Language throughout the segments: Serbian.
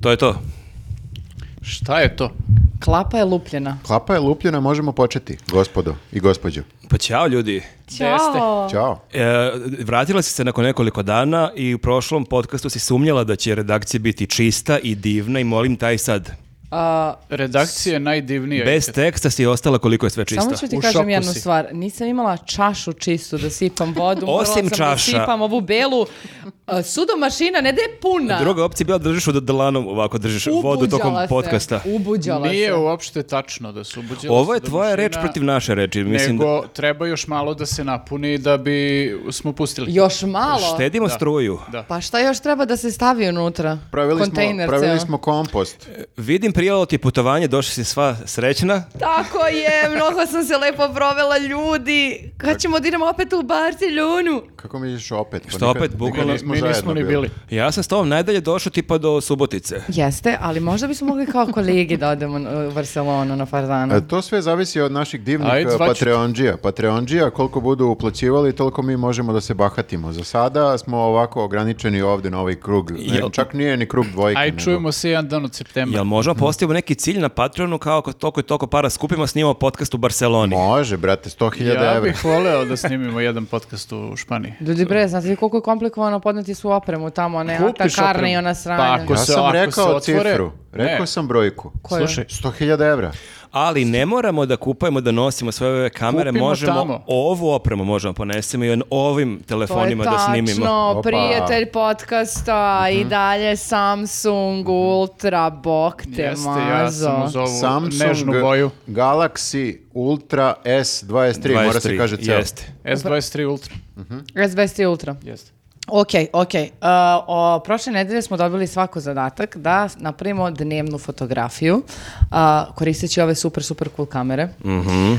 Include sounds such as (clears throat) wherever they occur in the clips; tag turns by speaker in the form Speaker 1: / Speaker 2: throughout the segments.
Speaker 1: To je to.
Speaker 2: Šta je to?
Speaker 3: Klapa je lupljena.
Speaker 4: Klapa je lupljena, možemo početi, gospodo i gospođo.
Speaker 1: Pa ćao ljudi.
Speaker 2: Pa,
Speaker 3: Ćao.
Speaker 4: Ćao.
Speaker 1: E, vratila si se nakon nekoliko dana i u prošlom podcastu si sumnjala da će redakcija biti čista i divna i molim taj sad.
Speaker 3: A,
Speaker 2: Redakcija je najdivnija.
Speaker 1: Bez teksta si ostala koliko je sve čista.
Speaker 3: Samo ću ti
Speaker 2: U
Speaker 3: kažem
Speaker 2: šoku
Speaker 3: jednu
Speaker 2: si.
Speaker 3: stvar. Nisam imala čašu čistu da sipam vodu. morala
Speaker 1: Osim
Speaker 3: sam Da
Speaker 1: čaša.
Speaker 3: sipam ovu belu. A, sudo mašina, ne da je puna.
Speaker 1: Druga opcija je bila da držiš u dlanom ovako, držiš vodu
Speaker 3: Ubuđala
Speaker 1: tokom
Speaker 3: se.
Speaker 1: podcasta.
Speaker 3: Ubuđala
Speaker 2: Nije
Speaker 3: se.
Speaker 2: uopšte tačno da su obuđila
Speaker 1: Ovo je
Speaker 2: se do
Speaker 1: tvoja
Speaker 2: mašina,
Speaker 1: reč protiv naše reči. Mislim da
Speaker 2: nego treba još malo da se napuni da bi smo pustili.
Speaker 3: Još malo.
Speaker 1: štedimo struju.
Speaker 2: Da.
Speaker 3: Pa šta još treba da se stavi unutra?
Speaker 4: Pravili smo,
Speaker 3: Kontejner
Speaker 4: pravili
Speaker 3: ceo.
Speaker 4: smo kompost.
Speaker 1: Vidim prijelo ti je putovanje, došla si sva srećna.
Speaker 3: Tako je, mnogo sam se lepo provela ljudi. Kad ćemo da idemo opet u Barcelonu?
Speaker 4: Kako misliš opet? Pa
Speaker 1: Što opet,
Speaker 4: nikad
Speaker 1: bukvalno-
Speaker 2: Mi nismo
Speaker 4: zajedno
Speaker 2: ni bili.
Speaker 1: Ja sam s tobom najdalje došao tipa do Subotice.
Speaker 3: Jeste, ali možda bismo mogli kao kolegi da odemo u Barcelonu na par dana.
Speaker 4: E, To sve zavisi od naših divnih
Speaker 2: Ajde,
Speaker 4: e,
Speaker 2: zvaću te.
Speaker 4: Patreonđija. Patreonđija, koliko budu uplaćivali, toliko mi možemo da se bahatimo. Za sada smo ovako ograničeni ovde na ovaj krug. Ne,
Speaker 1: Jel-
Speaker 4: čak nije ni krug dvojke.
Speaker 2: Aj,
Speaker 4: nego-
Speaker 2: čujemo se jedan dan od septembra.
Speaker 4: Mm-hmm.
Speaker 1: Jel možemo postavimo neki cilj na Patreonu kao ako toliko i toliko para skupimo, snimamo podcast u Barceloni.
Speaker 4: Može, brate, 100.000
Speaker 2: Ja
Speaker 4: evra.
Speaker 2: bih voleo da snimimo jedan podcast u Španiji.
Speaker 3: Ljudi bre, znate vi koliko je komplikovano podneti su opremu tamo, a ne ta
Speaker 2: Kupiš
Speaker 3: karne
Speaker 2: opremu.
Speaker 3: i ona
Speaker 2: Pa
Speaker 3: sranja.
Speaker 2: ako
Speaker 4: Ja
Speaker 2: se-
Speaker 4: sam
Speaker 2: ako se
Speaker 4: rekao
Speaker 2: otvore-
Speaker 4: cifru. Rekao
Speaker 2: Ne.
Speaker 4: sam brojku.
Speaker 3: Koju?
Speaker 2: Slušaj,
Speaker 4: 100.000 evra.
Speaker 1: Ali ne moramo da kupujemo, da nosimo sve ove kamere,
Speaker 2: Kupimo
Speaker 1: možemo
Speaker 2: tamo.
Speaker 1: ovu opremu možemo ponesemo i on ovim
Speaker 3: To je
Speaker 1: telefonima da snimimo.
Speaker 3: tačno,
Speaker 4: Opa.
Speaker 3: prijatelj podcasta
Speaker 2: Mhm.
Speaker 3: i dalje Samsung Ultra, bok te
Speaker 2: jeste, ja
Speaker 3: mazo.
Speaker 2: sam uz ovu nežnu
Speaker 4: Samsung
Speaker 2: boju.
Speaker 4: Galaxy Ultra S23, mora se
Speaker 1: 23,
Speaker 4: kaže ceo.
Speaker 1: Jeste.
Speaker 2: S23 Ultra.
Speaker 3: S23 Ultra.
Speaker 2: Jeste.
Speaker 3: Ok, ok. Uh, o, prošle nedelje smo dobili svako zadatak da napravimo dnevnu fotografiju uh, koristeći ove super, super cool kamere.
Speaker 2: Mhm.
Speaker 3: Uh,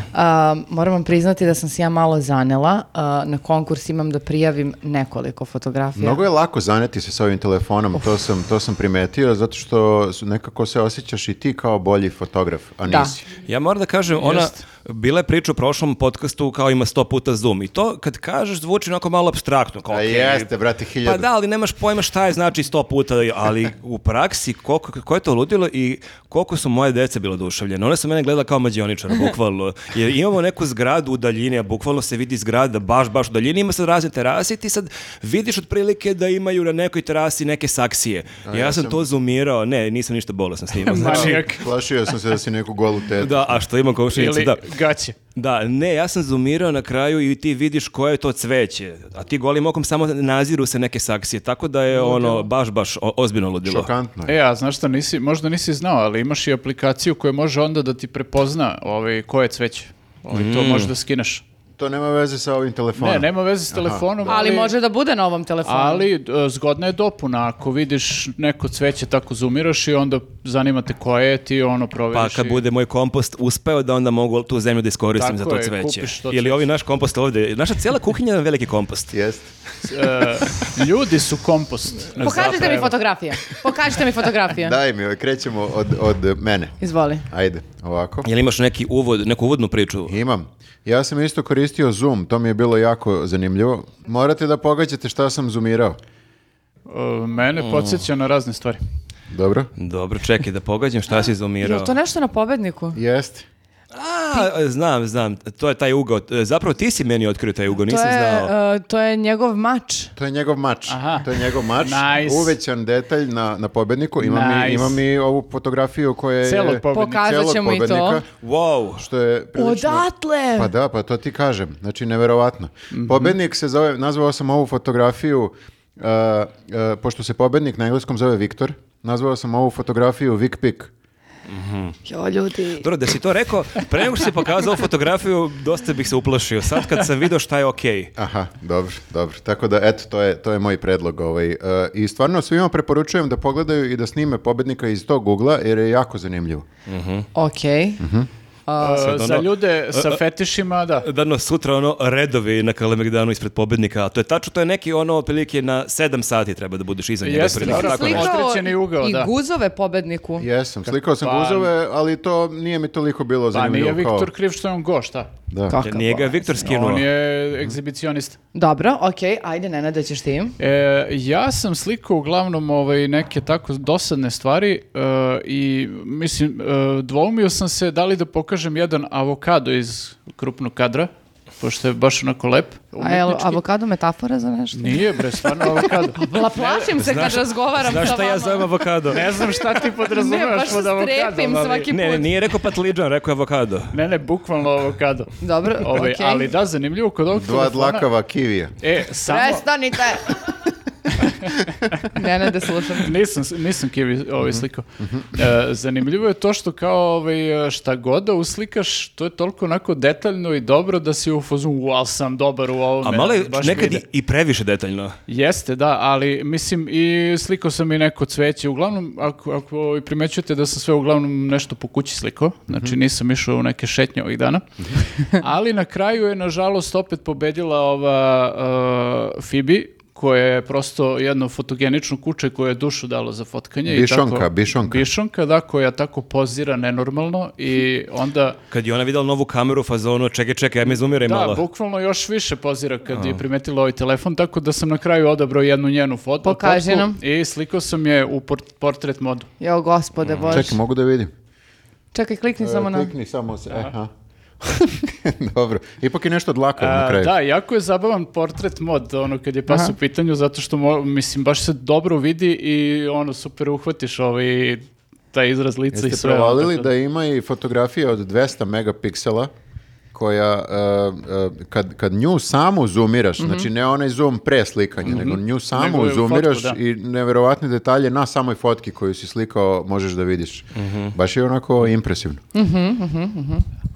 Speaker 3: moram vam priznati da sam se ja malo zanela. Uh, na konkurs imam da prijavim nekoliko fotografija.
Speaker 4: Mnogo je lako zaneti se s ovim telefonom, to sam, to sam primetio, zato što su- nekako se osjećaš i ti kao bolji fotograf, a
Speaker 3: Da.
Speaker 4: nisi.
Speaker 1: Ja moram da kažem, ona
Speaker 2: Jeste.
Speaker 1: bila je priča u prošlom podcastu kao ima sto puta Zoom i to kad kažeš zvuči onako malo abstraktno. Kao,
Speaker 4: A
Speaker 1: okej,
Speaker 4: jeste, brate,
Speaker 1: Pa
Speaker 4: hiljada.
Speaker 1: da, ali nemaš pojma šta je znači sto puta, ali u praksi koliko, ko je to ludilo i koliko su moje dece bilo oduševljene. Ona su mene gledala kao mađioničara, bukvalno. Jer imamo neku zgradu u daljini, a bukvalno se vidi zgrada baš, baš u daljini. Ima sad razne terase i ti sad vidiš otprilike da imaju na nekoj terasi neke saksije. ja, sam, to zoomirao, ne, nisam ništa bolesno (laughs) snimao. Znači,
Speaker 2: Manijak.
Speaker 4: Plašio sam se da si neku golu tetu.
Speaker 1: da, a što ima komšinicu,
Speaker 2: Ili
Speaker 1: da.
Speaker 2: gaće.
Speaker 1: Da, ne, ja sam zoomirao na kraju i ti vidiš koje je to cveće, a ti golim okom samo naziru se neke saksije, tako da je ono baš, baš o- ozbiljno ludilo.
Speaker 4: Šokantno je.
Speaker 2: E, a znaš šta, nisi, možda nisi znao, ali imaš i aplikaciju koja može onda da ti prepozna ovaj, koje cveće. Ovaj, To možeš da skineš.
Speaker 4: To nema veze sa ovim telefonom.
Speaker 2: Ne, nema veze s telefonom, ali...
Speaker 3: Ali može da bude na ovom telefonu.
Speaker 2: Ali e, zgodna je dopuna, ako vidiš neko cveće tako zoomiraš i onda zanima te koje je, ti ono
Speaker 1: Pa
Speaker 2: proveriš.
Speaker 1: kad
Speaker 2: i-
Speaker 1: bude moj kompost uspeo da onda mogu tu zemlju da iskoristim
Speaker 2: Tako
Speaker 1: za to
Speaker 2: je,
Speaker 1: cveće.
Speaker 2: kupiš to
Speaker 1: Ili
Speaker 2: cveće.
Speaker 1: ovi naš kompost ovdje. Naša cijela kuhinja je veliki kompost.
Speaker 4: Jeste.
Speaker 2: E, ljudi su kompost. na
Speaker 3: Pokažite mi
Speaker 2: zapravo.
Speaker 3: fotografije. Pokažite mi
Speaker 2: (laughs)
Speaker 3: fotografije.
Speaker 4: Daj mi, ovaj, krećemo od, od mene.
Speaker 3: Izvoli.
Speaker 4: Ajde, ovako.
Speaker 1: Jel imaš neki uvod, neku uvodnu priču?
Speaker 4: Imam. Ja sam isto koristio Zoom, to mi je bilo jako zanimljivo. Morate da pogađate šta sam zoomirao.
Speaker 2: E, Mene podsjeća na razne stvari.
Speaker 4: Dobro?
Speaker 1: Dobro, čekaj da pogađam šta si zoomirao.
Speaker 3: Jel to nešto na pobedniku?
Speaker 4: Jeste.
Speaker 1: A, znam, znam, to je taj ugao. Zapravo ti si meni otkrio taj ugao,
Speaker 3: To
Speaker 1: nisam
Speaker 3: je,
Speaker 1: znao.
Speaker 3: uh, to je njegov mač.
Speaker 4: To je njegov mač.
Speaker 2: Aha.
Speaker 4: To je njegov mač.
Speaker 2: Nice.
Speaker 4: Uvećan detalj na, na pobedniku. Imam, i,
Speaker 2: Nice.
Speaker 4: imam i ovu fotografiju koja je...
Speaker 2: Celog pobednika.
Speaker 3: Pokazat
Speaker 4: celog
Speaker 3: ćemo i to.
Speaker 4: pobednika,
Speaker 1: Wow,
Speaker 4: Što je prilično...
Speaker 3: Odatle!
Speaker 4: Pa da, pa to ti kažem. Znači, neverovatno.
Speaker 2: Mhm.
Speaker 4: Pobednik se zove, nazvao sam ovu fotografiju, uh, uh, pošto se pobednik na engleskom zove Viktor, nazvao sam ovu fotografiju Vic Pic.
Speaker 3: Jo, ljudi.
Speaker 1: Dobro, da si to rekao, pre nego što si pokazao fotografiju, dosta bih se uplašio. Sad kad sam video šta je okej.
Speaker 4: Aha, dobro, dobro. Tako da, eto, to je, to je moj predlog. Ovaj. Uh, I stvarno svima preporučujem da
Speaker 2: Mhm.
Speaker 4: pogledaju i da snime pobednika iz tog ugla, jer je jako zanimljivo.
Speaker 3: Ok.
Speaker 2: A,
Speaker 1: Sad
Speaker 2: E, za
Speaker 1: ono-
Speaker 2: ljude sa
Speaker 1: A, a-
Speaker 2: fetišima, da.
Speaker 1: Dano, sutra ono redovi na Kalemegdanu ispred pobednika, a to je tačno, to je neki ono otprilike na 7 sati treba da budeš iza njega.
Speaker 2: Jeste,
Speaker 1: otprilike,
Speaker 2: dobro,
Speaker 1: tako
Speaker 2: ako je
Speaker 1: nešto.
Speaker 3: Slikao
Speaker 2: određeni ugao,
Speaker 3: i
Speaker 2: da.
Speaker 3: guzove pobedniku.
Speaker 4: Jesam, slikao sam
Speaker 2: Pa-
Speaker 4: guzove, ali to nije mi toliko bilo
Speaker 2: Pa
Speaker 4: zanimljivo.
Speaker 2: nije
Speaker 4: kao-
Speaker 2: Viktor kriv što je on go, šta?
Speaker 4: Da.
Speaker 3: Kakav
Speaker 1: Nije ga
Speaker 3: bolest.
Speaker 1: Viktor skinuo.
Speaker 2: On je egzibicionista.
Speaker 3: Dobro, okej, ajde, Nenade, ćeš ti.
Speaker 2: E, ja sam slikao uglavnom ovaj, neke tako dosadne stvari e, i mislim, e, dvoumio sam se da li da pokažem jedan avokado iz krupnog kadra, pošto je baš onako lep.
Speaker 3: A je li
Speaker 2: umetnički.
Speaker 3: avokado metafora za nešto?
Speaker 2: Nije bre, stvarno
Speaker 3: (laughs)
Speaker 2: avokado.
Speaker 3: La, plašim se kad razgovaram
Speaker 1: Znaš
Speaker 3: sa
Speaker 1: šta
Speaker 3: vama.
Speaker 1: ja zovem avokado?
Speaker 2: Ne znam šta ti
Speaker 3: Ne, baš
Speaker 2: podrazumevaš
Speaker 3: se
Speaker 2: pod avokadom.
Speaker 3: strepim
Speaker 2: ali-
Speaker 3: svaki put.
Speaker 1: Ne, ne, nije rekao patliđan, rekao je avokado.
Speaker 2: Ne, ne, bukvalno avokado.
Speaker 3: Dobro,
Speaker 2: Ovaj,
Speaker 3: okej.
Speaker 2: Ali da, zanimljivo kod ovog
Speaker 4: Dva
Speaker 2: telefona-
Speaker 4: dlakava kivija.
Speaker 2: E, samo...
Speaker 3: (laughs) Prestanite! Nenade, slušam.
Speaker 2: Nisam, nisam kivi
Speaker 1: Mhm.
Speaker 2: ovaj slikao. E, zanimljivo je to što kao ovaj, šta god da uslikaš, to je toliko onako detaljno i dobro da si u fazonu, u, ali sam dobar u
Speaker 1: A
Speaker 2: ovome.
Speaker 1: malo je
Speaker 2: baš mi
Speaker 1: nekad i,
Speaker 2: ide."
Speaker 1: i previše detaljno.
Speaker 2: Jeste, da, ali mislim i slikao sam i neko cveće. Uglavnom, ako, ako ovaj, primećujete da sam sve uglavnom nešto po kući slikao,
Speaker 4: Mhm.
Speaker 2: znači nisam išao u neke šetnje ovih dana, (laughs) ali na kraju je nažalost opet pobedila ova uh, Fibi, koja je prosto jedno fotogenično kuće koje je dušu dalo za fotkanje.
Speaker 4: Bišonka,
Speaker 2: i tako,
Speaker 4: bišonka.
Speaker 2: Bišonka, da, koja tako pozira nenormalno i onda...
Speaker 1: Kad je ona vidjela novu kameru u fazonu, čekaj, čekaj, ja me izumiraj
Speaker 2: Da,
Speaker 1: malo.
Speaker 2: bukvalno još više pozira kad je primetila ovaj telefon, tako da sam na kraju odabrao jednu njenu fot- fotku.
Speaker 3: Pokaži nam.
Speaker 2: I slikao sam je u port- portret modu.
Speaker 3: Jo, gospode Bože.
Speaker 4: Mm, Čekaj, mogu da vidim?
Speaker 3: Čekaj, klikni samo na...
Speaker 4: E, Klikni samo se. Aha. (laughs) Dobro. Ipak je nešto dlakavo na
Speaker 2: A,
Speaker 4: kraju.
Speaker 2: E, da, jako je zabavan portret mod, ono, kad je pas u pitanju, zato što, mo- mislim, baš se dobro vidi i, ono, super uhvatiš ovaj, taj izraz lica i
Speaker 4: Jeste
Speaker 2: sve. ono,
Speaker 4: provalili
Speaker 2: tako da-
Speaker 4: da ima i fotografije od 200 megapiksela koja, e, e, kad, kad nju samu zoomiraš, znači ne onaj zoom pre slikanja, nego nju samu
Speaker 2: Mhm. Nego je u
Speaker 4: zoomiraš
Speaker 2: fotku, da.
Speaker 4: i neverovatne detalje na samoj fotki koju si slikao možeš da vidiš.
Speaker 2: Mhm.
Speaker 4: Baš je onako impresivno.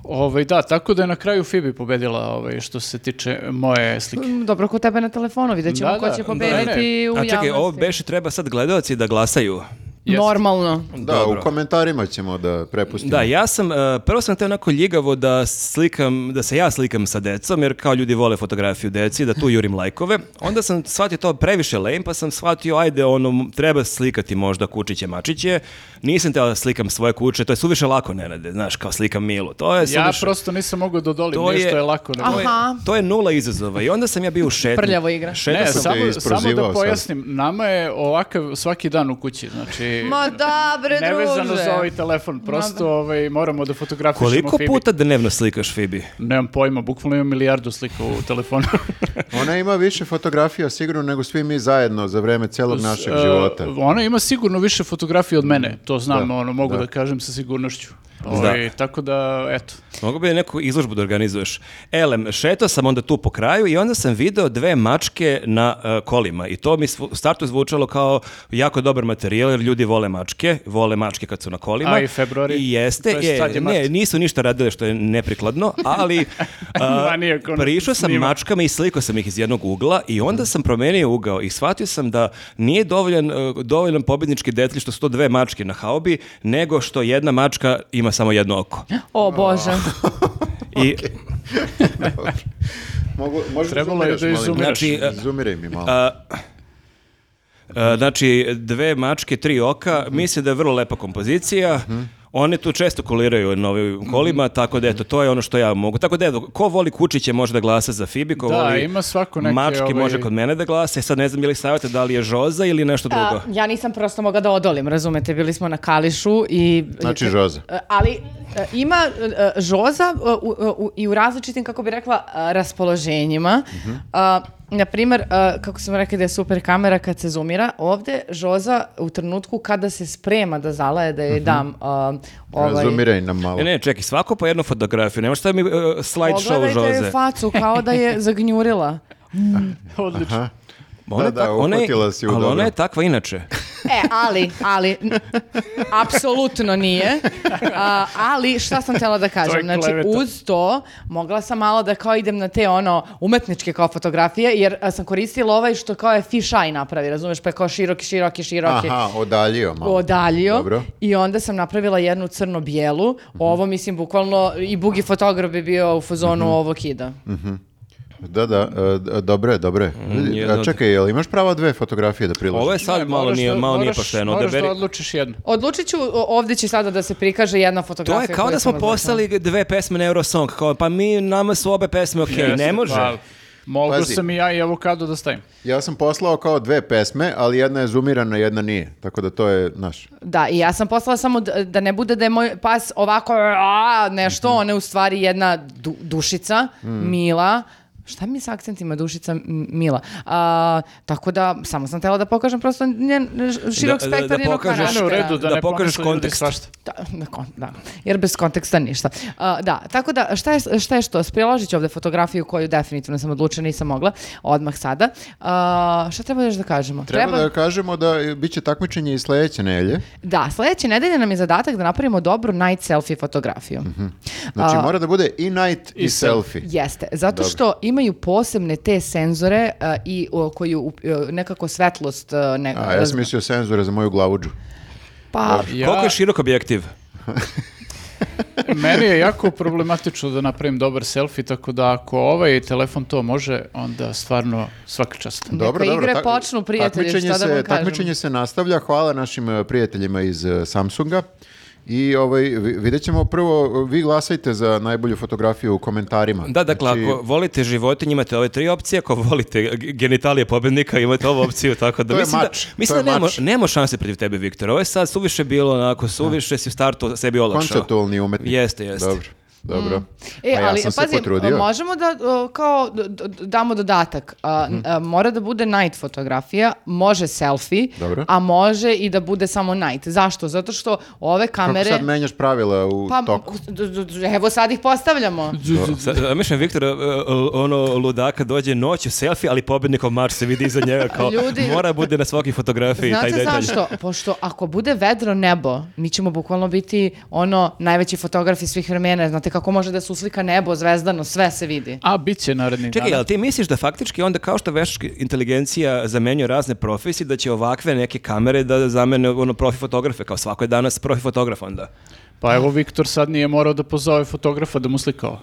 Speaker 2: Ovaj, da, tako da je na kraju Fibi pobedila, ovaj, što se tiče moje slike.
Speaker 3: Mm, Dobro, kod tebe na telefonu, vidjet ćemo
Speaker 2: Da,
Speaker 3: ko
Speaker 2: da,
Speaker 3: će
Speaker 2: da,
Speaker 3: pobediti u
Speaker 1: A
Speaker 3: javnosti.
Speaker 1: čekaj, ovo beše treba sad gledaoci da glasaju.
Speaker 2: Jeste.
Speaker 3: Normalno.
Speaker 4: Da, u komentarima ćemo da prepustimo.
Speaker 1: Da, ja sam, e, prvo sam te onako ljigavo da slikam, da se ja slikam sa decom, jer kao ljudi vole fotografiju deci, da tu jurim lajkove. Onda sam shvatio to previše lame, pa sam shvatio, ajde, ono, m- treba slikati možda kučiće, mačiće. Nisam teo da slikam svoje kuće, to je suviše lako, Nenade, znaš, kao slikam Milu. To je
Speaker 2: (laughs) Ja
Speaker 1: suviše...
Speaker 2: prosto nisam mogao da odolim,
Speaker 1: To
Speaker 2: ništa
Speaker 1: je-
Speaker 2: je lako. nego-
Speaker 1: To je,
Speaker 3: Aha.
Speaker 1: to je nula izazova i onda sam ja bio u šetnji.
Speaker 3: Prljavo igra.
Speaker 1: Šetao
Speaker 2: ne,
Speaker 1: sam-
Speaker 4: te
Speaker 2: samo, samo
Speaker 4: isprozivao
Speaker 2: da
Speaker 4: sad.
Speaker 2: pojasnim, nama je ovakav svaki dan u kući, znači...
Speaker 3: (laughs) Ma da, bre,
Speaker 2: Nevezano
Speaker 3: druže.
Speaker 2: za ovaj telefon, prosto ovaj, moramo da fotografišemo
Speaker 1: Koliko
Speaker 2: Fibi.
Speaker 1: puta dnevno slikaš Fibi?
Speaker 2: Nemam pojma, bukvalno imam milijardu slika u telefonu.
Speaker 4: Ona ima više fotografija sigurno nego svi mi zajedno za vreme celog (laughs) našeg
Speaker 2: E,
Speaker 4: života.
Speaker 2: (laughs) Ona ima sigurno više fotografija od mene, to znam,
Speaker 4: Da,
Speaker 2: ono, mogu
Speaker 4: da.
Speaker 2: da, kažem sa sigurnošću. Ovaj, Tako da, eto.
Speaker 1: Mogu bi neku izložbu da organizuješ. Elem, šetao sam onda tu po kraju i onda sam video dve mačke na e, kolima i to mi svu- u startu zvučalo kao jako dobar materijal jer ljudi vole mačke, vole mačke kad su na kolima.
Speaker 2: A i februari.
Speaker 1: I jeste,
Speaker 2: To jest
Speaker 1: je,
Speaker 2: sad je
Speaker 1: ne,
Speaker 2: mart.
Speaker 1: nisu ništa radile što je neprikladno,
Speaker 2: (laughs)
Speaker 1: ali a,
Speaker 2: Ma, nije ko nas
Speaker 1: prišao sam
Speaker 2: snima.
Speaker 1: mačkama i slikao sam ih iz jednog ugla i onda sam promenio ugao i shvatio sam da nije dovoljan, e, dovoljan pobjednički detalj što su to dve mačke na haubi, nego što jedna mačka ima samo jedno
Speaker 2: (gasps)
Speaker 1: oko.
Speaker 3: O, Bože.
Speaker 1: I
Speaker 4: Mogu, možda
Speaker 2: Trebalo je da
Speaker 4: zoomiraš, molim te?
Speaker 2: izumiraš.
Speaker 1: Znači, e,
Speaker 4: Zoomiraj mi malo.
Speaker 1: E, znači, dve mačke, tri oka,
Speaker 2: Mhm.
Speaker 1: mislim da je vrlo lepa kompozicija. One tu često koliraju na ovim kolima,
Speaker 2: Mhm.
Speaker 1: tako da eto, to je ono što ja mogu. Tako da eto, ko voli kučiće može da glasa za Fibi, ko
Speaker 2: Da,
Speaker 1: voli
Speaker 2: ima svako neke,
Speaker 1: mačke
Speaker 2: ovaj-
Speaker 1: može kod mene da glasa. I sad ne znam je li savjeta da li je Žoza ili nešto drugo.
Speaker 3: A, ja nisam prosto mogla da odolim, razumete, bili smo na Kališu i...
Speaker 4: Znači, Žoza.
Speaker 3: E, Ali e, ima e, e, žoza e, u- u- i u različitim, kako bi rekla, e, raspoloženjima. Eh, A, Naprimjer, e, kako smo rekli da je super kamera kad se zoomira, ovdje žoza u trenutku kada se sprema da zalaje da joj dam e, ovaj...
Speaker 4: Zoomiraj nam malo.
Speaker 2: e,
Speaker 1: Ne, E, ne, čekaj, svako po jednu fotografiju. Nemaš šta mi uh, slideshow
Speaker 3: Pogledajte joj
Speaker 1: Žoze.
Speaker 3: facu kao da je zagnjurila.
Speaker 2: Odlično.
Speaker 1: Ona je
Speaker 4: Da, da,
Speaker 1: tak- ona je-
Speaker 4: uhvatila si u
Speaker 1: ali
Speaker 4: dobro.
Speaker 1: ona je takva inače.
Speaker 3: E, ali, ali, n- apsolutno nije. A, ali, šta sam htjela da
Speaker 2: To
Speaker 3: kažem?
Speaker 2: je
Speaker 3: Znači,
Speaker 2: kleveta.
Speaker 3: uz to, mogla sam malo da kao idem na te, ono, umetničke kao fotografije, jer a, sam koristila ovaj što kao je fish eye napravi, razumeš, pa je kao široki, široki, široki.
Speaker 4: Aha, odaljio malo.
Speaker 3: odaljio
Speaker 4: Dobro.
Speaker 3: i onda sam napravila jednu crno-bijelu. Ovo, mislim, bukvalno i bugi fotograf bi bio u fazonu ovo kida.
Speaker 4: Da, da, e, d- dobro je, dobro je. Vidi,
Speaker 1: jedno
Speaker 4: a
Speaker 1: od-
Speaker 4: čekaj, jel imaš prava dve fotografije da priložiš?
Speaker 1: Ovo je sad
Speaker 2: Ne,
Speaker 1: malo
Speaker 2: moraš
Speaker 1: nije,
Speaker 2: da-
Speaker 1: malo nije
Speaker 2: moraš-
Speaker 1: pošteno.
Speaker 2: Moraš
Speaker 1: Odaberi-
Speaker 2: da odlučiš jednu.
Speaker 3: Odlučit ću, o- ovdje će sada da se prikaže jedna
Speaker 1: To
Speaker 3: fotografija.
Speaker 1: je kao
Speaker 3: koju
Speaker 1: da smo
Speaker 3: sam označila.
Speaker 1: poslali dve pesme na Eurosong. Kao, pa mi, nama su obe pesme okej. ne
Speaker 2: Jeste,
Speaker 1: može.
Speaker 2: pa, Mogu
Speaker 4: Pazi.
Speaker 2: sam i ja i avokado da stavim.
Speaker 4: Ja sam poslao kao dve pesme, ali jedna je zoomirana, jedna nije. Tako da to je, znaš,
Speaker 3: Da, i ja sam poslala samo d- da ne bude da je moj pas ovako a, nešto, ona je u stvari jedna du- dušica, mila. Šta mi je s akcentima dušica m- mila? A, tako da, samo sam htjela da pokažem prosto njen širok
Speaker 1: Da- da-
Speaker 3: spektar
Speaker 1: da
Speaker 3: njenog
Speaker 1: pokažeš-
Speaker 3: karaktera.
Speaker 2: Ne, u redu, da,
Speaker 1: Da
Speaker 2: ne
Speaker 1: pokažeš
Speaker 2: pomisle ljudi
Speaker 1: kontekst.
Speaker 2: svašta.
Speaker 3: Da, na kon- da. jer bez konteksta ništa. A, da, tako da, šta je, šta je što? Priložit ću ovdje fotografiju koju definitivno sam odlučila, nisam mogla odmah sada. A, šta treba još da kažemo?
Speaker 4: treba, da kažemo da e, bit će takmičenje i sledeće nelje.
Speaker 3: Da, sljedeće nedelje nam je zadatak da napravimo dobru night selfie fotografiju.
Speaker 4: Znači
Speaker 3: A,
Speaker 4: mora da bude i night i,
Speaker 2: i
Speaker 4: selfie.
Speaker 3: Jeste, zato
Speaker 4: Dobro.
Speaker 3: što imaju posebne te senzore a, i o, koju u- e, nekako svetlost a, ne,
Speaker 4: A ja sam mislio senzore za moju glavuđu.
Speaker 3: pa
Speaker 1: Koliko je širok objektiv?
Speaker 2: Meni je jako problematično da napravim dobar selfie, tako da ako ovaj telefon to može, onda stvarno svaka čast.
Speaker 4: Dobro,
Speaker 3: Neka
Speaker 4: dobro.
Speaker 3: igre
Speaker 4: tak-
Speaker 3: počnu, prijatelji,
Speaker 4: takmičenje
Speaker 3: šta da
Speaker 4: se,
Speaker 3: vam kažem?
Speaker 4: Takmičenje se nastavlja. Hvala našim e, prijateljima iz e, Samsunga. I ovaj, vi- vidjet ćemo prvo, vi glasajte za najbolju fotografiju u komentarima.
Speaker 1: Da, dakle,
Speaker 4: Znači,
Speaker 1: ako volite životinje, imate ove tri opcije, ako volite g- genitalije pobednika, imate ovu opciju, tako da
Speaker 4: To je
Speaker 1: mislim
Speaker 4: mač,
Speaker 1: da, mislim
Speaker 4: to je
Speaker 1: da nema,
Speaker 4: mač.
Speaker 1: nema šanse protiv tebe, Viktor. Ovo je sad suviše bilo onako, suviše si u startu sebi olakšao.
Speaker 4: Konceptualni umetnik.
Speaker 1: Jeste, jeste.
Speaker 4: Dobro, dobro.
Speaker 3: E,
Speaker 4: Pa ja
Speaker 3: ali
Speaker 4: sam se
Speaker 3: pazi,
Speaker 4: potrudio.
Speaker 3: možemo da o, kao d- d- damo dodatak. A, n-
Speaker 4: Mhm.
Speaker 3: a, mora da bude night fotografija, može selfie,
Speaker 4: Dobro.
Speaker 3: a može i da bude samo night. Zašto? Zato što ove kamere...
Speaker 4: Kako sad menjaš pravila u
Speaker 3: pa,
Speaker 4: toku?
Speaker 3: d- d- d- evo sad ih postavljamo.
Speaker 1: Sa- Mislim, Viktor, e, e, ono ludaka dođe noću, selfie, ali pobednikov mač se vidi iza njega kao
Speaker 3: Ljudi-
Speaker 1: mora bude na svaki fotografiji taj
Speaker 3: Znate
Speaker 1: detalj.
Speaker 3: zašto? Pošto ako bude vedro nebo, mi ćemo bukvalno biti ono najveći fotografi svih vremena. Znate kako može da se uslika nebo, zvezdano, sve se vidi.
Speaker 2: A bit će naredni
Speaker 1: Čekaj,
Speaker 2: dana.
Speaker 1: jel ti misliš da faktički onda kao što veštačka inteligencija zamenjuje razne profesije, da će ovakve neke kamere da zamene ono profi fotografe, kao svako je danas profi fotograf onda?
Speaker 2: Pa evo, Viktor sad nije morao da pozove fotografa da mu slikao.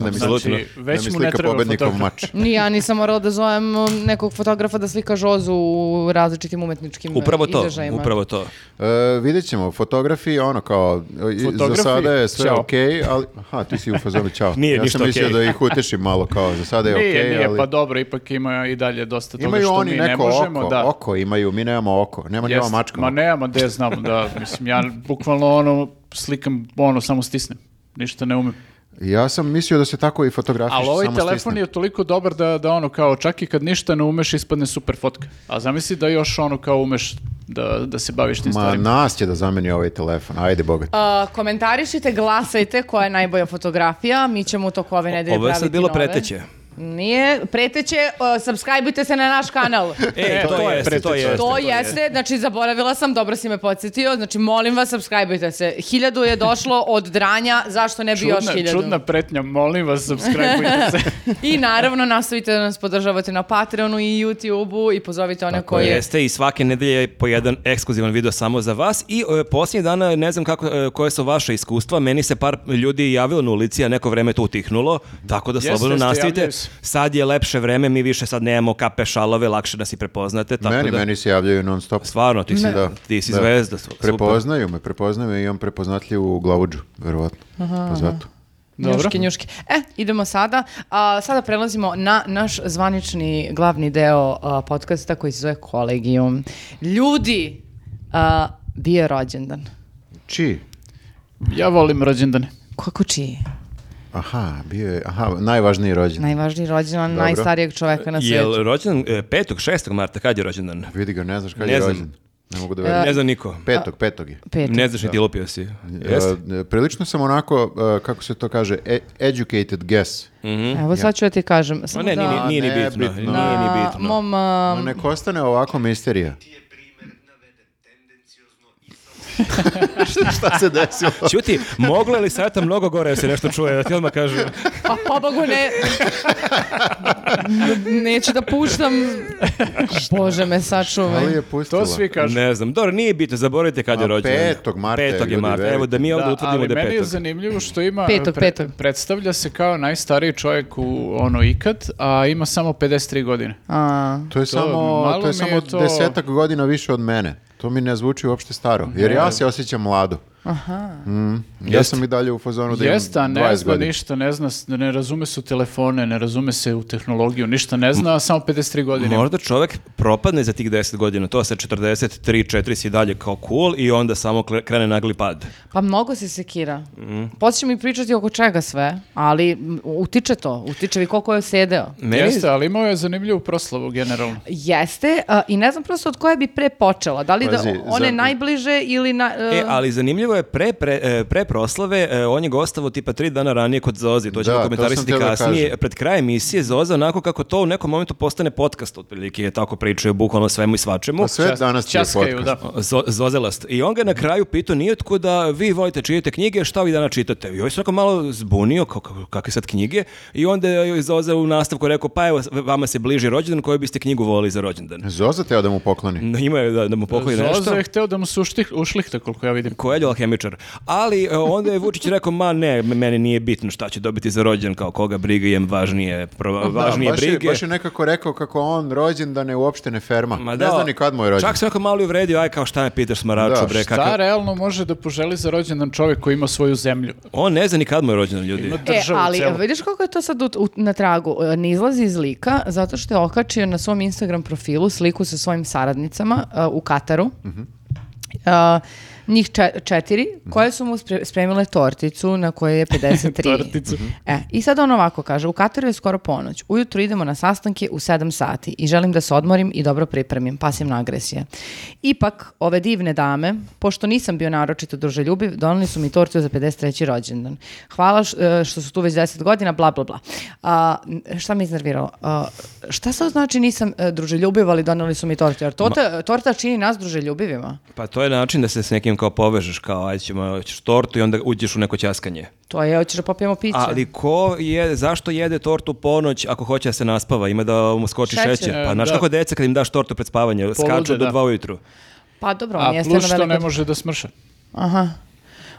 Speaker 4: Da mi
Speaker 1: Apsolutno.
Speaker 4: slika-
Speaker 2: Znači, već
Speaker 4: da mi
Speaker 2: mu ne
Speaker 4: slika
Speaker 2: treba
Speaker 4: pobednikov
Speaker 2: fotograf.
Speaker 4: mač.
Speaker 3: Ni ja nisam morala da zovem um, nekog fotografa da slika žozu u različitim umetničkim uh,
Speaker 1: Upravo to,
Speaker 3: izražajima.
Speaker 1: upravo to.
Speaker 4: E, vidjet ćemo, fotografi, ono kao, i- za
Speaker 2: Fotografi,
Speaker 4: sada je sve
Speaker 2: ćao.
Speaker 4: okej, ali, aha, ti si u fazonu
Speaker 2: (laughs)
Speaker 4: čao.
Speaker 1: Nije
Speaker 4: ja
Speaker 1: ništa
Speaker 4: sam mislio
Speaker 1: okej.
Speaker 4: da ih utešim malo kao, za sada je okej,
Speaker 2: Nije, nije,
Speaker 4: ali...
Speaker 2: pa dobro, ipak ima i dalje dosta toga
Speaker 4: Imaju
Speaker 2: što
Speaker 4: oni
Speaker 2: mi ne
Speaker 4: neko
Speaker 2: možemo.
Speaker 4: oko,
Speaker 2: da.
Speaker 4: oko imaju, mi nemamo oko, nema njema
Speaker 2: Jeste.
Speaker 4: mačka.
Speaker 2: Ma nema, da ja znam, da, mislim, ja bukvalno ono, slikam, ono, samo stisnem. Ništa ne umem.
Speaker 4: Ja sam mislio da se tako i fotografiš,
Speaker 2: Ali ovaj
Speaker 4: samo
Speaker 2: telefon
Speaker 4: stisnem.
Speaker 2: je toliko dobar da, da ono kao čak i kad ništa ne umeš ispadne super fotka. A zamisli da još ono kao umeš da, da se baviš tim
Speaker 4: Ma
Speaker 2: stvarima.
Speaker 4: nas će da zameni ovaj telefon, ajde bogat.
Speaker 3: Uh, komentarišite, glasajte koja je najbolja fotografija. Mi ćemo u toku ove nedelje
Speaker 1: Ovo je
Speaker 3: praviti
Speaker 1: sad bilo
Speaker 3: nove.
Speaker 1: preteće.
Speaker 3: Nije, preteće, uh, subscribeujte se na naš
Speaker 1: (laughs)
Speaker 3: kanal.
Speaker 1: E, to,
Speaker 2: to je
Speaker 1: jeste, to
Speaker 2: preteće.
Speaker 1: jeste.
Speaker 3: To jeste, znači zaboravila sam, dobro si me podsjetio, znači molim vas, subscribeujte se. Hiljadu je došlo od dranja, zašto ne bi još
Speaker 2: Čudna,
Speaker 3: hiljadu?
Speaker 2: čudna pretnja, molim vas,
Speaker 3: (laughs)
Speaker 2: subscribeujte se.
Speaker 3: I naravno nastavite da nas podržavate na Patreonu i YouTubeu i pozovite one
Speaker 1: To
Speaker 3: koji...
Speaker 1: jeste i svake nedelje je po jedan ekskluzivan video samo za vas i e, posljednjih dana ne znam kako e, koje su vaše iskustva, meni se par ljudi javilo na ulici, a neko vreme je to utihnulo, tako da
Speaker 2: Jeste,
Speaker 1: slobodno
Speaker 2: jeste,
Speaker 1: nastavite.
Speaker 2: javljaju se.
Speaker 1: Sad je lepše vreme, mi više sad nemamo kape šalove, lakše da si prepoznate, tako
Speaker 4: meni,
Speaker 1: da
Speaker 4: meni se javljaju non stop.
Speaker 1: stvarno ti si,
Speaker 4: Da,
Speaker 1: ti si
Speaker 4: da.
Speaker 1: zvezda. su- super.
Speaker 4: Prepoznaju me, prepoznaju me, imam prepoznatljivu glavuđu, verovatno. Pa zato.
Speaker 2: Dobro.
Speaker 3: Njuški, njuški. E, idemo sada. A, sada prelazimo na naš zvanični glavni deo a, podcasta koji se zove Kolegium. Ljudi, a, bio je rođendan.
Speaker 4: Čiji?
Speaker 2: ja volim rođendane.
Speaker 3: Kako čiji?
Speaker 4: Aha, bio je, aha, najvažniji rođen.
Speaker 3: Najvažniji rođendan
Speaker 4: Dobro.
Speaker 3: najstarijeg čoveka na svijetu.
Speaker 1: Jel rođendan e, 5. 6. marta, kad je rođendan?
Speaker 4: Vidi ga, ne znaš kada
Speaker 1: Ne
Speaker 4: je
Speaker 1: znam.
Speaker 4: rođen. Ne mogu da verujem.
Speaker 1: Ne znam niko.
Speaker 4: Petog, petog je.
Speaker 3: Peti.
Speaker 1: Ne znaš ni ti lupio si. Jeste?
Speaker 4: E, prilično sam onako, e, kako se to kaže, e- educated guess.
Speaker 3: Evo sad ću ja ti kažem.
Speaker 1: Ma
Speaker 3: Samo
Speaker 1: ne,
Speaker 3: da...
Speaker 1: nije, ni- nije ni
Speaker 4: ne,
Speaker 1: bitno.
Speaker 4: bitno.
Speaker 1: Nije ni
Speaker 3: na
Speaker 1: bitno.
Speaker 3: mom a,
Speaker 4: Ma nek ostane ovako misterija. (laughs) Šta se desilo?
Speaker 1: Ćuti, mogla li sata mnogo gore da se nešto čuje, da ti odmah kažem.
Speaker 3: Pa pobogu ne... Neću da puštam. Bože me sačuvaj.
Speaker 4: Ali je pustila.
Speaker 2: To svi kažu.
Speaker 1: Ne znam, dobro, nije bitno, zaboravite kad je
Speaker 4: A
Speaker 1: rođen.
Speaker 4: petog marta je,
Speaker 1: Petog je
Speaker 4: ljudi,
Speaker 1: marta,
Speaker 4: verujte.
Speaker 1: evo da mi ovdje
Speaker 2: Da,
Speaker 1: utvrdimo da je
Speaker 2: meni je
Speaker 1: petog.
Speaker 2: zanimljivo što ima...
Speaker 3: Petog, petog.
Speaker 2: Predstavlja se kao najstariji čovjek u ono ikad, a ima samo 53 godine.
Speaker 3: A,
Speaker 4: To je samo,
Speaker 2: malo
Speaker 4: to je
Speaker 2: mi je
Speaker 4: samo
Speaker 2: to-
Speaker 4: desetak godina više od mene. To mi ne zvuči uopšte staro. Jer ja se osjećam mlado. Mm, ja
Speaker 1: Jeste.
Speaker 4: sam i dalje u fazonu da imam
Speaker 2: Jeste, a ne
Speaker 4: 20
Speaker 2: zna
Speaker 4: godina.
Speaker 2: ništa, ne zna, s- ne razume se u telefone, ne razume se u tehnologiju, ništa ne zna, a samo 53 godine. ima.
Speaker 1: Možda čovjek propadne za tih 10 godina, to sa 43, 4 si dalje kao cool i onda samo kre- krene nagli pad.
Speaker 3: pa mnogo se sekira. Poslije ćemo i pričati oko čega sve, ali m, utiče to. Utiče vi koliko je sedeo.
Speaker 1: Meni,
Speaker 2: Jeste, ali imao je zanimljivu proslavu generalno.
Speaker 3: Jeste, a, i ne znam prosto od koje bi pre počela. Da li
Speaker 4: Pazi,
Speaker 3: da one
Speaker 4: za-
Speaker 3: najbliže ili... Na,
Speaker 1: E, ali zanimljivo je, pre, pre, e, pre proslave, e, on je gostavao tipa tri dana ranije kod Zozi, to ćemo
Speaker 4: Da, to
Speaker 1: komentarisati
Speaker 4: sam teo da
Speaker 1: kasnije.
Speaker 4: kažem.
Speaker 1: Pred kraj emisije Zoza, onako kako to u nekom momentu postane podcast, otprilike je tako pričao, bukvalno svemu i svačemu.
Speaker 4: A Pa sve danas ti je
Speaker 2: Časkaju,
Speaker 4: podcast.
Speaker 2: da.
Speaker 1: Zo- zozelast. I on ga je na kraju pitao nije da vi volite čitati knjige, šta vi danas čitate? I on se onako malo zbunio, kao, kao, kakve sad knjige? I onda je Zoza u nastavku rekao, pa evo, vama se bliži rođendan, koju biste knjigu volili za rođendan?
Speaker 4: Zoza teo da mu pokloni.
Speaker 1: No, Ima je da, da mu pokoji nešto.
Speaker 2: Zozo je hteo da mu se uštih, ušlihta, koliko ja vidim.
Speaker 1: Koeljo alhemičar. Ali e, onda je Vučić rekao, ma ne, m- meni nije bitno šta će dobiti za rođendan, kao koga briga, jem važnije, pro- važnije
Speaker 4: Da, baš,
Speaker 1: brige.
Speaker 4: je, baš je nekako rekao kako on rođen da ne uopšte ne ferma.
Speaker 1: Ma
Speaker 4: ne zna ni kad mu je rođen.
Speaker 1: Čak se onako malo i uvredio, aj kao šta me pitaš smaraču,
Speaker 4: Da,
Speaker 1: bre,
Speaker 2: Šta
Speaker 1: kakav-
Speaker 2: realno može da poželi za rođendan čovjek koji ima svoju zemlju?
Speaker 1: On ne zna ni kad mu je rođendan, ljudi.
Speaker 2: Ima
Speaker 3: E,
Speaker 2: državu
Speaker 3: ali
Speaker 2: celu.
Speaker 3: vidiš kako je to sad ut- ut- na tragu? E, Ne izlazi iz lika zato što je okačio na svom Instagram profilu sliku sa svojim saradnicama e, u Kataru. E, njih čet- četiri, koje su mu spre- spremile torticu na kojoj je 53.
Speaker 2: Torticu.
Speaker 3: E, I sad on ovako kaže, u Kataru je skoro ponoć. Ujutru idemo na sastanke u 7 sati i želim da se odmorim i dobro pripremim, pasim na agresije. Ipak, ove divne dame, pošto nisam bio naročito druželjubiv, doneli su mi tortu za 53. rođendan. Hvala š- e, što su tu već 10 godina, bla, bla, bla. A, n- šta me iznerviralo? A, šta sad znači nisam e, druželjubiv, ali doneli su mi tortu? Jer torta, torta čini nas druželjubivima.
Speaker 1: Pa to je način da se s nekim kao povežeš, kao aj ćemo ćeš tortu i onda uđeš u neko ćaskanje.
Speaker 3: To je, hoćeš da popijemo piće.
Speaker 1: Ali ko je, zašto jede tortu ponoć ako hoće da se naspava, ima da mu skoči
Speaker 3: Šećer.
Speaker 1: šećer. Pa
Speaker 2: E,
Speaker 1: znaš
Speaker 2: da.
Speaker 1: kako deca kad im daš tortu pred spavanje, skaču do
Speaker 2: da.
Speaker 1: dva ujutru.
Speaker 3: Pa dobro, on
Speaker 2: A
Speaker 3: jeste
Speaker 2: plus
Speaker 3: na
Speaker 2: što ne
Speaker 3: veliko-
Speaker 2: može da smrša.
Speaker 3: Aha.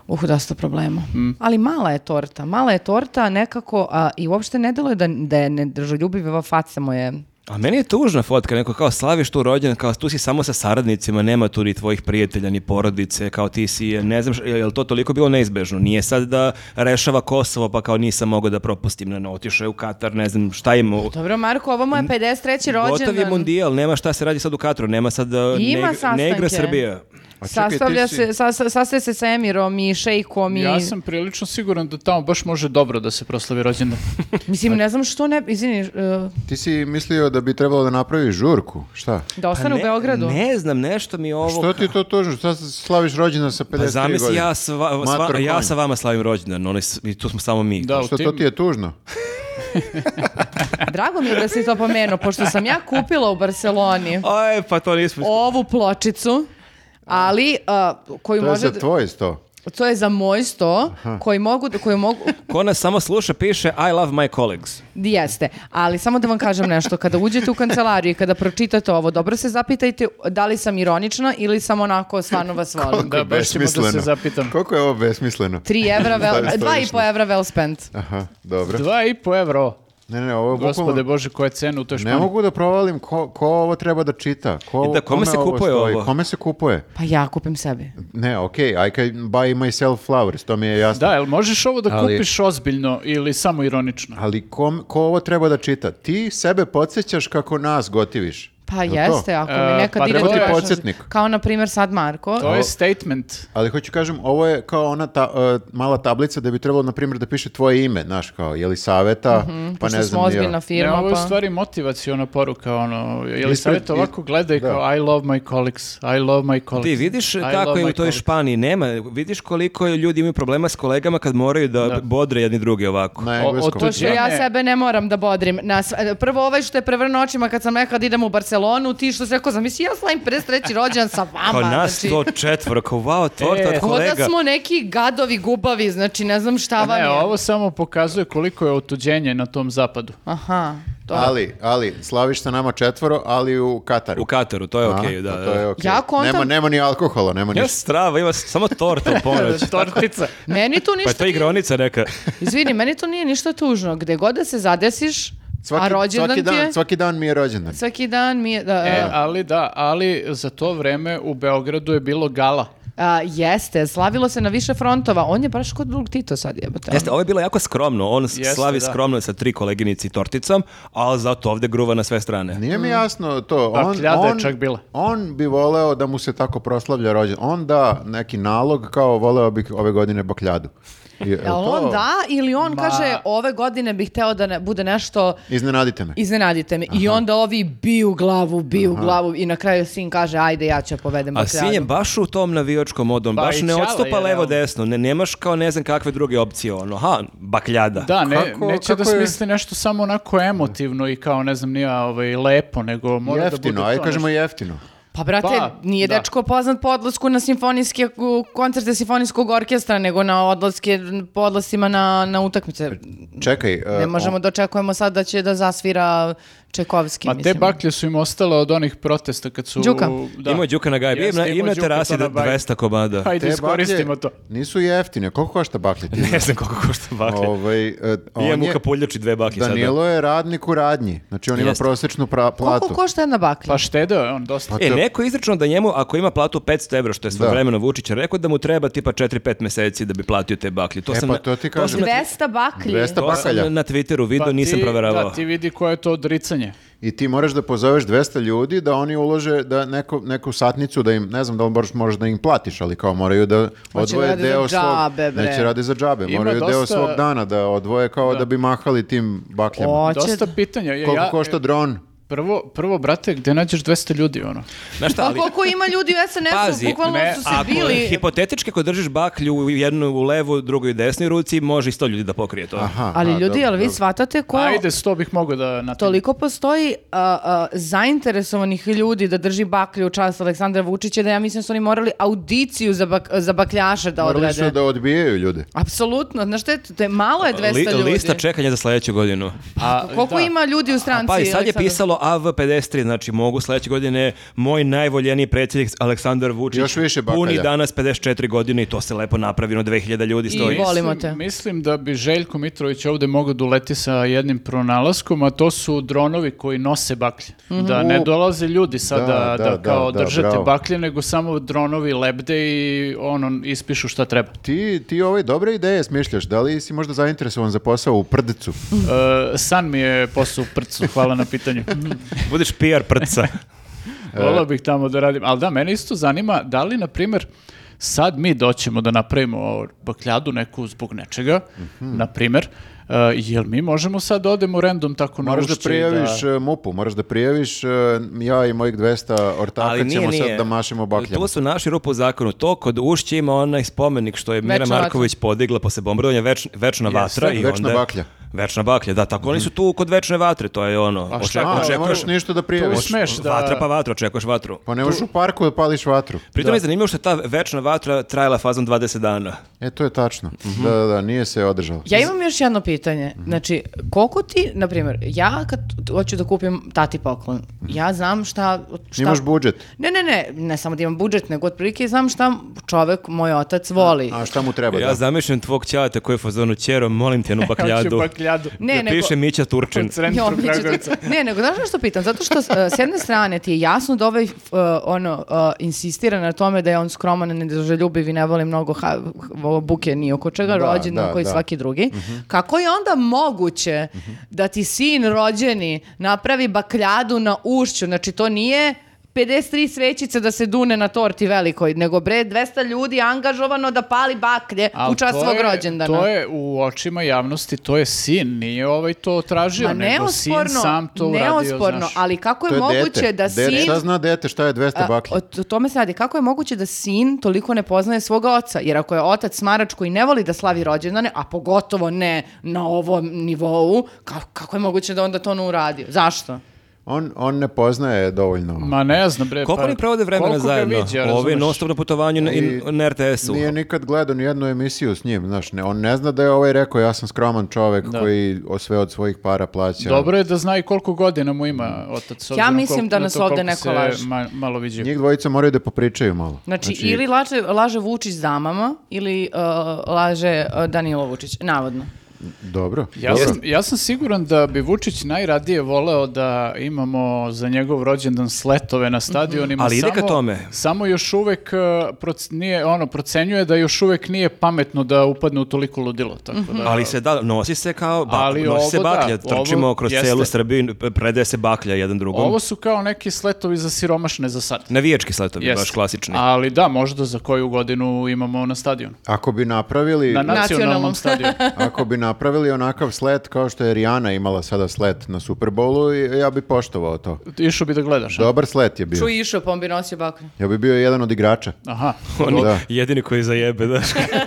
Speaker 3: Uh, dosta problema. Ali mala je torta. Mala je torta nekako a, i uopšte ne deluje da, da je nedržoljubiva faca moje.
Speaker 1: A meni je tužna fotka, neko kao slaviš tu rođen, kao tu si samo sa saradnicima, nema tu ni tvojih prijatelja, ni porodice, kao ti si, ne znam, š- je li to toliko bilo neizbežno? Nije sad da rešava Kosovo, pa kao nisam mogao da propustim, ne, ne, otišao je u Katar, ne znam šta ima, u-
Speaker 3: Dobro, Marko, ovo mu je 53. rođendan.
Speaker 1: Gotov je mundijal, nema šta se radi sad u Kataru, nema sad uh,
Speaker 3: Ima
Speaker 1: ne, igra- ne
Speaker 3: sastanke.
Speaker 1: igra Srbija.
Speaker 4: A čekaj, ti
Speaker 3: Sastavlja
Speaker 4: si-
Speaker 3: se, sa, sa- sastaje se sa Emirom i Šejkom i...
Speaker 2: Ja sam prilično siguran da tamo baš može dobro da se proslavi rođendan.
Speaker 4: (laughs)
Speaker 3: Mislim, ne znam što ne... Izvini, e,
Speaker 4: Ti si mislio da bi trebalo da napraviš žurku, šta?
Speaker 3: da ostane u
Speaker 1: Pa ne,
Speaker 3: Beogradu.
Speaker 1: Ne znam, nešto mi ovo...
Speaker 4: Što ti to tužno? Šta se slaviš rođena sa 53
Speaker 1: Pa
Speaker 4: godina?
Speaker 1: zamisli, ja, sva, sva-
Speaker 4: Mator
Speaker 1: ja
Speaker 4: konj.
Speaker 1: sa vama slavim rođendan, oni s- i tu smo samo mi.
Speaker 2: Da, u
Speaker 4: Što
Speaker 2: tim-
Speaker 4: to ti je tužno?
Speaker 3: Drago mi je da si to pomenuo, pošto sam ja kupila u
Speaker 1: (laughs)
Speaker 3: Barceloni
Speaker 1: Aj, pa to nismo...
Speaker 3: ovu pločicu, ali a, koju
Speaker 4: To je
Speaker 3: može...
Speaker 4: za tvoj sto.
Speaker 3: To je za moj sto, koji mogu, koju mogu,
Speaker 1: Ko nas samo sluša, piše I love my colleagues.
Speaker 3: Jeste, ali samo da vam kažem nešto, kada uđete u kancelariju i kada pročitate ovo, dobro se zapitajte da li sam ironična ili sam onako stvarno vas volim.
Speaker 2: Da, baš ćemo da se zapitam.
Speaker 4: Koliko je ovo besmisleno?
Speaker 3: 3 evra,
Speaker 4: Stari
Speaker 3: vel,
Speaker 4: stojiš
Speaker 3: dva i po evra well spent.
Speaker 4: Aha, dobro.
Speaker 2: Dva i po evro.
Speaker 4: Ne, ne, ovo je
Speaker 2: Gospode
Speaker 4: bukvalno...
Speaker 2: Bože, koja je cena u toj
Speaker 4: Ne
Speaker 2: španji?
Speaker 4: mogu da provalim ko, ko ovo treba da čita. Ko,
Speaker 1: I E da, kome se kupuje
Speaker 4: stoji,
Speaker 1: ovo?
Speaker 4: Kome se kupuje?
Speaker 3: Pa ja kupim sebi.
Speaker 4: Ne, okej, I can buy myself flowers, to mi je jasno.
Speaker 2: Da, jel možeš ovo da
Speaker 1: Ali-
Speaker 2: kupiš ozbiljno ili samo ironično?
Speaker 4: Ali kom, ko ovo treba da čita? Ti sebe podsjećaš kako nas gotiviš.
Speaker 3: Pa
Speaker 4: Jel to?
Speaker 3: jeste, ako
Speaker 2: E,
Speaker 3: mi nekad
Speaker 2: pa
Speaker 3: ide...
Speaker 2: treba ti
Speaker 3: baš-
Speaker 4: podsjetnik.
Speaker 3: Kao na primjer sad Marko.
Speaker 2: To je statement.
Speaker 4: Ali hoću kažem, ovo je kao ona ta, e, mala tablica da bi trebalo, na primjer, da piše tvoje ime, znaš, kao, je li saveta,
Speaker 2: Mhm,
Speaker 4: pa
Speaker 3: pošto
Speaker 4: ne
Speaker 3: smo
Speaker 4: znam, ni ja.
Speaker 3: ozbiljna
Speaker 2: Ne,
Speaker 3: firma,
Speaker 2: ovo je u
Speaker 3: pa...
Speaker 2: stvari motivaciona poruka, ono, je li
Speaker 4: Ispred-
Speaker 2: savjet ovako gleda i
Speaker 4: da.
Speaker 2: kao I love my colleagues, I love my
Speaker 1: Ti
Speaker 2: colleagues.
Speaker 1: vidiš
Speaker 2: I
Speaker 1: kako
Speaker 2: love
Speaker 1: je u
Speaker 2: my
Speaker 1: toj
Speaker 2: colleagues.
Speaker 1: Španiji, nema, vidiš koliko ljudi imaju problema s kolegama kad moraju da, bodre jedni drugi ovako.
Speaker 4: na
Speaker 2: O-
Speaker 4: engleskom.
Speaker 2: otuđe-
Speaker 3: Pošto ja
Speaker 2: Ne.
Speaker 3: e, sebe ne moram da bodrim. Na sv- Prvo ovaj što je prevrno očima kad sam nekad idem u Barcelonu, ti što si rekao, zamisli, ja slavim 53. rođendan sa vama.
Speaker 1: Kao nas
Speaker 3: znači,
Speaker 1: to četvoro, kao wow, torta
Speaker 2: E,
Speaker 1: od
Speaker 3: Ko da
Speaker 1: kolega.
Speaker 3: smo neki gadovi gubavi, znači ne znam šta vam je.
Speaker 2: Ne, ovo samo pokazuje koliko je otuđenje na tom zapadu.
Speaker 3: Aha, to
Speaker 4: Ali, ali, slaviš sa nama četvoro, ali u Kataru.
Speaker 1: U Kataru, to je
Speaker 4: Aha,
Speaker 1: okej, da.
Speaker 4: pa
Speaker 1: da.
Speaker 4: to je okej.
Speaker 3: Ja kontam-
Speaker 4: Nema, nema ni alkohola, nema
Speaker 1: Ja
Speaker 4: ništa.
Speaker 1: strava, ima samo torta
Speaker 4: (laughs)
Speaker 1: u
Speaker 4: E,
Speaker 1: ponoć.
Speaker 2: (laughs) Tortica.
Speaker 3: Meni tu
Speaker 1: Pa
Speaker 3: ništa
Speaker 1: je to (laughs) igronica neka.
Speaker 3: Izvini, meni to nije ništa tužno. Gde god da se zadesiš, a rođendan
Speaker 4: svaki
Speaker 3: ti je...
Speaker 4: dan, svaki dan mi je rođendan.
Speaker 3: Svaki dan mi je... Da,
Speaker 2: E,
Speaker 3: a,
Speaker 2: ali da, ali za to vreme u Beogradu je bilo gala.
Speaker 3: a, jeste, slavilo se na više frontova. On je baš kod drug Tito sad jebote. ono.
Speaker 1: Jeste, ovo je bilo jako skromno. On s-
Speaker 2: Jeste,
Speaker 1: slavi
Speaker 2: da.
Speaker 1: skromno sa tri koleginici i torticom, ali zato ovde gruva na sve strane.
Speaker 4: Nije
Speaker 3: Mm.
Speaker 4: mi jasno to.
Speaker 2: Pa,
Speaker 4: On,
Speaker 2: kljada je
Speaker 4: on-
Speaker 2: čak bila.
Speaker 4: On bi voleo da mu se tako proslavlja rođendan. On da neki nalog kao voleo bih ove godine bakljadu. e, Je- je
Speaker 3: Jel
Speaker 4: to-
Speaker 3: on da ili on kaže ove godine bih hteo da ne, bude nešto
Speaker 4: Iznenadite me.
Speaker 3: iznenadite me i onda ovi biju glavu, biju glavu i na kraju sin kaže ajde ja ću povedem
Speaker 1: A sin je baš u tom navijačkom modu, on
Speaker 2: Pa
Speaker 1: baš
Speaker 2: i
Speaker 1: ne
Speaker 2: ćala
Speaker 1: odstupa
Speaker 2: je,
Speaker 1: levo
Speaker 2: realno.
Speaker 1: desno, ne, nemaš kao ne znam kakve druge opcije, ono, ha, bakljada.
Speaker 2: Da, ne,
Speaker 4: Kako-
Speaker 2: neće
Speaker 4: kako
Speaker 2: da
Speaker 4: je-
Speaker 2: smisli nešto samo onako emotivno i kao, ne znam, nije ovaj, lepo, nego mora da
Speaker 4: Jeftino,
Speaker 2: bude
Speaker 4: ajde
Speaker 2: to
Speaker 4: kažemo
Speaker 2: nešto.
Speaker 4: jeftino.
Speaker 3: Pa brate,
Speaker 2: Pa,
Speaker 3: nije
Speaker 2: da.
Speaker 3: dečko poznat po odlasku na simfonijske u koncerte simfonijskog orkestra, nego na odlaske, po odlascima na, na utakmice.
Speaker 4: Čekaj, e,
Speaker 3: Ne možemo
Speaker 4: on-
Speaker 3: da očekujemo sad da će da zasvira Čekovski,
Speaker 2: Ma te
Speaker 3: mislim.
Speaker 2: baklje su im ostale od onih protesta kad su...
Speaker 3: Đuka.
Speaker 2: Da.
Speaker 1: Imao je Đuka na gajbi, ima,
Speaker 2: Jeste,
Speaker 1: ima na
Speaker 2: Đuka
Speaker 1: terasi
Speaker 2: to na
Speaker 1: da
Speaker 2: gajbi.
Speaker 1: 200
Speaker 2: (laughs)
Speaker 1: komada.
Speaker 2: Hajde,
Speaker 4: te
Speaker 2: iskoristimo
Speaker 4: baklje
Speaker 2: to.
Speaker 4: Nisu jeftine. Koliko košta baklje? ti?
Speaker 1: Ne znam koliko košta (laughs) baklje.
Speaker 4: Ovaj, e, on
Speaker 1: Imam
Speaker 4: je-
Speaker 1: u kapuljači dve baklje sada.
Speaker 4: Danilo je radnik u radnji. Znači on ima
Speaker 1: Jeste.
Speaker 4: prosječnu pra- platu.
Speaker 3: Koliko košta jedna baklja?
Speaker 2: Pa štedeo je on dosta.
Speaker 1: E, neko je izračunao da njemu, ako ima platu 500 evra, što je svojevremeno Vučić rekao, da mu treba tipa 4-5 meseci da bi platio te baklje. To
Speaker 4: E,
Speaker 1: sam
Speaker 4: pa
Speaker 1: na-
Speaker 4: to ti kažem.
Speaker 1: sam na-
Speaker 3: 200 baklji.
Speaker 4: 200
Speaker 1: To sam
Speaker 4: bakalja.
Speaker 1: na Twitteru video,
Speaker 2: Pa
Speaker 1: nisam
Speaker 2: ti-
Speaker 1: proveravao.
Speaker 2: Da, ti vidi koje je to odricanje.
Speaker 4: I ti moraš da pozoveš 200 ljudi da oni ulože da neko, neku satnicu da im, ne znam da li moraš, možeš da im platiš, ali kao moraju da odvoje
Speaker 3: rade za
Speaker 4: deo svog...
Speaker 3: džabe, bre.
Speaker 4: Neće radi za džabe,
Speaker 2: Ima
Speaker 4: moraju deo
Speaker 2: dosta-
Speaker 4: svog dana da odvoje kao da, bi mahali tim bakljama.
Speaker 3: Hoće
Speaker 2: Dosta
Speaker 3: da-
Speaker 2: pitanja. Ja,
Speaker 4: Koliko
Speaker 2: ja-
Speaker 4: košta dron?
Speaker 2: Prvo, prvo, brate, gde nađeš 200 ljudi, ono?
Speaker 1: Znaš šta,
Speaker 3: Pa
Speaker 1: ali-
Speaker 3: koliko ima ljudi u SNS-u,
Speaker 1: Pazi,
Speaker 3: bukvalno
Speaker 2: ne,
Speaker 3: su se
Speaker 1: Ako
Speaker 3: bili.
Speaker 1: hipotetički ako držiš baklju u jednu u levu, drugu u desnoj ruci, može i sto ljudi da pokrije to.
Speaker 4: Aha,
Speaker 3: Ali
Speaker 4: aha,
Speaker 3: ljudi,
Speaker 4: dobro,
Speaker 3: jel vi
Speaker 4: dobro.
Speaker 3: shvatate ko...
Speaker 2: Ajde, sto bih mogao da na
Speaker 3: Toliko postoji a, a, zainteresovanih ljudi da drži baklju u čast Aleksandra Vučića da ja mislim da su oni morali audiciju za, bak, za bakljaše da
Speaker 4: Morali
Speaker 3: odrede.
Speaker 4: su da odbijaju ljude.
Speaker 3: Apsolutno, znaš što je, to je malo je 200
Speaker 1: Li-
Speaker 3: Pa ljudi.
Speaker 1: lista čekanja za sledeću godinu.
Speaker 2: A,
Speaker 3: Koliko
Speaker 2: da.
Speaker 3: ima ljudi u stranci?
Speaker 1: Pa i sad je
Speaker 3: Aleksandar?
Speaker 1: pisalo AV53, znači mogu sledeće godine moj najvoljeniji predsjednik Aleksandar Vučić.
Speaker 4: Još više bakalja.
Speaker 1: Puni danas 54 godine i to se lepo napravi, ono 2000 ljudi stoji.
Speaker 3: I- volimo
Speaker 2: Mislim-
Speaker 3: te.
Speaker 2: Mislim da bi Željko Mitrović ovdje mogao da uleti sa jednim pronalaskom, a to su dronovi koji nose baklje.
Speaker 3: Mhm.
Speaker 2: Da ne dolaze ljudi sada da,
Speaker 4: Da, da,
Speaker 2: kao
Speaker 4: da, da,
Speaker 2: držate
Speaker 4: bravo.
Speaker 2: baklje, nego samo dronovi lebde i ono, ispišu šta treba.
Speaker 4: Ti, ti ove dobre ideje smišljaš, da li si možda zainteresovan za posao u Prdecu?
Speaker 3: Mhm.
Speaker 2: E, san mi je posao u prcu, hvala na pitanju.
Speaker 3: (laughs)
Speaker 1: (laughs) Budeš PR
Speaker 4: (laughs)
Speaker 1: prca.
Speaker 4: E.
Speaker 2: Volao bih tamo da radim. Ali da, mene isto zanima da li, na primjer, sad mi doćemo da napravimo ovo bakljadu neku zbog nečega,
Speaker 4: Mhm.
Speaker 2: na primjer, e, jel mi možemo sad da odemo random tako na
Speaker 4: Moraš da
Speaker 2: ušće i
Speaker 4: prijaviš e, MUP-u, moraš da prijaviš e, ja i mojih 200 ortaka
Speaker 1: Ali nije,
Speaker 4: ćemo
Speaker 1: nije.
Speaker 4: sad da mašemo bakljama.
Speaker 1: Tu su naši rupu u zakonu. To kod ušća ima onaj spomenik što je Mira
Speaker 3: Večna vatra.
Speaker 1: Marković podigla posle bombardovanja več, večna vatra. i
Speaker 4: Večna
Speaker 1: onda,
Speaker 4: baklja.
Speaker 1: Večna baklja, da. Tako oni su tu kod večne vatre, to je ono.
Speaker 2: A šta?
Speaker 1: oček-
Speaker 4: A, ne
Speaker 1: očekuješ-
Speaker 4: moraš ništa da prijaviš.
Speaker 2: Tu sme- Smeš da-
Speaker 1: Vatra pa vatra, očekuješ vatru.
Speaker 4: Pa ne možeš u parku da pališ vatru.
Speaker 1: Pritom je zanimljivo što je ta večna vatra trajala fazom 20 dana.
Speaker 4: E, to je tačno.
Speaker 1: Mhm.
Speaker 4: Da, da, da, nije se održalo.
Speaker 3: Ja imam još jedno pitanje. Znači, koliko ti, na primjer, ja kad hoću da kupim tati poklon, ja znam šta... šta
Speaker 4: Imaš budžet.
Speaker 3: Ne, ne, ne, ne samo da imam budžet, nego otprilike znam šta čovek, moj otac, voli.
Speaker 4: A šta mu
Speaker 2: Pa
Speaker 4: treba?
Speaker 1: Ja
Speaker 4: da?
Speaker 1: zamišljam tvog ćata koji je u fazonu ćero, molim
Speaker 2: (laughs)
Speaker 1: te jednu
Speaker 2: Hoću
Speaker 1: bakljadu.
Speaker 2: bakljadu.
Speaker 3: Ne,
Speaker 1: Da
Speaker 3: nego-
Speaker 1: piše Mića Turčin.
Speaker 2: U centru
Speaker 3: Jo, mi će to-
Speaker 2: Kragujevca.
Speaker 3: Ne, nego znaš što pitam? Zato što s- e, s jedne strane ti je jasno da ovaj f- e, ono, e, insistira na tome da je on skroman, nedoželjubiv i ne voli mnogo ha, h- ovo buke ni oko čega,
Speaker 4: Da,
Speaker 3: rođendan
Speaker 4: da,
Speaker 3: koji
Speaker 4: da.
Speaker 3: svaki drugi.
Speaker 2: Mhm.
Speaker 3: Kako je onda moguće da ti sin rođeni napravi bakljadu na ušću? Znači to nije 53 svećice da se dune na torti velikoj, nego bre 200 ljudi angažovano da pali baklje
Speaker 2: Al
Speaker 3: u čast
Speaker 2: to
Speaker 3: svog
Speaker 2: je-
Speaker 3: rođendana.
Speaker 2: To je u očima javnosti, to je sin, nije ovaj to tražio,
Speaker 3: Ma
Speaker 2: nego sin sam to uradio,
Speaker 3: neosporno,
Speaker 2: znaš.
Speaker 3: ali kako je,
Speaker 4: To je
Speaker 3: moguće
Speaker 4: dete.
Speaker 3: da
Speaker 4: Dete.
Speaker 3: sin...
Speaker 4: Šta zna dete šta je 200 baklja?
Speaker 3: A, o t- tome se radi. Kako je moguće da sin toliko ne poznaje svoga oca? Jer ako je otac smarač koji ne voli da slavi rođendane, a pogotovo ne na ovom nivou, ka- kako je moguće da onda to ne uradio? Zašto?
Speaker 4: on, on ne poznaje dovoljno.
Speaker 2: Ma ne znam, bre.
Speaker 1: Koliko
Speaker 2: pa
Speaker 1: oni provode vremena
Speaker 2: koliko ga
Speaker 1: zajedno?
Speaker 2: viđa,
Speaker 1: Ovi
Speaker 2: razumeš?
Speaker 1: non stop na putovanju na, in-
Speaker 4: I-
Speaker 1: na RTS-u.
Speaker 4: Nije nikad gledao ni jednu emisiju s njim, znaš, ne, on ne zna da je ovaj rekao ja sam skroman čovek koji o sve od svojih para plaća.
Speaker 2: Dobro je da zna i koliko godina mu ima otac. s
Speaker 3: Ja
Speaker 2: obzirom
Speaker 3: mislim
Speaker 2: koliko-
Speaker 3: da
Speaker 2: na
Speaker 3: nas
Speaker 2: to
Speaker 3: ovde
Speaker 2: koliko
Speaker 3: neko
Speaker 2: se
Speaker 3: laže.
Speaker 2: ma- malo viđaju.
Speaker 4: Njih dvojica moraju da popričaju malo.
Speaker 3: Znači, ili laže, laže Vučić zamama ili uh, laže uh, Danilo Vučić, navodno.
Speaker 4: Dobro.
Speaker 2: Ja
Speaker 4: dobro.
Speaker 2: sam, ja sam siguran da bi Vučić najradije voleo da imamo za njegov rođendan sletove
Speaker 3: Mhm.
Speaker 2: na stadionima.
Speaker 1: Ali ide
Speaker 2: samo-
Speaker 1: ka tome.
Speaker 2: Samo još uvek uh, proc- nije, ono, procenjuje da još uvek nije pametno da upadne u toliko ludilo.
Speaker 3: Mhm.
Speaker 2: Tako da,
Speaker 1: Ali se da, nosi se kao bak,
Speaker 2: Ali
Speaker 1: nosi se
Speaker 2: ovo
Speaker 1: baklja,
Speaker 2: da, ovo
Speaker 1: trčimo kroz
Speaker 2: jeste.
Speaker 1: celu Srbiju, i predaje se baklja jedan drugom.
Speaker 2: Ovo su kao neki sletovi za siromašne za sad.
Speaker 1: Navijački sletovi,
Speaker 2: Jeste.
Speaker 1: baš klasični.
Speaker 2: Ali da, možda za koju godinu imamo na stadionu.
Speaker 4: Ako bi napravili...
Speaker 2: Na nacionalnom
Speaker 3: Nacionalnom. (laughs)
Speaker 2: stadionu.
Speaker 4: Ako bi napravili onakav sled kao što je Rihanna imala sada sled na Super Bowlu, ja bi poštovao to.
Speaker 2: Išao bi da gledaš. a?
Speaker 4: Dobar sled je bio.
Speaker 3: Ču išao, pa on bi nosio baklju.
Speaker 4: Ja bi bio jedan od igrača.
Speaker 2: Aha.
Speaker 1: (laughs) Oni
Speaker 4: Da.
Speaker 1: jedini koji zajebe, da. (laughs)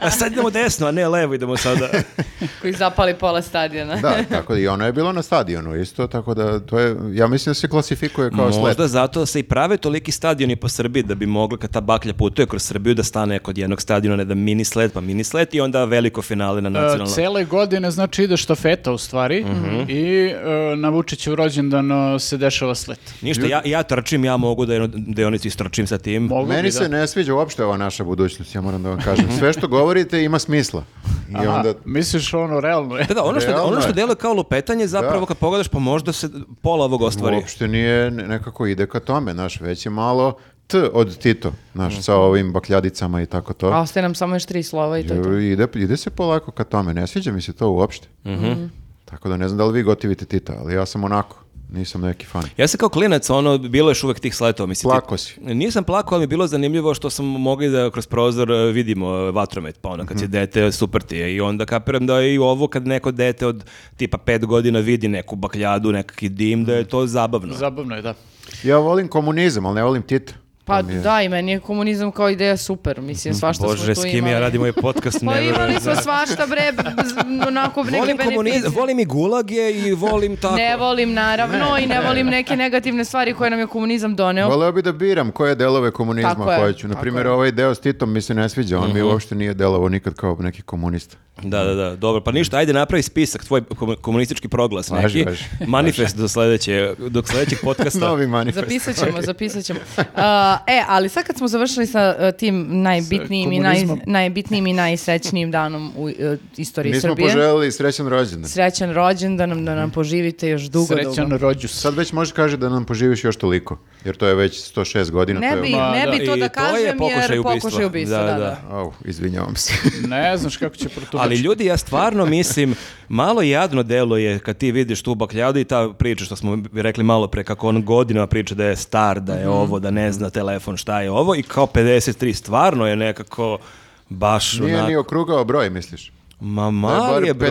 Speaker 1: a sad idemo desno, a ne levo idemo sada.
Speaker 2: (laughs)
Speaker 3: Koji zapali pola stadiona.
Speaker 4: Da, tako da i ona je bila na stadionu isto, tako da to je, ja mislim da se klasifikuje kao sled.
Speaker 1: Možda zato se i prave toliki stadioni po Srbiji da bi mogla kad ta baklja putuje kroz Srbiju da stane kod jednog stadiona, ne da mini sled pa mini sled i onda veliko finale na
Speaker 2: E,
Speaker 1: nacionalnom.
Speaker 2: Cele godine, znači, ide štafeta u stvari
Speaker 1: Mhm.
Speaker 2: i e, na Vučićev rođendan e, se dešava slet.
Speaker 1: Ništa, ja, ja trčim, ja mogu da deonicu istrčim sa tim.
Speaker 2: Mogu bi
Speaker 4: Meni
Speaker 2: da.
Speaker 4: se ne sviđa uopšte ova naša budućnost, ja moram da vam kažem. Sve što govorite ima smisla. I
Speaker 2: Aha,
Speaker 4: onda
Speaker 2: Misliš ono realno je?
Speaker 1: Da, da, ono što,
Speaker 4: Realno
Speaker 1: ono što
Speaker 4: je.
Speaker 1: deluje kao lupetanje, zapravo
Speaker 4: Da.
Speaker 1: kad pogledaš, pa možda se pola ovog ostvari.
Speaker 4: uopšte nije ne- nekako ide ka tome, naš već je malo t od Tito, naš sa ovim bakljadicama i tako to.
Speaker 3: A ostaje nam samo još tri slova i to je to.
Speaker 4: Ide, ide se polako ka tome, ne sviđa mi se to uopšte.
Speaker 3: Mhm.
Speaker 4: Tako da ne znam da li vi gotivite Tita, ali ja sam onako, nisam neki fan.
Speaker 1: Ja se kao klinac, ono, bilo je još uvek tih sletova, mislim.
Speaker 4: Plako si.
Speaker 1: Nisam plakao, ali mi je bilo zanimljivo što smo mogli da kroz prozor e, vidimo e, vatromet, pa ono, kad si dete, super ti je. I onda kapiram da je i ovo kad neko dete od tipa pet godina vidi neku bakljadu, nekakvi dim, da je to zabavno.
Speaker 2: Zabavno je, da.
Speaker 4: Ja volim komunizam, ali ne volim Tita.
Speaker 3: Pa
Speaker 4: To mi je-
Speaker 3: da, i meni je komunizam kao ideja super. Mislim, svašta
Speaker 1: Bože,
Speaker 3: smo
Speaker 1: s
Speaker 3: tu
Speaker 1: kim ja
Speaker 3: imali.
Speaker 1: radim ovaj podcast, ne
Speaker 3: Pa
Speaker 1: verujem.
Speaker 3: imali smo svašta, bre, b- z- onako neke
Speaker 1: Volim komunizam,
Speaker 3: beneficije.
Speaker 1: volim i gulage i volim tako.
Speaker 3: Ne volim, naravno, i ne volim neke negativne stvari koje nam je komunizam doneo.
Speaker 4: Voleo bi da biram koje delove komunizma
Speaker 3: Tako je,
Speaker 4: hoću. Na
Speaker 3: tako
Speaker 4: primjer,
Speaker 3: je. Mhm.
Speaker 4: ovaj deo s Titom mi se ne sviđa, on mi uopšte nije delovao nikad kao neki komunista.
Speaker 1: Da, da, da, dobro, pa ništa, ajde napravi spisak, tvoj komu- komunistički proglas neki,
Speaker 4: Važi, važi.
Speaker 1: manifest do sledeće, do sledećeg (laughs) podcasta.
Speaker 4: Novi
Speaker 3: (laughs)
Speaker 4: manifest.
Speaker 3: Zapisat ćemo, zapisat ćemo. Uh, e, ali sad kad smo završili sa uh, tim najbitnijim i, naj,
Speaker 2: komunizmom.
Speaker 3: najbitnijim i najsrećnijim danom u uh, istoriji
Speaker 4: Nismo
Speaker 3: Srbije.
Speaker 4: poželjeli srećan rođendan.
Speaker 3: Srećan rođen, da nam, da nam poživite još dugo,
Speaker 2: Srećan
Speaker 3: dugo.
Speaker 2: rođus.
Speaker 4: Sad već možeš kaži da nam poživiš još toliko, jer to je već 106 godina.
Speaker 3: Ne
Speaker 4: to je-
Speaker 3: bi,
Speaker 2: Ma,
Speaker 3: ne
Speaker 2: da.
Speaker 3: bi to
Speaker 1: I
Speaker 3: da
Speaker 1: to je
Speaker 3: kažem
Speaker 1: pokušaj
Speaker 3: jer
Speaker 1: ubistva.
Speaker 3: pokušaj ubistva.
Speaker 1: Da,
Speaker 3: Da,
Speaker 1: da.
Speaker 3: da.
Speaker 4: Au, izvinjavam se.
Speaker 2: Ne znaš kako će protumačiti.
Speaker 1: Ali ljudi, ja stvarno mislim, malo jadno delo je kad ti vidiš tu bakljadu i ta priča što smo rekli malo pre, kako on godinama priča da je star, da je ovo, da ne zna telefon šta je ovo i kao 53 stvarno je nekako baš
Speaker 4: Nije
Speaker 1: onak-
Speaker 4: ni okrugao broj, misliš?
Speaker 1: ma mali
Speaker 4: bar
Speaker 1: je broj.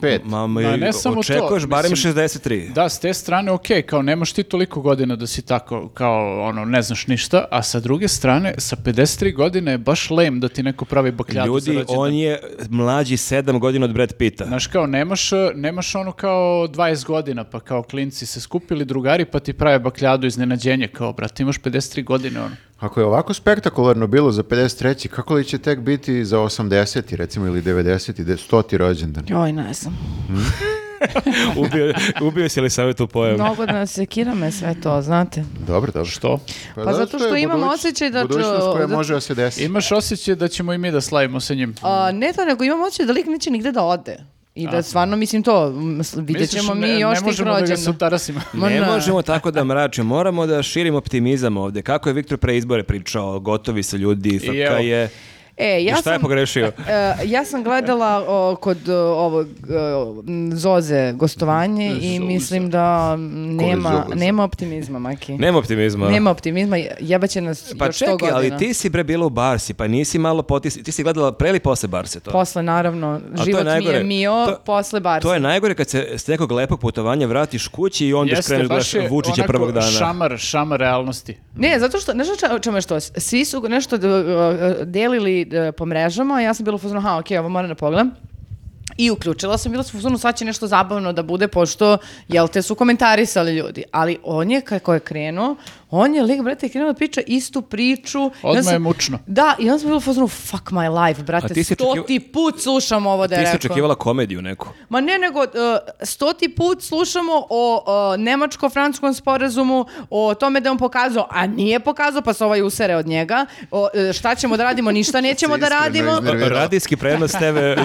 Speaker 4: 55.
Speaker 1: Ma,
Speaker 2: Ma, ne samo to,
Speaker 1: očekuješ barem
Speaker 2: mislim-
Speaker 1: 63.
Speaker 2: Da, s te strane, ok, kao nemaš ti toliko godina da si tako, kao ono, ne znaš ništa, a sa druge strane, sa 53 godine je baš lame da ti neko pravi bakljadu za
Speaker 1: Ljudi,
Speaker 2: rođendan.
Speaker 1: on je mlađi 7 godina od Brad Pitta.
Speaker 2: Znaš kao, nemaš, eh, nemaš ono kao 20 godina, pa kao klinci se skupili drugari, pa ti prave bakljadu iznenađenje, kao, brate, imaš 53 godine, ono.
Speaker 4: Ako je ovako spektakularno bilo za 53. kako li će tek biti za 80. recimo ili 90. i 100. rođendan?
Speaker 3: Joj, ne znam.
Speaker 1: ubio, ubio si li savjet u pojem?
Speaker 3: Mnogo da nas sekira me sve to, znate.
Speaker 4: Dobro, dobro.
Speaker 2: Što?
Speaker 3: Pa
Speaker 4: da,
Speaker 3: zato
Speaker 4: to
Speaker 3: što
Speaker 4: je
Speaker 3: imam
Speaker 4: buduć-
Speaker 3: osjećaj da ću-
Speaker 4: Budućnost koja
Speaker 3: da-
Speaker 4: može da se desi.
Speaker 2: Imaš osjećaj da ćemo i mi da slavimo sa njim.
Speaker 3: A, ne to, nego imam osjećaj da lik neće nigde da ode. I da stvarno, mislim to, m, s- vidjet
Speaker 2: Misliš,
Speaker 3: ćemo mi
Speaker 2: ne,
Speaker 3: još
Speaker 2: ne
Speaker 3: tih
Speaker 2: možemo da ga
Speaker 3: rođena.
Speaker 2: sutarasimo.
Speaker 3: Ma
Speaker 1: Ne
Speaker 3: ne.
Speaker 1: možemo tako da mračimo, moramo da širimo optimizam ovde. Kako je Viktor pre izbore pričao, gotovi su ljudi, FK
Speaker 2: evo.
Speaker 1: je...
Speaker 3: E, ja
Speaker 1: I šta je
Speaker 3: sam-
Speaker 1: pogrešio?
Speaker 3: (laughs) E, ja sam gledala o, kod o, ovog e, m, Zoze gostovanje i mislim da m, nema,
Speaker 4: Zoze?
Speaker 3: nema optimizma, Maki.
Speaker 1: Nema optimizma.
Speaker 3: Nema optimizma, jebaće nas
Speaker 1: pa
Speaker 3: još 100
Speaker 1: čekaj,
Speaker 3: godina.
Speaker 1: ali ti si bre bila u Barsi, pa nisi malo potis... Ti si gledala pre ili posle Barse to?
Speaker 3: Posle, naravno,
Speaker 1: to je
Speaker 3: život mi
Speaker 1: najgore.
Speaker 3: je mio,
Speaker 1: To-
Speaker 3: posle Barca.
Speaker 1: To je najgore kad se s nekog lepog putovanja vratiš kući i onda skreneš
Speaker 2: baš
Speaker 1: gledaš
Speaker 2: je
Speaker 1: Vučića
Speaker 2: onako
Speaker 1: prvog dana.
Speaker 2: Šamar, šamar realnosti.
Speaker 3: Ne, zato što, znaš o čemu je što? Svi su e, nešto uh, delili uh, po mrežama, a ja sam bila u fazonu, ha, okej, ovo moram da pogledam. I uključila sam, bila sam u fuzonu, sad će nešto zabavno da bude, pošto, jel te, su komentarisali ljudi. Ali on je, kako je krenuo, on je lik, brate, krenuo da priča istu priču. I onda
Speaker 2: Odmah je
Speaker 3: sam-
Speaker 2: mučno.
Speaker 3: Da, i onda sam bila u fuzonu, fuck my life, brate,
Speaker 1: A ti si očekiva-
Speaker 3: stoti put slušam ovo da je
Speaker 1: Ti si
Speaker 3: rekao.
Speaker 1: očekivala komediju neku.
Speaker 3: Ma ne, nego uh, stoti put slušamo o uh, nemačko-franskom sporazumu, o tome da je on pokazao, a nije pokazao, pa se ovaj usere od njega, o, uh, šta ćemo da radimo, ništa nećemo da
Speaker 4: Iskreno
Speaker 3: radimo.
Speaker 4: iznervirao. Nervirala.
Speaker 1: Radijski prenos TV,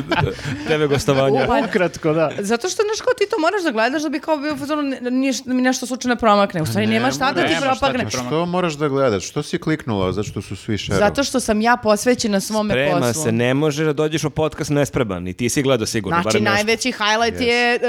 Speaker 1: TV gostovanja.
Speaker 3: Pa-
Speaker 2: Ukratko, da.
Speaker 3: Zato što, znaš, kao ti to moraš da gledaš da bi kao bio u fazonu, ne- niš- mi nešto slučajno promakne. U stvari,
Speaker 4: Ne
Speaker 3: nema šta da
Speaker 4: mora.
Speaker 3: ti
Speaker 2: Nema šta ti
Speaker 3: propagne.
Speaker 2: promakne.
Speaker 4: Pa Što moraš da gledaš? Što si kliknula? Zato što su svi šerovi.
Speaker 3: Zato što sam ja posvećena svome
Speaker 1: Prema
Speaker 3: poslu.
Speaker 1: se, ne može da dođeš u podcast nespreman. I ti si gledao sigurno,
Speaker 3: Znači,
Speaker 1: barem nešto.
Speaker 3: najveći highlight je e,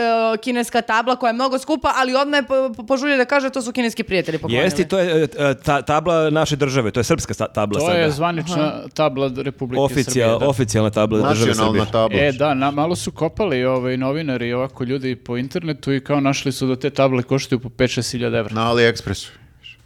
Speaker 3: kineska tabla koja je mnogo skupa, ali odmah je po- po- požurio da kaže to su kineski prijatelji poklonili.
Speaker 1: Jeste, i to je e, ta, tabla naše države, to je srpska sta- tabla
Speaker 2: To
Speaker 1: sada.
Speaker 2: je zvanična tabla Republike
Speaker 1: Oficijal-
Speaker 2: Srbije. da.
Speaker 1: Oficijalna tabla države Srbije.
Speaker 4: Nacionalna tabla.
Speaker 2: E, da, na, malo su kopali ovaj, novinari i ovako ljudi po internetu i kao našli su da te table koštaju po 5-6 hiljada evra.
Speaker 4: Na AliExpressu.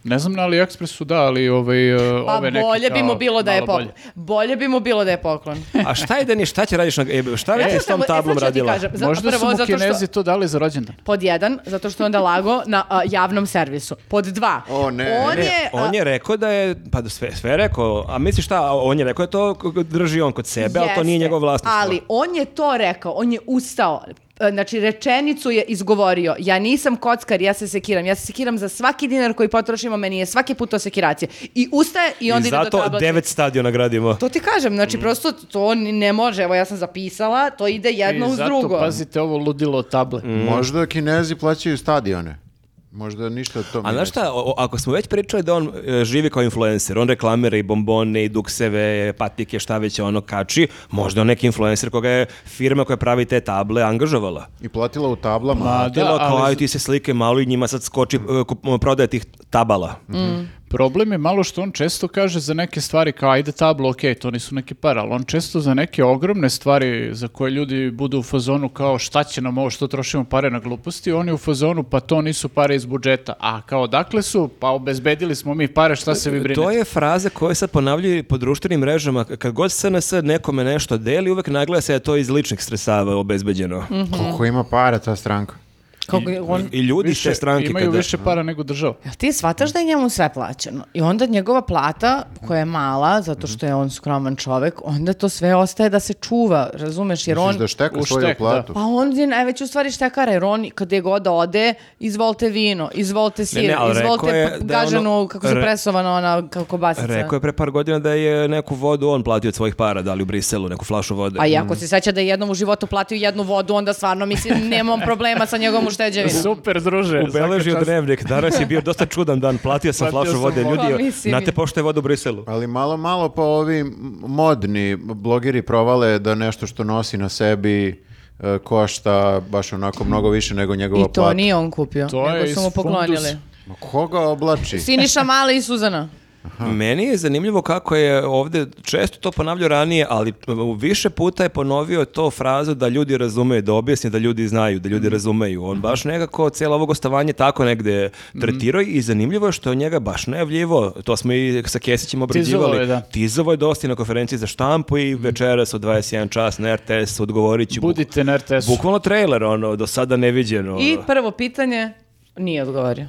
Speaker 2: Ne znam na AliExpressu da, ali ovaj, e,
Speaker 3: Pa
Speaker 2: ove neke
Speaker 3: bolje bi
Speaker 2: kao
Speaker 3: mu bilo da je
Speaker 2: malo
Speaker 3: poklon.
Speaker 2: bolje.
Speaker 3: Bolje. bi mu bilo da je poklon.
Speaker 1: A šta je Dani, šta će radiš na, e, šta bi
Speaker 3: E,
Speaker 1: ti E, s
Speaker 3: sad
Speaker 1: tom
Speaker 3: ću- e, sad
Speaker 1: tablom
Speaker 3: ću ti
Speaker 1: radila?
Speaker 3: kažem. Za-
Speaker 2: Možda su
Speaker 3: prvo,
Speaker 2: mu
Speaker 3: zato što-
Speaker 2: kinezi to dali za rođendan.
Speaker 3: Pod jedan, zato što je onda lago na a, javnom servisu. Pod dva.
Speaker 4: O, ne.
Speaker 3: On
Speaker 4: Ne,
Speaker 3: je... E, a,
Speaker 1: E, On je rekao da je, pa da sve, sve je rekao, a misliš šta, a on je rekao da to k- drži on kod sebe, ali to nije
Speaker 3: jeste,
Speaker 1: njegov vlasništvo.
Speaker 3: Ali on je to rekao, on je ustao. E, Znači, rečenicu je izgovorio. Ja nisam kockar, ja se sekiram. Ja se sekiram za svaki dinar koji potrošim, a meni je svaki put to sekiracija. I ustaje i onda
Speaker 1: I
Speaker 3: ide do
Speaker 1: zato
Speaker 3: tableta.
Speaker 1: devet stadiona gradimo.
Speaker 3: To ti kažem,
Speaker 2: Mm.
Speaker 3: znači prosto to ni- ne može. Evo ja sam zapisala, to ide jedno
Speaker 2: I
Speaker 3: uz
Speaker 2: zato
Speaker 3: drugo.
Speaker 2: pazite ovo ludilo table.
Speaker 1: Mm.
Speaker 4: Možda kinezi plaćaju stadione. Možda ništa od toga.
Speaker 1: A znaš šta, o- o- ako smo već pričali da on e, živi kao influencer, on reklamira i bombone i dukseve, patike, šta već ono kači, možda on neki influencer koga je firma koja pravi te table angažovala.
Speaker 4: I platila u tablama.
Speaker 2: Ma,
Speaker 1: Da,
Speaker 2: da,
Speaker 1: kao,
Speaker 2: ali-
Speaker 1: aj, ti se slike malo i njima sad skoči e, kup- prodaje tih tabala.
Speaker 2: Mm. Problem je malo što on često kaže za neke stvari kao ajde tablo, ok, to nisu neke pare, ali on često za neke ogromne stvari za koje ljudi budu u fazonu kao šta će nam ovo što trošimo pare na gluposti, on je u fazonu pa to nisu pare iz budžeta, a kao dakle su, pa obezbedili smo mi pare, šta se vi brinete.
Speaker 1: To je fraza koja se ponavljaju po društvenim mrežama. Kad god SNS nekome nešto deli, uvek naglasa je to iz ličnih sredstava obezbeđeno.
Speaker 2: Mhm.
Speaker 4: Koliko ima para ta stranka?
Speaker 3: Kako je- on,
Speaker 1: I ljudi iz
Speaker 2: Više-
Speaker 1: te stranke
Speaker 2: imaju
Speaker 1: kada...
Speaker 2: više para nego država.
Speaker 3: Jel ti shvataš da je njemu sve plaćeno? I onda njegova plata, koja je mala, zato što je on skroman čovek, onda to sve ostaje da se čuva, razumeš? Jer on,
Speaker 4: Misliš da šteka
Speaker 2: U
Speaker 4: svoju
Speaker 2: štek, da.
Speaker 4: platu?
Speaker 3: pa on je najveći u stvari štekara, jer on kada je god da ode, izvolite vino, izvolite sir,
Speaker 1: Ne, ne, ali
Speaker 3: izvolite
Speaker 1: rekao je
Speaker 3: p-
Speaker 1: da je ono-
Speaker 3: gažanu, kako se
Speaker 1: re-
Speaker 3: presovana ona, kako basica.
Speaker 1: Rekao je pre par godina da je neku vodu on platio od svojih para, da li u Briselu, neku flašu vode.
Speaker 3: A i ako se seća da je jednom u životu platio jednu vodu, onda stvarno
Speaker 1: (laughs)
Speaker 3: mislim nemam problema sa njegovom ušteđevinom.
Speaker 2: Super, druže.
Speaker 1: Ubeležio dnevnik, danas je bio dosta čudan dan, platio sam
Speaker 2: Platio
Speaker 1: flašu
Speaker 2: sam
Speaker 1: vode.
Speaker 2: vodu.
Speaker 3: Pa,
Speaker 1: Ljudi,
Speaker 3: mislim.
Speaker 1: znate pošto je vodu u Briselu?
Speaker 4: Ali malo, malo pa ovi modni blogeri provale da nešto što nosi na sebi e, košta baš onako mnogo više nego
Speaker 3: I
Speaker 4: njegova
Speaker 3: to
Speaker 4: plata.
Speaker 3: nije on kupio,
Speaker 2: To je
Speaker 3: nego su mu
Speaker 2: iz
Speaker 3: poklonili.
Speaker 2: fundusa.
Speaker 4: Ma koga oblači?
Speaker 3: Siniša Male i Suzana.
Speaker 1: Meni je zanimljivo kako je ovdje često to ponavljao ranije, ali više puta je ponovio to frazu da ljudi razumeju, da objasni da ljudi znaju, da
Speaker 2: Mhm.
Speaker 1: ljudi razumeju. On baš nekako cijelo ovo gostovanje tako negde
Speaker 2: Mhm.
Speaker 1: tretirao i zanimljivo je što je njega baš najavljivo. To smo i sa Kesićem obrađivali.
Speaker 2: Tizovo je, da. Mhm.
Speaker 1: Tizovo je dosta i na konferenciji za štampu i večeras u 21 čas na RTS odgovorit ću.
Speaker 2: Budite na RTS-u.
Speaker 1: Bukvalno trailer, ono, do sada neviđeno.
Speaker 3: I
Speaker 2: Ovaj.
Speaker 3: prvo pitanje, nije odgovorio.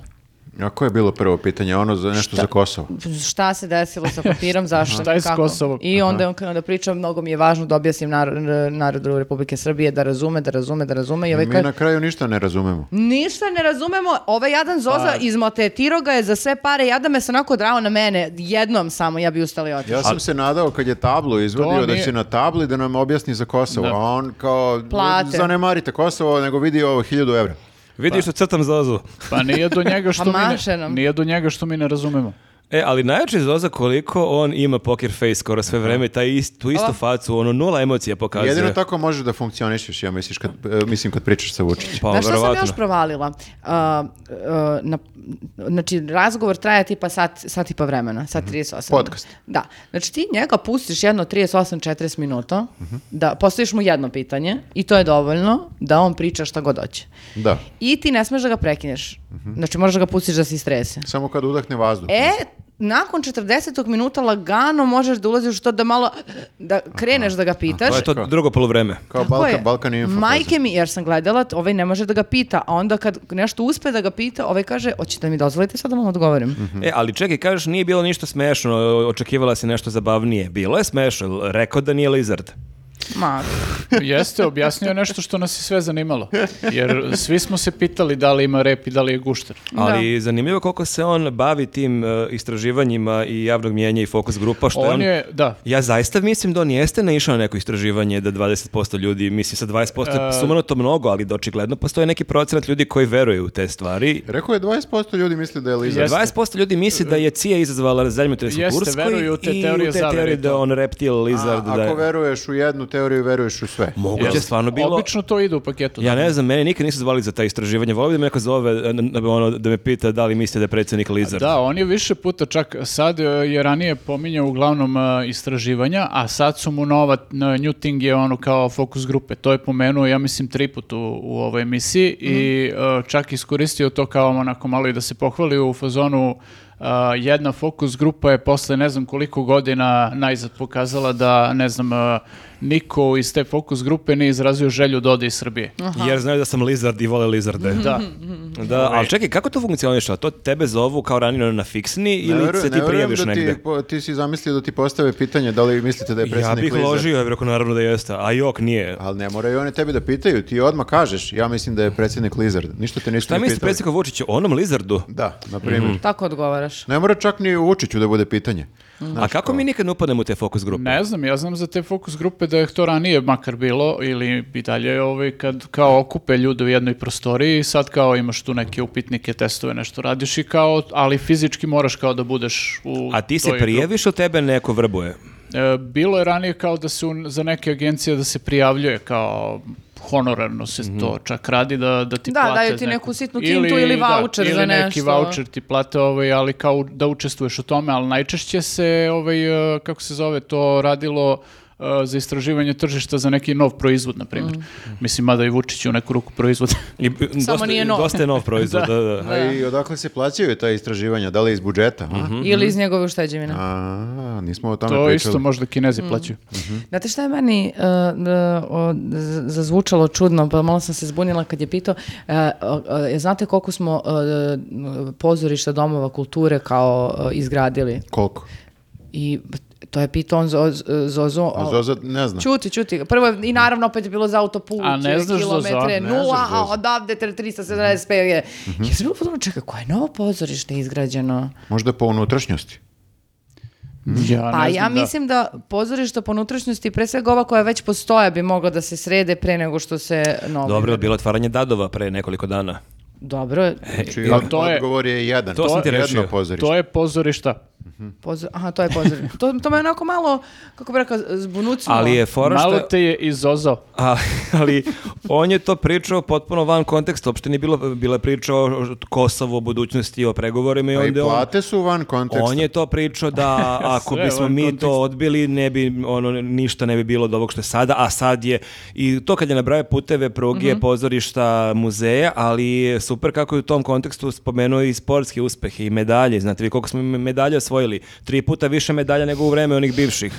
Speaker 4: A koje je bilo prvo pitanje? Ono za nešto za Kosovo.
Speaker 3: šta se desilo sa (laughs) papirom, zašto,
Speaker 2: Šta je s
Speaker 3: kako.
Speaker 2: Kosovom?
Speaker 3: I onda je on krenuo da priča, mnogo mi je važno da objasnim nar- narodu Republike Srbije, da razume, da razume, da razume. I ovaj
Speaker 4: Mi
Speaker 3: kaže,
Speaker 4: na kraju ništa ne razumemo.
Speaker 3: ništa ne razumemo, ovaj jadan Zoza
Speaker 2: Pa-
Speaker 3: izmotetirao ga je za sve pare, jadan me se onako drao na mene, jednom samo, ja bi ustala i otišla.
Speaker 4: Ja sam se nadao kad je tablo izvadio
Speaker 2: To
Speaker 4: da
Speaker 2: nije-
Speaker 4: će na tabli da nam objasni za Kosovo,
Speaker 2: Da.
Speaker 4: a on kao
Speaker 3: Plate.
Speaker 4: zanemarite Kosovo, nego vidi ovo 1000 evra.
Speaker 1: Vidiš što crtam zozu.
Speaker 2: Pa nije do njega što mi
Speaker 3: maše
Speaker 2: ne,
Speaker 3: nam.
Speaker 2: nije do njega što mi ne razumemo.
Speaker 1: E, ali najjače je zoza koliko on ima poker face skoro sve vreme, taj ist, tu istu facu, ono nula emocija pokazuje.
Speaker 4: Jedino tako možeš da funkcionišeš, ja misliš kad, e, mislim kad pričaš sa Vučićem.
Speaker 1: Pa,
Speaker 3: Znaš šta sam
Speaker 1: verovatno.
Speaker 3: još provalila? A, a, na, znači, razgovor traje tipa sat, sat i pa vremena,
Speaker 1: Mhm.
Speaker 3: sat 38.
Speaker 4: Podcast.
Speaker 3: Da. Znači, ti njega pustiš jedno 38-40 minuta,
Speaker 1: Mhm.
Speaker 3: da postaviš mu jedno pitanje i to je dovoljno da on priča šta god hoće.
Speaker 4: Da,
Speaker 1: Mhm.
Speaker 3: I ti ne smeš da ga prekineš. Znači, moraš da ga pustiš da se istrese.
Speaker 4: samo kad udahne vazduh.
Speaker 3: E, nakon 40. minuta lagano možeš da ulaziš u to da malo da kreneš da ga pitaš.
Speaker 1: To je to drugo polovreme.
Speaker 4: Kao
Speaker 3: Tako
Speaker 4: Balkan,
Speaker 3: je.
Speaker 4: Balkan Info.
Speaker 3: Majke mi, jer sam gledala, t- ovaj ne može da ga pita, a onda kad nešto uspe da ga pita, ovaj kaže, hoćete da mi dozvolite sad da vam odgovorim.
Speaker 2: Mhm.
Speaker 1: E, ali čekaj, kažeš nije bilo ništa smešno, o- očekivala si nešto zabavnije. Bilo je smešno, jel rekao da nije lizard.
Speaker 3: Ma,
Speaker 2: Jeste, objasnio je nešto što nas je sve zanimalo. Jer svi smo se pitali da li ima rep i da li je gušter.
Speaker 1: Ali zanimljivo koliko se on bavi tim e, istraživanjima i javnog mijenja i fokus grupa, što
Speaker 2: On je, da,
Speaker 1: Ja zaista mislim da on jeste naišao na neko istraživanje da 20% ljudi, mislim sa 20% je
Speaker 2: E,
Speaker 1: sumano to mnogo, ali da očigledno postoje neki procenat ljudi koji veruju u te stvari.
Speaker 4: Rekao je 20% ljudi misli da je Lizard.
Speaker 2: Jeste.
Speaker 1: 20% ljudi misli da je CIA izazvala zemljotres u
Speaker 2: Jeste,
Speaker 1: Turskoj
Speaker 2: veruju u te
Speaker 1: i
Speaker 2: teorije
Speaker 1: u te
Speaker 2: zavere,
Speaker 1: teorije da je
Speaker 2: to.
Speaker 1: on reptil,
Speaker 4: A,
Speaker 1: lizard, da
Speaker 4: ako
Speaker 1: je...
Speaker 4: veruješ u jednu teoriju, veruješ u sve.
Speaker 1: Moguće je stvarno bilo...
Speaker 2: obično to ide u paketu.
Speaker 1: Ja
Speaker 2: da.
Speaker 1: ne znam, mene nikad nisu zvali za ta istraživanja. Volio bi da me neko zove e, n- n- ono, da me pita da li mislite da je predsjednik Lizard.
Speaker 2: Da, on je više puta čak sad e, je ranije pominjao uglavnom e, istraživanja, a sad su mu nova na New Thing je ono kao fokus grupe. To je pomenuo ja mislim tri put u, u ovoj emisiji i e, čak iskoristio to kao onako malo i da se pohvali u fazonu e, jedna fokus grupa je posle ne znam koliko godina najzad pokazala da ne znam e, niko iz te fokus grupe nije izrazio želju da ode iz Srbije.
Speaker 1: Jer znaju da sam Lizard i vole Lizarde.
Speaker 2: Da.
Speaker 1: Da, ali čekaj, kako to funkcioniše? A To tebe zovu kao ranije na fiksni
Speaker 4: Ne
Speaker 1: ili
Speaker 4: veru-
Speaker 1: se ti
Speaker 4: ne verujem
Speaker 1: prijaviš
Speaker 4: da
Speaker 1: negde?
Speaker 4: Ti, po- ti si zamislio da ti postave pitanje da li mislite da je
Speaker 1: Ja
Speaker 4: predsjednik
Speaker 1: bih
Speaker 4: Lizard.
Speaker 1: ložio, ja bih rekao naravno da jeste, a jok nije.
Speaker 4: Ali ne moraju oni tebi da pitaju, ti odmah kažeš, ja mislim da je predsjednik Lizard. Ništa te ništa
Speaker 1: Šta
Speaker 4: ne
Speaker 1: misli
Speaker 4: pitali.
Speaker 1: predsjednik Mhm. Vučić o onom Lizardu?
Speaker 4: Da, na primjer.
Speaker 3: tako odgovaraš.
Speaker 4: Ne mora čak ni u Vučiću da bude pitanje.
Speaker 1: A kako mi nikad ne upadnemo u te fokus grupe?
Speaker 2: Ne znam, ja znam za te fokus grupe da je to ranije makar bilo ili i dalje ovaj, kad kao okupe ljude u jednoj prostoriji i sad kao imaš tu neke upitnike, testove, nešto radiš i kao, ali fizički moraš kao da budeš u
Speaker 1: A ti se
Speaker 2: toj
Speaker 1: prijaviš ili tebe neko vrbuje?
Speaker 2: grupi. E, bilo je ranije kao da se u- za neke agencije da se prijavljuje kao honorarno se
Speaker 4: Mhm.
Speaker 2: to čak radi da, da ti
Speaker 3: Da,
Speaker 2: plate
Speaker 3: daju ti
Speaker 2: neku-
Speaker 3: neku sitnu kintu ili
Speaker 2: da,
Speaker 3: vaučer za
Speaker 2: ili neki
Speaker 3: nešto.
Speaker 2: vaučer ti plate ovaj, ali kao da učestvuješ u tome, ali najčešće se ovaj, eh, kako se zove to radilo eh, za istraživanje tržišta za neki nov proizvod, na
Speaker 3: Mm.
Speaker 2: primjer.
Speaker 4: Mhm.
Speaker 2: Mislim, mada i Vučić u neku ruku proizvod.
Speaker 1: I,
Speaker 3: Samo
Speaker 1: dosta,
Speaker 3: nije nov.
Speaker 1: Dosta je nov proizvod, da, da.
Speaker 4: A i odakle se plaćaju ta istraživanja, da li iz budžeta?
Speaker 1: Mhm.
Speaker 4: a?
Speaker 3: Ili iz njegove ušteđevine.
Speaker 4: A, nismo o tome
Speaker 2: to
Speaker 4: pričali.
Speaker 2: isto možda kinezi
Speaker 3: Mm.
Speaker 2: plaćaju.
Speaker 3: Znate šta je meni e, d- o- z- zazvučalo čudno, pa malo sam se zbunila kad je pitao, e, o- o- e, znate koliko smo e, n- pozorišta domova kulture kao e, izgradili?
Speaker 4: Koliko?
Speaker 3: I to je pitao on Zo- Z- Zozo.
Speaker 4: A Zoza ne zna.
Speaker 3: Čuti, čuti. Prvo je, i naravno opet je bilo za autoput,
Speaker 2: A ne
Speaker 3: je
Speaker 2: znaš Zozo,
Speaker 3: kilometre,
Speaker 4: ne znaš
Speaker 3: nula, a
Speaker 4: Zozo.
Speaker 3: odavde tre- 375 je. Ja sam bilo potpuno, čekaj, koje je novo pozorište izgrađeno?
Speaker 4: Možda po unutrašnjosti. Mhm.
Speaker 2: Ja
Speaker 3: Pa
Speaker 2: ne
Speaker 3: ja
Speaker 2: znam da.
Speaker 3: mislim da pozorišta po unutrašnjosti, pre svega ova koja već postoje, bi mogla da se srede pre nego što se novi.
Speaker 1: Dobro, je bilo otvaranje dadova pre nekoliko dana.
Speaker 3: Dobro,
Speaker 4: Znači,
Speaker 2: Pa to je-
Speaker 4: odgovor je jedan.
Speaker 1: To sam ti rešio.
Speaker 4: Jedno pozorište.
Speaker 2: To je pozorišta.
Speaker 3: pozor- aha, to je pozorište. to, to me onako malo, kako bi rekao, zbunucilo.
Speaker 1: Ali je fora što...
Speaker 2: Malo te je izozao.
Speaker 1: A, ali on je to pričao potpuno van konteksta, uopšte nije bilo, bila priča o o Kosovu, o budućnosti, o pregovorima i
Speaker 4: A Pa i
Speaker 1: onda je on...
Speaker 4: plate su van konteksta.
Speaker 1: On je to pričao
Speaker 3: (laughs)
Speaker 1: da ako
Speaker 2: Sve
Speaker 1: bismo
Speaker 2: van
Speaker 1: mi
Speaker 2: konteksta.
Speaker 1: to odbili, ne bi, ono, ništa ne bi bilo od ovog što je sada, a sad je, i to kad je nabrao puteve, pruge,
Speaker 3: Mhm.
Speaker 1: pozorišta, muzeja, ali je super kako je u tom kontekstu spomenuo i sportske uspehe i medalje, znate vi koliko smo me- medalja osvojili, tri puta više medalja nego u vreme onih bivših.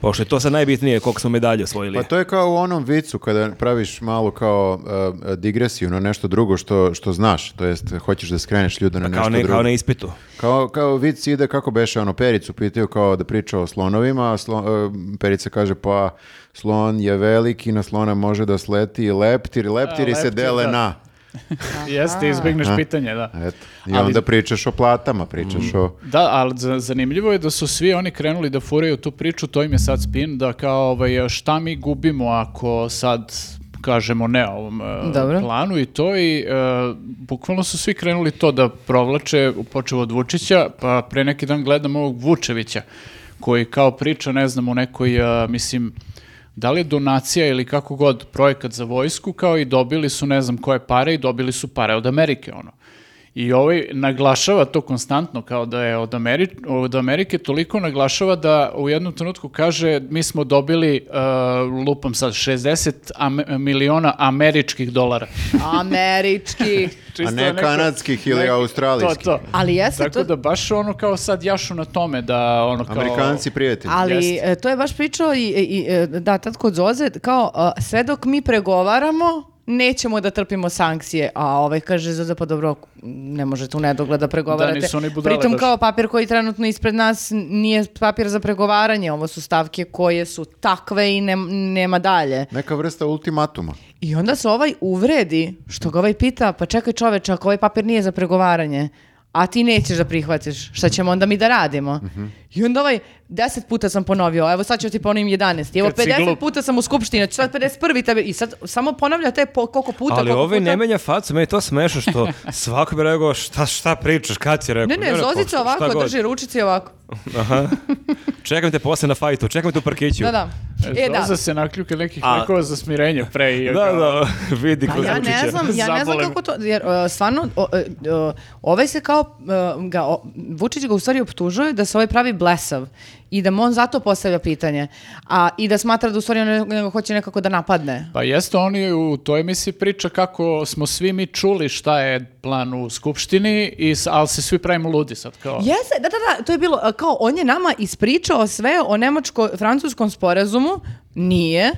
Speaker 1: Pošto je to sad najbitnije koliko smo medalje osvojili.
Speaker 4: Pa to je kao u onom vicu kada praviš malo kao e, digresiju na nešto drugo što, što znaš, to jest hoćeš da skreneš ljude na
Speaker 1: Pa kao,
Speaker 4: nešto
Speaker 1: ne,
Speaker 4: drugo.
Speaker 1: kao na ispitu.
Speaker 4: Kao, kao vic ide, kako beše, ono, Pericu pitaju kao da priča o slonovima, a slo- e, Perica kaže, pa slon je veliki, na slona može da sleti i leptir, i leptiri se
Speaker 2: leptir,
Speaker 4: dele
Speaker 2: da.
Speaker 4: na.
Speaker 2: Jeste, izbjegneš pitanje, da.
Speaker 4: Eto. I
Speaker 2: Ali-
Speaker 4: onda pričaš o platama, pričaš
Speaker 1: Mhm.
Speaker 4: o...
Speaker 2: Da, ali za- zanimljivo je da su svi oni krenuli da furaju tu priču, to im je sad spin, da kao ovaj, šta mi gubimo ako sad kažemo ne ovom e,
Speaker 3: Dobro.
Speaker 2: planu i to i e, bukvalno su svi krenuli to da provlače, počeo od Vučića, pa pre neki dan gledam ovog Vučevića koji kao priča, ne znam, u nekoj, e, mislim, da li je donacija ili kako god projekat za vojsku, kao i dobili su ne znam koje pare i dobili su pare od Amerike, ono. I ovaj naglašava to konstantno kao da je od, Ameri- od Amerike toliko naglašava da u jednom trenutku kaže mi smo dobili uh, lupam sad 60 ame- miliona američkih dolara.
Speaker 3: Američki.
Speaker 2: Čisto
Speaker 4: ne
Speaker 2: neko-
Speaker 4: kanadskih ili australijskih.
Speaker 2: To, to.
Speaker 3: Ali jeste
Speaker 2: Tako
Speaker 3: to...
Speaker 2: da baš ono kao sad jašu na tome da ono kao...
Speaker 4: Amerikanci prijatelji.
Speaker 3: Ali
Speaker 2: Jeste.
Speaker 3: e, to je baš pričao i, i- e, da, tad kod Zoze, kao a, sve dok mi pregovaramo, nećemo da trpimo sankcije, a ovaj kaže Zoza, pa dobro, ne možete u nedogled da pregovarate.
Speaker 2: nisu oni budale
Speaker 3: Pritom
Speaker 2: baš.
Speaker 3: kao papir koji je trenutno ispred nas nije papir za pregovaranje, ovo su stavke koje su takve i nem- nema dalje.
Speaker 4: Neka vrsta ultimatuma.
Speaker 3: I onda se ovaj uvredi, što ga ovaj pita, pa čekaj čoveče, ako ovaj papir nije za pregovaranje, a ti nećeš da prihvatiš, šta ćemo onda mi da radimo? I onda ovaj, deset puta sam ponovio, evo sad ću ti ponovim 11, evo
Speaker 2: Kad si
Speaker 3: 50
Speaker 2: glup.
Speaker 3: puta sam u skupštini, sad 51. Tebe, I sad samo ponavlja te po, koliko puta,
Speaker 1: Ali
Speaker 3: koliko
Speaker 1: ovaj
Speaker 3: puta.
Speaker 1: ne menja facu, meni je to smešno
Speaker 3: (laughs)
Speaker 1: što svako bi rekao šta, šta pričaš, kad si rekao.
Speaker 3: Ne, ne,
Speaker 1: rekao,
Speaker 3: Zozica
Speaker 1: šta
Speaker 3: ovako,
Speaker 1: god.
Speaker 3: drži ručici ovako.
Speaker 1: Aha. Čekam te posle na fajtu, čekam te u parkiću.
Speaker 3: Da, da. E, da.
Speaker 2: Zoza se nakljuke nekih
Speaker 1: A-
Speaker 2: lekova za smirenje pre i...
Speaker 1: Da, da, vidi
Speaker 3: Pa
Speaker 1: kroz
Speaker 3: ja ne
Speaker 1: ručiće.
Speaker 3: znam, ja ne znam
Speaker 2: Zabolim.
Speaker 3: kako to, jer e, stvarno o, e, o, ovaj se kao e, ga o- Vučić ga u stvari optužuje da se ovaj pravi blesav i da mu on zato postavlja pitanje, a i da smatra da u stvari on ne- nego hoće nekako da napadne.
Speaker 2: Pa jeste, oni u toj emisiji priča kako smo svi mi čuli šta je plan u Skupštini, i, s- ali se svi pravimo ludi sad. Kao,
Speaker 3: Jeste, da, da, da, to je bilo e, kao on je nama ispričao sve o nemačko-francuskom sporazumu, nije.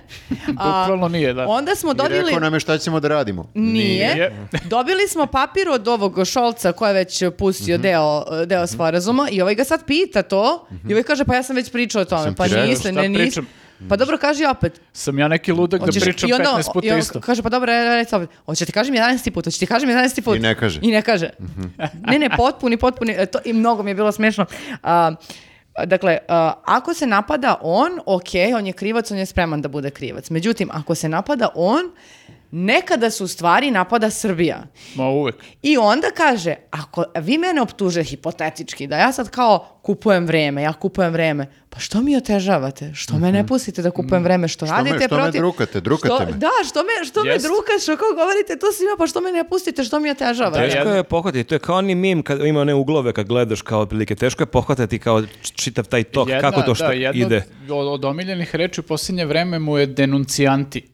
Speaker 3: A,
Speaker 2: Bukvalno nije, da.
Speaker 3: Onda smo
Speaker 4: I
Speaker 3: dobili...
Speaker 4: rekao nam je šta ćemo da radimo.
Speaker 3: Nije.
Speaker 2: Nije.
Speaker 3: Dobili smo papir od ovog Šolca koji je već pustio deo, deo sporazuma i ovaj ga sad pita to i ovaj kaže pa ja sam već pričao o tome.
Speaker 4: Sam ti
Speaker 3: pa
Speaker 4: rekao.
Speaker 3: niste,
Speaker 2: Šta
Speaker 3: ne niste.
Speaker 2: pričam?
Speaker 3: Pa dobro, kaži opet.
Speaker 2: Sam ja neki ludak
Speaker 3: Hoćeš-
Speaker 2: da pričam
Speaker 3: i onda-
Speaker 2: 15
Speaker 3: i
Speaker 2: puta
Speaker 3: on
Speaker 2: isto.
Speaker 3: Kaže, pa dobro, re- re- reci opet. Hoće ti kažem 11 put, hoće ti kažem 11 put.
Speaker 4: I ne kaže. Mhm.
Speaker 3: I ne kaže. ne, ne, potpuni, potpuni. e, To, I mnogo mi je bilo smiješno. A, dakle, a, ako se napada on, ok, on je krivac, on je spreman da bude krivac. Međutim, ako se napada on, nekada su stvari napada Srbija.
Speaker 2: Ma uvek.
Speaker 3: I onda kaže, ako vi mene optuže hipotetički, da ja sad kao kupujem vreme, ja kupujem vreme, pa što mi otežavate? Što me ne pustite da kupujem vreme? Što,
Speaker 4: me-
Speaker 3: radite
Speaker 4: što me
Speaker 3: protiv?
Speaker 4: drukate? Drukate
Speaker 3: Što-
Speaker 4: me.
Speaker 3: Da, što me, što me
Speaker 2: Jest.
Speaker 3: drukaš, što kao govorite to svima, pa što me ne pustite, što mi otežavate?
Speaker 1: Teško
Speaker 2: jedan-
Speaker 1: je pohvatati, to je kao oni mim kad ima one uglove kad gledaš kao otprilike, teško je pohvatati kao č- čitav taj tok,
Speaker 2: Jedna-
Speaker 1: kako to što
Speaker 2: da, jedna
Speaker 1: ide.
Speaker 2: Od, od omiljenih reči u posljednje vreme mu je
Speaker 3: (laughs)
Speaker 2: denuncijanti.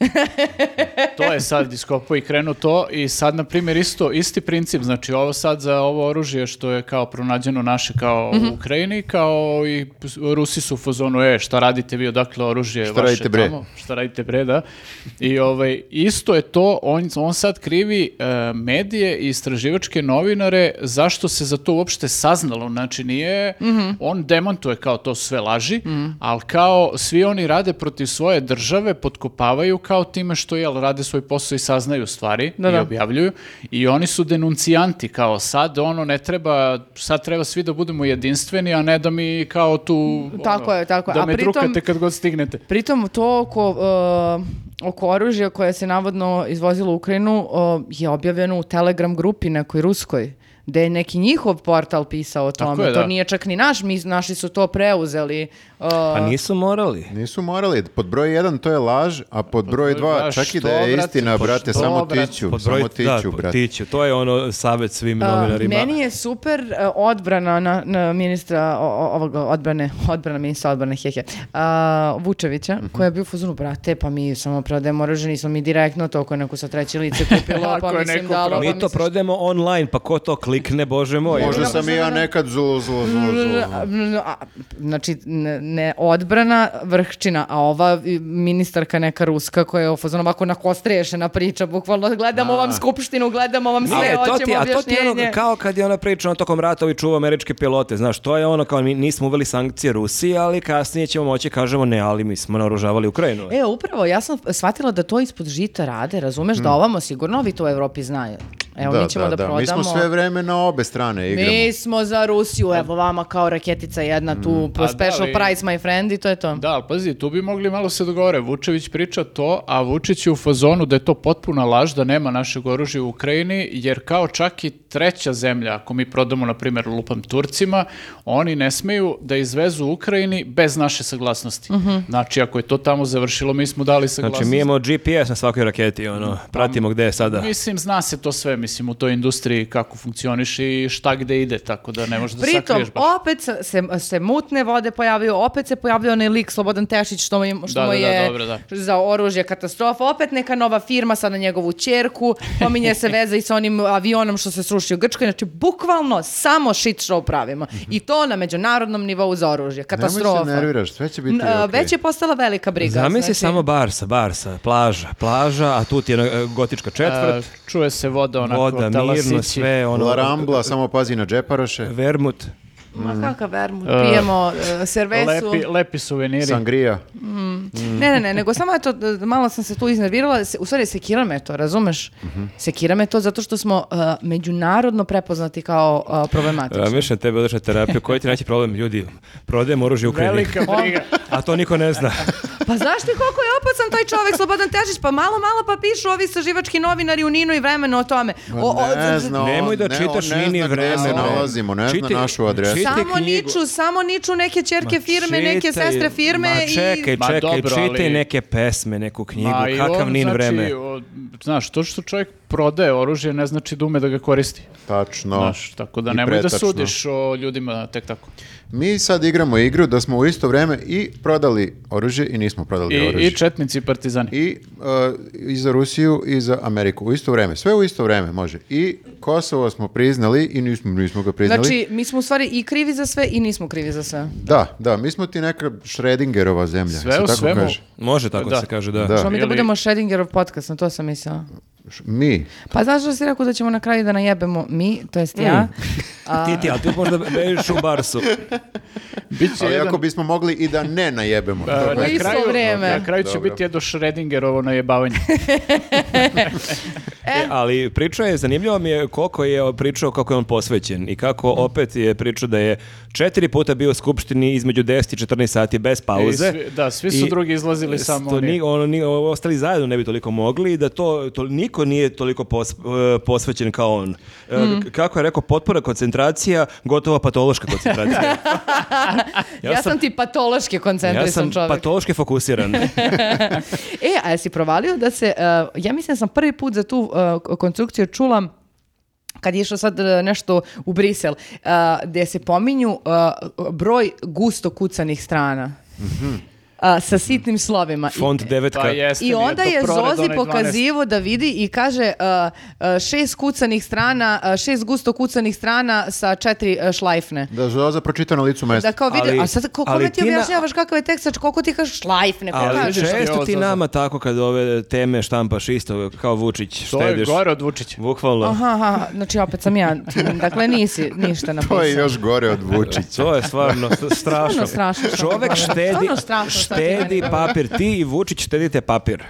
Speaker 2: to je sad iskopao i krenuo to i sad, na primjer, isto, isti princip, znači ovo sad za ovo oružje što je kao pronađeno naše kao
Speaker 3: Mhm.
Speaker 2: u Ukrajini, kao i s- Rusi su u fazonu, e, šta radite vi, odakle oružje
Speaker 4: Šta
Speaker 2: vaše
Speaker 4: radite bre?"
Speaker 2: tamo, šta radite bre, da. I ovaj, isto je to, on, on sad krivi e, medije i istraživačke novinare zašto se za to uopšte saznalo, znači nije,
Speaker 3: Mhm.
Speaker 2: on demantuje kao to sve laži, ali kao svi oni rade protiv svoje države, potkopavaju kao time što jel, rade svoj posao i saznaju stvari
Speaker 3: Da,
Speaker 2: i
Speaker 3: da.
Speaker 2: objavljuju i oni su denuncijanti kao sad ono ne treba, sad treba svi da budemo jedinstveni, a ne da mi kao tu
Speaker 3: Tako
Speaker 2: ono,
Speaker 3: je, tako je.
Speaker 2: da
Speaker 3: A
Speaker 2: me
Speaker 3: pritom-
Speaker 2: drukate kad god stignete.
Speaker 3: Pritom to oko, e, oko oružja koje se navodno izvozilo u Ukrajinu e, je objavljeno u Telegram grupi nekoj ruskoj da je neki njihov portal pisao o
Speaker 2: Tako
Speaker 3: tome.
Speaker 2: je,
Speaker 3: to
Speaker 2: da.
Speaker 3: nije čak ni naš, mi, naši su to preuzeli. e,
Speaker 1: Pa nisu morali.
Speaker 4: Nisu morali. Pod broj jedan to je laž, a pod broj dva,
Speaker 2: dva,
Speaker 4: čak i
Speaker 2: što,
Speaker 4: da je
Speaker 2: brate,
Speaker 4: istina,
Speaker 2: pa
Speaker 4: brate,
Speaker 2: što,
Speaker 4: samo
Speaker 2: brate?
Speaker 4: tiću,
Speaker 1: Pod broj-
Speaker 4: samo tiću,
Speaker 1: da,
Speaker 4: brate.
Speaker 1: tiću. To je ono savjet svim
Speaker 3: A,
Speaker 1: novinarima.
Speaker 3: Meni je super e, odbrana na, na ministra o- o- ovog odbrane, odbrana ministra odbrane hehe, a, Vučevića,
Speaker 1: Mhm.
Speaker 3: koji je bio u fazonu, brate, pa mi samo prodajemo oružje, nismo mi direktno to ako je neko sa treće lice
Speaker 1: (laughs)
Speaker 3: kupilo,
Speaker 2: Ako
Speaker 3: pa
Speaker 2: je
Speaker 3: mislim
Speaker 2: neko
Speaker 3: da
Speaker 2: pro-
Speaker 3: pa
Speaker 1: Mi to
Speaker 3: mislim šta-
Speaker 1: prodajemo online, pa ko to klikne, bože moj.
Speaker 4: Možda
Speaker 3: Ja,
Speaker 4: sam i ja
Speaker 3: da, da.
Speaker 4: nekad zlo, zlo, zlo, zlo.
Speaker 3: A, a, Znači, ne, ne odbrana vrhčina, a ova i, ministarka neka ruska koja je u fazonu ovako nakostrešena priča, bukvalno gledamo vam skupštinu, gledamo vam sve,
Speaker 1: Ali to ti,
Speaker 3: hoćemo
Speaker 1: a to ti je ono,
Speaker 3: objašnjenje.
Speaker 1: kao kad je ona priča ono tokom rata ovi čuva američke pilote, znaš, to je ono kao mi nismo uveli sankcije Rusiji, ali kasnije ćemo moći kažemo ne, ali mi smo naoružavali Ukrajinu.
Speaker 3: E, upravo, ja sam shvatila da to ispod žita rade, razumeš,
Speaker 4: Hmm.
Speaker 3: da ovamo sigurno ovi to u Evropi znaju. Evo, mi ćemo da, prodamo.
Speaker 4: Mi smo sve vreme na obe strane igramo. Hmm.
Speaker 3: Mi smo za Rusiju, evo vama kao raketica jedna tu, po
Speaker 2: A
Speaker 3: special
Speaker 2: da, ali-
Speaker 3: price my friend i to je to.
Speaker 2: Da, ali pazi, tu bi mogli malo se dogovore. Vučević priča to, a Vučić je u fazonu da je to potpuna laž, da nema našeg oružja u Ukrajini, jer kao čak i treća zemlja, ako mi prodamo, na primjer, lupam Turcima, oni ne smeju da izvezu Ukrajini bez naše saglasnosti.
Speaker 3: Mhm.
Speaker 2: Znači, ako je to tamo završilo, mi smo dali saglasnost.
Speaker 1: Znači, mi imamo GPS na svakoj raketi, ono, pratimo gde je sada.
Speaker 2: Mislim, zna se to sve, mislim, u toj industriji kako funkcioniše i šta gde ide, tako da ne možeš da
Speaker 3: Pritom,
Speaker 2: sakriješ baš.
Speaker 3: opet se, se- se mutne vode pojavio, opet se pojavio onaj lik Slobodan Tešić, što mu, je- što
Speaker 2: Da,
Speaker 3: mu
Speaker 2: da, da,
Speaker 3: je
Speaker 2: dobro, da.
Speaker 3: za oružje katastrofa, opet neka nova firma sad na njegovu čerku, pominje
Speaker 2: (laughs)
Speaker 3: se veza i sa onim avionom što se srušio u Grčkoj, znači bukvalno samo shit show pravimo.
Speaker 2: Mhm.
Speaker 3: I to na međunarodnom nivou za oružje, katastrofa.
Speaker 4: Nemoj se nerviraš, sve će biti
Speaker 3: N- a,
Speaker 4: okej.
Speaker 3: Već je postala velika briga.
Speaker 1: Zamisli
Speaker 3: znači-
Speaker 1: samo Barsa, Barsa, plaža, plaža, a tu ti je e, gotička četvrt,
Speaker 2: A, čuje se voda onako,
Speaker 1: voda, mirno,
Speaker 2: talasići.
Speaker 1: sve, ono,
Speaker 4: La Rambla, samo pazi na džeparoše,
Speaker 1: vermut.
Speaker 4: Mhm.
Speaker 3: Ma kakav vermut, pijemo e, cervesu.
Speaker 2: Lepi, lepi suveniri.
Speaker 4: sangrija.
Speaker 3: Ne, ne, ne, nego samo eto, d- malo sam se tu iznervirala, se- u stvari sekira me to, razumeš? Sekira me to zato što smo uh, međunarodno prepoznati kao uh, problematični.
Speaker 1: Mišljam tebe odlična terapija, koji ti najći problem? Ljudi, prodajem oružje u Ukrajini.
Speaker 2: Velika briga.
Speaker 1: (laughs) A to niko ne zna. (laughs)
Speaker 3: Pa znaš ti koliko je opasan taj čovek, Slobodan Tešić, pa malo, malo pa pišu ovi saživački novinari u Ninu i vremenu o tome. O, o,
Speaker 4: Pa ne
Speaker 3: z- z-
Speaker 4: zna on,
Speaker 1: Nemoj da
Speaker 4: ne,
Speaker 1: čitaš
Speaker 4: on ne
Speaker 1: Nini
Speaker 4: zna gde
Speaker 1: vremena.
Speaker 4: se nalazimo, ne
Speaker 1: Čiti-
Speaker 4: zna našu adresu.
Speaker 1: čiti-
Speaker 3: samo
Speaker 1: knjigu.
Speaker 3: niču, samo niču neke čerke firme, neke
Speaker 1: Čitaj,
Speaker 3: sestre firme
Speaker 1: ma čekaj,
Speaker 3: i...
Speaker 2: Ma
Speaker 1: čekaj,
Speaker 2: dobro, ali-
Speaker 1: čitaj neke pesme, neku knjigu,
Speaker 2: Ma i
Speaker 1: Pa, kakav
Speaker 2: on,
Speaker 1: nin
Speaker 2: znači,
Speaker 1: vreme.
Speaker 2: o, znaš, to što čovjek prodaje oružje ne znači da ume da ga koristi.
Speaker 4: Tačno.
Speaker 2: Znaš, tako da
Speaker 4: Pa, I
Speaker 2: nemoj da
Speaker 4: pretačno.
Speaker 2: sudiš o ljudima tek tako.
Speaker 4: Mi sad igramo igru da smo u isto vreme i prodali oružje i nismo prodali
Speaker 2: I,
Speaker 4: oružje.
Speaker 2: i četnici i partizani.
Speaker 4: I, e, i za Rusiju i za Ameriku u isto vreme. Sve u isto vreme može. I Kosovo smo priznali i nismo, nismo ga priznali.
Speaker 3: Znači, mi smo u stvari i krivi za sve i nismo krivi za sve.
Speaker 4: Da, da, mi smo ti neka Schrödingerova zemlja.
Speaker 2: Sve
Speaker 4: se
Speaker 2: u
Speaker 4: tako
Speaker 2: svemu.
Speaker 4: kaže.
Speaker 1: Može tako da.
Speaker 2: Da.
Speaker 1: se kaže, da.
Speaker 4: Da.
Speaker 3: Što mi da
Speaker 2: Ili-
Speaker 3: budemo Schrödingerov podcast, na to sam mislila.
Speaker 4: Š- Mi.
Speaker 3: Pa znaš što si rekao da ćemo na kraju da najebemo mi, to jest ja.
Speaker 1: E, Ti, ti, ali ti možda bežiš u
Speaker 3: (laughs)
Speaker 1: Barsu.
Speaker 2: Biće
Speaker 4: Ali
Speaker 2: jedan-
Speaker 4: ako bismo mogli i da ne najebemo.
Speaker 2: A,
Speaker 4: Dobro.
Speaker 2: na
Speaker 3: isto
Speaker 2: kraju-
Speaker 3: vreme.
Speaker 2: Na kraju će
Speaker 4: Dobro.
Speaker 2: biti jedno Schrödingerovo najebavanje.
Speaker 1: E, ali priča je, zanimljivo mi je koliko je pričao kako je on posvećen i kako
Speaker 2: Mm.
Speaker 1: opet je pričao da je četiri puta bio u skupštini između 10 i 14 sati bez pauze.
Speaker 2: E, I svi- da, svi su drugi izlazili, samo
Speaker 1: to
Speaker 2: on je.
Speaker 1: ni- ono, ni- o- ostali zajedno ne bi toliko mogli i da to, to niko nije toliko pos- e, posvećen kao on. E,
Speaker 3: Hmm.
Speaker 1: k- Kako je rekao, potpora koncentracija, gotovo patološka
Speaker 3: (laughs)
Speaker 1: koncentracija.
Speaker 3: Ja, sam, ti patološki
Speaker 1: ja
Speaker 3: koncentrisan
Speaker 1: sam
Speaker 3: čovjek.
Speaker 1: patološki
Speaker 3: (laughs)
Speaker 1: fokusiran.
Speaker 3: E, a jesi provalio da se, uh, ja mislim da sam prvi put za tu uh, k- konstrukciju čula kad je išao sad uh, nešto u Brisel, uh, gdje se pominju uh, broj gusto kucanih strana. Uh, sa sitnim slovima. I-
Speaker 1: Font devetka.
Speaker 2: Pa jeste
Speaker 3: I
Speaker 2: mi,
Speaker 3: onda
Speaker 2: eto,
Speaker 3: je
Speaker 2: prored
Speaker 3: Zozi
Speaker 2: onaj 12.
Speaker 3: pokazivo da vidi i kaže uh, uh, šest kucanih strana, uh, šest gusto kucanih strana sa četiri uh, šlajfne.
Speaker 4: Da Zoza pročita na licu mesta.
Speaker 3: Da kao vidi,
Speaker 1: Ali-
Speaker 3: a sad ko- kome
Speaker 1: ali
Speaker 3: ti
Speaker 1: ti na-
Speaker 3: objašnjavaš kakav je tekst, znači koliko ti kažeš šlajfne, pa
Speaker 1: Ali
Speaker 3: kažeš.
Speaker 2: vidiš, ali
Speaker 1: često
Speaker 2: ovo
Speaker 1: ti
Speaker 2: za-
Speaker 1: nama tako kad ove teme štampaš isto kao Vučić,
Speaker 2: To je
Speaker 1: štediš.
Speaker 2: gore od Vučića.
Speaker 1: Bukvalno.
Speaker 3: Aha, aha, znači opet sam ja, dakle nisi ništa napisao.
Speaker 4: To je još gore od Vučića.
Speaker 1: To je stvarno st- strašno.
Speaker 3: Stvarno strašno šta ti
Speaker 1: Čovek
Speaker 3: govorim.
Speaker 1: štedi,
Speaker 3: Stvarno strašno šta ti
Speaker 1: štedi
Speaker 3: meni
Speaker 1: papir. Ti i Vučić štedite papir.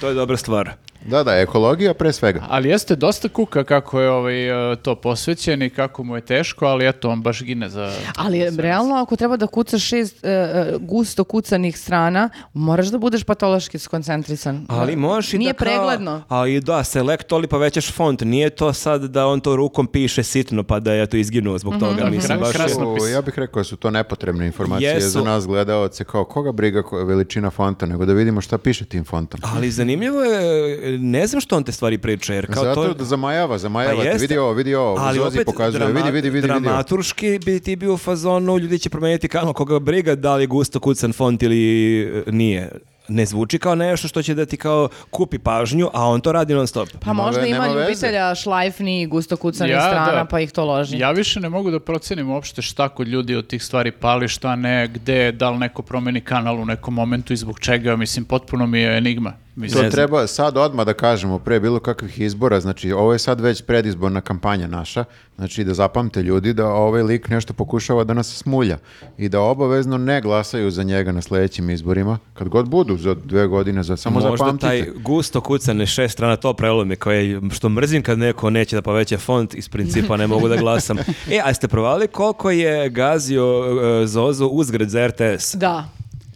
Speaker 1: To je dobra stvar.
Speaker 4: Da, da, ekologija pre svega.
Speaker 2: Ali jeste dosta kuka kako je ovaj, e, to posvećen i kako mu je teško, ali eto, on baš gine za...
Speaker 3: Ali realno ako treba da kucaš šest e, e, gusto kucanih strana, moraš da budeš patološki skoncentrisan.
Speaker 1: Ali možeš i
Speaker 3: Nije
Speaker 1: da kao-
Speaker 3: pregledno.
Speaker 1: Ali da, select ali povećaš font. Nije to sad da on to rukom piše sitno pa da je to izginuo
Speaker 3: Mhm,
Speaker 1: zbog toga. Mislim,
Speaker 2: Kras-
Speaker 1: baš je-
Speaker 2: krasno.
Speaker 4: O,
Speaker 2: Krasnopis.
Speaker 4: ja bih rekao da su to nepotrebne informacije
Speaker 1: Jesu.
Speaker 4: za nas gledaoce. Kao koga briga koja je veličina fonta, nego da vidimo šta piše tim fontom.
Speaker 1: Ali zanimljivo je, ne znam što on te stvari priča, jer kao
Speaker 4: Zato
Speaker 1: to... Pa
Speaker 4: da zamajava, zamajava.
Speaker 1: jeste.
Speaker 4: vidi ovo, vidi ovo.
Speaker 1: Ali
Speaker 4: Zozi
Speaker 1: opet
Speaker 4: pokazuje.
Speaker 1: drama-
Speaker 4: vidi, vidi, vidi, vidi.
Speaker 1: dramaturški bi ti bio u fazonu, ljudi će promijeniti kanal, koga ga briga da li je gusto kucan font ili e, nije. Ne zvuči kao nešto što će da ti kao kupi pažnju, a on to radi non stop.
Speaker 3: Pa
Speaker 4: Nema
Speaker 3: možda
Speaker 4: ve-
Speaker 3: ima
Speaker 4: nema veze.
Speaker 3: ljubitelja šlajfni i gusto kucanih
Speaker 2: Ja,
Speaker 3: strana,
Speaker 2: da.
Speaker 3: pa ih to loži.
Speaker 2: Ja više ne mogu da procenim uopšte šta kod ljudi od tih stvari pali, šta ne, gde, da li neko promeni kanal u nekom momentu i zbog čega, mislim, potpuno mi je enigma.
Speaker 4: To
Speaker 2: Mislim,
Speaker 1: znam.
Speaker 4: treba sad odmah da kažemo pre bilo kakvih izbora, znači ovo je sad već predizborna kampanja naša, znači da zapamte ljudi da ovaj lik nešto pokušava da nas smulja i da obavezno ne glasaju za njega na sledećim izborima, kad god budu za dve godine, za, samo
Speaker 1: Možda
Speaker 4: zapamtite.
Speaker 1: taj gusto kucane šest strana to prelomi koje što mrzim kad neko neće da poveća font iz principa ne mogu da glasam. E, a ste provali koliko je gazio e, Zozu uzgred za RTS?
Speaker 3: Da.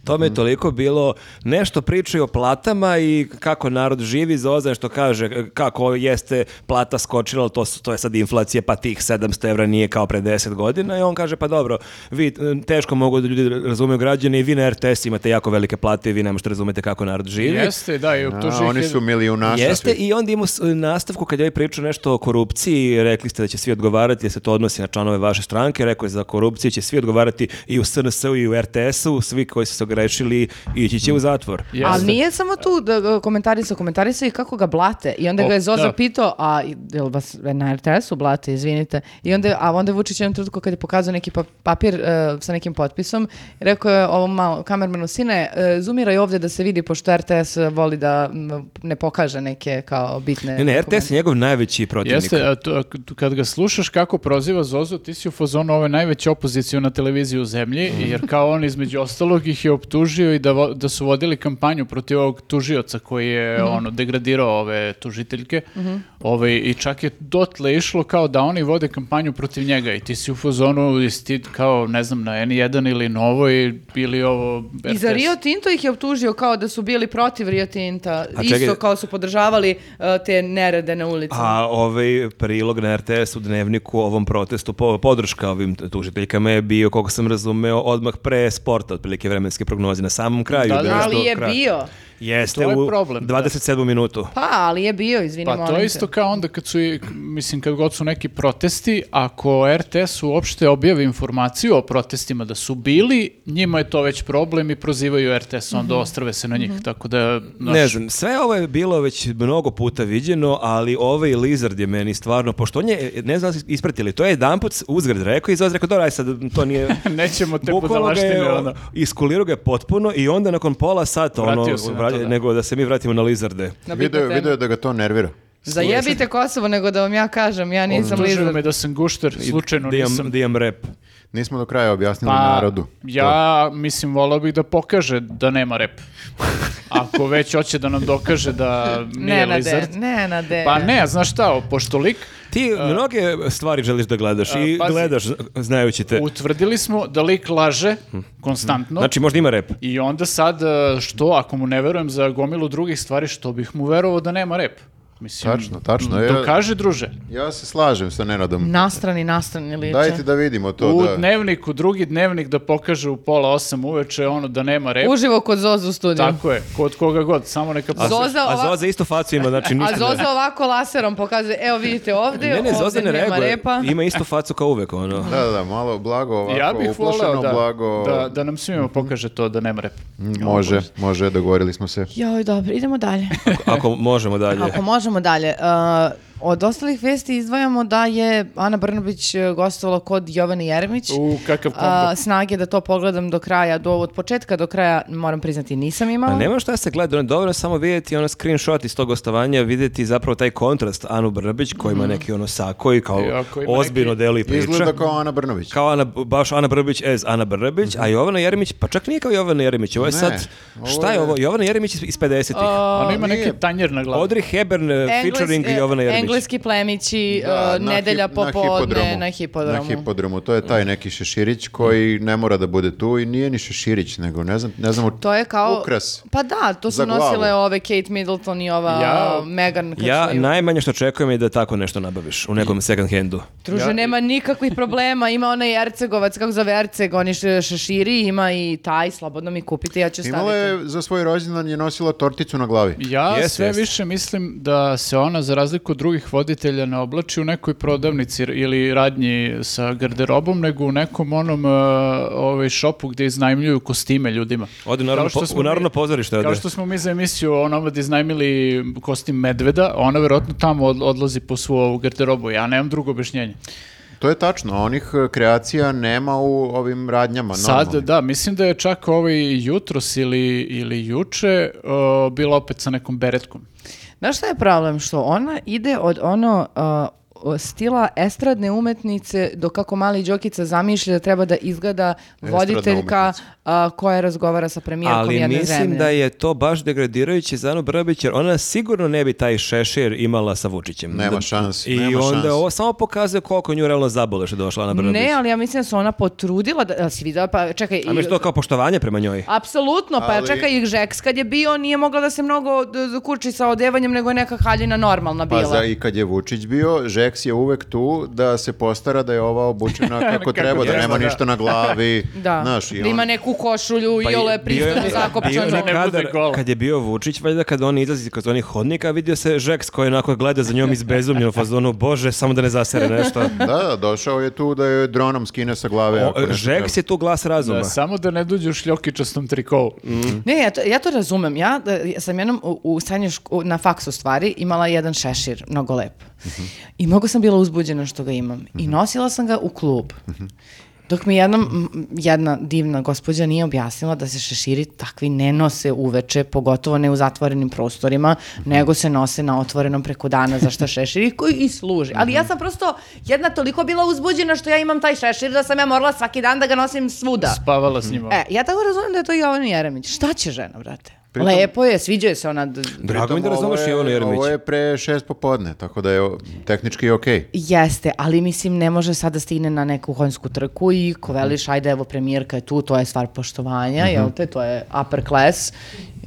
Speaker 1: To mi je toliko bilo, nešto pričaju o platama i kako narod živi za ozaj što kaže e, kako jeste plata skočila, ali to, su- to je sad inflacija, pa tih 700 evra nije kao pre 10 godina i on kaže pa dobro, vi eh, teško mogu da ljudi razumeju građani i vi na RTS imate jako velike plate i vi ne možete razumete kako narod živi.
Speaker 2: Jeste, da, i
Speaker 4: A,
Speaker 2: optužuje
Speaker 4: oni
Speaker 2: hiljadu-
Speaker 4: su milijunaša.
Speaker 1: Jeste
Speaker 4: svi.
Speaker 1: i onda imamo s- nastavku kad je ovaj pričao nešto o korupciji, rekli ste da će svi odgovarati, jer se to odnosi na članove vaše stranke, rekao je za korupciju će svi odgovarati i u SNS-u i u RTS-u, svi koji su se ogrešili ići će u zatvor.
Speaker 2: Jeste.
Speaker 3: Ali nije samo tu da komentarisao, komentarisao i kako ga blate. I onda
Speaker 2: O,
Speaker 3: ga je Zoza
Speaker 2: da.
Speaker 3: pitao, a jel vas na RTS-u blate, izvinite. I onda, a onda je Vučić u jednom trenutku kad je pokazao neki pa- papir e, sa nekim potpisom, rekao je ovom malo kamermanu, sine, e, zoomiraj ovdje da se vidi, pošto RTS voli da m, ne pokaže neke kao bitne...
Speaker 1: Ne, ne, RTS
Speaker 3: dokumente.
Speaker 1: je njegov najveći protivnik.
Speaker 2: Jeste, a to- a k- kad ga slušaš kako proziva Zozu, ti si u fazonu ove najveće opozicije na televiziji u zemlji,
Speaker 3: Mhm.
Speaker 2: jer kao on između ostalog ih je optužio i da, vo- da su vodili kampanju protiv ovog tužioca koji je
Speaker 3: Mhm.
Speaker 2: ono, degradirao ove tužiteljke. Ovaj, I čak je dotle išlo kao da oni vode kampanju protiv njega i ti si u fazonu jesi ti kao, ne znam, na N1 ili Novoj ili ovo
Speaker 3: I za
Speaker 2: RTS.
Speaker 3: Rio Tinto ih je optužio kao da su bili protiv Rio Tinta,
Speaker 1: A čekaj-
Speaker 3: isto kao su podržavali e, te nerede na ulici.
Speaker 1: A ovaj prilog na RTS u dnevniku o ovom protestu, po, podrška ovim tužiteljkama je bio, koliko sam razumeo, odmah pre sporta, otprilike vremenske prognoze na samom kraju.
Speaker 2: Da, da.
Speaker 1: bilo
Speaker 3: Ali
Speaker 1: što
Speaker 3: je
Speaker 1: kratko.
Speaker 3: bio.
Speaker 1: Jeste
Speaker 2: To je
Speaker 1: u
Speaker 2: problem, da.
Speaker 1: 27. minutu.
Speaker 3: Pa, ali je bio, izvini,
Speaker 2: Pa
Speaker 3: molim
Speaker 2: to
Speaker 3: te.
Speaker 2: je isto kao onda kad su, i- mislim, kad god su neki protesti, ako RTS uopšte objavi informaciju o protestima da su bili, njima je to već problem i prozivaju RTS,
Speaker 3: Mhm.
Speaker 2: onda ostrave se na njih, tako da... znaš,
Speaker 1: Ne znam, sve ovo je bilo već mnogo puta viđeno, ali ovaj Lizard je meni stvarno, pošto on je, ne znam da li ste ispratili, to je jedan put uzgred rekao i Zoz rekao, dobro, aj sad, to
Speaker 2: (laughs)
Speaker 1: nije...
Speaker 2: Nećemo te
Speaker 1: Bukvalno ga
Speaker 2: budalaštine,
Speaker 1: je,
Speaker 2: ono. Vratio se na to,
Speaker 1: vra-
Speaker 2: da.
Speaker 1: ono, nego da se mi vratimo na Lizarde.
Speaker 3: Na bitnu
Speaker 4: Video, je-
Speaker 3: temu.
Speaker 4: video je da ga to nervira.
Speaker 3: Zajebite Kosovo, nego da vam ja kažem, ja nisam
Speaker 2: Optužuju me
Speaker 3: lizard.
Speaker 2: da sam gušter, slučajno
Speaker 1: Dijam-
Speaker 2: nisam.
Speaker 1: Dijam rep.
Speaker 4: Nismo do kraja objasnili
Speaker 2: Pa-
Speaker 4: narodu.
Speaker 2: ja, mislim, volao bih da pokaže da nema rep. Ako već hoće da nam dokaže da nije
Speaker 3: Ne na de,
Speaker 2: lizard.
Speaker 3: ne na de.
Speaker 2: Pa ne, znaš šta, pošto lik
Speaker 1: Ti mnoge stvari želiš da gledaš i
Speaker 2: pazi.
Speaker 1: gledaš zna- znajući te.
Speaker 2: utvrdili smo da lik laže konstantno.
Speaker 1: Znači, možda ima rep.
Speaker 2: I onda sad, e, što, ako mu ne verujem za gomilu drugih stvari, što bih mu verovao da nema rep? Mislim,
Speaker 4: Tačno, tačno, je.
Speaker 2: Dokaži, druže.
Speaker 4: Ja se slažem sa Nenadom.
Speaker 3: Nastrani, nastrani liče.
Speaker 4: Dajte da vidimo to.
Speaker 2: u
Speaker 4: da...
Speaker 2: dnevniku, drugi dnevnik da pokaže u pola osam uveče ono da nema rep.
Speaker 3: Uživo kod Zozu u studiju.
Speaker 2: Tako je, kod koga god, samo neka pokaže.
Speaker 3: Zoza
Speaker 1: A
Speaker 3: ova-
Speaker 1: Zoza istu facu ima, znači ništa
Speaker 3: A Zoza ovako laserom pokazuje, evo vidite ovdje,
Speaker 1: Ne, ne, Zoza
Speaker 3: ovdje
Speaker 1: ne
Speaker 3: nema
Speaker 1: reaguje.
Speaker 3: repa.
Speaker 1: Ima istu facu kao uvek,
Speaker 3: (laughs)
Speaker 1: ono.
Speaker 4: Da, da, da, malo blago ovako,
Speaker 2: Ja bih voleo
Speaker 4: uplašeno,
Speaker 2: da,
Speaker 4: blago... Mhm.
Speaker 2: da, da nam svima pokaže to da nema rep.
Speaker 4: Može, može, dogovorili smo se.
Speaker 3: Joj, dobro, idemo
Speaker 2: (laughs)
Speaker 3: dalje.
Speaker 1: (laughs) Ako možemo dalje.
Speaker 3: Ako možemo dalje. Uh, od ostalih vesti izdvajamo da je Ana Brnobić uh, gostovala kod Jovane Jeremić.
Speaker 2: U, kakav kombo.
Speaker 3: A, snage da to pogledam do kraja, do, od početka do kraja, moram priznati, nisam imala.
Speaker 1: A nema šta se gleda, ono je dovoljno samo vidjeti ono screenshot iz tog gostovanja, vidjeti zapravo taj kontrast Anu Brnabić koji ima neki ono sako i kao
Speaker 2: I ako ima
Speaker 1: ozbiljno
Speaker 2: neki-
Speaker 1: deli priča.
Speaker 4: Izgleda kao Ana Brnović.
Speaker 1: Kao Ana, baš Ana Brnabić as Ana Brnabić,
Speaker 2: Mhm.
Speaker 1: a Jovana Jeremić, pa čak nije kao Jovana Jeremić, ovo je
Speaker 4: Ne,
Speaker 1: sad,
Speaker 4: ovo
Speaker 1: šta je
Speaker 4: je-
Speaker 1: ovo, Jovana Jeremić iz, iz 50-ih.
Speaker 2: Ona Ono ima
Speaker 4: nije.
Speaker 2: neki tanjer na glavi.
Speaker 1: Audrey Hepburn eh,
Speaker 3: Engles-
Speaker 1: featuring
Speaker 3: e,
Speaker 1: Jovana Jeremić.
Speaker 3: Engleski plemići,
Speaker 4: Da,
Speaker 3: e,
Speaker 4: na
Speaker 3: nedelja
Speaker 4: hip-
Speaker 3: popodne na
Speaker 4: Na
Speaker 3: hipodromu.
Speaker 4: hipodromu, to je taj neki šeširić koji ne mora da bude tu i nije ni šeširić, nego ne znam, ne znam, u-
Speaker 3: To je kao...
Speaker 4: ukras.
Speaker 3: Pa da, to
Speaker 4: Za
Speaker 3: su
Speaker 4: glavu.
Speaker 3: nosile ove Kate Middleton i ova
Speaker 2: Ja-
Speaker 3: Megan. kad
Speaker 1: Ja
Speaker 3: su ju-
Speaker 1: najmanje što očekujem je da tako nešto nabaviš u nekom second handu.
Speaker 3: Druže,
Speaker 2: Ja-
Speaker 3: nema nikakvih problema. Ima onaj Ercegovac, kako zove Erceg, oni š- šeširi, ima i taj, slobodno mi kupite, ja ću staviti.
Speaker 4: Imala je za svoj rođendan je nosila torticu na glavi.
Speaker 2: Ja
Speaker 1: Jeste,
Speaker 2: sve
Speaker 1: jeste.
Speaker 2: više mislim da se ona, za razliku od drugih voditelja, ne oblači u nekoj prodavnici ili radnji sa garderobom, nego u nekom onom e, ovaj, šopu gdje iznajmljuju kostime ljudima.
Speaker 1: Ode u
Speaker 2: Kao
Speaker 1: narodno,
Speaker 2: što
Speaker 1: po-
Speaker 2: smo
Speaker 1: u narodno
Speaker 2: mi-
Speaker 1: pozorište.
Speaker 2: Kao
Speaker 1: ode.
Speaker 2: što smo mi za emisiju o Nomad iznajmili kostim medveda, ona verovatno tamo od- odlazi po svu ovu garderobu. Ja nemam drugo objašnjenje.
Speaker 4: To je tačno, onih eh, kreacija nema u ovim
Speaker 1: Pa
Speaker 4: radnjama.
Speaker 2: Sad,
Speaker 4: normalnim.
Speaker 2: da, mislim da je čak ovaj jutros ili, ili juče uh, bila opet sa nekom beretkom.
Speaker 3: Znaš šta je problem? Što ona ide od ono... uh, o, stila estradne umetnice do kako mali Đokica zamišlja da treba da izgleda
Speaker 4: Estradna
Speaker 3: voditeljka
Speaker 4: umetnica.
Speaker 3: a, koja razgovara sa premijerkom
Speaker 1: Ali
Speaker 3: jedne
Speaker 1: mislim
Speaker 3: zemlje.
Speaker 1: da je to baš degradirajuće za Anu Brnabić, jer ona sigurno ne bi taj šešir imala sa Vučićem.
Speaker 4: Nema
Speaker 1: Da-
Speaker 4: šans,
Speaker 1: I
Speaker 4: nema
Speaker 1: onda
Speaker 4: šans.
Speaker 1: ovo samo pokazuje koliko nju realno zabole što je došla Ana Brnabić.
Speaker 3: Ne, ali ja mislim da se ona potrudila da, da si videla, pa čekaj...
Speaker 1: A mi
Speaker 3: i-
Speaker 1: to kao poštovanje prema njoj.
Speaker 3: Apsolutno, pa
Speaker 4: Ali-
Speaker 3: čekaj ih Žeks kad je bio nije mogla da se mnogo d- d- kuči sa odevanjem nego je neka haljina normalna bila.
Speaker 4: Pa za, i kad je Vučić bio, Žeks je uvek tu da se postara da je ova
Speaker 1: (laughs)
Speaker 4: obučena kako, treba, da
Speaker 1: treba,
Speaker 4: nema
Speaker 1: da.
Speaker 4: ništa na glavi.
Speaker 3: (laughs) Da,
Speaker 4: Znaš, i
Speaker 3: da ima
Speaker 4: on-
Speaker 3: neku košulju
Speaker 1: Pa
Speaker 3: i ole pristojno zakopčanu.
Speaker 2: bio je neka-
Speaker 1: kadar,
Speaker 2: Ne bude gola.
Speaker 1: kad je bio Vučić, valjda kad on izlazi kroz onih hodnika, vidio se Žeks koji onako gleda za njom iz bezumljenog fazonu, bože, samo da ne zasere nešto.
Speaker 4: (laughs) Da, da, došao je tu da je dronom skine sa glave. ako
Speaker 1: O,
Speaker 4: nešto
Speaker 1: Žeks je tu glas razuma.
Speaker 2: Da, samo da ne dođu u šljokičastom trikovu.
Speaker 3: Ne, ja to, ja to razumem. Ja e, sam jednom u, u srednjoj ško- na faksu stvari imala jedan šešir, mnogo lep. I mnogo sam bila uzbuđena što ga imam. I nosila sam ga u klub. Dok mi jednom, m, jedna divna gospođa nije objasnila da se šeširi takvi ne nose uveče, pogotovo ne u zatvorenim prostorima, nego se nose na otvorenom preko dana za šta šeširi koji i služi. Ali ja sam prosto jedna toliko bila uzbuđena što ja imam taj šešir da sam ja morala svaki dan da ga nosim svuda.
Speaker 2: Spavala s njima.
Speaker 3: E, ja tako razumem da je to Jovan Jeremić. Šta će žena, brate?
Speaker 4: Pritom-
Speaker 3: Lepo je, sviđa se ona. d-
Speaker 4: Pritom
Speaker 1: Drago mi da razumeš
Speaker 4: ovo je-
Speaker 1: Jovanu Jeremić.
Speaker 4: Ovo je pre šest popodne, tako da je o- tehnički okej.
Speaker 3: Jeste, ali mislim ne može sad da stigne na neku konjsku trku i ko veliš, ajde evo premijerka je tu, to je stvar poštovanja, jel te, to je upper class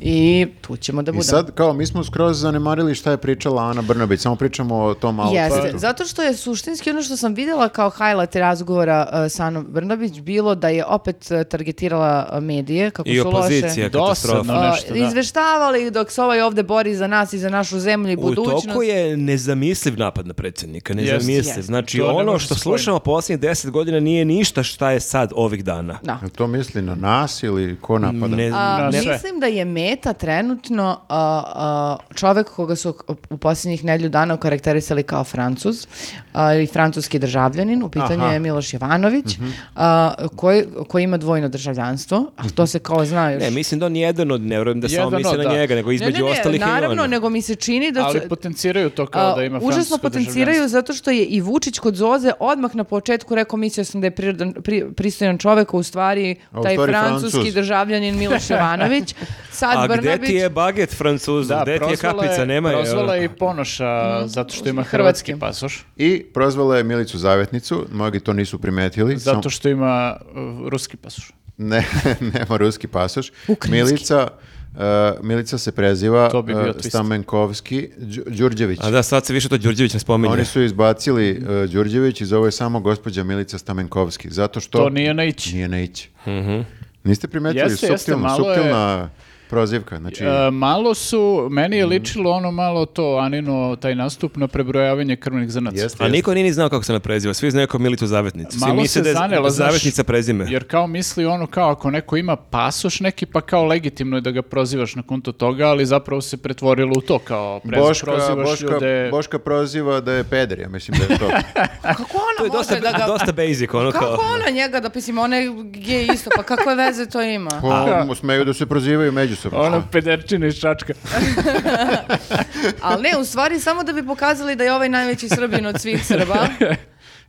Speaker 3: i tu ćemo da
Speaker 4: I
Speaker 3: budemo.
Speaker 4: sad, kao, mi smo skroz zanemarili šta je pričala Ana Brnabić, samo pričamo o tom outfitu.
Speaker 3: Jeste, zato što je suštinski ono što sam vidjela kao highlight razgovora uh, sa Anom Brnabić bilo da je opet uh, targetirala uh, medije kako
Speaker 1: I
Speaker 3: su loše.
Speaker 1: opozicija, ono katastrofa.
Speaker 2: Dosadno. Nešto,
Speaker 3: Uh,
Speaker 2: da.
Speaker 3: izveštavali ih dok se ovaj ovde bori za nas i za našu zemlju i
Speaker 1: U
Speaker 3: budućnost.
Speaker 1: toku je nezamisliv napad na predsjednika,
Speaker 2: Jeste.
Speaker 1: nezamisliv.
Speaker 3: Jeste.
Speaker 1: Znači,
Speaker 2: To ne
Speaker 1: ono
Speaker 2: može
Speaker 1: što
Speaker 2: se spojiti.
Speaker 1: slušamo posljednjih deset godina nije ništa šta je sad ovih dana.
Speaker 3: Da.
Speaker 4: Jel To misli na nas ili ko napada?
Speaker 1: Ne,
Speaker 3: Pa A,
Speaker 2: Na sve.
Speaker 3: mislim da je meta trenutno a, a, čovek koga su k- u posljednjih nedlju dana okarakterisali kao francuz a, ili francuski državljanin, u pitanju
Speaker 4: Aha.
Speaker 3: je Miloš Jovanović, a, koji, koji ima dvojno državljanstvo, a to se kao zna još.
Speaker 1: ne, mislim da on je jedan od, ne vjerujem da samo
Speaker 2: Jedan
Speaker 1: misle
Speaker 2: od,
Speaker 1: na
Speaker 2: da.
Speaker 1: njega, nego
Speaker 3: Ne, ne,
Speaker 1: između
Speaker 3: ne,
Speaker 1: ostalih je i
Speaker 3: naravno,
Speaker 1: on.
Speaker 3: nego mi se čini da
Speaker 2: Ali
Speaker 3: su-
Speaker 2: potenciraju to kao da ima
Speaker 3: znači, A, Užasno
Speaker 2: francusko državljanstvo.
Speaker 3: potenciraju zato što je i Vučić kod Zoze odmah na početku rekao mislio sam da je prirodan, pri- pristojan čovek, a u stvari
Speaker 4: A u
Speaker 3: taj
Speaker 4: stvari
Speaker 3: francuski
Speaker 4: Francuz.
Speaker 3: državljanin Miloš Jovanović. Sad
Speaker 1: A gde
Speaker 3: Brnabić-
Speaker 1: ti je baget francuzu,
Speaker 2: Da,
Speaker 1: gde ti je
Speaker 2: prozvala
Speaker 1: kapica, nema je.
Speaker 2: prozvala
Speaker 4: ono-
Speaker 2: je i Ponoša zato što ima
Speaker 3: Mhm. Hrvatski.
Speaker 2: hrvatski pasoš,
Speaker 4: I prozvala je Milicu Zavetnicu, mnogi to nisu primetili. samo-
Speaker 2: zato što ima uh, ruski pasoš.
Speaker 4: Ne, (laughs) nema ruski pasoš.
Speaker 3: Ukrajinski.
Speaker 4: Milica, uh, Milica se preziva
Speaker 2: To bi bio
Speaker 4: uh,
Speaker 2: twist.
Speaker 4: Stamenkovski Đu- Đurđević.
Speaker 1: A da, sad se više to Đurđević ne spominje.
Speaker 4: Oni su izbacili uh, Đurđević i zove je samo gospođa Milica Stamenkovski, zato što
Speaker 2: To nije naići.
Speaker 4: nije na ići. Niste primetili,
Speaker 2: Jeste, jeste,
Speaker 4: suptilna,
Speaker 2: malo je-
Speaker 4: suptilna prozivka. Znači,
Speaker 2: E, malo su, meni
Speaker 4: Mhm.
Speaker 2: je ličilo ono malo to Anino, taj nastup na prebrojavanje krvnih zrnaca.
Speaker 4: jeste,
Speaker 1: A
Speaker 4: jeste.
Speaker 1: niko nije ni znao kako se ne preziva, svi znaju kao Milicu Zavetnicu. Svi
Speaker 2: Malo
Speaker 1: misle
Speaker 2: se
Speaker 1: da je
Speaker 2: zanela, znaš,
Speaker 1: Zavetnica prezime.
Speaker 2: Jer kao misli ono kao ako neko ima pasoš neki pa kao legitimno je da ga prozivaš na konto toga, ali zapravo se pretvorilo u to kao prez,
Speaker 4: Boška,
Speaker 2: prozivaš
Speaker 4: Boška,
Speaker 2: ljude.
Speaker 4: Boška proziva da je peder, ja mislim da je
Speaker 2: (laughs)
Speaker 4: to.
Speaker 3: Kako ona
Speaker 1: To je dosta,
Speaker 3: može da ga...
Speaker 1: dosta basic, ono
Speaker 3: Kako
Speaker 1: kao...
Speaker 3: ona njega da pisim, ona je gej isto, pa kakve veze to ima?
Speaker 4: Po, smeju da se prozivaju međusobno.
Speaker 2: Ono pederčina iz Čačka.
Speaker 4: (laughs)
Speaker 3: Ali ne, u stvari samo da bi pokazali da je ovaj najveći srbin od svih Srba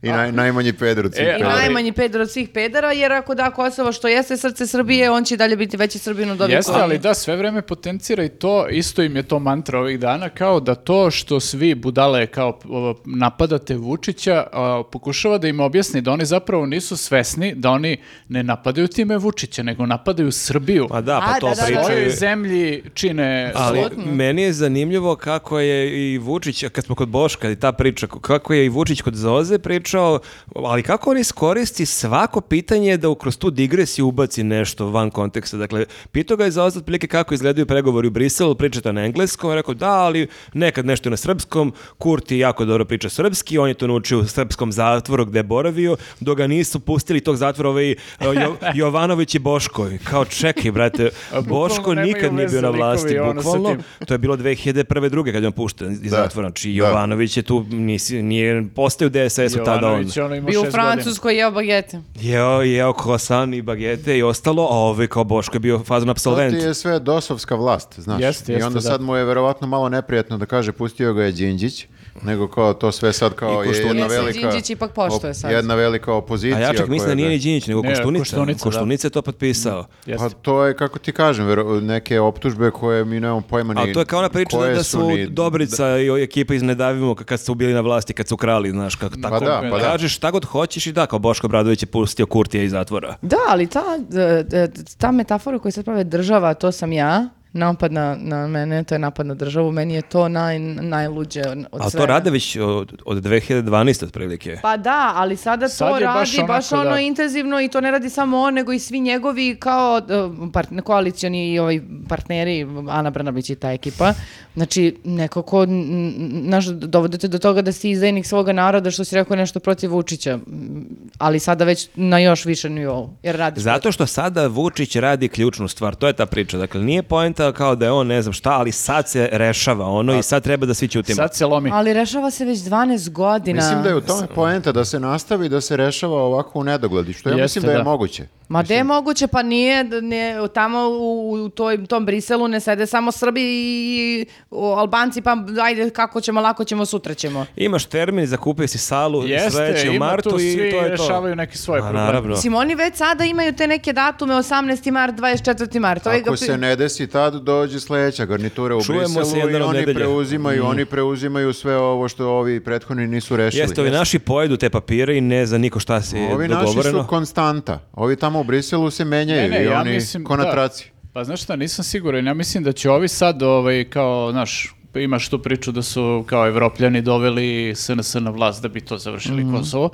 Speaker 4: I naj, najmanji peder od svih
Speaker 2: E,
Speaker 3: i
Speaker 4: pedera.
Speaker 2: ali-
Speaker 3: najmanji peder od svih pedera, jer ako da Kosovo što jeste srce Srbije, on će i dalje biti veći srbin od ovih
Speaker 2: Jeste,
Speaker 3: koji-
Speaker 2: ali da, sve vreme potencira i to, isto im je to mantra ovih dana, kao da to što svi budale kao o, napadate Vučića, a, pokušava da im objasni da oni zapravo nisu svesni da oni ne napadaju time Vučića, nego napadaju Srbiju.
Speaker 1: Pa da,
Speaker 3: A,
Speaker 1: pa to
Speaker 3: da, da, da.
Speaker 2: U
Speaker 1: pričaju.
Speaker 2: svojoj zemlji čine...
Speaker 1: Ali
Speaker 3: Apsolutno.
Speaker 1: meni je zanimljivo kako je i Vučić, kad smo kod Boška i ta priča, kako je i Vučić kod Zoze pričao, ali kako on iskoristi svako pitanje da u- kroz tu digresiju ubaci nešto van konteksta. Dakle, pitao ga je Zoza otprilike kako izgledaju pregovori u Briselu, pričate na engleskom, on je rekao da, ali nekad nešto na srpskom, Kurti jako dobro priča srpski, on je to naučio u srpskom zatvoru gde je boravio, dok ga nisu pustili iz tog zatvora ovaj e, Jo- Jovanović i Boško. Kao čekaj, brate, Boško
Speaker 2: nemaju
Speaker 1: nikad nije bio na
Speaker 2: veze
Speaker 1: vlasti,
Speaker 2: likovi, ono, sa
Speaker 1: bukvalno.
Speaker 2: tim.
Speaker 1: To je bilo 2001. druge kad je on pušten iz
Speaker 4: Da.
Speaker 1: zatvora. Znači
Speaker 4: Da.
Speaker 1: Jovanović je tu nisi, nije postao u DSS-u
Speaker 2: Jovanović
Speaker 1: onda on.
Speaker 2: Milanović, ono imao
Speaker 3: Bio u
Speaker 2: šest
Speaker 3: Francuskoj jeo bagete.
Speaker 1: Jeo, jeo croissant i bagete i ostalo, a ovaj kao Boško je bio fazon
Speaker 4: To
Speaker 1: absolvent.
Speaker 4: ti je sve dosovska vlast, znaš.
Speaker 2: Jeste,
Speaker 4: I
Speaker 2: jeste,
Speaker 4: onda
Speaker 2: da.
Speaker 4: sad mu je verovatno malo neprijatno da kaže pustio ga je Đinđić, nego kao to sve sad kao
Speaker 1: I
Speaker 4: je
Speaker 1: Koštunica.
Speaker 4: jedna
Speaker 3: Jesi,
Speaker 4: velika...
Speaker 3: Đinđić ipak poštuje sad.
Speaker 4: Jedna velika opozicija.
Speaker 1: A ja čak mislim
Speaker 4: koja
Speaker 1: da nije
Speaker 4: ga-
Speaker 1: ni Đinjić, nego
Speaker 2: Ne,
Speaker 1: Koštunica.
Speaker 2: Koštunica,
Speaker 1: Koštunica,
Speaker 2: da.
Speaker 1: je to potpisao.
Speaker 4: Pa
Speaker 2: Jeste.
Speaker 4: to je, kako ti kažem, vero- neke optužbe koje mi nemamo pojma ni...
Speaker 1: A to je kao ona priča da,
Speaker 4: koje
Speaker 1: da su
Speaker 4: ni-
Speaker 1: Dobrica i o- ekipa iz Nedavimo k- kad su bili na vlasti, kad su krali, znaš, kako tako.
Speaker 4: da, pa da.
Speaker 1: Kažeš šta god hoćeš i da, kao Boško Bradović je pustio Kurtija iz zatvora.
Speaker 3: Da, ali ta, d- d- ta metafora koju sad prave država, to sam ja, napad na, na mene, to je napad na državu, meni je to naj, najluđe od
Speaker 1: Ali to
Speaker 3: svega.
Speaker 1: rade već od, od 2012. otprilike.
Speaker 3: Pa da, ali sada
Speaker 2: Sad
Speaker 3: to
Speaker 2: je
Speaker 3: radi
Speaker 2: baš
Speaker 3: baš,
Speaker 2: onako,
Speaker 3: ono
Speaker 2: da.
Speaker 3: intenzivno i to ne radi samo on, nego i svi njegovi kao uh, part, koalicioni i ovaj partneri, Ana Brnabić i ta ekipa. Znači, nekako, n- n- znaš, dovodite do toga da si izdajnik svoga naroda što si rekao nešto protiv Vučića, m, ali sada već na još više nivou, jer
Speaker 2: pa
Speaker 3: radiš
Speaker 1: Zato što sada Vučić radi ključnu stvar, to je ta priča. Dakle, nije poenta kao da je on ne znam šta, ali sad se rešava ono i sad treba da svi ćutimo.
Speaker 2: Pa, Sad se lomi.
Speaker 3: Ali rešava se već 12 godina.
Speaker 4: Mislim da je u tome poenta da se nastavi da se rešava ovako u nedogledi, što ja
Speaker 2: Jeste,
Speaker 4: mislim da je
Speaker 2: da.
Speaker 4: moguće.
Speaker 3: Ma da je moguće, pa nije, da ne, tamo u, u toj, tom Briselu ne sede samo Srbi i o, Albanci, pa ajde kako ćemo, lako ćemo, sutra ćemo.
Speaker 1: Imaš termin, zakupio si salu
Speaker 2: Jeste,
Speaker 1: sledeći u
Speaker 2: ima
Speaker 1: martu
Speaker 2: tu,
Speaker 1: i
Speaker 2: svi
Speaker 1: to je to.
Speaker 2: rešavaju neke svoje
Speaker 1: Pa,
Speaker 2: probleme.
Speaker 1: naravno.
Speaker 3: Mislim, oni već sada imaju te neke datume, 18. mart, 24. mart. Ovaj ga
Speaker 4: Ako
Speaker 3: pi-
Speaker 4: se ne desi, tad dođe sledeća garnitura u
Speaker 1: Čujemo se
Speaker 4: Briselu
Speaker 1: jedan
Speaker 4: i
Speaker 1: od
Speaker 4: oni
Speaker 1: nedelje. Mm.
Speaker 4: preuzimaju, oni preuzimaju sve ovo što ovi prethodni nisu rešili.
Speaker 1: Jeste, ovi naši pojedu te papire i ne zna niko šta se je
Speaker 4: Ovi naši
Speaker 1: dogovoreno.
Speaker 4: su konstanta. Ovi tamo u Briselu se menjaju i oni ko na
Speaker 2: da.
Speaker 4: traci.
Speaker 2: Pa znaš šta, nisam siguran, ja mislim da će ovi sad, ovaj, kao, znaš, imaš tu priču da su kao evropljani doveli SNS na vlast da bi to završili
Speaker 1: Mhm.
Speaker 2: Kosovo,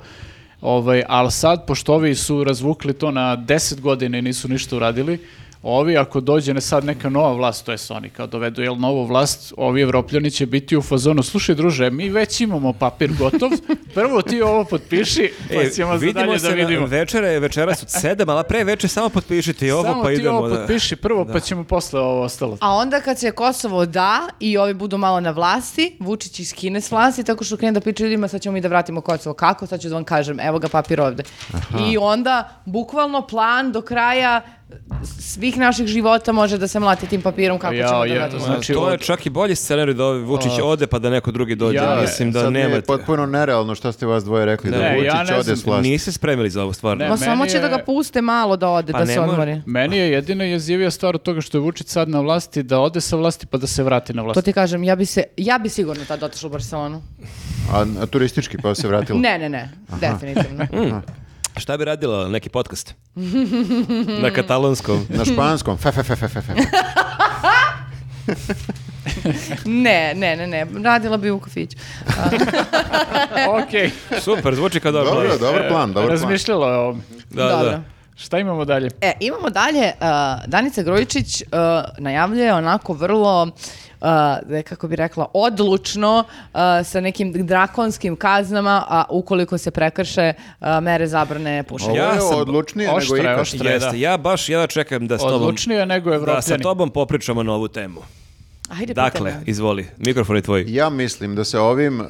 Speaker 2: ovaj, ali sad, pošto ovi su razvukli to na 10 godina i nisu ništa uradili, ovi ako dođe ne sad neka nova vlast, to je oni kao dovedu jel novu vlast, ovi evropljani će biti u fazonu, slušaj druže, mi već imamo papir gotov, (laughs) prvo ti ovo potpiši, pa
Speaker 1: E,
Speaker 2: ćemo za
Speaker 1: vidimo
Speaker 2: dalje
Speaker 1: se
Speaker 2: da vidimo.
Speaker 1: Na, večera je večeras od sedam, ali pre večer samo potpišite i ovo
Speaker 2: Samo
Speaker 1: pa
Speaker 2: ti
Speaker 1: idemo.
Speaker 2: ovo
Speaker 1: da-
Speaker 2: potpiši prvo, pa ćemo posle ovo ostalo.
Speaker 3: A onda kad se Kosovo da i ovi budu malo na vlasti, Vučić ih skine s vlasti tako što krene da priča ljudima sad ćemo mi da vratimo Kosovo. Kako? Sad ću da vam kažem. Evo ga papir ovde. I onda bukvalno plan do kraja svih naših života može da se mlati tim papirom kako
Speaker 2: Jao,
Speaker 3: ćemo da
Speaker 2: je-
Speaker 3: vratimo.
Speaker 1: Ma,
Speaker 2: Znači,
Speaker 1: Pa to je
Speaker 2: od-
Speaker 1: čak i bolji scenarij da ovi Vučić ode pa da neko drugi dođe.
Speaker 2: Ja,
Speaker 1: Mislim da
Speaker 4: Sad mi
Speaker 1: nemate.
Speaker 4: je potpuno nerealno šta ste vas dvoje rekli, da
Speaker 2: Ne, ja
Speaker 4: Vučić
Speaker 2: ne
Speaker 4: ode
Speaker 2: znam.
Speaker 4: s vlasti.
Speaker 1: Niste spremili za ovo stvarno.
Speaker 2: Ne,
Speaker 3: Ma
Speaker 2: Ma
Speaker 3: samo
Speaker 2: meni
Speaker 3: će da ga
Speaker 2: je-
Speaker 3: puste malo da ode,
Speaker 1: E, Pa
Speaker 3: da
Speaker 1: ne
Speaker 3: se
Speaker 1: mora-
Speaker 3: odmori.
Speaker 2: Meni je jedina jezivija stvar od toga što je Vučić sad na vlasti da ode sa vlasti pa da se vrati na
Speaker 3: To
Speaker 2: vlast.
Speaker 3: ti kažem, ja bi se, ja bi sigurno tad otišla u Barcelonu.
Speaker 4: A, a turistički pa se vratilo.
Speaker 3: Ne, ne, ne,
Speaker 1: (laughs)
Speaker 3: definitivno.
Speaker 1: Mm. Šta bi radila neki podcast? Na katalonskom.
Speaker 4: Na španskom. Fe, fe, fe, fe, fe,
Speaker 1: (laughs)
Speaker 4: fe.
Speaker 3: Ne, ne, ne, ne, radila bi u kafiću.
Speaker 2: Okej,
Speaker 1: Super, zvuči kao dobar
Speaker 4: Dobro,
Speaker 1: plan.
Speaker 4: dobar plan, dobar plan.
Speaker 2: razmišljalo je o ovome.
Speaker 1: Da,
Speaker 3: Dobro.
Speaker 1: da.
Speaker 2: Šta imamo dalje?
Speaker 3: E, imamo dalje, uh, Danica Grujičić uh, najavljuje onako vrlo, uh, da je, kako bi rekla, odlučno uh, sa nekim drakonskim kaznama, a ukoliko se prekrše uh, mere zabrane pušenja.
Speaker 4: Ovo
Speaker 1: Ja
Speaker 4: je
Speaker 1: sam
Speaker 4: odlučnije nego
Speaker 2: oštra je,
Speaker 4: ikad.
Speaker 2: oštra. Šta je,
Speaker 1: Jeste,
Speaker 2: da.
Speaker 1: ja baš ja čekam da s tobom
Speaker 2: Odlučnije nego
Speaker 1: da sa
Speaker 2: evropljani.
Speaker 1: tobom popričamo na ovu temu.
Speaker 3: Ajde,
Speaker 1: Dakle,
Speaker 3: pitanje.
Speaker 1: izvoli, mikrofon je tvoj.
Speaker 4: Ja mislim da se ovim, uh,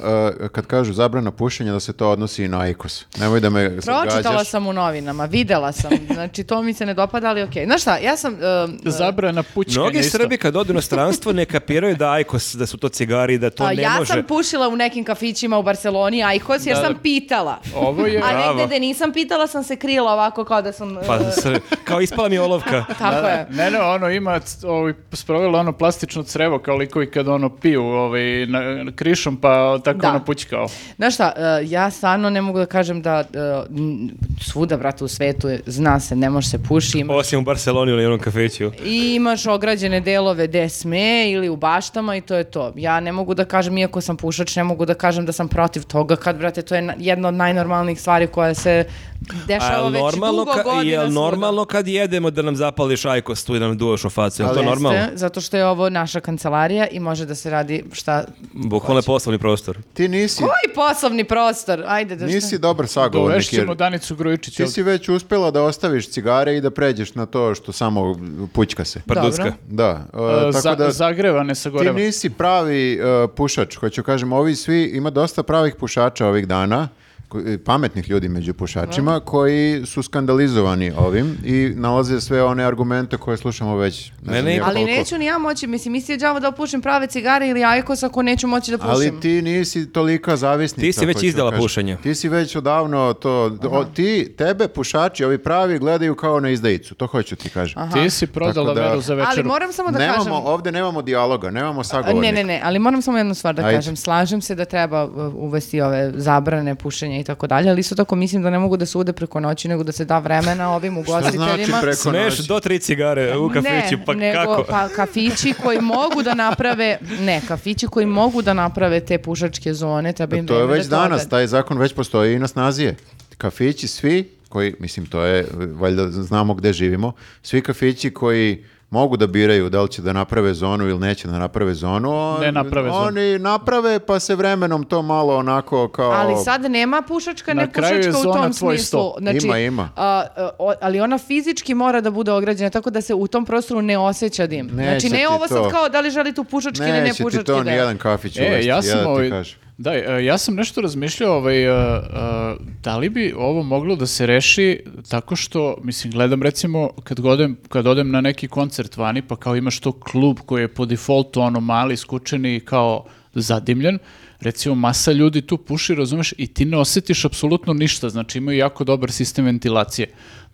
Speaker 4: kad kažu zabrana pušenja, da se to odnosi i na ajkos. Nemoj da me
Speaker 3: Pročitala
Speaker 4: gađaš.
Speaker 3: sam u novinama, videla
Speaker 1: (laughs)
Speaker 3: sam, znači to mi se ne dopada, ali okej. Znaš šta, ja sam... um,
Speaker 2: Zabrana pučka
Speaker 1: Mnogi Srbi kad odu na stranstvo ne kapiraju da ajkos, da su to cigari, da to
Speaker 3: a,
Speaker 1: ne
Speaker 3: Pa ja
Speaker 1: može.
Speaker 3: sam pušila u nekim kafićima u Barceloni ajkos jer sam pitala.
Speaker 2: Ovo
Speaker 3: (laughs)
Speaker 2: je...
Speaker 3: A
Speaker 1: Bravo.
Speaker 3: negde gde nisam pitala sam se krila ovako kao da sam...
Speaker 1: Pa,
Speaker 3: uh,
Speaker 1: sr- kao ispala mi
Speaker 3: (laughs)
Speaker 1: olovka.
Speaker 3: tako je.
Speaker 2: Ne, ne, ono ima c- ovaj, sprovelo ono plastično crevo kao likovi kad ono piju ovaj, na, na krišom pa tako
Speaker 3: Da.
Speaker 2: ono pućkao.
Speaker 3: Znaš šta, e, ja stvarno ne mogu da kažem da e, n- svuda, brate, u svetu je- zna se, ne može se puši, ima-
Speaker 1: Osim u Barceloni u jednom kafeću.
Speaker 3: i imaš ograđene delove gde sme ili u baštama i to je to. Ja ne mogu da kažem, iako sam pušač, ne mogu da kažem da sam protiv toga, kad, brate, to je na- jedna od najnormalnijih stvari koja se
Speaker 1: A
Speaker 3: dešava
Speaker 1: jel
Speaker 3: već
Speaker 1: normalno,
Speaker 3: dugo
Speaker 1: ka-
Speaker 3: godina
Speaker 1: jel
Speaker 3: svuda.
Speaker 1: normalno kad jedemo da nam zapališ ajkos tu i da nam duvaš u facu? Jel to
Speaker 3: Jeste,
Speaker 1: normalno?
Speaker 3: zato što je ovo naša kancelarija i može da se radi šta...
Speaker 1: Bukvalno je poslovni prostor.
Speaker 4: Ti nisi,
Speaker 3: Koji poslovni prostor? Ajde, da
Speaker 4: nisi dobar sagovornik.
Speaker 2: Dovešćemo
Speaker 4: Jer
Speaker 2: Danicu Grujičić.
Speaker 4: ti si već uspjela da ostaviš cigare i da pređeš na to što samo pućka se.
Speaker 1: Prducka.
Speaker 3: Dobro.
Speaker 4: Da, e,
Speaker 2: ovdje. Eh, Za-
Speaker 4: tako da
Speaker 2: Zagreva, ne sagoreva.
Speaker 4: ti eh, nisi pravi e, pušač. Hoću kažem, ovi svi, ima dosta pravih pušača ovih dana koji- pametnih ljudi među pušačima koji su skandalizovani ovim i nalaze sve one argumente koje slušamo već. Ne znam
Speaker 1: Mene-
Speaker 4: ni ja
Speaker 1: Ali
Speaker 3: Ali
Speaker 4: koliko.
Speaker 3: neću ni ja moći, mislim, misli je džavo da pušim prave cigare ili ajkos ako neću moći da pušim.
Speaker 4: Ali ti nisi tolika zavisnica.
Speaker 1: Ti si već
Speaker 4: hoću da
Speaker 1: izdala
Speaker 4: kažem.
Speaker 1: pušenje.
Speaker 4: Ti si već odavno to... o, ti, tebe pušači, ovi pravi, gledaju kao na izdajicu. To hoću ti kažem.
Speaker 2: Ti si prodala
Speaker 4: Tako da-
Speaker 2: veru za
Speaker 3: Ali
Speaker 2: večeru.
Speaker 3: moram samo da
Speaker 4: nemamo,
Speaker 3: kažem...
Speaker 4: Ovde nemamo dijaloga, nemamo sagovornika.
Speaker 3: Ne, ne, ne, ali moram samo jednu stvar da
Speaker 4: Pa Ajde.
Speaker 3: kažem. Slažem se da treba uh, uvesti ove zabrane pušenja i tako dalje, ali isto tako mislim da ne mogu da se ude preko noći, nego da se da vremena ovim
Speaker 4: (laughs) Šta
Speaker 3: ugostiteljima.
Speaker 4: znači preko
Speaker 1: Smeš
Speaker 4: noći?
Speaker 1: do tri cigare u kafiću,
Speaker 3: ne,
Speaker 1: pa
Speaker 3: nego,
Speaker 1: kako?
Speaker 3: Pa kafići koji mogu da naprave, ne, kafići koji mogu da naprave te pušačke zone, treba im
Speaker 4: E, Pa To je
Speaker 3: vreme
Speaker 4: već
Speaker 3: da to
Speaker 4: danas,
Speaker 3: odrade.
Speaker 4: taj zakon već postoji i na snazi je. Kafići svi koji, mislim to je, valjda znamo gde živimo, svi kafići koji mogu da biraju da li će da naprave zonu ili neće da naprave zonu, on-
Speaker 2: Ne naprave zonu.
Speaker 4: oni naprave pa se vremenom to malo onako kao...
Speaker 3: Ali sad nema pušačka,
Speaker 2: Na
Speaker 3: ne
Speaker 2: kraju je
Speaker 3: pušačka u
Speaker 2: zona
Speaker 3: tom
Speaker 2: tvoj
Speaker 3: smislu.
Speaker 2: sto.
Speaker 3: Znači,
Speaker 4: Ima, ima.
Speaker 3: a, a, o- ali ona fizički mora da bude ograđena, tako da se u tom prostoru ne osjeća dim.
Speaker 4: Neće
Speaker 3: znači, ne
Speaker 4: ti
Speaker 3: ovo
Speaker 4: to.
Speaker 3: sad kao da li želi tu pušački ili ne
Speaker 4: Neće
Speaker 3: pušački
Speaker 4: ti to
Speaker 3: deo.
Speaker 4: nijedan kafić
Speaker 2: E,
Speaker 4: uvesti,
Speaker 2: ja sam,
Speaker 4: da ti
Speaker 2: ovaj,
Speaker 4: kažem.
Speaker 2: daj, e, ja sam nešto razmišljao, ovaj, e, e, da li bi ovo moglo da se reši tako što, mislim, gledam recimo kad, godem, kad odem na neki koncert vani, pa kao imaš to klub koji je po defaultu ono mali, skučeni i kao zadimljen, recimo masa ljudi tu puši, razumeš, i ti ne osjetiš apsolutno ništa, znači imaju jako dobar sistem ventilacije.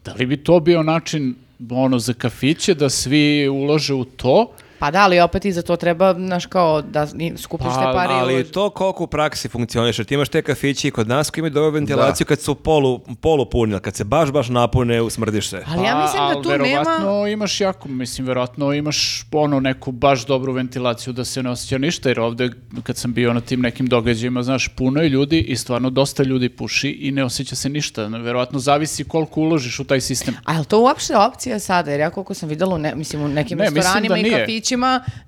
Speaker 2: Da li bi to bio način ono za kafiće da svi ulože u to
Speaker 3: Pa da, ali opet i za to treba, znaš, kao da i skupiš
Speaker 2: Pa,
Speaker 3: te pare. i
Speaker 1: Ali
Speaker 3: uložiš.
Speaker 1: to koliko u praksi funkcioniše. Ti imaš te kafići i kod nas koji imaju dobru ventilaciju kad su polu, polu punili, kad se baš, baš napune, usmrdiš se.
Speaker 3: Ali ja
Speaker 2: Pa,
Speaker 3: mislim da
Speaker 2: ali
Speaker 3: tu nema...
Speaker 2: verovatno imaš jako, mislim, verovatno imaš ono neku baš dobru ventilaciju da se ne osjeća ništa, jer ovde kad sam bio na tim nekim događajima, znaš, puno je ljudi i stvarno dosta ljudi puši i ne osjeća se ništa. Verovatno zavisi koliko uložiš u taj sistem.
Speaker 3: A je li to uopšte opcija sada? Jer ja koliko sam videla, u ne, mislim, u nekim
Speaker 2: Ne, mislim
Speaker 3: restoranima
Speaker 2: da
Speaker 3: i
Speaker 2: nije.
Speaker 3: kafićima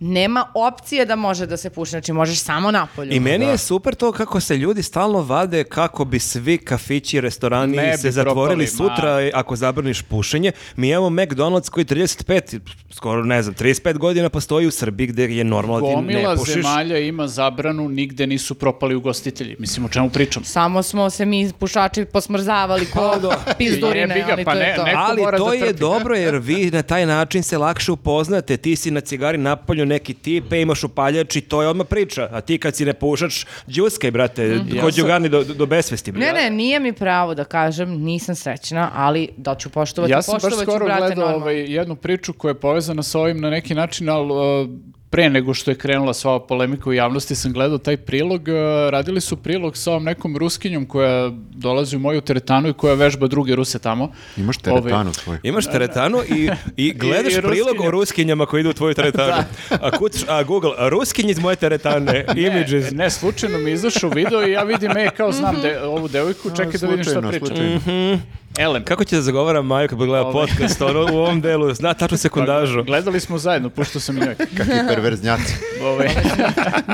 Speaker 3: nema opcije da može da se puši. Znači, možeš samo napolju.
Speaker 1: I meni je super to kako se ljudi stalno vade kako bi svi kafići i restorani
Speaker 2: Ne bi
Speaker 1: se zatvorili
Speaker 2: propali, ma.
Speaker 1: sutra e, ako zabraniš pušenje. Mi imamo McDonald's koji 35, skoro ne znam, 35 godina postoji u Srbiji gdje je normalno da ti ne
Speaker 2: Gomila
Speaker 1: pušiš.
Speaker 2: zemalja ima zabranu, nigde nisu propali ugostitelji. Mislim, o čemu pričam?
Speaker 3: Samo smo se mi pušači posmrzavali ko
Speaker 2: Jebi
Speaker 3: pizdurine,
Speaker 2: ga,
Speaker 3: ali
Speaker 2: pa
Speaker 3: to je
Speaker 2: ne-
Speaker 3: to.
Speaker 2: neko
Speaker 1: Ali
Speaker 2: mora
Speaker 1: to
Speaker 2: da
Speaker 1: je
Speaker 2: trpi.
Speaker 1: dobro jer vi na taj način se lakše upoznate. Ti si na cigari napolju neki tipe, imaš upaljač i to je odmah priča. A ti kad si ne pušač, džuskaj, brate, mm.
Speaker 2: Mm-hmm. Ja
Speaker 1: kod
Speaker 2: sam-
Speaker 1: Đugani do, do besvesti. bre.
Speaker 3: Ne, ne, nije mi pravo da kažem, nisam srećna, ali da ću poštovati,
Speaker 2: Ja sam baš
Speaker 3: poštovat ću,
Speaker 2: skoro
Speaker 3: brate,
Speaker 2: gledao
Speaker 3: normalno.
Speaker 2: ovaj, jednu priču koja je povezana sa ovim na neki način, ali e, pre nego što je krenula sva ova polemika u javnosti sam gledao taj prilog, e, radili su prilog sa ovom nekom ruskinjom koja dolazi u moju teretanu i koja vežba druge ruse tamo.
Speaker 4: Imaš
Speaker 2: Ovaj,
Speaker 4: teretanu svoju.
Speaker 1: Imaš teretanu i, i gledaš
Speaker 2: I- i
Speaker 1: prilog o
Speaker 2: ruskinje.
Speaker 1: ruskinjama koji idu u tvoju teretanu. a, kucaš, a Google, a ruskinje iz moje teretane, (laughs) images.
Speaker 2: e, Ne, slučajno mi je izašao video i ja vidim, e, kao znam de,
Speaker 3: Mhm.
Speaker 2: ovu devojku, čekaj da vidim šta
Speaker 4: Slučajno,
Speaker 2: priča. (laughs)
Speaker 4: slučajno.
Speaker 2: Elem,
Speaker 1: Kako će da zagovara Maju kad gleda
Speaker 2: Ovaj.
Speaker 1: podcast ono, u ovom delu? Zna tačnu sekundažu.
Speaker 2: gledali smo zajedno, puštao sam i
Speaker 3: (laughs)
Speaker 2: njoj.
Speaker 4: Kakvi perverznjaci.
Speaker 2: Ovaj.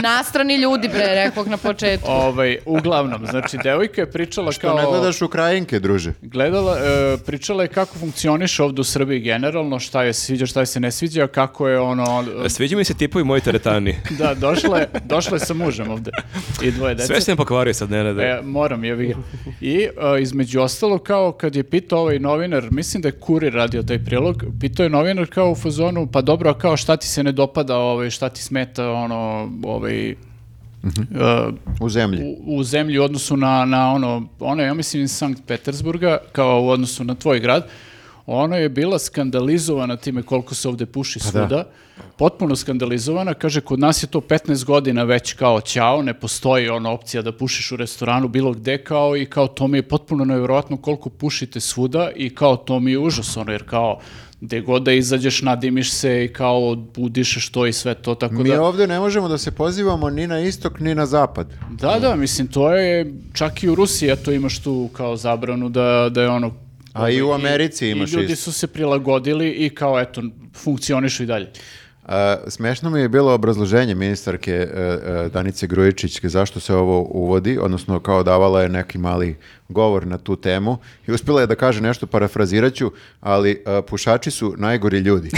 Speaker 3: Nastrani ljudi, bre, rekoh na
Speaker 2: (laughs)
Speaker 3: početku.
Speaker 2: ovaj, uglavnom, znači, devojka je pričala (laughs) kao...
Speaker 4: To ne gledaš Ukrajinke, druže.
Speaker 2: Gledala, e, pričala je kako funkcioniš ovdje u Srbiji generalno, šta je sviđa, šta je se ne sviđa, kako je ono... e,
Speaker 1: Sviđa mi se tipovi moji teretani.
Speaker 2: Da, došla je, došla je sa mužem ovdje i dvoje dece.
Speaker 1: Sve ste nam pokvario sad, Nenade.
Speaker 2: E, moram, jebi ga. I e, između ostalo, kao kad je pitao ovaj novinar, mislim da je Kurir radio taj prilog, pitao je novinar kao u fazonu, pa dobro, a kao šta ti se ne dopada, ovaj, šta ti smeta, ono, ovaj, e,
Speaker 4: U zemlji.
Speaker 2: u, u zemlji u odnosu na, na ono, ono je, ja mislim iz Sankt Petersburga, kao u odnosu na tvoj grad, ono je bila skandalizovana time koliko se ovdje puši svuda, potpuno skandalizovana, kaže kod nas je to 15 godina već kao ćao, ne postoji ona opcija da pušiš u restoranu bilo gde kao i kao to mi je potpuno nevjerojatno koliko pušite svuda i kao to mi je užas ono, jer kao gde god da izađeš nadimiš se i kao udišeš to i sve to, tako
Speaker 4: Mi
Speaker 2: da...
Speaker 4: ovdje ne možemo da se pozivamo ni na istok, ni na zapad.
Speaker 2: Da, da, mislim, to je, čak i u Rusiji, a to imaš tu kao zabranu da, da je ono...
Speaker 4: A i u Americi imaš
Speaker 2: I ljudi
Speaker 4: isto.
Speaker 2: su se prilagodili i kao, eto, funkcionišu i dalje.
Speaker 4: A, smešno mi je bilo obrazloženje ministarke e, e, Danice Grujičić zašto se ovo uvodi, odnosno kao davala je neki mali govor na tu temu i uspjela je da kaže nešto, parafrazirat ću, ali e, pušači su najgori
Speaker 2: (laughs)
Speaker 4: ljudi.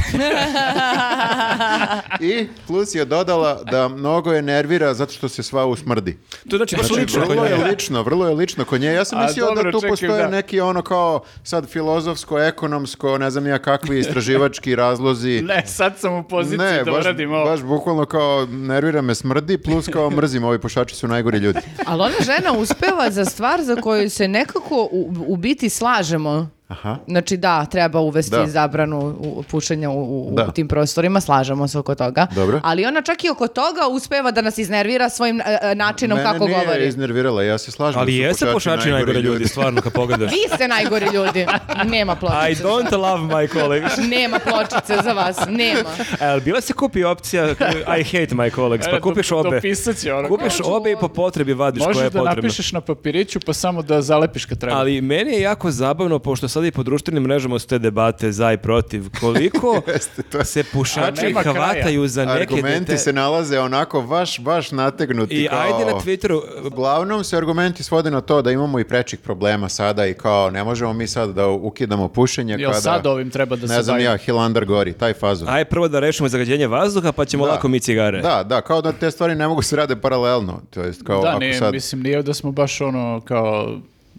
Speaker 4: I plus je dodala da mnogo je nervira zato što se sva usmrdi.
Speaker 1: To znači baš lično kod
Speaker 4: Vrlo je
Speaker 1: nje.
Speaker 4: lično, vrlo je lično kod nje. Ja sam
Speaker 2: A,
Speaker 4: mislio da
Speaker 2: dobro,
Speaker 4: tu
Speaker 2: čekaj,
Speaker 4: postoje
Speaker 2: da.
Speaker 4: neki ono kao sad filozofsko, ekonomsko, ne znam ja
Speaker 1: (laughs)
Speaker 4: kakvi istraživački razlozi.
Speaker 2: Ne, sad sam u poziciji da
Speaker 4: baš,
Speaker 2: uradim ovo.
Speaker 4: baš bukvalno kao nervira me smrdi, plus kao mrzim, ovi pušači su najgori
Speaker 1: (laughs)
Speaker 4: ljudi.
Speaker 3: Ali ona žena uspeva za stvar za koju se nekako u, u biti slažemo.
Speaker 4: Aha.
Speaker 3: Znači da, treba uvesti
Speaker 4: Da.
Speaker 3: zabranu u- pušenja u, u,
Speaker 4: Da.
Speaker 3: u tim prostorima, slažemo se oko toga.
Speaker 4: Dobro.
Speaker 3: Ali ona čak i oko toga uspeva da nas iznervira svojim e, e, načinom
Speaker 4: Mene
Speaker 3: kako
Speaker 4: nije
Speaker 3: govori.
Speaker 4: iznervirala, ja se slažem.
Speaker 1: Ali
Speaker 4: da su
Speaker 1: jeste pušači najgori ljudi, stvarno, kad
Speaker 3: (laughs)
Speaker 1: pogledaš.
Speaker 3: Vi ste najgori ljudi. Nema
Speaker 1: I
Speaker 3: pločice.
Speaker 1: don't love my
Speaker 3: (laughs)
Speaker 1: colleagues.
Speaker 3: Nema pločice za vas, nema.
Speaker 1: El, bila se kupi opcija I hate my colleagues,
Speaker 2: E,
Speaker 1: pa
Speaker 2: do-
Speaker 1: kupiš obe.
Speaker 2: dopisat će ono.
Speaker 1: Kupiš
Speaker 3: Hoću
Speaker 1: obe i po
Speaker 3: obe.
Speaker 1: potrebi vadiš koja je
Speaker 2: Možeš da
Speaker 1: potrebna.
Speaker 2: napišeš na papiriću pa samo da zalepiš kad treba.
Speaker 1: Ali meni je jako zabavno, pošto sada i po društvenim mrežama su te debate za i protiv, koliko
Speaker 4: (laughs) to.
Speaker 1: se
Speaker 2: A
Speaker 1: pušači
Speaker 2: nema kraja.
Speaker 1: hvataju za neke
Speaker 4: Argumenti
Speaker 1: dete-
Speaker 4: se nalaze onako baš, baš nategnuti.
Speaker 1: I
Speaker 4: kao-
Speaker 1: ajde na Twitteru,
Speaker 4: Uglavnom se argumenti svode na to da imamo i prečih problema sada i kao ne možemo mi sad da ukidamo pušenje
Speaker 2: Jel
Speaker 4: kada...
Speaker 2: sad ovim treba da se
Speaker 4: Ne znam
Speaker 2: bavimo?
Speaker 4: ja, Hilandar gori, taj fazon.
Speaker 1: aj prvo da rešimo zagađenje vazduha, pa ćemo lako mi cigare.
Speaker 4: Da, da, kao da te stvari ne mogu se rade paralelno. To jest kao
Speaker 2: da,
Speaker 4: ako
Speaker 2: ne,
Speaker 4: sad...
Speaker 2: mislim, nije da smo baš ono kao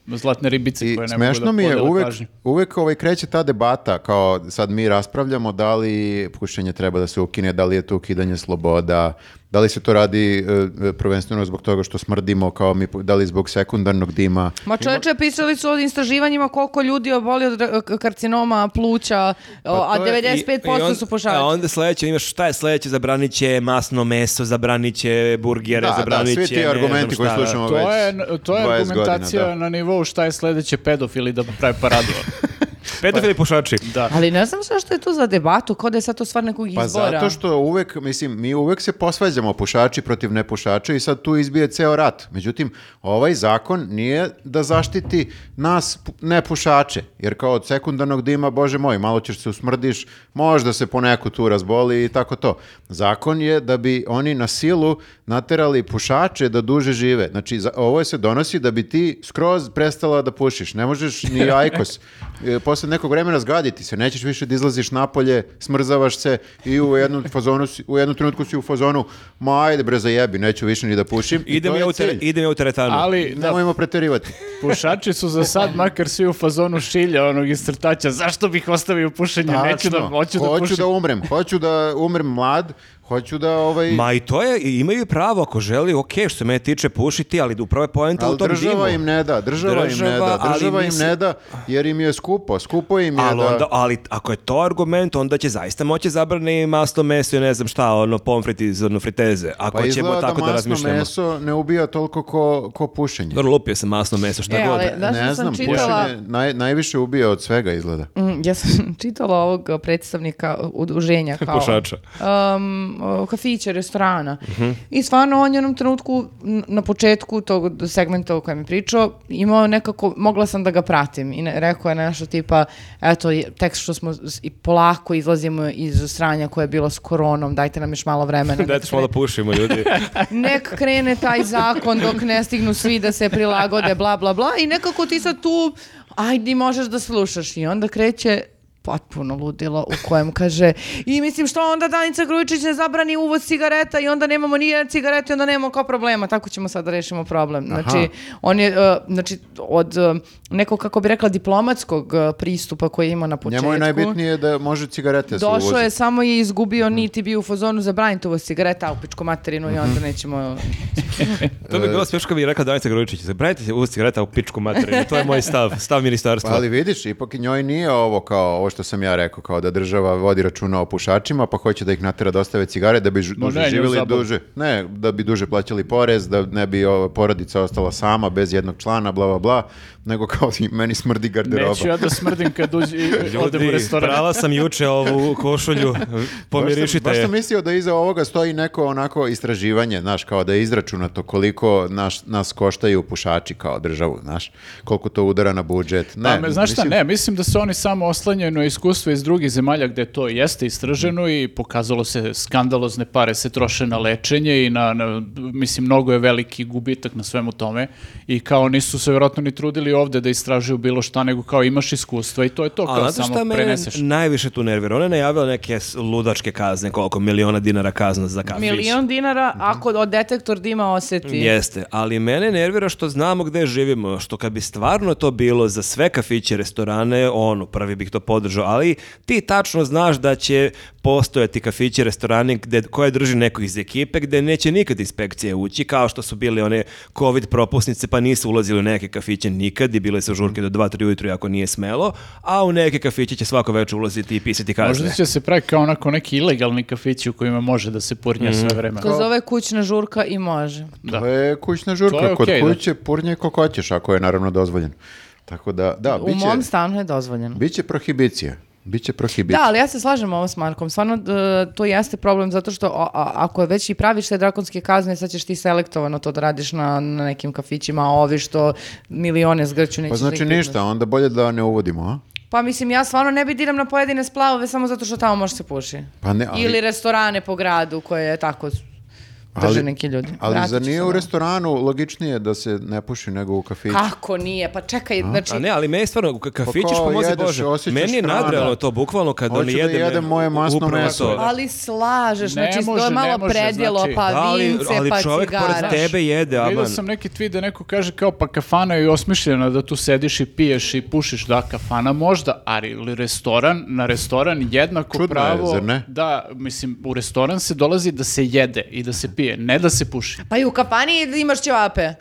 Speaker 2: zlatne ribice
Speaker 4: I
Speaker 2: koje ne mogu
Speaker 4: smešno
Speaker 2: da
Speaker 4: mi je,
Speaker 2: podele
Speaker 4: uvek,
Speaker 2: pažnju.
Speaker 4: uvek ovaj kreće ta debata, kao sad mi raspravljamo da li pušenje treba da se ukine, da li je to ukidanje sloboda, da li se to radi e, prvenstveno zbog toga što smrdimo, kao mi, pu- da li zbog sekundarnog dima.
Speaker 3: Ma čoveče, pisali su o istraživanjima koliko ljudi oboli od ra- k- karcinoma pluća, o, a
Speaker 1: Pa to je-
Speaker 3: 95%
Speaker 1: i- i on-
Speaker 3: su pušači.
Speaker 1: A onda sledeće imaš šta je sledeće, zabranit će masno meso, zabranit će burgere,
Speaker 4: Da, da,
Speaker 1: zabranit će...
Speaker 4: svi ti
Speaker 1: ne znam
Speaker 4: argumenti koje
Speaker 1: šta.
Speaker 4: slušamo
Speaker 2: To
Speaker 4: ono već
Speaker 2: je, to je
Speaker 4: 20
Speaker 2: argumentacija
Speaker 4: godina, da.
Speaker 2: na nivou šta je sledeće pedofili da pravi paradu. ono.
Speaker 4: Pa-
Speaker 1: Pedofili pušači. Da.
Speaker 3: Ali ne znam zašto je to za debatu, kao da je sad to stvar nekog
Speaker 4: Pa
Speaker 3: izbora.
Speaker 4: zato što uvek, mislim, mi uvek se posvađamo pušači protiv nepušača i sad tu izbije ceo rat. Međutim, ovaj zakon nije da zaštiti nas pu- nepušače, jer kao od sekundarnog dima, bože moj, malo ćeš se usmrdiš, možda se poneku tu razboli i tako to. Zakon je da bi oni na silu naterali pušače da duže žive. Znači, za- ovo se donosi da bi ti skroz prestala da pušiš. Ne
Speaker 1: (laughs)
Speaker 4: možeš ni ajkos. E, Posle nekog vremena zgaditi se. Nećeš više da izlaziš napolje, smrzavaš se i u jednom, fazonu, si- u jednom trenutku si u fazonu ma ajde bre zajebi, neću više ni da pušim. I
Speaker 1: Idem
Speaker 4: to
Speaker 1: ja,
Speaker 4: je
Speaker 1: u tere,
Speaker 4: cilj. Znači,
Speaker 1: idem ja u teretanu.
Speaker 2: Ali, da,
Speaker 4: Nemojmo preterivati.
Speaker 1: (laughs)
Speaker 2: pušači su za sad makar svi u fazonu šilja onog istrtača. Zašto bih ostavio pušenje? Neću da,
Speaker 4: Tačno.
Speaker 2: hoću da
Speaker 4: hoću
Speaker 2: pušim.
Speaker 4: da umrem. Hoću da umrem mlad. Hoću da ovaj...
Speaker 1: Ma i to je, i imaju pravo ako želi, ok, što se mene tiče pušiti, ali upravo je poenta u
Speaker 4: Ali
Speaker 1: tom dimu.
Speaker 4: država im ne da, država, im ne
Speaker 1: Država,
Speaker 4: da,
Speaker 1: ali
Speaker 4: država im
Speaker 1: mislim-
Speaker 4: ne da, jer im je skupo, skupo im je
Speaker 1: Ali,
Speaker 4: da...
Speaker 1: onda, ali ako je to argument, onda će zaista moći zabrani i masno meso i ne znam šta, ono pomfrit iz ono, friteze. Ako
Speaker 4: Pa
Speaker 1: ćemo
Speaker 4: izgleda da
Speaker 1: tako da,
Speaker 4: masno
Speaker 1: razmišljamo.
Speaker 4: meso ne ubija toliko ko, ko pušenje.
Speaker 1: Dobro, lupio sam masno meso, šta
Speaker 3: E,
Speaker 1: god.
Speaker 3: ali, znaš šta sam
Speaker 4: ne znam,
Speaker 3: čitala?
Speaker 4: pušenje naj, najviše ubija od svega izgleda.
Speaker 3: Mm, Ja sam (laughs) čitala ovog eh, predstavnika udruženja kao
Speaker 1: Pušača.
Speaker 3: um, o, kafića, restorana. I stvarno on je u jednom trenutku n- na početku tog segmenta o kojem je pričao, imao nekako, mogla sam da ga pratim i ne- rekao je nešto tipa, eto, je- tek što smo s- i polako izlazimo iz sranja koje je bilo s koronom, dajte nam još malo vremena.
Speaker 1: Dajte što malo da pušimo, ljudi.
Speaker 3: Nek krene taj zakon dok ne stignu svi da se prilagode, bla, bla, bla. I nekako ti sad tu, ajdi, možeš da slušaš. I onda kreće potpuno ludilo u kojem kaže i mislim što onda Danica Grujičić ne zabrani uvoz cigareta i onda nemamo ni jedne cigarete i onda nemamo kao problema, tako ćemo sad da rešimo problem. Znači, on je, e, znači, od e, nekog, kako bi rekla, diplomatskog e, pristupa koji je imao na početku.
Speaker 4: Njemu je najbitnije da može cigarete se Mhm.
Speaker 3: Došao
Speaker 4: uvoze.
Speaker 3: je, samo je izgubio niti bio u fazonu za ovo cigareta, a u pičku materinu i
Speaker 4: Mhm.
Speaker 3: onda nećemo...
Speaker 1: to
Speaker 4: E.
Speaker 1: bi bilo smiješko kad bi rekao Danica Grujičić. Zabranite se uz cigareta u pičku materinu. To je moj stav, stav ministarstva.
Speaker 4: Ali vidiš, ipak i njoj nije ovo kao ovo što sam ja rekao, kao da država vodi računa o pušačima, pa hoće da ih natera da ostave cigare da bi žu-
Speaker 2: Ma
Speaker 4: duže
Speaker 2: ne, nju
Speaker 4: živjeli,
Speaker 2: zabavno.
Speaker 4: duže, ne, da bi duže plaćali porez, da ne bi ova porodica ostala sama bez jednog člana, bla bla bla, nego kao (laughs) meni smrdi garderoba.
Speaker 2: Neću ja da smrdim kad uđe, i odem u
Speaker 1: Ljudi,
Speaker 2: restoran.
Speaker 1: prala sam juče ovu košulju. Pomirišite
Speaker 4: Baš sam, baš
Speaker 1: je.
Speaker 4: sam mislio da iza ovoga stoji neko onako istraživanje, znaš, kao da je izračunato koliko naš, nas koštaju pušači kao državu, znaš, koliko to udara na budžet. Ne,
Speaker 2: Pa me, znaš šta,
Speaker 4: mislim-
Speaker 2: ne, mislim da se oni samo oslanjaju na pozitivno iskustvo iz drugih zemalja gde to jeste istraženo i pokazalo se skandalozne pare se troše na lečenje i na, na- mislim, mnogo je veliki gubitak na svemu tome i kao nisu se vjerojatno ni trudili ovde da istražuju bilo šta, nego kao imaš iskustva i to je to, kao
Speaker 1: A znate
Speaker 2: samo
Speaker 1: šta mene
Speaker 2: preneseš.
Speaker 1: najviše tu nervira? Ona je najavila neke s- ludačke kazne, koliko miliona dinara kazna za kafić.
Speaker 3: Milion
Speaker 4: Mhm.
Speaker 3: dinara ako od detektor dima oseti.
Speaker 1: Jeste, ali mene nervira što znamo gde živimo, što kad bi stvarno to bilo za sve kafiće, restorane, ono, prvi bih to podržao, ali ti tačno znaš da će postojati kafići, restorani gde, koje drži neko iz ekipe, gde neće nikad inspekcije ući, kao što su bili one covid propusnice, pa nisu ulazili u neke kafiće nikad i bile su žurke do 2-3 ujutru ako nije smelo, a u neke kafiće će svako večer ulaziti i pisati kazne.
Speaker 2: Možda će se praviti kao onako neki ilegalni kafići u kojima može da se purnja sve vreme.
Speaker 3: Ko zove kućna žurka i može.
Speaker 2: Da.
Speaker 4: To je kućna žurka.
Speaker 2: To je
Speaker 4: Kod
Speaker 2: okej, da.
Speaker 4: kuće purnje ko hoćeš, ako je naravno dozvoljeno. Tako da, da,
Speaker 3: U
Speaker 4: biće,
Speaker 3: mom stanu je dozvoljeno.
Speaker 4: biće prohibicija. Biće prohibicija.
Speaker 3: Da, ali ja se slažem ovo s Markom. Stvarno, d- to jeste problem zato što a- a- ako već i praviš te drakonske kazne, sad ćeš ti selektovano to da radiš na, na nekim kafićima, a ovi što milione zgrću neće
Speaker 4: Pa znači ništa, onda bolje da ne uvodimo, a?
Speaker 3: Pa mislim, ja stvarno ne bi diram na pojedine splavove samo zato što tamo može se puši.
Speaker 4: Pa ne, ali-
Speaker 3: Ili restorane po gradu koje je tako drže neki ljudi.
Speaker 4: Ali
Speaker 3: Vratit
Speaker 4: zar
Speaker 3: ću
Speaker 4: nije
Speaker 3: se
Speaker 4: u
Speaker 3: na-
Speaker 4: restoranu logičnije da se ne puši nego u kafiću?
Speaker 3: Kako nije? Pa čekaj, znači...
Speaker 1: A ne, ali meni stvarno, ka- kafićiš
Speaker 4: Pa kao
Speaker 1: pomozi
Speaker 4: jedeš,
Speaker 1: Bože.
Speaker 4: osjećaš
Speaker 1: Meni je
Speaker 4: hranu.
Speaker 1: nadrealno to, bukvalno kad on
Speaker 4: Hoću da
Speaker 1: jede...
Speaker 4: jedem moje masno
Speaker 1: upravo
Speaker 4: meso.
Speaker 1: to.
Speaker 3: Ali slažeš,
Speaker 2: Ne
Speaker 3: znači to
Speaker 2: može,
Speaker 3: je
Speaker 2: ne
Speaker 3: malo
Speaker 2: može,
Speaker 3: predjelo,
Speaker 2: znači-
Speaker 1: Da,
Speaker 3: pa
Speaker 1: ali,
Speaker 3: vince,
Speaker 1: ali
Speaker 3: pa
Speaker 1: čovjek pored
Speaker 3: cigara.
Speaker 1: tebe jede,
Speaker 2: Vidio
Speaker 1: aman.
Speaker 2: sam neki tweet da neko kaže kao pa kafana je osmišljena da tu sediš i piješ i pušiš, da kafana možda, ali ili restoran, na restoran jednako
Speaker 4: Čudno je,
Speaker 2: pravo.
Speaker 4: zar ne?
Speaker 2: Da, mislim, u restoran se dolazi da se jede i da se pije, ne da se puši.
Speaker 3: Pa i u kafani imaš ćevape.
Speaker 4: (laughs)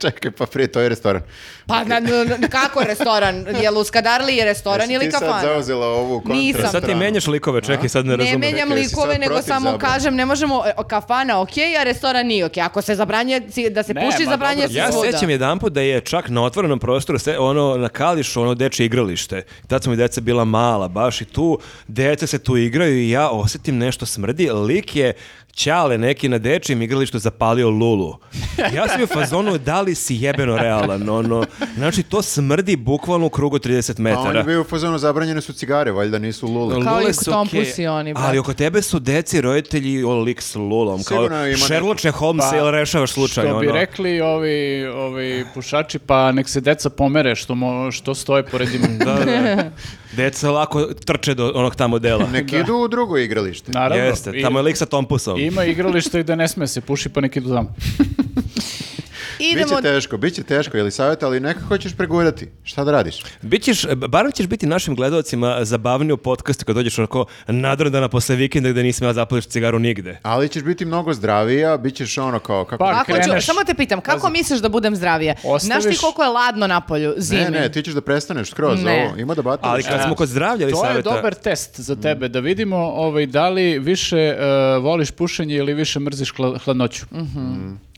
Speaker 4: Čekaj, pa prije to je restoran.
Speaker 3: Pa na, na- na- kako restoran? Je li u Skadarli je restoran ili
Speaker 4: Jesi ti sad
Speaker 3: kafana?
Speaker 4: zauzela ovu kontra
Speaker 3: Nisam.
Speaker 1: Sad ti
Speaker 4: stranu?
Speaker 1: menjaš likove, čekaj, sad ne
Speaker 3: Ne
Speaker 1: razumem.
Speaker 3: menjam
Speaker 4: Čekaj, jesi
Speaker 3: likove,
Speaker 4: sad
Speaker 3: nego
Speaker 4: protiv
Speaker 3: samo
Speaker 4: zabrane?
Speaker 3: kažem, ne možemo, e, kafana ok, a restoran nije ok. Ako se zabranjuje ci- da se
Speaker 2: Ne,
Speaker 3: puši,
Speaker 2: ma
Speaker 3: zabranjuje se
Speaker 2: dobro,
Speaker 1: Ja
Speaker 3: svuda.
Speaker 1: sećam jedan put da je čak na otvorenom prostoru se ono na kališu ono dečje igralište. Tad su mi deca bila mala baš i tu deca se tu igraju i ja osjetim nešto smrdi. Lik je Ćale neki na dečijem igralištu zapalio lulu. Ja sam u fazonu da li si jebeno realan. Ono, znači to smrdi bukvalno u krugu 30
Speaker 4: Pa on je
Speaker 1: metara.
Speaker 4: bio u fazonu, zabranjene su cigare, valjda nisu lule.
Speaker 3: Kao
Speaker 1: Lule
Speaker 3: i
Speaker 1: su
Speaker 3: Tompusi
Speaker 1: okej,
Speaker 3: oni, brate.
Speaker 1: Ali oko tebe su deci roditelji o lik s lulom. Kao
Speaker 4: Sigurno ima
Speaker 1: Sherlock Holmes
Speaker 2: Pa,
Speaker 1: ili rešavaš slučaj.
Speaker 2: Što bi
Speaker 1: ono.
Speaker 2: rekli ovi, ovi pušači, pa nek se deca pomere što, mo, što stoje pored ima.
Speaker 1: Da,
Speaker 3: (laughs)
Speaker 1: da. Deca lako trče do onog tamo dela.
Speaker 4: Nek idu u drugo igralište.
Speaker 2: Naravno.
Speaker 1: Jeste,
Speaker 2: i-
Speaker 1: tamo je lik sa Tompusom.
Speaker 2: Ima igralište i da ne sme se puši, pa nek idu tamo.
Speaker 3: Idemo,
Speaker 4: Biće teško, biće teško, ili savjet, ali nekako hoćeš pregurati. Šta da radiš?
Speaker 1: Bićeš, barem ćeš biti našim gledalcima zabavniji u podcastu kad dođeš onako nadrodana posle vikenda gde nisi ja zapališ cigaru nigde.
Speaker 4: Ali ćeš biti mnogo zdravija, bit ćeš ono kao kako...
Speaker 2: Pa,
Speaker 3: Kako ću,
Speaker 2: kreneš.
Speaker 3: samo te pitam, kako misliš da budem zdravije? Znaš ti
Speaker 2: Ostaviš-
Speaker 3: koliko je ladno na polju zimi?
Speaker 4: ne, ne, ti ćeš da prestaneš skroz
Speaker 3: Ne.
Speaker 4: ovo. Ima da batališ.
Speaker 1: Ali kad smo kod zdravlja ili
Speaker 2: To je
Speaker 1: savjeta...
Speaker 2: dobar test za tebe, da vidimo ovaj, da li više e, voliš pušenje ili više mrziš hla- hladnoću.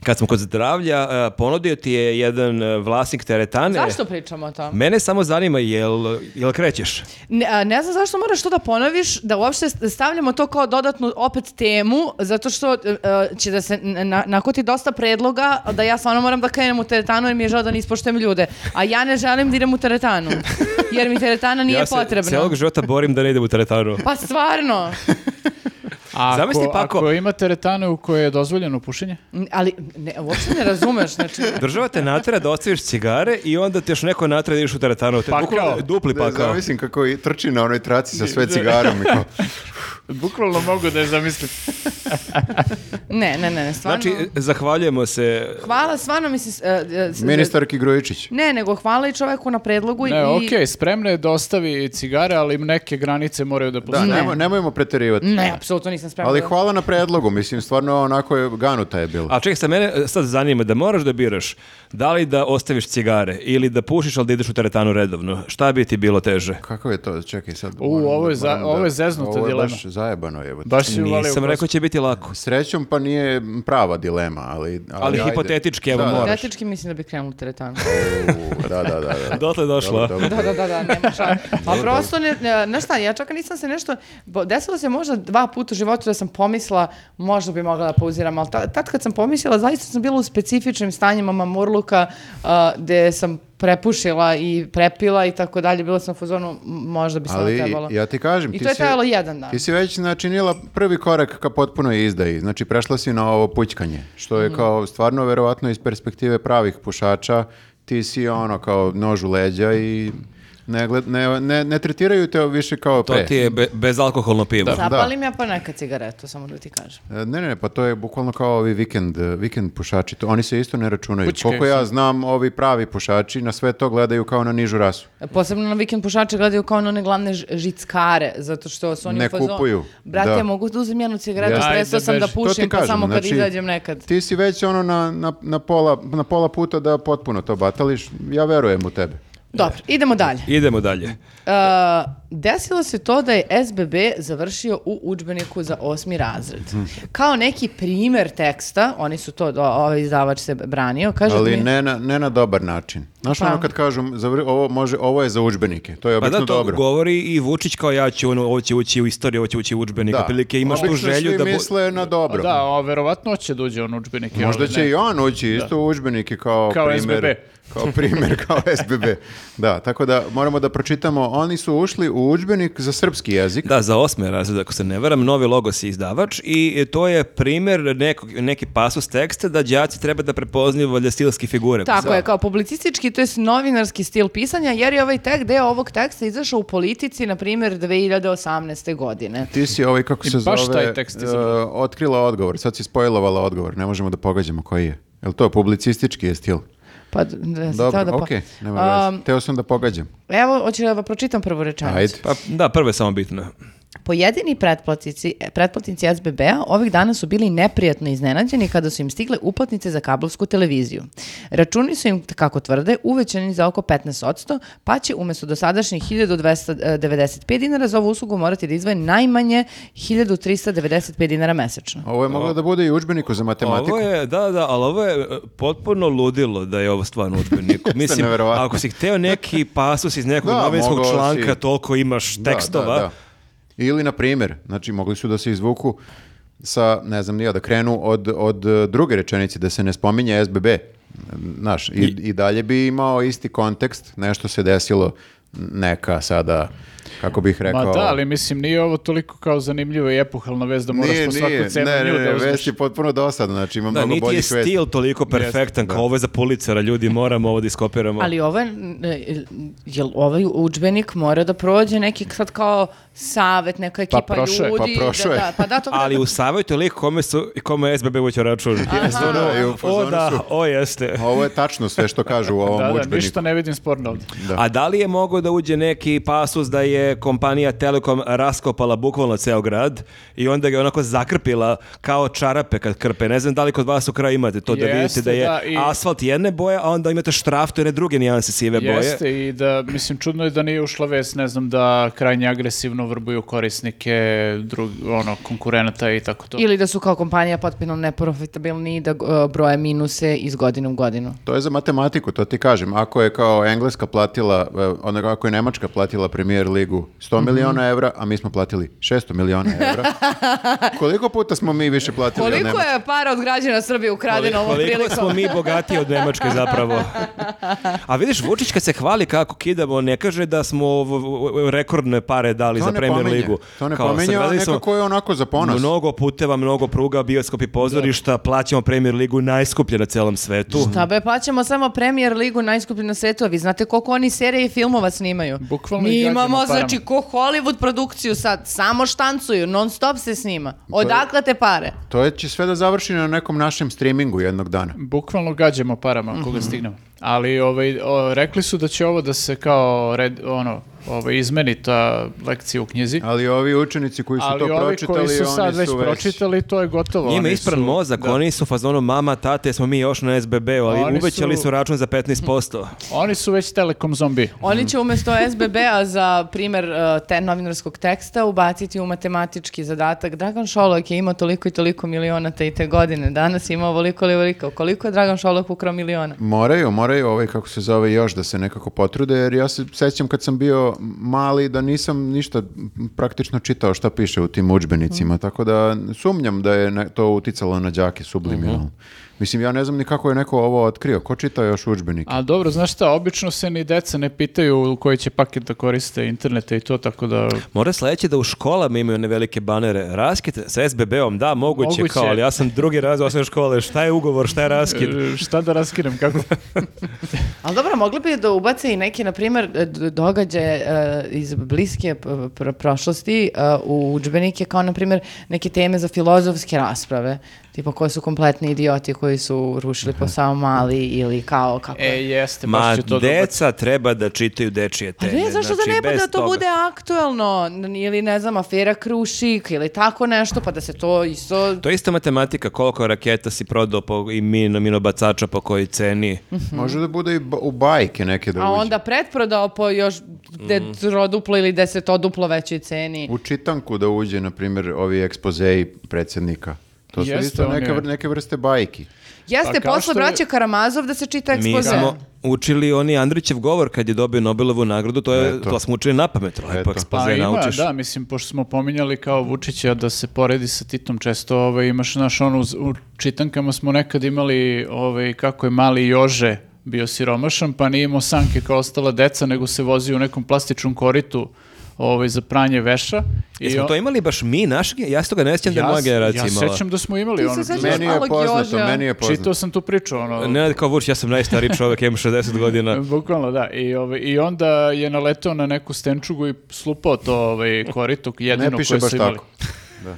Speaker 1: Kad smo kod zdravlja, e, ponudio ti je jedan e, vlasnik teretane.
Speaker 3: Zašto pričamo o tom?
Speaker 1: Mene samo zanima, jel, jel krećeš?
Speaker 3: Ne, a, ne znam zašto moraš to da ponoviš, da uopšte stavljamo to kao dodatnu opet temu, zato što e, e, će da se n- na, nakoti dosta predloga da ja stvarno moram da krenem u teretanu jer mi je žao da ne ispoštujem ljude. A ja ne želim da idem u teretanu, jer mi teretana nije
Speaker 1: ja se
Speaker 3: potrebna.
Speaker 1: celog života borim da ne idem u teretanu.
Speaker 3: Pa stvarno,
Speaker 2: A
Speaker 1: Zamisli,
Speaker 2: pa ako,
Speaker 1: Pako.
Speaker 2: ako imate retanu u kojoj je dozvoljeno
Speaker 4: (laughs)
Speaker 2: pušenje,
Speaker 3: N- ali ne, uopšte ne razumeš, znači...
Speaker 1: Država te natera da ostaviš cigare i onda te još neko natera da ideš u teretanu. Te
Speaker 2: Pakao.
Speaker 1: bukvalno Dupli
Speaker 2: pa
Speaker 4: Da,
Speaker 1: pakao.
Speaker 4: zamislim kako i trči na onoj traci sa sve cigarom i
Speaker 2: (laughs)
Speaker 4: kao...
Speaker 2: bukvalno mogu da je zamislim.
Speaker 3: Ne, ne, ne, ne, stvarno...
Speaker 1: Znači, zahvaljujemo se
Speaker 3: Hvala, stvarno mi se... s- e, e, s-
Speaker 4: Ministarki Grujičić.
Speaker 3: Ne, nego hvala i čoveku na predlogu i...
Speaker 2: Ne, okej, spremno je da ostavi cigare, ali im neke granice moraju da
Speaker 4: Da,
Speaker 2: postoje.
Speaker 4: nemoj, nemojmo preterivati.
Speaker 3: Ne, apsolutno nisam spremna.
Speaker 4: Ali
Speaker 3: da-
Speaker 4: hvala na predlogu, mislim, stvarno onako je ganuta je bila.
Speaker 1: A čekaj, sad mene e, sad zanima da moraš da biraš da li da ostaviš cigare ili da pušiš, ali da ideš u teretanu redovno. Šta bi ti bilo teže?
Speaker 4: Kako je to? Čekaj sad.
Speaker 2: U,
Speaker 4: moram
Speaker 2: ovo je za-
Speaker 4: moram
Speaker 2: ovo je zeznuta
Speaker 4: ovo je
Speaker 2: dilema.
Speaker 4: baš zajebano je.
Speaker 2: Baš si uvalio
Speaker 1: Nisam
Speaker 2: kost.
Speaker 1: rekao će biti lako.
Speaker 4: Srećom pa nije prava dilema, ali...
Speaker 1: Ali
Speaker 4: ajde.
Speaker 1: hipotetički, evo,
Speaker 4: Da, da.
Speaker 1: moraš.
Speaker 3: Teoretički mislim da bi krenula u teretanu.
Speaker 4: U, Da, da, da.
Speaker 1: (laughs)
Speaker 4: da.
Speaker 1: Dotle došla.
Speaker 4: Dobro, dobro.
Speaker 3: Da, da, da, da, nema
Speaker 4: (laughs)
Speaker 3: šanse. Pa prosto, ne, ne, znaš šta, ja čak nisam se nešto, bo- desilo se možda dva puta u životu da sam pomisla, možda bi mogla da pauziram, ali ta- tad kad sam pomislila, zaista sam bila u specifičnim stanjima mamurluka, a, gde sam prepušila i prepila i tako dalje. Bila sam u fuzonu, m- možda bi se
Speaker 4: Ali
Speaker 3: trebalo.
Speaker 4: ja ti kažem,
Speaker 3: I
Speaker 4: ti
Speaker 3: to je
Speaker 4: si,
Speaker 3: trajalo jedan dan.
Speaker 4: ti si već načinila prvi korak ka potpunoj izdaji. Znači, prešla si na ovo pućkanje, što
Speaker 3: Mhm.
Speaker 4: je kao stvarno verovatno iz perspektive pravih pušača, ti si ono kao nož u leđa i ne, gled- ne, ne, ne tretiraju te više kao
Speaker 1: To
Speaker 4: pre.
Speaker 1: ti je be- bezalkoholno pivo.
Speaker 3: Zapalim ja pa neka cigaretu, samo da ti kažem.
Speaker 4: E, Ne, ne, pa to je bukvalno kao ovi vikend, e, vikend pušači. To, oni se isto ne računaju.
Speaker 2: Pućke
Speaker 4: Koliko ja znam, ovi pravi pušači na sve to gledaju kao na nižu rasu.
Speaker 3: Posebno na vikend pušače gledaju kao na one glavne ž- žickare, zato što su oni
Speaker 4: Ne
Speaker 3: u fazonu,
Speaker 4: kupuju,
Speaker 3: Brate,
Speaker 4: da.
Speaker 3: mogu da uzem jednu cigaretu,
Speaker 4: Jeste.
Speaker 3: prestao
Speaker 2: Ajde,
Speaker 3: sam da
Speaker 2: beži."
Speaker 4: To ti
Speaker 3: pušim, pa
Speaker 4: kažem,
Speaker 3: samo kad
Speaker 4: znači,
Speaker 3: izađem nekad.
Speaker 4: Ti si već ono na, na, na, pola, na pola puta da potpuno to batališ. Ja verujem u tebe.
Speaker 3: Dobro, idemo dalje.
Speaker 1: Idemo dalje.
Speaker 3: E, desilo se to da je SBB završio u udžbeniku za osmi razred.
Speaker 4: Mhm.
Speaker 3: Kao neki primer teksta, oni su to, do, ovaj izdavač se branio, kaže
Speaker 4: Ali
Speaker 3: mi-
Speaker 4: ne na, ne na dobar način. Znaš
Speaker 3: Pa.
Speaker 4: ono kad kažu, zavr- ovo, može, ovo je za udžbenike. To je
Speaker 1: Pa
Speaker 4: obično
Speaker 1: da, to
Speaker 4: dobro.
Speaker 1: govori i Vučić kao ja ću, ono, ovo će ući u istoriju, ovo će ući u udžbenik,
Speaker 4: Da.
Speaker 1: otprilike imaš tu
Speaker 4: Obično
Speaker 1: želju
Speaker 4: svi
Speaker 1: da... bu-
Speaker 4: misle na dobro.
Speaker 2: Da, a verovatno će da uđe on udžbenik. jel
Speaker 4: Možda
Speaker 2: ne?
Speaker 4: će i on ući isto u udžbenike kao,
Speaker 2: Kao
Speaker 4: primjer,
Speaker 2: SBB.
Speaker 4: kao primjer
Speaker 2: (laughs)
Speaker 4: kao SBB. Da, tako da moramo da pročitamo, oni su ušli u udžbenik za srpski jezik.
Speaker 1: Da, za osme razred, ako se ne varam, novi logos je izdavač i to je primjer nekog, neki pasus teksta da đaci treba da prepoznaju valjda stilske figure.
Speaker 3: Tako je, kao publicistički, to je novinarski stil pisanja, jer je ovaj tek, deo ovog teksta izašao u politici, na primjer, 2018. godine.
Speaker 4: Ti si ovaj, kako
Speaker 2: I
Speaker 4: se
Speaker 2: baš
Speaker 4: zove,
Speaker 2: taj tekst
Speaker 4: e,
Speaker 2: izabrao.
Speaker 4: otkrila odgovor, sad si spojlovala odgovor, ne možemo da pogađamo koji je. Jel to publicistički je stil?
Speaker 3: Pa, d- da, si
Speaker 4: Dobro,
Speaker 3: teo da po- Um,
Speaker 4: okej, nema veze.
Speaker 3: Am,
Speaker 4: Teo sam da pogađam.
Speaker 3: Evo, hoću da vam pročitam prvu rečenicu.
Speaker 4: Ajde.
Speaker 1: Pa da, prvo je samo bitno.
Speaker 3: Pojedini pretplatnici, pretplatnici SBB-a ovih dana su bili neprijatno iznenađeni kada su im stigle uplatnice za kablovsku televiziju. Računi su im, kako tvrde, uvećani za oko 15%, pa će umesto dosadašnjih 1295 dinara za ovu uslugu morati da izdvoje najmanje 1395 dinara mesečno.
Speaker 4: Ovo je moglo da bude i u udžbeniku za matematiku.
Speaker 1: Ovo je, da, da, ali ovo je e, potpuno ludilo da je ovo stvarno udžbenik.
Speaker 4: (laughs)
Speaker 1: Mislim,
Speaker 4: neverovatno.
Speaker 1: ako si hteo neki pasus iz nekog
Speaker 4: Da,
Speaker 1: novinskog
Speaker 4: mogao
Speaker 1: članka,
Speaker 4: si.
Speaker 1: toliko imaš
Speaker 4: Da,
Speaker 1: tekstova.
Speaker 4: da, da. Ili, na primjer, znači mogli su da se izvuku sa, ne znam, nije da krenu od, od eh, druge rečenice, da se ne spominje SBB. Znaš, i, i dalje bi imao isti kontekst, nešto se desilo, neka sada, kako bih rekao...
Speaker 2: Ma da, ali mislim, nije ovo toliko kao zanimljivo i epohalna vez da moraš po svaku cenu
Speaker 4: ne,
Speaker 2: nju
Speaker 4: ne, ne,
Speaker 2: da uzmeš.
Speaker 4: vest je potpuno dosadna, znači ima
Speaker 1: Da,
Speaker 4: mnogo
Speaker 1: niti je
Speaker 4: boljih vesti.
Speaker 1: stil toliko perfektan kao ovo je za policara, ljudi, moramo ovo da iskopiramo.
Speaker 3: Ali ovo, je, e, jel ovaj udžbenik mora da prođe neki sad kao savet, neka ekipa
Speaker 2: prošao je,
Speaker 3: ljudi.
Speaker 4: pa prošao
Speaker 3: da,
Speaker 4: je.
Speaker 3: da, pa da, to
Speaker 1: Ali u savjetu je lik kome, su, kome SBB uće
Speaker 4: (laughs)
Speaker 1: račun.
Speaker 4: Da, i u
Speaker 1: O
Speaker 4: fazonu
Speaker 1: da,
Speaker 4: su,
Speaker 1: o jeste.
Speaker 4: Ovo je tačno sve što kažu u ovom
Speaker 2: Da, da,
Speaker 4: udžbeniku.
Speaker 2: ništa ne vidim sporno ovdje.
Speaker 4: Da.
Speaker 1: A da li je mogao da uđe neki pasus da je kompanija Telekom raskopala bukvalno ceo grad i onda ga onako zakrpila kao čarape kad krpe. Ne znam da li kod vas u kraju imate to da vidite
Speaker 2: Jeste,
Speaker 1: da je
Speaker 2: da, i-
Speaker 1: asfalt jedne boje, a onda imate štraftu jedne druge nijanse sive boje.
Speaker 2: Jeste i da, mislim, čudno je da nije ušla vest, ne znam, da krajnje agresivno vrbuju korisnike, drug, ono, konkurenata i tako to.
Speaker 3: Ili da su kao kompanija potpuno neprofitabilni i da e, broje minuse iz godine u godinu.
Speaker 4: To je za matematiku, to ti kažem. Ako je kao Engleska platila, e, ono ako je Nemačka platila premijer ligu
Speaker 2: Mhm.
Speaker 4: 100 miliona evra, a mi smo platili 600 miliona
Speaker 2: (laughs)
Speaker 4: evra, koliko puta smo mi više platili od
Speaker 3: Koliko
Speaker 4: Nemačke?
Speaker 3: je para od građana Srbije ukradeno ovom
Speaker 1: Koliko
Speaker 3: prilikom?
Speaker 1: smo mi bogatiji od Nemačke zapravo. A vidiš, Vučić kad se hvali kako kidamo, ne kaže da smo v- v- v- rekordne pare dali
Speaker 4: To
Speaker 1: za
Speaker 4: ne
Speaker 1: Premier
Speaker 4: pominje.
Speaker 1: ligu.
Speaker 4: To ne
Speaker 1: Kao,
Speaker 4: pominje, a
Speaker 1: sagradili smo
Speaker 4: nekako je onako za ponos.
Speaker 1: Mnogo puteva, mnogo pruga, bioskopi pozorišta, plaćamo Premier ligu najskuplje na celom svetu.
Speaker 3: Šta be, plaćamo samo premijer ligu najskuplji na svetu, a vi znate koliko oni serije i filmova snimaju.
Speaker 2: Bukvalno
Speaker 3: Mi
Speaker 2: i gađamo
Speaker 3: imamo,
Speaker 2: parama.
Speaker 3: znači, ko Hollywood produkciju sad, samo štancuju, non stop se snima. Odakle te pare?
Speaker 4: To je, će sve da završi na nekom našem streamingu jednog dana.
Speaker 2: Bukvalno gađamo parama
Speaker 4: Mhm.
Speaker 2: koga stignemo. Ali ovaj, o, rekli su da će ovo da se kao red, ono, ovaj, izmeni ta lekcija u knjizi.
Speaker 4: Ali ovi učenici koji su
Speaker 2: ali
Speaker 4: to
Speaker 2: ovi
Speaker 4: pročitali,
Speaker 2: koji su sad
Speaker 4: oni
Speaker 2: već
Speaker 4: su već...
Speaker 2: pročitali, to je gotovo.
Speaker 1: Njima
Speaker 2: Oni
Speaker 1: je ispran
Speaker 2: su-
Speaker 1: mozak,
Speaker 2: da.
Speaker 1: oni su u fazonu mama, tate, smo mi još na SBB-u, ali
Speaker 2: Oni
Speaker 1: uvećali
Speaker 2: su-
Speaker 1: su račun za 15%.
Speaker 2: Oni su već telekom zombi.
Speaker 3: Oni će umjesto SBB-a za primjer e, te novinarskog teksta ubaciti u matematički zadatak. Dragan Šolok je imao toliko i toliko miliona te i te godine. Danas ima ovoliko ili ovoliko. Koliko je Dragan Šolok ukrao miliona?
Speaker 4: Moraju, moraju ovaj kako se zove još da se nekako potrude, jer ja se sećam kad sam bio mali da nisam ništa m, praktično čitao šta
Speaker 2: Mhm. Mhm.
Speaker 4: piše u tim udžbenicima, tako da sumnjam da je ne- to uticalo na đake subliminalno. Mislim, ja ne znam ni kako je neko ovo otkrio. Ko čita još udžbenike?
Speaker 2: A dobro, znaš šta, obično se ni deca ne pitaju koji će paket da koriste internete i to, tako da...
Speaker 1: Mora sledeće da u školama imaju one velike banere. Raskid sa SBB-om, da, moguće,
Speaker 2: Moguće.
Speaker 1: kao, ali ja sam drugi raz osnovne škole. Šta je ugovor, šta je raskid?
Speaker 2: E, Šta da raskinem, kako?
Speaker 3: Ali dobro, mogli bi da ubace i neki, na primjer, e, d- događaje e, iz bliske p- pr- prošlosti e, u udžbenike, kao, na primjer, neke teme za filozofske rasprave, tipa ko su kompletni idioti koji su rušili posao mali ili kao kako...
Speaker 2: e, jeste,
Speaker 1: Ma,
Speaker 2: baš će to dobro.
Speaker 1: deca treba da čitaju dečije
Speaker 3: Pa
Speaker 1: teme.
Speaker 3: ne, zašto da
Speaker 1: znači,
Speaker 3: ne, pa
Speaker 1: bez
Speaker 3: da to
Speaker 1: toga.
Speaker 3: bude aktuelno, n- ili ne znam, afera Krušik, ili tako nešto, pa da se to isto...
Speaker 1: To je ista matematika, koliko raketa si prodao po, i mino, minobacača po koji ceni.
Speaker 2: Mhm.
Speaker 4: Može da bude i ba- u bajke neke da
Speaker 3: A
Speaker 4: uđe.
Speaker 3: onda pretprodao po još de-
Speaker 2: Mhm.
Speaker 3: troduplo ili desetoduplo većoj ceni.
Speaker 4: U čitanku da uđe, na primjer, ovi ekspozeji predsjednika. To su
Speaker 2: Jeste,
Speaker 4: isto
Speaker 2: on
Speaker 4: neke,
Speaker 2: je-
Speaker 4: vr- neke vrste bajki.
Speaker 3: Jeste,
Speaker 2: Pa kao
Speaker 3: posle
Speaker 2: što je-
Speaker 3: braće Karamazov da se čita
Speaker 1: Mi
Speaker 3: ekspoze.
Speaker 1: smo učili oni Andrićev govor kad je dobio Nobelovu nagradu, to, je,
Speaker 4: Eto.
Speaker 1: to smo učili na pamet, lepo
Speaker 4: Eto.
Speaker 1: ekspoze
Speaker 2: Pa ima,
Speaker 1: naučiš.
Speaker 2: da, mislim, pošto smo pominjali kao Vučića da se poredi sa Titom često, ovaj, imaš, znaš, ono, uz- u čitankama smo nekad imali, ovaj, kako je mali Jože bio siromašan, pa nije imao sanke kao ostala deca, nego se vozio u nekom plastičnom koritu ovaj, za pranje veša. I
Speaker 1: Jesmo
Speaker 2: o-
Speaker 1: to imali baš mi, naš, gen- ja se toga ne sjećam da je moja
Speaker 2: s-
Speaker 1: generacija
Speaker 2: ja
Speaker 1: imala.
Speaker 2: sećam da smo imali
Speaker 3: Ti se
Speaker 2: ono.
Speaker 3: sećaš
Speaker 2: znaš,
Speaker 4: Meni je
Speaker 3: malog
Speaker 4: poznato,
Speaker 3: Joža.
Speaker 4: meni je
Speaker 2: Čitao
Speaker 4: poznato.
Speaker 2: sam tu priču, ono.
Speaker 1: Ne, kao Vučić, ja sam najstariji čovjek, imam 60 godina.
Speaker 2: (laughs) Bukvalno da. I, ovaj, I onda je naletao na neku stenčugu i slupao to ovaj, korito jedino
Speaker 4: Ne piše
Speaker 2: koje
Speaker 4: baš
Speaker 2: su imali.
Speaker 4: tako.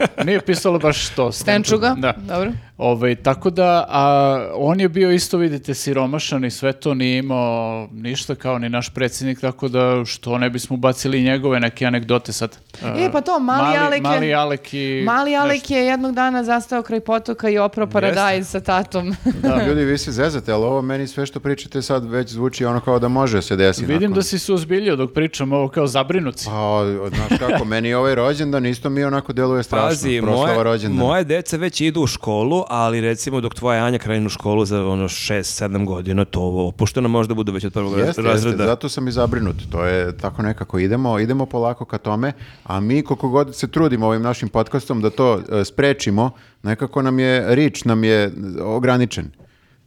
Speaker 2: (laughs) Nije pisalo baš to.
Speaker 3: Stenčuga,
Speaker 2: Da.
Speaker 3: dobro.
Speaker 2: Ovaj, tako da, a, on je bio isto, vidite, siromašan i sve to nije imao ništa kao ni naš predsjednik, tako da što ne bismo bacili njegove neke anegdote sad.
Speaker 3: E, pa to, Mali Alek je-
Speaker 2: Mali Alek i...
Speaker 3: Mali
Speaker 2: nešto.
Speaker 3: Alek je jednog dana zastao kraj potoka i oprao paradajz sa
Speaker 2: (laughs)
Speaker 3: tatom.
Speaker 1: (laughs)
Speaker 4: Ljudi, vi se zezate, ali ovo meni sve što pričate sad već zvuči ono kao da može se desiti.
Speaker 2: Vidim da si se uzbiljio dok pričam ovo kao zabrinuci.
Speaker 4: Pa, o- o, znaš kako, meni je ovaj rođendan isto mi onako deluje strašno.
Speaker 1: Pazi,
Speaker 4: Proslava
Speaker 1: moje,
Speaker 4: rođendana.
Speaker 1: moje deca već idu u školu, ali recimo dok tvoja Anja krenu školu za ono 6-7 godina, to ovo opušteno možda budu već od prvog
Speaker 4: Jeste, jeste,
Speaker 1: razreda.
Speaker 4: zato sam i zabrinut. To je tako nekako idemo, idemo polako ka tome, a mi koliko god se trudimo ovim našim podcastom da to e, sprečimo, nekako nam je rič nam je ograničen.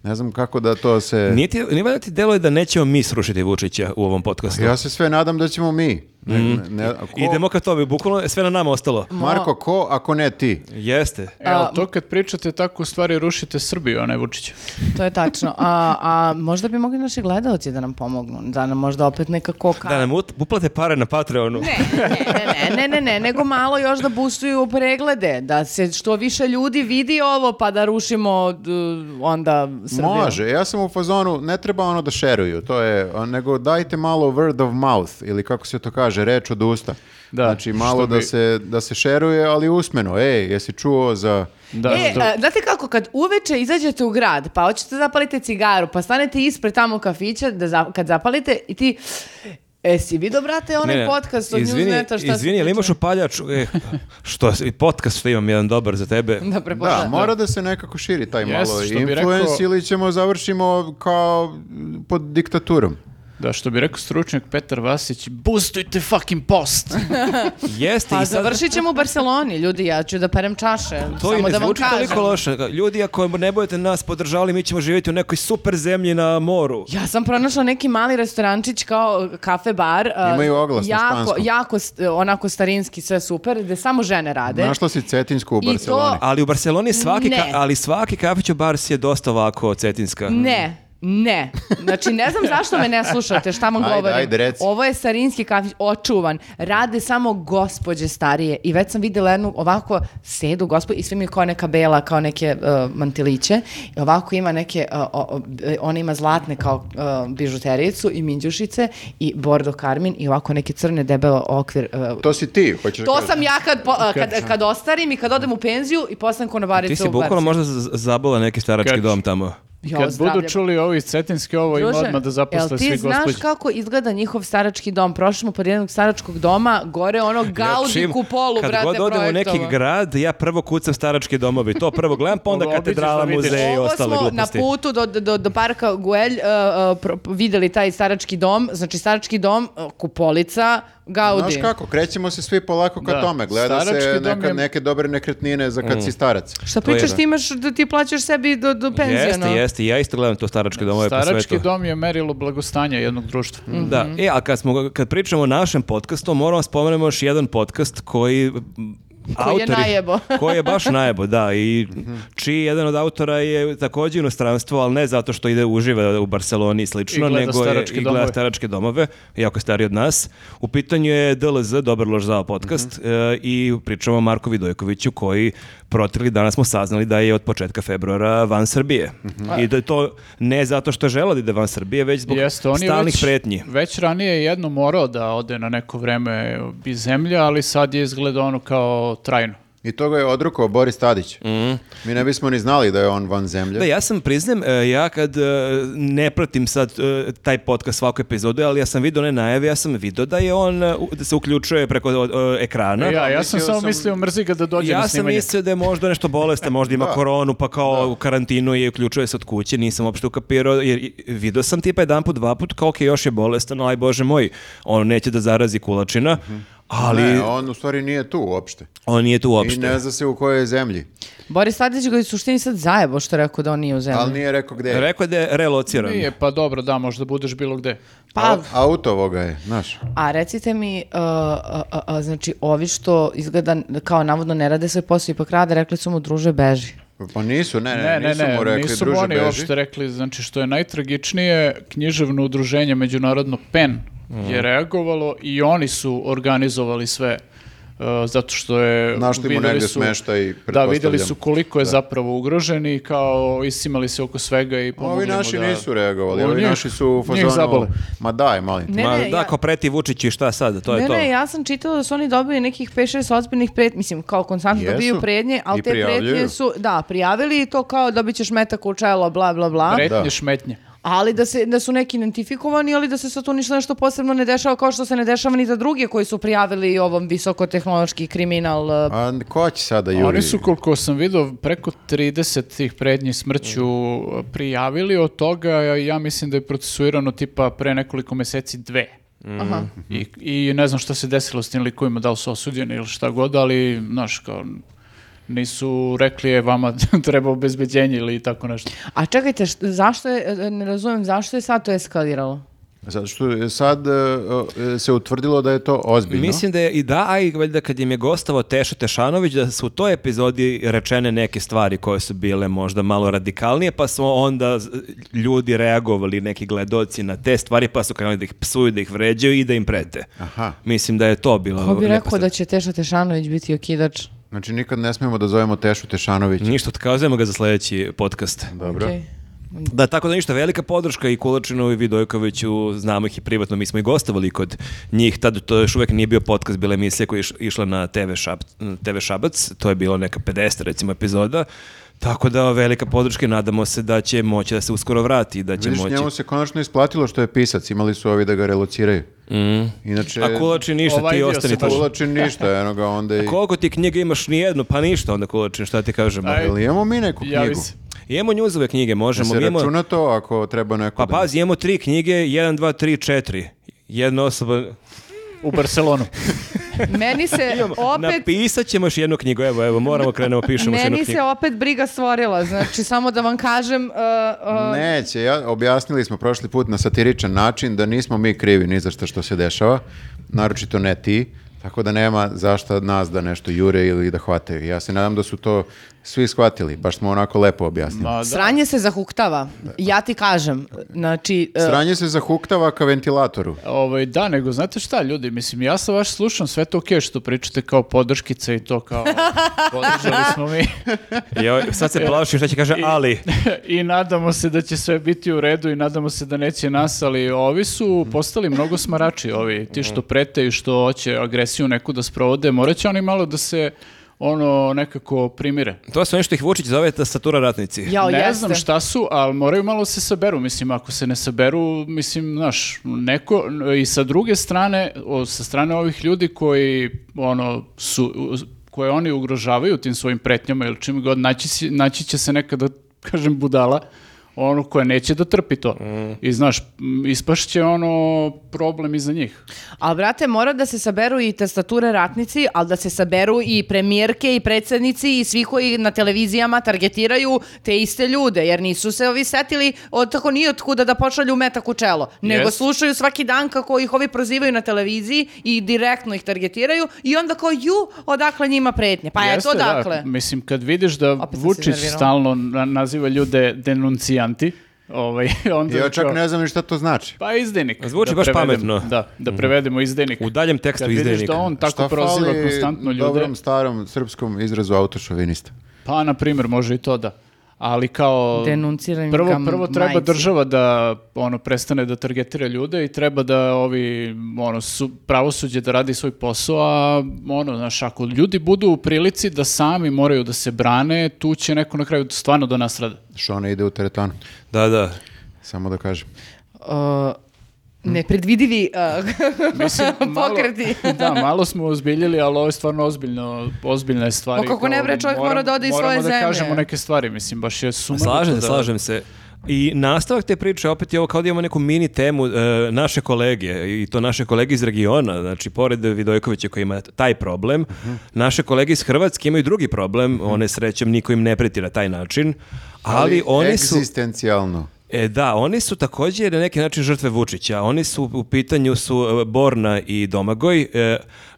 Speaker 4: Ne znam kako da to se
Speaker 1: Nije, ti, nije valjda ti deluje da nećemo mi srušiti Vučića u ovom podcastu.
Speaker 4: Ja se sve nadam da ćemo mi. Ne, ne- a ko-
Speaker 1: Mm. Idemo ka tome, bukvalno je sve na nama ostalo.
Speaker 4: Marko, ko ako ne ti?
Speaker 1: Jeste.
Speaker 2: E, ali to kad pričate tako, u stvari rušite Srbiju, a ne Vučića.
Speaker 3: To je tačno. A, a možda bi mogli naši gledalci da nam pomognu, da nam možda opet neka koka.
Speaker 1: Da nam ut- uplate pare na Patreonu.
Speaker 3: Ne, ne, ne, ne, ne, ne, nego malo još da bustuju preglede, da se što više ljudi vidi ovo pa da rušimo d- onda Srbiju.
Speaker 4: Može, ja sam u fazonu, ne treba ono da šeruju, to je, a, nego dajte malo word of mouth, ili kako se to kaže, reč od usta.
Speaker 2: Da,
Speaker 4: znači, malo
Speaker 2: što
Speaker 4: da,
Speaker 2: bi-
Speaker 4: se, da se šeruje, ali usmeno. Ej, jesi čuo za...
Speaker 2: Da,
Speaker 3: e,
Speaker 2: da.
Speaker 3: a, znate kako, kad uveče izađete u grad, pa hoćete da zapalite cigaru, pa stanete ispred tamo kafića, da za- kad zapalite i ti... E, si vidio, brate, onaj
Speaker 1: Ne, ne,
Speaker 3: podcast od
Speaker 1: izvini,
Speaker 3: Newsneta? Šta
Speaker 1: Izvini, jel imaš upaljač? E, što, i podcast što imam jedan dobar za tebe.
Speaker 3: Da,
Speaker 4: Da,
Speaker 3: prepoznajem.
Speaker 4: mora da se nekako širi taj
Speaker 2: Jeste,
Speaker 4: malo
Speaker 2: što bi
Speaker 4: influence
Speaker 2: rekao-
Speaker 4: ili ćemo završimo kao pod diktaturom.
Speaker 2: Da, što bi rekao stručnjak Petar Vasić, boostujte fucking post!
Speaker 1: Jeste
Speaker 3: Pa
Speaker 1: i sad...
Speaker 3: završit ćemo u Barceloni, ljudi, ja ću da perem čaše,
Speaker 1: To i
Speaker 3: samo
Speaker 1: ne
Speaker 3: da vam
Speaker 1: zvuči
Speaker 3: kažem.
Speaker 1: toliko loše. Ljudi, ako ne budete nas podržavali, mi ćemo živjeti u nekoj super zemlji na moru.
Speaker 3: Ja sam pronašla neki mali restorančić kao kafe bar. a,
Speaker 4: Imaju oglas na
Speaker 3: jako,
Speaker 4: španskom.
Speaker 3: Jako st- onako starinski, sve super, gde samo žene rade.
Speaker 4: Našla si Cetinsku u
Speaker 3: I to-
Speaker 4: Barceloni.
Speaker 1: Ali u Barceloni je svaki,
Speaker 3: Ne.
Speaker 1: ka- ali svaki kafić u Barsi je dosta ovako cetinska.
Speaker 3: Ne, ne. Znači, ne znam zašto me ne slušate, šta vam
Speaker 4: Ajde,
Speaker 3: govorim.
Speaker 4: ajde, reci.
Speaker 3: Ovo je starinski kafić, očuvan. Rade samo gospođe starije. I već sam vidjela jednu ovako sedu gospođu i sve mi je kao neka bela, kao neke uh, mantiliće. I ovako ima neke, uh, o- o- e, ona ima zlatne kao uh, bižuterijicu i minđušice i bordo karmin i ovako neke crne debelo okvir uh,
Speaker 4: To si ti, hoćeš da
Speaker 3: To
Speaker 4: kažeš.
Speaker 3: sam ja kad, po- a, kad, kad ostarim i kad odem u penziju i postanem konobarica
Speaker 1: Ti si
Speaker 3: u
Speaker 1: bukvalno
Speaker 3: barci.
Speaker 1: možda z- zabala neki starački
Speaker 2: Kač.
Speaker 1: dom tamo.
Speaker 3: Jo,
Speaker 2: Kad
Speaker 3: zdravlje.
Speaker 2: budu čuli ovi iz Cetinske, ovo pa im
Speaker 3: Druže,
Speaker 2: odmah da zaposle
Speaker 3: jel ti
Speaker 2: svi
Speaker 3: znaš
Speaker 2: gospođi.
Speaker 3: kako izgleda njihov starački dom? Prošli smo pod jednog staračkog doma, gore ono gaudi
Speaker 1: Čim-
Speaker 3: kupolu,
Speaker 1: Znači, kad
Speaker 3: brate,
Speaker 1: god odem u neki
Speaker 3: projektova.
Speaker 1: grad, ja prvo kucam starački domovi. To prvo gledam, pa onda
Speaker 2: Ovo obiđeš
Speaker 1: katedrala,
Speaker 2: da vidiš.
Speaker 1: muzeje i
Speaker 3: Ovo
Speaker 1: ostale
Speaker 3: smo
Speaker 1: gluposti.
Speaker 3: na putu do, do, do parka Guelj uh, uh, pro- videli taj starački dom. Znači, starački dom, uh, kupolica, Gaudi.
Speaker 4: Znaš kako, krećemo se svi polako ka
Speaker 2: Da.
Speaker 4: tome. Gleda
Speaker 2: Starački
Speaker 4: se
Speaker 2: dom
Speaker 4: neka,
Speaker 2: je- Mm.
Speaker 4: neke dobre nekretnine za kad si starac.
Speaker 3: Šta
Speaker 1: To je
Speaker 3: pričaš,
Speaker 1: da.
Speaker 3: ti imaš, da ti plaćaš sebi do, do penzije,
Speaker 1: Jeste,
Speaker 3: ono?
Speaker 1: jeste. Ja isto gledam to staračke domove po svetu.
Speaker 2: Starački dom je merilo blagostanja jednog društva.
Speaker 3: Mhm.
Speaker 1: Da, e, a kad, smo, kad pričamo o našem podcastu, moramo spomenemo još jedan podcast koji...
Speaker 3: Koji je najebo.
Speaker 1: (laughs) koji je baš najebo, da. I
Speaker 2: Mhm.
Speaker 1: čiji jedan od autora je također inostranstvo, ali ne zato što ide uživa u Barceloni i slično,
Speaker 2: I gleda
Speaker 1: nego je
Speaker 2: staračke
Speaker 1: i gleda
Speaker 2: domove.
Speaker 1: staračke domove, jako je stariji od nas. U pitanju je DLZ, Dobar lož zao podcast,
Speaker 2: Mhm.
Speaker 1: e, i pričamo o Marku Vidojkoviću koji protrili, danas smo saznali da je od početka februara van Srbije.
Speaker 2: Mhm.
Speaker 1: I da je to ne zato što je želeo da ide van Srbije, već zbog
Speaker 2: Jeste, on je
Speaker 1: stalnih
Speaker 2: već,
Speaker 1: pretnji.
Speaker 2: Već ranije je jedno morao da ode na neko vreme iz zemlje, ali sad je izgleda ono kao trajno.
Speaker 4: I to ga je odrukao Boris Tadić.
Speaker 2: Mhm.
Speaker 4: Mi ne bismo ni znali da je on van zemlje.
Speaker 1: Da, ja sam priznam, e, ja kad e, ne pratim sad e, taj podcast svaku epizodu, ali ja sam vidio one najave, ja sam vidio da je on, e, u- da se uključuje preko e, ekrana.
Speaker 2: ja, ja sam
Speaker 4: mislio
Speaker 2: samo
Speaker 4: sam-
Speaker 2: mislio mrzi ga da dođe
Speaker 1: Ja
Speaker 2: na
Speaker 1: sam
Speaker 2: snimanje.
Speaker 1: mislio da je možda nešto bolestan, možda ima koronu, pa kao u karantinu je uključuje se od kuće, nisam uopšte ukapirao, jer i- vidio sam tipa jedan put, dva put, kao ok, još je bolestan, aj bože moj, on neće da zarazi kulačina, ali
Speaker 4: Mhm. Ne,
Speaker 1: on...
Speaker 4: on u stvari nije tu uopšte.
Speaker 1: nije tu
Speaker 4: I
Speaker 1: uopšte.
Speaker 4: ne zna se u kojoj je zemlji.
Speaker 3: Boris Tadić ga je u suštini sad zajebo što je rekao da on nije u zemlji.
Speaker 4: Ali nije rekao gde je.
Speaker 1: Rekao je da je relociran.
Speaker 2: Nije, pa dobro, da, možda budeš bilo gde.
Speaker 3: Pa,
Speaker 4: Autovo ga je, znaš.
Speaker 3: a recite mi, uh, a, a, a, znači, ovi što izgleda kao navodno ne rade svoj posao, ipak rade, rekli su mu, druže, beži.
Speaker 4: Pa nisu, ne, ne,
Speaker 2: Ne, ne,
Speaker 4: nisu
Speaker 2: ne,
Speaker 4: mu rekli,
Speaker 2: nisu
Speaker 4: druže
Speaker 2: oni
Speaker 4: beži.
Speaker 2: uopšte rekli, znači što je najtragičnije, književno udruženje međunarodno PEN
Speaker 4: Mhm.
Speaker 2: je reagovalo i oni su organizovali sve uh, zato što je
Speaker 4: Našli mu
Speaker 2: videli
Speaker 4: negde
Speaker 2: su-
Speaker 4: smeštaj,
Speaker 2: da
Speaker 4: pretpostavljam.
Speaker 2: videli su koliko je zapravo ugrožen i kao isimali se oko svega i pomogli
Speaker 4: Pa Ovi
Speaker 2: mu
Speaker 4: naši
Speaker 2: da-
Speaker 4: nisu reagali,
Speaker 2: O,
Speaker 4: ovi
Speaker 2: njih-
Speaker 4: naši su u
Speaker 2: njih
Speaker 4: fazonu...
Speaker 2: zabole.
Speaker 4: Ma daj, mali.
Speaker 3: Ne,
Speaker 1: Ma,
Speaker 3: ne,
Speaker 1: da,
Speaker 3: ja-
Speaker 1: ako preti Vučić i šta sad, to je
Speaker 3: ne,
Speaker 1: to.
Speaker 3: ne, ja sam čitala da su oni dobili nekih 5-6 ozbiljnih pretnji, mislim, kao konstantno
Speaker 4: Jesu.
Speaker 3: dobiju prednje, ali
Speaker 4: I
Speaker 3: te pretnje
Speaker 4: prijavljuju.
Speaker 3: su, da, prijavili i to kao dobit ćeš metak u čelo, bla, bla, bla,
Speaker 2: Pretnje,
Speaker 4: Da.
Speaker 2: šmetnje.
Speaker 3: ali da, se, da su neki identifikovani, ali da se sad tu ništa nešto posebno ne dešava, kao što se ne dešava ni za druge koji su prijavili ovom visokotehnološki kriminal. e,
Speaker 4: A ko će sada, Juri?
Speaker 2: Oni su, koliko sam vidio, preko 30 tih prednji smrću uh, prijavili, od toga ja mislim da je procesuirano tipa pre nekoliko meseci dve.
Speaker 3: Aha.
Speaker 2: I, I ne znam šta se desilo s tim likovima, da li su osuđeni ili šta god, ali, znaš, kao, nisu rekli je vama (laughs) treba obezbeđenje ili tako nešto.
Speaker 3: A čekajte, št- zašto je, e, ne razumijem, zašto je sad to eskaliralo?
Speaker 4: Zato što je sad e, e, se utvrdilo da je to ozbiljno.
Speaker 1: Mislim da je i da, a i valjda kad im je gostovao Teša Tešanović, da su u toj epizodi rečene neke stvari koje su bile možda malo radikalnije, pa su onda z- ljudi reagovali, neki gledoci na te stvari, pa su krenuli da ih psuju, da ih vređaju i da im prete.
Speaker 4: Aha.
Speaker 1: Mislim da je to bilo...
Speaker 3: Ko bi rekao da
Speaker 1: neposredno.
Speaker 3: će Teša Tešanović biti okidač?
Speaker 4: Znači nikad ne smijemo da zovemo Tešu Tešanović.
Speaker 1: Ništa, otkazujemo ga za sledeći podcast.
Speaker 4: Dobro.
Speaker 3: Okej.
Speaker 1: Da, tako da ništa, velika podrška i Kulačinu i Vidojkoviću, znamo ih i privatno, mi smo i gostovali kod njih, tad to još uvek nije bio podcast, bila je emisija koja je iš- išla na TV, Šab, TV Šabac, to je bilo neka 50 recimo epizoda, tako da velika podrška i nadamo se da će moći da se uskoro vrati, i da će
Speaker 4: Vidiš,
Speaker 1: moći.
Speaker 4: njemu se konačno isplatilo što je pisac, imali su ovi da ga relociraju. Inače,
Speaker 1: Mm. A Kulačin ništa,
Speaker 2: Ovaj
Speaker 1: ti
Speaker 2: dio
Speaker 1: ostani
Speaker 2: se
Speaker 1: tu.
Speaker 4: Kulačin ništa, eno ga onda i...
Speaker 1: Koliko ti knjiga imaš? Nijednu, pa ništa onda Kulačin, šta ti kažemo.
Speaker 2: Aj,
Speaker 4: Jel imamo mi neku
Speaker 2: Javi
Speaker 4: knjigu?
Speaker 2: se.
Speaker 1: Imamo njuzove knjige,
Speaker 4: Da
Speaker 1: možemo.
Speaker 4: se
Speaker 1: imamo-
Speaker 4: računa to ako treba neko
Speaker 1: Pa
Speaker 4: da-
Speaker 1: pazi, imamo tri knjige, 1, 2, 3, 4. Jedna osoba,
Speaker 2: U
Speaker 4: (laughs)
Speaker 2: Barcelonu.
Speaker 3: Meni se opet...
Speaker 1: Napisat ćemo još jednu knjigu, evo, evo, moramo krenemo, pišemo još jednu
Speaker 3: Meni
Speaker 1: knjigu.
Speaker 3: se opet briga stvorila, znači samo da vam kažem... uh, uh,
Speaker 4: Neće, ja, objasnili smo prošli put na satiričan način da nismo mi krivi ni za što što se dešava, naročito ne ti, tako da nema zašto nas da nešto jure ili da hvataju. Ja se nadam da su to svi shvatili, baš smo onako lepo objasnili.
Speaker 2: Ma, Pa da.
Speaker 3: Sranje se zahuktava, ja ti kažem. Znači, uh,
Speaker 4: Sranje se zahuktava ka ventilatoru.
Speaker 2: Ovaj, da, nego znate šta ljudi, mislim, ja sam vaš slušam, sve to ok što pričate kao podrškice i to
Speaker 4: (laughs)
Speaker 2: kao podržali smo mi
Speaker 1: Jo, sad se plašim šta će kaže, ali...
Speaker 2: (laughs) i nadamo se da će sve biti u redu i nadamo se da neće nas, ali ovi su postali mnogo smarači, ovi, ti što prete i što hoće agresiju neku da sprovode, morat će oni malo da se ono nekako primire.
Speaker 1: To su nešto ih Vučić zove tastatura ratnici.
Speaker 3: jao,
Speaker 2: ne
Speaker 3: jeste.
Speaker 2: znam šta su, ali moraju malo se saberu, mislim, ako se ne saberu, mislim, znaš, neko, i sa druge strane, o, sa strane ovih ljudi koji, ono, su, u- koje oni ugrožavaju tim svojim pretnjama ili čim god, naći, si- naći će se nekada, kažem, budala, onu koja neće da trpi to.
Speaker 4: Mm.
Speaker 2: I znaš, m, ispašće ono problem iza njih.
Speaker 3: Ali, brate, mora da se saberu i tastature ratnici, ali da se saberu i premijerke i predsjednici i svi koji na televizijama targetiraju te iste ljude, jer nisu se ovi setili od tako ni od kuda da pošalju metak u čelo. Nego
Speaker 2: Jest.
Speaker 3: slušaju svaki dan kako ih ovi prozivaju na televiziji i direktno ih targetiraju i onda kao ju, odakle njima pretnje. Pa
Speaker 2: Jeste,
Speaker 3: eto, dakle.
Speaker 2: Da, mislim, kad vidiš da
Speaker 3: sam se
Speaker 2: Vučić
Speaker 3: iznervirala.
Speaker 2: stalno na- naziva ljude denuncijanti, ovaj, (laughs) onda...
Speaker 4: Ja čak
Speaker 2: kao-
Speaker 4: ne znam ni šta to znači.
Speaker 2: Pa izdajnik.
Speaker 1: Zvuči baš pametno. Mhm.
Speaker 2: Da, da prevedemo izdajnik.
Speaker 1: U daljem tekstu
Speaker 2: Kad vidiš
Speaker 1: izdajnika.
Speaker 2: da on tako
Speaker 4: Šta
Speaker 2: proziva
Speaker 4: fali
Speaker 2: konstantno ljude,
Speaker 4: dobrom starom srpskom izrazu autošovinista?
Speaker 2: pa na primjer može i to da. Ali kao
Speaker 3: Denuncirani
Speaker 2: prvo
Speaker 3: kam
Speaker 2: prvo treba
Speaker 3: majci.
Speaker 2: država da ono prestane da targetira ljude i treba da ovi ono su, pravosuđe da radi svoj posao, a ono znaš ako ljudi budu u prilici da sami moraju da se brane, tu će neko na kraju stvarno do nas rada.
Speaker 4: Šone ide u teretanu,
Speaker 1: Da, da.
Speaker 4: samo da kažem.
Speaker 3: Uh, nepredvidivi (laughs) uh,
Speaker 2: Mislim, malo-
Speaker 3: pokreti.
Speaker 2: (laughs) da, malo smo ozbiljili, ali ovo je stvarno ozbiljno, ozbiljna je stvar.
Speaker 3: Ma
Speaker 2: i
Speaker 3: kako
Speaker 2: kao
Speaker 3: ne, bre, čovjek mora da ode iz svoje
Speaker 2: Moramo
Speaker 3: zemlje.
Speaker 2: da kažemo neke stvari, mislim, baš je sumano.
Speaker 1: Slažem, se, slažem se. I nastavak te priče opet je ovo kao da imamo neku mini temu e, naše kolege i to naše kolege iz regiona, znači pored Vidojkovića koji ima taj problem, naše kolege iz Hrvatske imaju drugi problem, one srećem niko im ne preti na taj način, ali, oni su
Speaker 4: Egzistencijalno.
Speaker 1: E da, oni su također na neki način žrtve Vučića. Oni su u pitanju su e, Borna i Domagoj, e,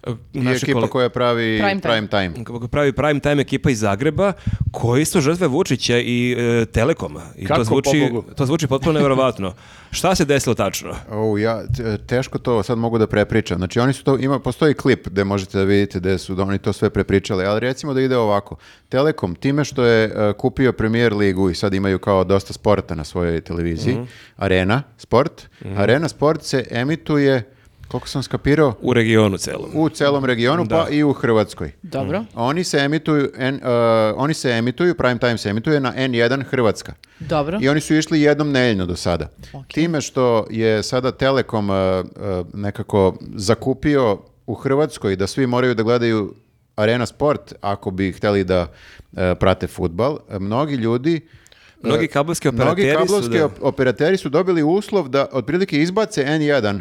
Speaker 1: e,
Speaker 4: I
Speaker 1: naše
Speaker 4: ekipa
Speaker 1: kole-
Speaker 4: koja pravi
Speaker 3: Prime
Speaker 4: prime
Speaker 3: time.
Speaker 4: time.
Speaker 1: kako pravi prime time ekipa iz Zagreba, koji su žrtve Vučića i e, Telekoma. I
Speaker 2: Kako,
Speaker 1: to zvuči,
Speaker 2: pobogu?
Speaker 1: to zvuči potpuno nevjerovatno. Šta se desilo tačno?
Speaker 4: O, ja te- teško to sad mogu da prepričam. Znači oni su to ima postoji klip gde možete da vidite da su da oni to sve prepričali, ali recimo da ide ovako. Telekom time što je e, kupio Premier ligu i sad imaju kao dosta sporta na svojoj televiziji,
Speaker 1: Mhm.
Speaker 4: Arena Sport, Arena Sport se emituje koliko sam skapirao
Speaker 1: U regionu celom.
Speaker 4: u celom regionu pa i u Hrvatskoj.
Speaker 3: Dobro.
Speaker 4: Oni se emituju en- e, oni se emituju prime time se emituje na N1 Hrvatska.
Speaker 3: Dobro.
Speaker 4: I oni su išli jednom nedeljno do sada. Time što je sada Telekom e, e, nekako zakupio u Hrvatskoj da svi moraju da gledaju Arena Sport ako bi hteli da e, prate futbal, mnogi ljudi
Speaker 1: Mnogi kablovski operateri
Speaker 4: E, Mnogi
Speaker 1: su...
Speaker 4: kablovski
Speaker 1: da-
Speaker 4: op- operateri su dobili uslov da otprilike izbace N1.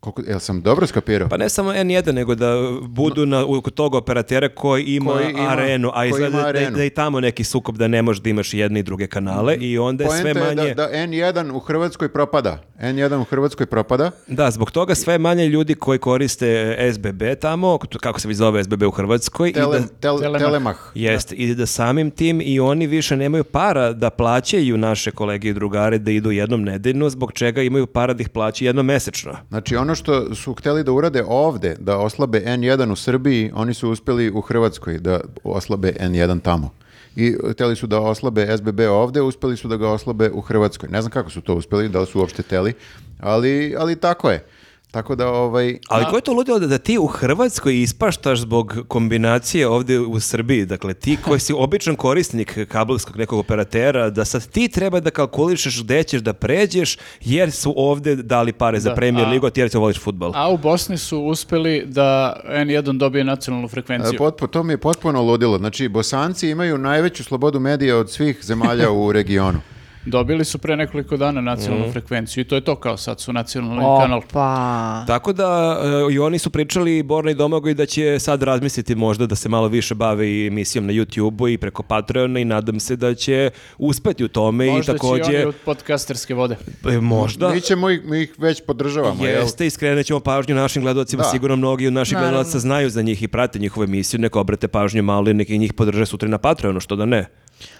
Speaker 4: Koliko, jel sam dobro skapirao?
Speaker 1: Pa ne samo N1, nego da budu na, u- kod tog operatera koji ima,
Speaker 4: Koji ima-
Speaker 1: arenu, a
Speaker 4: koji ima
Speaker 1: izgleda da,
Speaker 4: arenu.
Speaker 1: da i tamo neki sukob da ne možeš da imaš jedne i druge kanale i onda je sve
Speaker 4: Poenta je
Speaker 1: manje...
Speaker 4: da, da N1 u Hrvatskoj propada. N1 u Hrvatskoj propada.
Speaker 1: Da, zbog toga sve manje ljudi koji koriste e, SBB tamo, kako se već zove SBB u Hrvatskoj,
Speaker 4: Tele,
Speaker 1: i da,
Speaker 4: tel-
Speaker 2: Telemah.
Speaker 4: telemah.
Speaker 1: jest, i da samim tim i oni više nemaju para da plaćaju naše kolege i drugare da idu jednom nedeljno, zbog čega imaju para da ih plaća jednom mesečno.
Speaker 4: Znači ono što su hteli da urade ovde, da oslabe N1 u Srbiji, oni su uspeli u Hrvatskoj da oslabe N1 tamo. I hteli su da oslabe SBB ovde, uspeli su da ga oslabe u Hrvatskoj. Ne znam kako su to uspeli, da li su uopšte hteli, ali, ali tako je. Tako da ovaj...
Speaker 1: Ali ko je to ludilo da, da ti u Hrvatskoj ispaštaš zbog kombinacije ovdje u Srbiji? Dakle, ti koji si običan korisnik kablovskog nekog operatera, da sad ti treba da kalkulišeš gde ćeš da pređeš, jer su ovdje dali pare za
Speaker 2: Da,
Speaker 1: Premier
Speaker 2: a-
Speaker 1: Ligu, a ti jer te voliš futbol.
Speaker 2: A u Bosni su uspeli da N1 dobije nacionalnu
Speaker 1: E,
Speaker 2: frekvenciju.
Speaker 4: Potpo, to mi je potpuno ludilo. Znači, bosanci imaju najveću slobodu medija od svih zemalja u regionu.
Speaker 2: Dobili su pre nekoliko dana
Speaker 1: Mhm.
Speaker 2: nacionalnu frekvenciju i to je to kao sad su nacionalni kanal.
Speaker 3: Opa.
Speaker 1: Tako da e, i oni su pričali Borna i Domagoj da će sad razmisliti možda da se malo više bave i emisijom na YouTubeu i preko Patreona i nadam se da će uspeti u tome
Speaker 2: Možda
Speaker 1: i takođe
Speaker 2: će i oni od podcasterske vode.
Speaker 1: E, možda
Speaker 4: Mi, ćemo ih, mi ih već podržavamo, jel?
Speaker 1: Jeste, i skrenut ćemo pažnju našim gledalcima,
Speaker 4: Da.
Speaker 1: sigurno mnogi od naših
Speaker 3: Naravno.
Speaker 1: gledalaca znaju za njih i prate njihovu emisiju, neko obrate pažnju malo i neki njih podrže sutra na Patreonu, što da ne.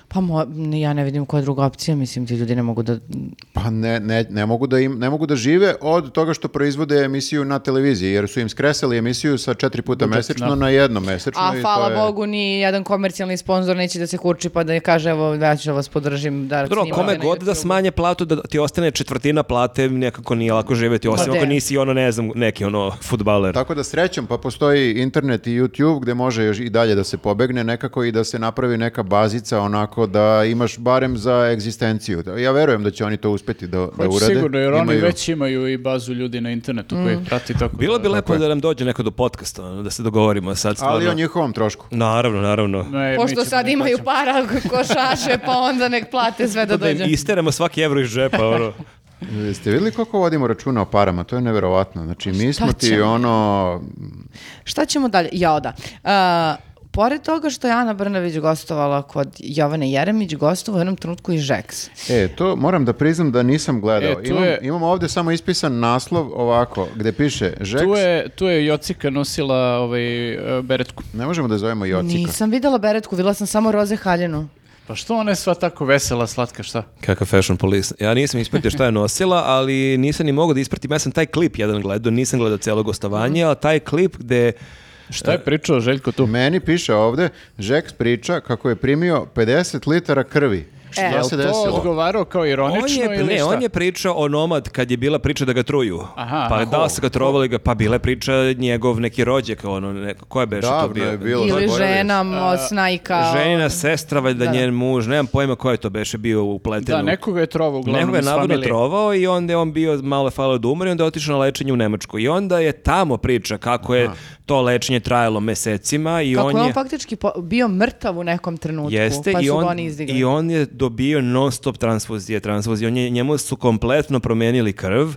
Speaker 3: Pa mo, ne, ja ne vidim koja je druga opcija, mislim ti ljudi ne mogu da...
Speaker 4: Pa ne, ne, ne, mogu da im, ne mogu da žive od toga što proizvode emisiju na televiziji, jer su im skresali emisiju sa četiri puta mesečno
Speaker 2: da.
Speaker 4: na jedno mesečno.
Speaker 3: A
Speaker 4: i to
Speaker 3: hvala
Speaker 4: je-
Speaker 3: Bogu, ni jedan komercijalni sponzor neće da se kurči pa da kaže evo ja ću vas podržim da
Speaker 1: Dobro,
Speaker 3: snimate
Speaker 1: kome
Speaker 3: na
Speaker 1: god da
Speaker 3: YouTube.
Speaker 1: smanje platu, da ti ostane četvrtina plate, nekako nije lako živjeti, osim
Speaker 3: de.
Speaker 1: ako nisi ono, ne znam, neki ono, futbaler.
Speaker 4: Tako da srećom, pa postoji internet i YouTube gde može još i dalje da se pobegne nekako i da se napravi neka bazica onako tako da imaš barem za egzistenciju. Da- Ja verujem da će oni to uspjeti da, da
Speaker 2: Hoće
Speaker 4: urade.
Speaker 2: sigurno, jer oni
Speaker 4: Imaju-
Speaker 2: već imaju i bazu ljudi na internetu koji
Speaker 3: Mm.
Speaker 2: ih prati tako.
Speaker 1: Bilo bi
Speaker 2: da-
Speaker 1: lepo da nam dođe neko do podcasta, ono, da se dogovorimo sad.
Speaker 4: Ali
Speaker 1: stvarno.
Speaker 4: o njihovom trošku.
Speaker 1: Naravno, naravno.
Speaker 2: Ne, mi
Speaker 3: Pošto
Speaker 2: ćemo
Speaker 3: sad
Speaker 2: da
Speaker 3: imaju
Speaker 2: plaćamo.
Speaker 3: para (laughs) košaše, pa onda nek plate sve da
Speaker 1: Da im
Speaker 3: dođe.
Speaker 1: isteramo svaki evro iz džepa, ono.
Speaker 4: Jeste vidjeli koliko vodimo računa o parama? To je neverovatno. Znači, mi smo ti
Speaker 3: ćemo?
Speaker 4: ono...
Speaker 3: Šta ćemo dalje? Jao da. Uh, pored toga što je Ana Brnavić gostovala kod Jovane Jeremić, gostovao je u jednom trenutku i Žeks.
Speaker 4: E, to moram da priznam da nisam gledao.
Speaker 2: E, tu
Speaker 4: imam,
Speaker 2: je-
Speaker 4: imam ovdje samo ispisan naslov ovako, gde piše Žeks.
Speaker 2: Tu je, tu je Jocika nosila ovaj, e, beretku.
Speaker 4: Ne možemo da je zovemo Jocika.
Speaker 3: Nisam videla Beretku, videla sam samo Roze Haljinu.
Speaker 2: Pa što ona je sva tako vesela, slatka, šta?
Speaker 1: (laughs) Kakav fashion police. Ja nisam ispratio šta je nosila, ali nisam ni mogao da ispratim. Ja sam taj klip jedan gledao, nisam gledao cijelo gostovanje, ali taj klip gde...
Speaker 2: Šta je pričao Željko tu?
Speaker 4: Meni piše ovdje, Žeks priča kako je primio 50 litara krvi. Šta
Speaker 3: E,
Speaker 2: Jel
Speaker 4: se
Speaker 2: to
Speaker 4: desilo?
Speaker 2: odgovarao kao
Speaker 1: On
Speaker 2: ironično
Speaker 1: je,
Speaker 2: ili
Speaker 1: ne,
Speaker 2: šta?
Speaker 1: on je pričao o nomad kad je bila priča da ga truju.
Speaker 2: Aha,
Speaker 1: pa
Speaker 2: aha.
Speaker 1: da li su ga trovali ga, pa bila je priča njegov neki rođak, ono, neko, ko je beše to
Speaker 4: Davno
Speaker 1: bio?
Speaker 4: je bilo.
Speaker 3: Ili
Speaker 4: zaboravio sam.
Speaker 3: žena, mo, snajka.
Speaker 1: Ženina sestra, valjda
Speaker 3: Da, da.
Speaker 1: njen muž, nemam pojma ko je to beše bio upleten.
Speaker 2: Da,
Speaker 1: u-
Speaker 2: nekoga je trovao uglavnom
Speaker 1: Nekoga je
Speaker 2: iz
Speaker 1: navodno
Speaker 2: familije.
Speaker 1: trovao i onda je on bio malo je falio da umre i onda je otišao na lečenje u Nemačku. I onda je tamo priča kako je to lečenje trajalo mesecima i
Speaker 3: Kako
Speaker 1: on
Speaker 3: je on
Speaker 1: je...
Speaker 3: faktički po- bio mrtav u nekom trenutku,
Speaker 1: Jeste,
Speaker 3: pa su
Speaker 1: i,
Speaker 3: ga
Speaker 1: on,
Speaker 3: oni izdigli.
Speaker 1: i on je dobio non stop transfuzije, transfuzije. On je, njemu su kompletno promijenili krv,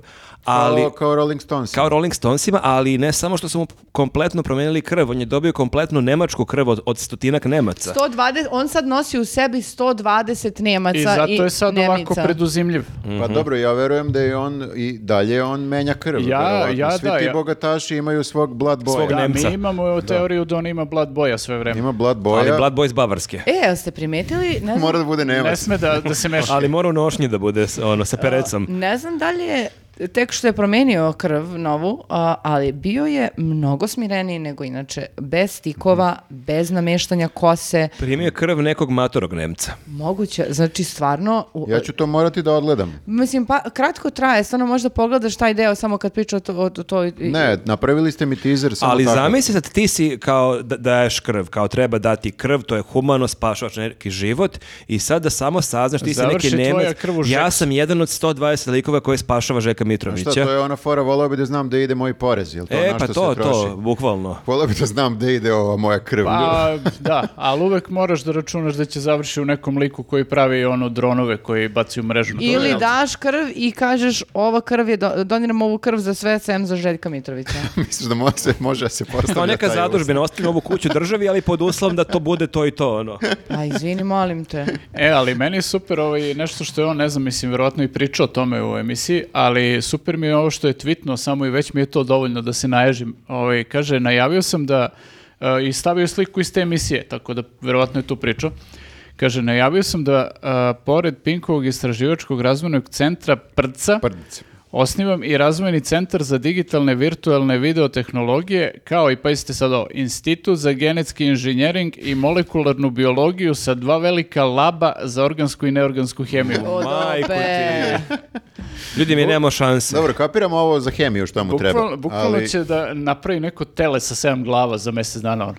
Speaker 1: ali...
Speaker 4: Kao, kao Rolling Stones.
Speaker 1: Kao Rolling Stonesima, ali ne samo što su mu kompletno promijenili krv, on je dobio kompletnu nemačku krv od, od stotinak Nemaca.
Speaker 3: 120, on sad nosi u sebi 120 Nemaca i
Speaker 2: I zato je sad ovako
Speaker 3: Nemica.
Speaker 2: preduzimljiv.
Speaker 4: Pa
Speaker 1: Mhm.
Speaker 4: dobro, ja verujem da je on i dalje on menja krv.
Speaker 2: Ja-
Speaker 4: verovatno.
Speaker 2: ja
Speaker 4: Svi
Speaker 2: da,
Speaker 4: ti
Speaker 2: ja-
Speaker 4: bogataši imaju svog blood boja.
Speaker 1: Svog
Speaker 2: Da, mi
Speaker 1: Nemca.
Speaker 2: imamo teoriju da on ima Blood Boja sve vreme.
Speaker 4: Ima blood boja.
Speaker 1: Ali Blood Boys Bavarske.
Speaker 3: E, jel ste primetili? Ne znam,
Speaker 4: Mora da bude
Speaker 2: Ne
Speaker 4: nemac.
Speaker 2: sme da, da se
Speaker 1: (laughs)
Speaker 2: meša.
Speaker 1: Ali mora u nošnji da bude s- ono, sa perecom.
Speaker 3: ne znam da li je tek što je promenio krv novu, a, ali bio je mnogo smireniji nego inače. Bez stikova, bez nameštanja kose,
Speaker 1: Primio je krv nekog matorog Nemca.
Speaker 3: moguće, znači stvarno... u-
Speaker 4: Ja ću to morati da odgledam.
Speaker 3: Mislim, pa, kratko traje, stvarno možda pogledaš taj deo samo kad priča o to, o to- to i- i-
Speaker 4: Ne, napravili ste mi teaser samo
Speaker 1: Ali
Speaker 4: tako.
Speaker 1: zamisli sad ti si kao da, daješ krv, kao treba dati krv, to je humano, spašavaš neki život i sad da samo saznaš ti si
Speaker 2: Završi
Speaker 1: neki
Speaker 2: tvoja
Speaker 1: Nemac.
Speaker 2: krv u
Speaker 1: Ja
Speaker 2: Žeksu.
Speaker 1: sam jedan od 120 likova koji spašava Žeka
Speaker 4: Šta, to
Speaker 1: Mitrovića.
Speaker 4: je ona fora, volao bi da znam da ide moji porez, jel to
Speaker 1: E,
Speaker 4: na
Speaker 1: pa
Speaker 4: što
Speaker 1: to,
Speaker 4: se troši?
Speaker 1: to, bukvalno.
Speaker 4: Volao bi da znam da ide ova moja krv.
Speaker 2: Pa, da, ali uvek moraš da računaš da će završi u nekom liku koji pravi ono dronove koji baci u mrežu.
Speaker 3: Ili daš krv i kažeš ova krv je, do, doniram ovu krv za sve, sem za Željka Mitrovića.
Speaker 4: (laughs) (laughs) Misliš da može, se- može da se postavlja
Speaker 1: Kao neka
Speaker 4: taj ulaz?
Speaker 1: zadužbina, ostavim ovu kuću državi, ali pod uslovom da to bude to i to, ono.
Speaker 3: A izvini, molim te.
Speaker 2: E, ali meni je super ovaj, nešto što je on, ne znam, mislim, vjerojatno i pričao o tome u emisiji, ali super mi je ovo što je tvitno, samo i već mi je to dovoljno da se naježim. Ovaj, kaže, najavio sam da e, i stavio sliku iz te emisije, tako da vjerojatno je tu pričao. Kaže, najavio sam da e, pored Pinkovog istraživačkog razvojnog centra Prdca,
Speaker 4: Prdnice.
Speaker 2: Osnivam i razvojni centar za digitalne virtualne videotehnologije, kao i, pazite sad ovo, Institut za genetski inženjering i molekularnu biologiju sa dva velika laba za organsku i neorgansku hemiju.
Speaker 3: O,
Speaker 1: Majko
Speaker 3: dobe.
Speaker 1: Ljudi, mi nemamo šanse.
Speaker 4: Dobro, kapiramo ovo za hemiju što mu treba.
Speaker 2: Bukvalno, bukvalno
Speaker 4: ali-
Speaker 2: će da napravi neko tele sa sedam glava za mjesec dana. ono.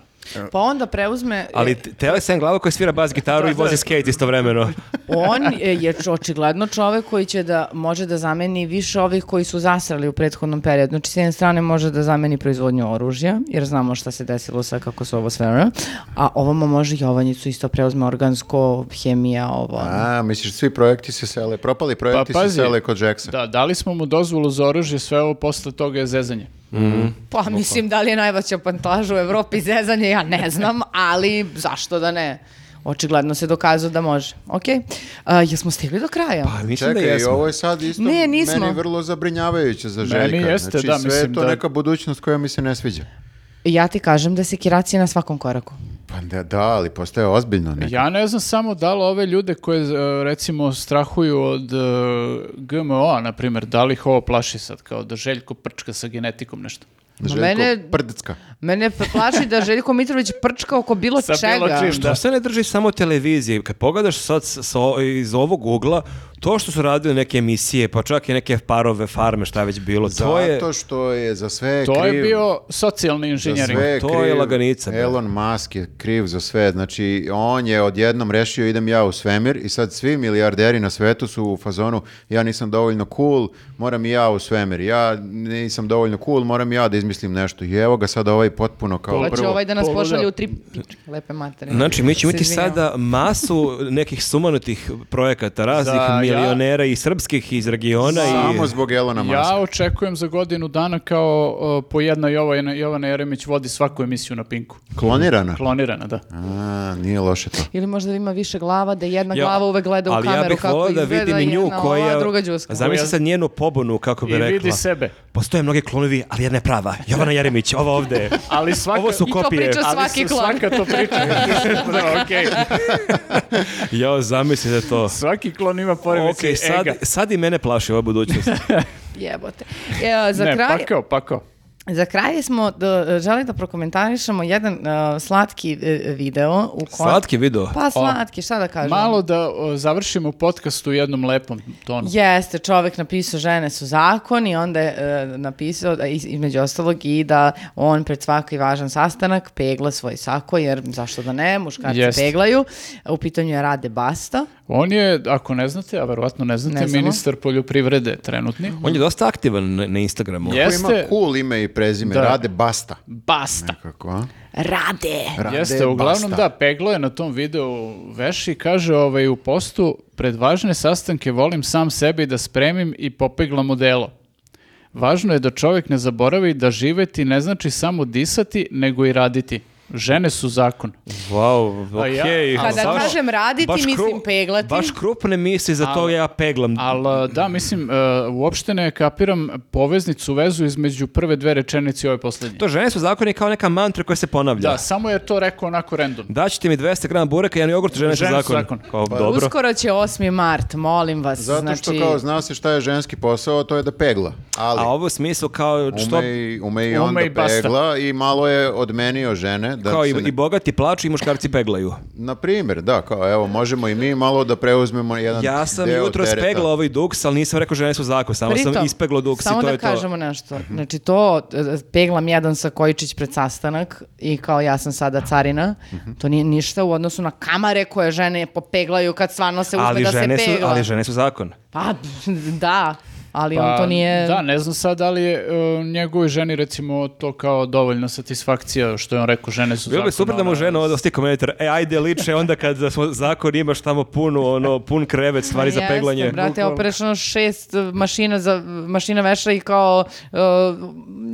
Speaker 3: Pa onda preuzme...
Speaker 4: E.
Speaker 1: Ali te- Tele sam glava koji svira bas gitaru i vozi skate istovremeno.
Speaker 3: On je je č- očigledno čovek koji će da može da zameni više ovih koji su zasrali u prethodnom periodu. Znači, s jedne strane može da zameni proizvodnju oružja, jer znamo šta se desilo sve kako su ovo sve. ono. A ovamo može Jovanjicu isto preuzme organsko, hemija, ovo. ono.
Speaker 4: A, misliš svi projekti se sele, propali projekti se
Speaker 2: Pa, pazi.
Speaker 4: sele kod Jacksa.
Speaker 2: Da, dali smo mu dozvolu za oružje, sve ovo posle toga je zezanje.
Speaker 3: Pa mislim da li je najveća pantaža u Evropi zezanje, ja ne znam, ali zašto da ne? Očigledno se dokazuje da može. Ok, jesmo stigli do kraja?
Speaker 1: Pa mislim da
Speaker 4: Čekaj,
Speaker 1: jesmo.
Speaker 4: ovo je sad isto
Speaker 3: Ne, nismo.
Speaker 4: meni vrlo zabrinjavajuće za Željka.
Speaker 2: Meni jeste,
Speaker 4: znači,
Speaker 2: da,
Speaker 4: sve je
Speaker 2: mislim
Speaker 4: to
Speaker 2: da-
Speaker 4: neka budućnost koja mi se ne sviđa.
Speaker 3: Ja ti kažem da se kiracije na svakom koraku.
Speaker 4: Pa da, da ali postaje ozbiljno neka.
Speaker 2: Ja ne znam samo da li ove ljude koje e, recimo strahuju od e, GMO-a, na primjer, da li ih ovo plaši sad, kao da Željko prčka sa genetikom nešto.
Speaker 3: Ma
Speaker 4: Željko
Speaker 3: mene-
Speaker 4: Prdcka.
Speaker 3: Mene plaši da Željko Mitrović prčka oko bilo
Speaker 2: Sa bilo
Speaker 3: čega.
Speaker 2: čim.
Speaker 1: Što se ne drži samo televizije? Kad pogledaš sad s- sa o- iz ovog ugla, to što su radili neke emisije, pa čak i neke parove, farme, šta je već bilo, to je...
Speaker 4: Zato što je za sve
Speaker 2: To
Speaker 4: kriv...
Speaker 2: je bio socijalni
Speaker 4: za
Speaker 2: inženjering.
Speaker 4: sve
Speaker 1: To je
Speaker 4: kriv
Speaker 1: laganica, da.
Speaker 4: Elon Musk je kriv za sve. Znači, on je odjednom rešio idem ja u svemir i sad svi milijarderi na svetu su u fazonu ja nisam dovoljno cool, moram i ja u svemir. Ja nisam dovoljno cool, moram i ja da izmislim nešto. I evo ga sad ovaj potpuno kao
Speaker 3: Pa će
Speaker 4: prvo.
Speaker 3: ovaj da nas
Speaker 2: Pogledao.
Speaker 3: pošalje u tri pičke, lepe matere.
Speaker 1: Znači, mi ćemo
Speaker 3: Se
Speaker 1: imati
Speaker 3: izvinjavam.
Speaker 1: sada masu nekih sumanutih projekata, raznih
Speaker 2: Za ja-
Speaker 1: milionera i srpskih iz regiona
Speaker 4: Znači, Samo
Speaker 1: i...
Speaker 4: zbog Elona Muska.
Speaker 2: Ja očekujem za godinu dana kao o, po jedna Jovana, Jovana Jeremić vodi svaku emisiju na Pinku.
Speaker 4: Klonirana?
Speaker 2: Klonirana, da.
Speaker 4: A, nije loše to.
Speaker 3: Ili možda ima više glava, da jedna
Speaker 1: Ja,
Speaker 3: glava uvek gleda u
Speaker 1: ali
Speaker 3: kameru
Speaker 1: ja bih
Speaker 3: kako
Speaker 1: volao da
Speaker 3: izgleda
Speaker 1: vidim i nju
Speaker 3: jedna
Speaker 1: koja...
Speaker 3: ova, druga đuska.
Speaker 1: Zamisli sad njenu pobunu, kako bi
Speaker 2: I
Speaker 1: rekla.
Speaker 2: vidi sebe.
Speaker 1: Postoje mnogi klonovi, ali jedna je prava. Jovana Jeremić, ova ovde.
Speaker 2: Ali svaka...
Speaker 1: Ovo su
Speaker 3: I to
Speaker 1: kopije.
Speaker 3: priča
Speaker 2: ali
Speaker 3: svaki
Speaker 2: su-
Speaker 3: klon.
Speaker 2: Svaka to
Speaker 3: (laughs)
Speaker 2: priča. da, okej.
Speaker 1: Jao, zamislite to.
Speaker 2: Svaki klon ima
Speaker 1: Ok,
Speaker 2: poremećaj
Speaker 1: sad,
Speaker 2: ega.
Speaker 1: sad i mene plaši ova budućnost.
Speaker 3: Jebote. E, za
Speaker 2: ne,
Speaker 3: kraj...
Speaker 2: pakao, pakao.
Speaker 3: Za kraj smo, da, želim da prokomentarišemo jedan uh, slatki uh, video. U kojem-
Speaker 1: Slatki video.
Speaker 3: Pa slatki, šta da kažem?
Speaker 2: Malo da o, završimo podcast u jednom lepom tonu.
Speaker 3: Jeste, čovek napisao žene su zakon i onda je e, napisao, da, iz- između ostalog, i da on pred svaki važan sastanak pegla svoj sako, jer zašto da ne, muškarci
Speaker 2: Jeste.
Speaker 3: peglaju. U pitanju je Rade Basta.
Speaker 2: On je, ako ne znate, a verovatno ne znate,
Speaker 3: Ne znamo.
Speaker 2: ministar poljoprivrede trenutni.
Speaker 1: On je dosta aktivan na, na Instagramu.
Speaker 2: Je. Jeste-
Speaker 4: Ko Ima cool ime i prezime,
Speaker 2: Da.
Speaker 4: Rade Basta.
Speaker 2: Basta.
Speaker 4: Kako, a?
Speaker 3: Rade!
Speaker 4: Rade
Speaker 2: Jeste, uglavnom
Speaker 4: Basta.
Speaker 2: da, peglo je na tom videu veš i kaže ovaj, u postu, pred važne sastanke volim sam sebi da spremim i popeglam odelo. Važno je da čovjek ne zaboravi da živeti ne znači samo disati, nego i raditi. Žene su zakon.
Speaker 1: Wow,
Speaker 2: A ja-
Speaker 1: okej.
Speaker 2: Kada
Speaker 1: Baš-
Speaker 3: kažem raditi,
Speaker 1: baš
Speaker 3: mislim peglati.
Speaker 1: Baš krupne misli, za to ja peglam.
Speaker 2: Ali da, mislim, e, uopšte ne kapiram poveznicu, vezu između prve dve rečenice i ove posljednje.
Speaker 1: To žene su zakoni kao neka mantra koja se ponavlja.
Speaker 2: Da, samo je to rekao onako random.
Speaker 1: Daćete mi 200 grama bureka i jedan jogurt, žene su
Speaker 2: Žene su
Speaker 1: zakon.
Speaker 2: zakon.
Speaker 1: Kao,
Speaker 3: Pa,
Speaker 1: dobro.
Speaker 3: Uskoro će 8. mart, molim vas.
Speaker 4: Zato što
Speaker 3: znači,
Speaker 4: kao zna se šta je ženski posao, to je da pegla. Ali
Speaker 1: A ovo u smislu kao što...
Speaker 4: ume, i- ume i on
Speaker 2: Ume i
Speaker 4: da
Speaker 2: basta.
Speaker 4: pegla i malo je odmenio žene. Da
Speaker 1: Kao i,
Speaker 4: se ne-
Speaker 1: i bogati plaču i muškarci peglaju.
Speaker 4: Na primjer, da, kao evo, možemo i mi malo da preuzmemo jedan
Speaker 1: Ja sam
Speaker 4: deo
Speaker 1: jutro
Speaker 4: tereta.
Speaker 1: spegla ovaj duks, ali nisam rekao žene su zakon, samo sam
Speaker 3: Pritom,
Speaker 1: ispeglo duks
Speaker 3: samo
Speaker 1: i to
Speaker 3: da
Speaker 1: je to.
Speaker 3: kažemo nešto. Znači to, e, peglam jedan sa Kojičić pred sastanak i kao ja sam sada carina,
Speaker 1: Mhm.
Speaker 3: to nije ništa u odnosu na kamare koje žene popeglaju kad stvarno se uzme
Speaker 1: ali
Speaker 3: da
Speaker 1: žene
Speaker 3: se
Speaker 1: su,
Speaker 3: pegla.
Speaker 1: ali žene su zakon.
Speaker 3: Pa, da, ali
Speaker 2: Pa,
Speaker 3: on to nije...
Speaker 2: Da, ne znam sad da li je e, njegovoj ženi recimo to kao dovoljna satisfakcija što je on rekao žene su ono,
Speaker 1: Bilo bi
Speaker 2: zakon,
Speaker 1: super da mu
Speaker 2: ona-
Speaker 1: žena odnosno ti komentar, e ajde liče onda kad smo zakon imaš tamo puno, ono, pun krevet
Speaker 3: (laughs)
Speaker 1: stvari za
Speaker 3: Jeste,
Speaker 1: peglanje.
Speaker 3: brate, oprešeno šest e, mašina, za, mašina veša i kao, e,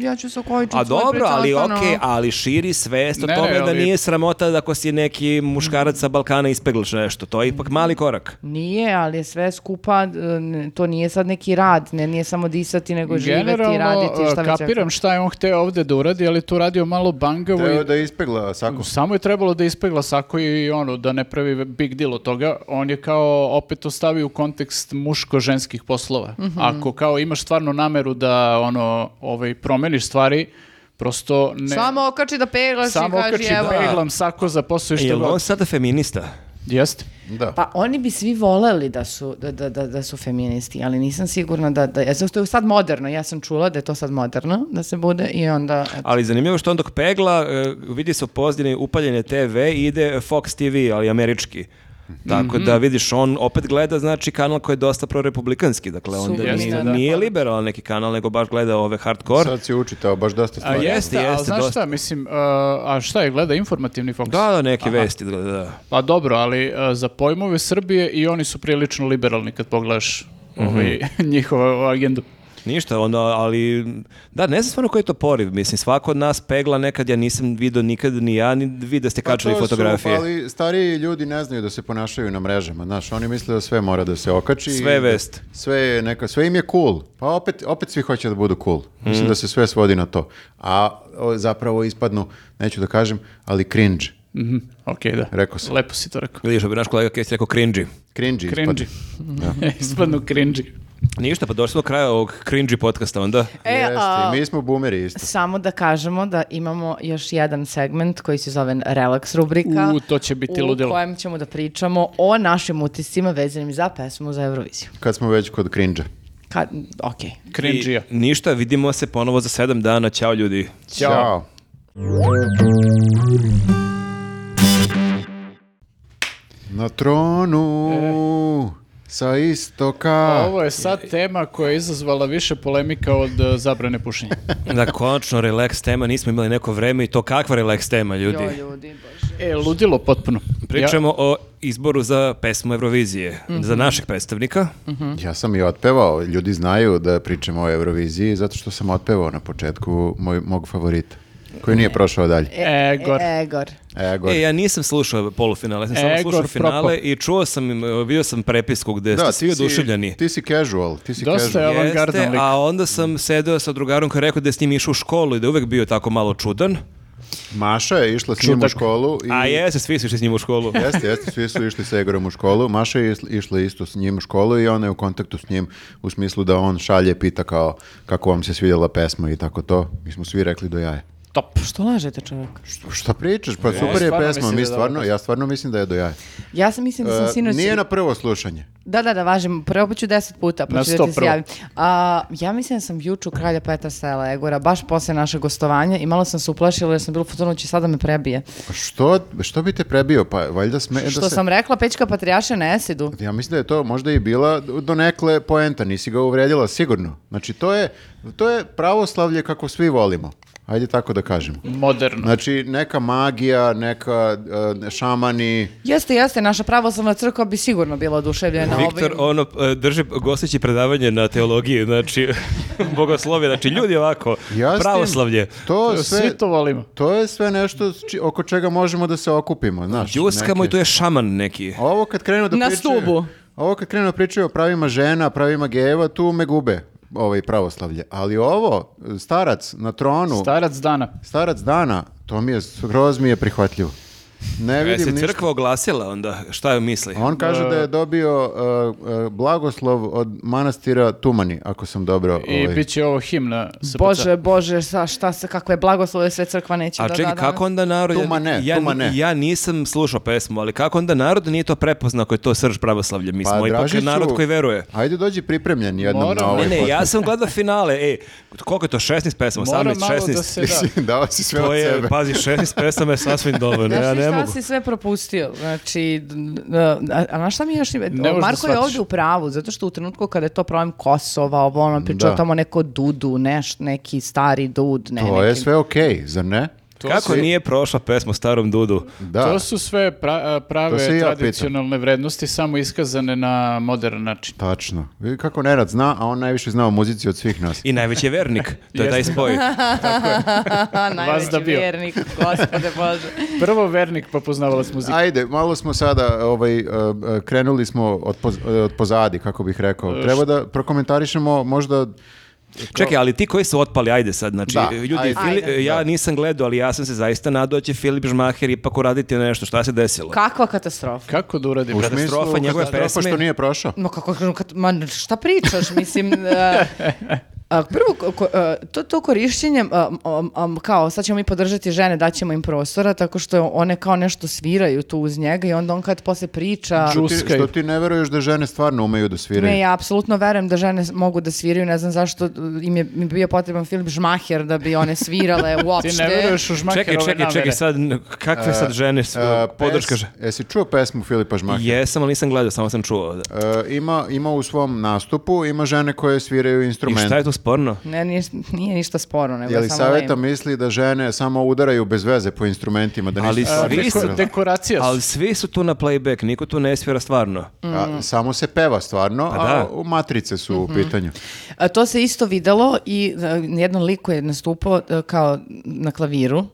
Speaker 3: ja ću sa Kojičić...
Speaker 1: A dobro, ali
Speaker 3: ok,
Speaker 1: okej, ali širi svest o
Speaker 2: Ne, ne,
Speaker 1: tome da
Speaker 2: ali-
Speaker 1: nije sramota da ako si neki muškarac sa Balkana ispeglaš nešto. To je ipak mali korak.
Speaker 3: Nije, ali je sve skupa, e, n- to nije sad neki rad, ne, nije samo disati, nego živeti i
Speaker 2: Generalno,
Speaker 3: raditi, šta
Speaker 2: e,
Speaker 3: već ja-
Speaker 2: kapiram šta je on hteo ovde da uradi, ali je tu radio malo bangavo
Speaker 4: Treba
Speaker 2: i
Speaker 4: da ispegla sako.
Speaker 2: samo je trebalo da ispegla sako i ono, da ne pravi big deal od toga. On je kao opet to stavio u kontekst muško-ženskih poslova.
Speaker 3: Mhm.
Speaker 2: Ako kao imaš stvarno nameru da ono, ovaj, promeniš stvari, prosto ne...
Speaker 3: Samo okači da peglaš
Speaker 2: Samo
Speaker 3: i kaži
Speaker 2: okači
Speaker 3: evo.
Speaker 2: peglam sako za posao i što
Speaker 1: Je on
Speaker 2: god.
Speaker 1: sada feminista?
Speaker 2: Jeste.
Speaker 4: Da.
Speaker 3: Pa oni bi svi voleli da su, da, da, da, da su feministi, ali nisam sigurna da, da, zato što je sad moderno, ja sam čula da je to sad moderno, da se bude i onda... eto.
Speaker 1: Ali zanimljivo što on dok pegla, e, vidi se u pozdini upaljene TV i ide Fox TV, ali američki.
Speaker 3: Mhm.
Speaker 1: Tako da vidiš, on opet gleda znači kanal koji je dosta prorepublikanski, dakle onda
Speaker 3: Super,
Speaker 1: nije,
Speaker 3: da, da.
Speaker 1: nije liberalan neki kanal, nego baš gleda ove hardcore.
Speaker 4: Sad si učitao baš dosta
Speaker 2: A
Speaker 4: stvari.
Speaker 2: jeste,
Speaker 1: jeste,
Speaker 2: ali znaš
Speaker 1: dosta.
Speaker 2: šta, mislim, uh, a šta je, gleda informativni fokus?
Speaker 1: Da, da, neke vesti, da, da.
Speaker 2: Pa dobro, ali uh, za pojmove Srbije i oni su prilično liberalni kad pogledaš ovaj, (laughs) njihovu agendu.
Speaker 1: Ništa, ono, ali, da, ne znam stvarno koji je to poriv, mislim, svako od nas pegla nekad, ja nisam vidio nikad ni ja, ni vi da ste
Speaker 4: Pa
Speaker 1: kačali
Speaker 4: to su,
Speaker 1: fotografije.
Speaker 4: ali stariji ljudi ne znaju da se ponašaju na mrežama, znaš, oni misle da sve mora da se okači.
Speaker 1: Sve je
Speaker 4: i da-
Speaker 1: vest.
Speaker 4: Sve je neka, sve im je cool. Pa opet, opet svi hoće da budu cool.
Speaker 1: Mhm.
Speaker 4: Mislim da se sve svodi na to. A o, zapravo ispadnu, neću da kažem, ali cringe.
Speaker 2: Mhm, Ok, da.
Speaker 4: Rekao sam.
Speaker 1: pa
Speaker 2: Lepo si to rekao.
Speaker 1: Vidiš, što bi naš kolega Kesić rekao cringy.
Speaker 4: Cringe
Speaker 2: Cringy. (laughs) Ispadnu cringy.
Speaker 1: Ništa, pa došli smo do kraja ovog cringy podcasta onda.
Speaker 3: E,
Speaker 4: Jeste,
Speaker 3: a,
Speaker 4: i mi smo bumeri isto.
Speaker 3: Samo da kažemo da imamo još jedan segment koji se zove Relax rubrika.
Speaker 2: U, to će biti
Speaker 3: u
Speaker 2: ludilo.
Speaker 3: kojem ćemo da pričamo o našim utiscima vezanim za pesmu za Euroviziju.
Speaker 4: Kad smo već kod krinđa.
Speaker 3: Kad, okej.
Speaker 2: Cringe-ija.
Speaker 1: I ništa, vidimo se ponovo za sedam dana. Ćao ljudi.
Speaker 4: Ćao. Na tronu sa istoka.
Speaker 2: Ovo je sad tema koja je izazvala više polemika od e, zabrane pušenja.
Speaker 1: Da, konačno relax tema, nismo imali neko vreme i to kakva relax tema, ljudi.
Speaker 3: Jo, ljudi, bože.
Speaker 2: E, ludilo potpuno.
Speaker 1: Pričamo o izboru za pesmu Eurovizije, za našeg predstavnika.
Speaker 4: Ja sam i otpevao. Ljudi znaju da pričamo o Euroviziji zato što sam otpevao na početku moj, mog favorita koji nije prošao dalje.
Speaker 2: Ja, Egor.
Speaker 3: Egor.
Speaker 4: E, gore.
Speaker 1: E, ja nisam slušao polufinale, ja sam samo
Speaker 2: Egor
Speaker 1: slušao finale
Speaker 2: Prokop.
Speaker 1: i čuo sam, im, vidio sam prepisku gde ste svi
Speaker 4: ti si-
Speaker 1: oduševljeni.
Speaker 4: Ti si casual, ti si
Speaker 2: Dosta
Speaker 4: casual.
Speaker 2: je avangardan
Speaker 1: Jeste,
Speaker 2: lik.
Speaker 1: a onda sam sedeo sa drugarom koji je rekao da je s njim išao u školu i da je uvek bio tako malo čudan.
Speaker 4: Maša je išla s njim u
Speaker 2: Čudak.
Speaker 4: školu. I...
Speaker 1: A jeste, svi su išli s njim u
Speaker 4: (laughs)
Speaker 1: školu.
Speaker 4: Jeste, jeste, svi su išli sa Egorom u školu. Maša je isla- išla isto s njim u školu i ona je u kontaktu s njim u smislu da on šalje, pita kao kako vam se svidjela pesma i tako to. Mi smo svi rekli do jaja.
Speaker 2: Top.
Speaker 3: Što lažete čovjek?
Speaker 4: Što, šta pričaš? Pa super je
Speaker 2: stvarno mislim
Speaker 4: pesma,
Speaker 2: da
Speaker 4: mi
Speaker 2: je dobra
Speaker 4: stvarno, ja stvarno mislim da je do jaja.
Speaker 3: Ja sam mislim da sam
Speaker 4: E,
Speaker 3: sinoć...
Speaker 4: Nije na prvo slušanje.
Speaker 3: Da, da, da, važim. Prvo ću deset puta, pa
Speaker 2: Na
Speaker 3: ću da
Speaker 2: sto
Speaker 3: ti se
Speaker 2: prvo.
Speaker 3: javim. A, ja mislim da sam juču kralja Petra Stajla Egora, baš posle našeg gostovanja i malo sam se uplašila jer sam bila u fotonu će sada me prebije.
Speaker 4: Pa Što, što bi te prebio? Pa valjda
Speaker 2: E,
Speaker 4: sme... da
Speaker 3: Što
Speaker 4: se-
Speaker 3: sam rekla, pečka patrijaša na esidu.
Speaker 4: Ja mislim da je to možda i bila donekle poenta, nisi ga uvredila sigurno. Znači to je, to je pravoslavlje kako svi volimo. Ajde tako da kažemo.
Speaker 2: Moderno.
Speaker 4: Znači neka magija, neka e, šamani,
Speaker 3: Jeste, jeste, naša pravoslavna crkva bi sigurno bila oduševljena
Speaker 1: Viktor,
Speaker 3: ovim.
Speaker 1: ono, e, drži gostići predavanje na teologiji, znači, (laughs) bogoslovje, znači, ljudi ovako,
Speaker 4: Ja s tim-
Speaker 1: pravoslavlje.
Speaker 4: to sve
Speaker 2: Svi to volimo.
Speaker 4: to je sve nešto s či- oko čega možemo da se okupimo, znaš.
Speaker 1: Džuskamo i
Speaker 4: Znači, neke-
Speaker 1: to je šaman neki.
Speaker 4: Ovo kad krenu da
Speaker 3: Na
Speaker 4: pričaju-
Speaker 3: stubu.
Speaker 4: Ovo kad krenu da pričaju o pravima žena, pravima gejeva, tu me gube ovaj pravoslavlje. Ali ovo, starac na tronu,
Speaker 2: Starac dana.
Speaker 4: starac dana, to mi je skroz mi je prihvatljivo. Ne
Speaker 1: E, se
Speaker 4: vidim ništa.
Speaker 1: crkva oglasila onda, šta je misli?
Speaker 4: On kaže da je dobio uh, uh, blagoslov od manastira Tumani, ako sam dobro...
Speaker 2: I
Speaker 4: ovaj,
Speaker 2: bit će ovo himna SPC.
Speaker 3: Bože, bože, sa, šta se, kakve blagoslove sve crkva neće
Speaker 1: A
Speaker 3: da
Speaker 1: čekaj,
Speaker 3: da
Speaker 1: kako
Speaker 3: danas.
Speaker 1: onda narod...
Speaker 4: Tuma ne,
Speaker 1: ja,
Speaker 4: tuma ne.
Speaker 1: ja nisam slušao pesmu, ali kako onda narod nije to prepoznao ako je to srž pravoslavlja? Mi smo ipak
Speaker 4: Pa, Dražiću,
Speaker 1: narod koji veruje.
Speaker 4: Ajde dođi pripremljen jednom
Speaker 2: Moram.
Speaker 4: na ovaj
Speaker 1: Ne, ne,
Speaker 4: podcast.
Speaker 1: ja sam gledao finale, ej, koliko je to, 16 pesama,
Speaker 2: Mora
Speaker 1: 18,
Speaker 2: malo
Speaker 1: 16?
Speaker 2: da se da.
Speaker 4: (laughs) Dao si sve
Speaker 1: To
Speaker 4: od
Speaker 1: je, pa-
Speaker 4: sebe.
Speaker 1: pazi, 16 pesama je sasvim dovoljno,
Speaker 3: Znaš
Speaker 1: ja
Speaker 3: ti
Speaker 1: ne
Speaker 3: šta
Speaker 1: mogu.
Speaker 3: si sve propustio? Znači, d- d- a, a znaš šta mi još... ima?
Speaker 2: možeš da
Speaker 3: Marko je
Speaker 2: shvatiš.
Speaker 3: ovdje u pravu, zato što u trenutku kada je to problem Kosova, ovo ono, pričao
Speaker 4: Da.
Speaker 3: tamo neko dudu, neš, neki stari dud, ne,
Speaker 4: To
Speaker 3: neki...
Speaker 4: je sve okej, zar ne?
Speaker 1: Kako nije prošla pesma Starom Dudu?
Speaker 4: Da.
Speaker 2: To su sve pra- prave
Speaker 4: To se i ja pitam.
Speaker 2: tradicionalne vrednosti, samo iskazane na modern način.
Speaker 4: Tačno. Vidi kako Nenad zna, a on najviše zna o muzici od svih nas.
Speaker 1: I najveći je vernik, to je taj spoj.
Speaker 3: A, (laughs) najveći
Speaker 2: da bio.
Speaker 3: vjernik, gospode
Speaker 1: (laughs)
Speaker 3: Bože.
Speaker 2: Prvo vernik, pa poznavalac muzike.
Speaker 4: Ajde, malo smo sada, ovaj, e, e, krenuli smo od, poz- e, od pozadi, kako bih rekao. Treba da prokomentarišemo možda...
Speaker 1: Čekaj, ali ti koji su otpali, ajde sad, znači,
Speaker 4: Da,
Speaker 1: ljudi,
Speaker 4: ajde.
Speaker 1: Fili-
Speaker 3: Ajde.
Speaker 1: ja nisam gledao, ali ja sam se zaista nadao da će Filip Žmaher ipak uraditi nešto, šta se desilo?
Speaker 3: Kakva katastrofa.
Speaker 2: Kako da uradim?
Speaker 4: U
Speaker 1: Katastrofa
Speaker 4: smislu,
Speaker 1: njegove
Speaker 4: katastrofa
Speaker 1: pesme.
Speaker 4: što nije prošao.
Speaker 3: Ma kako, kat- ma šta pričaš, mislim, e, a, prvo, ko- ko- e, to, to korišćenje, a, a, a, kao, sad ćemo mi podržati žene, daćemo im prostora, tako što one kao nešto sviraju tu uz njega i onda on kad posle priča...
Speaker 2: Ču-
Speaker 4: Ti-
Speaker 2: Uskaju.
Speaker 4: Što ti ne veruješ da žene stvarno umeju da sviraju?
Speaker 3: Ne, ja apsolutno verujem da žene s- mogu da sviraju, ne znam zašto im je mi bio potreban Filip Žmaher da bi one svirale uopšte.
Speaker 2: (laughs) Ti ne veruješ u žmakerove
Speaker 1: Čekaj, čekaj, čekaj,
Speaker 2: namere.
Speaker 1: sad, n- kakve sad žene su,
Speaker 4: E, pes-
Speaker 1: podrška že-
Speaker 4: Jesi čuo pesmu Filipa Žmaka?
Speaker 1: Jesam, ali nisam gledao, samo sam čuo. da.
Speaker 4: E, ima, ima u svom nastupu, ima žene koje sviraju
Speaker 1: I
Speaker 4: instrumente.
Speaker 1: šta je tu sporno?
Speaker 3: Ne, nije, nije ništa sporno, nego je samo
Speaker 4: Jelisaveta
Speaker 3: lame.
Speaker 4: misli da žene samo udaraju bez veze po instrumentima, da nisu
Speaker 1: Ali
Speaker 4: stvarno
Speaker 1: svi su-
Speaker 4: svirale.
Speaker 2: Deko- dekoracija su.
Speaker 1: Ali svi su tu na playback, niko tu ne svira stvarno.
Speaker 4: A, samo se peva stvarno,
Speaker 1: Pa
Speaker 4: a
Speaker 1: da.
Speaker 4: u matrice su
Speaker 3: Mhm.
Speaker 4: u pitanju.
Speaker 3: A, To se isto videlo i e, jedan lik koji je nastupao e, kao na klaviru,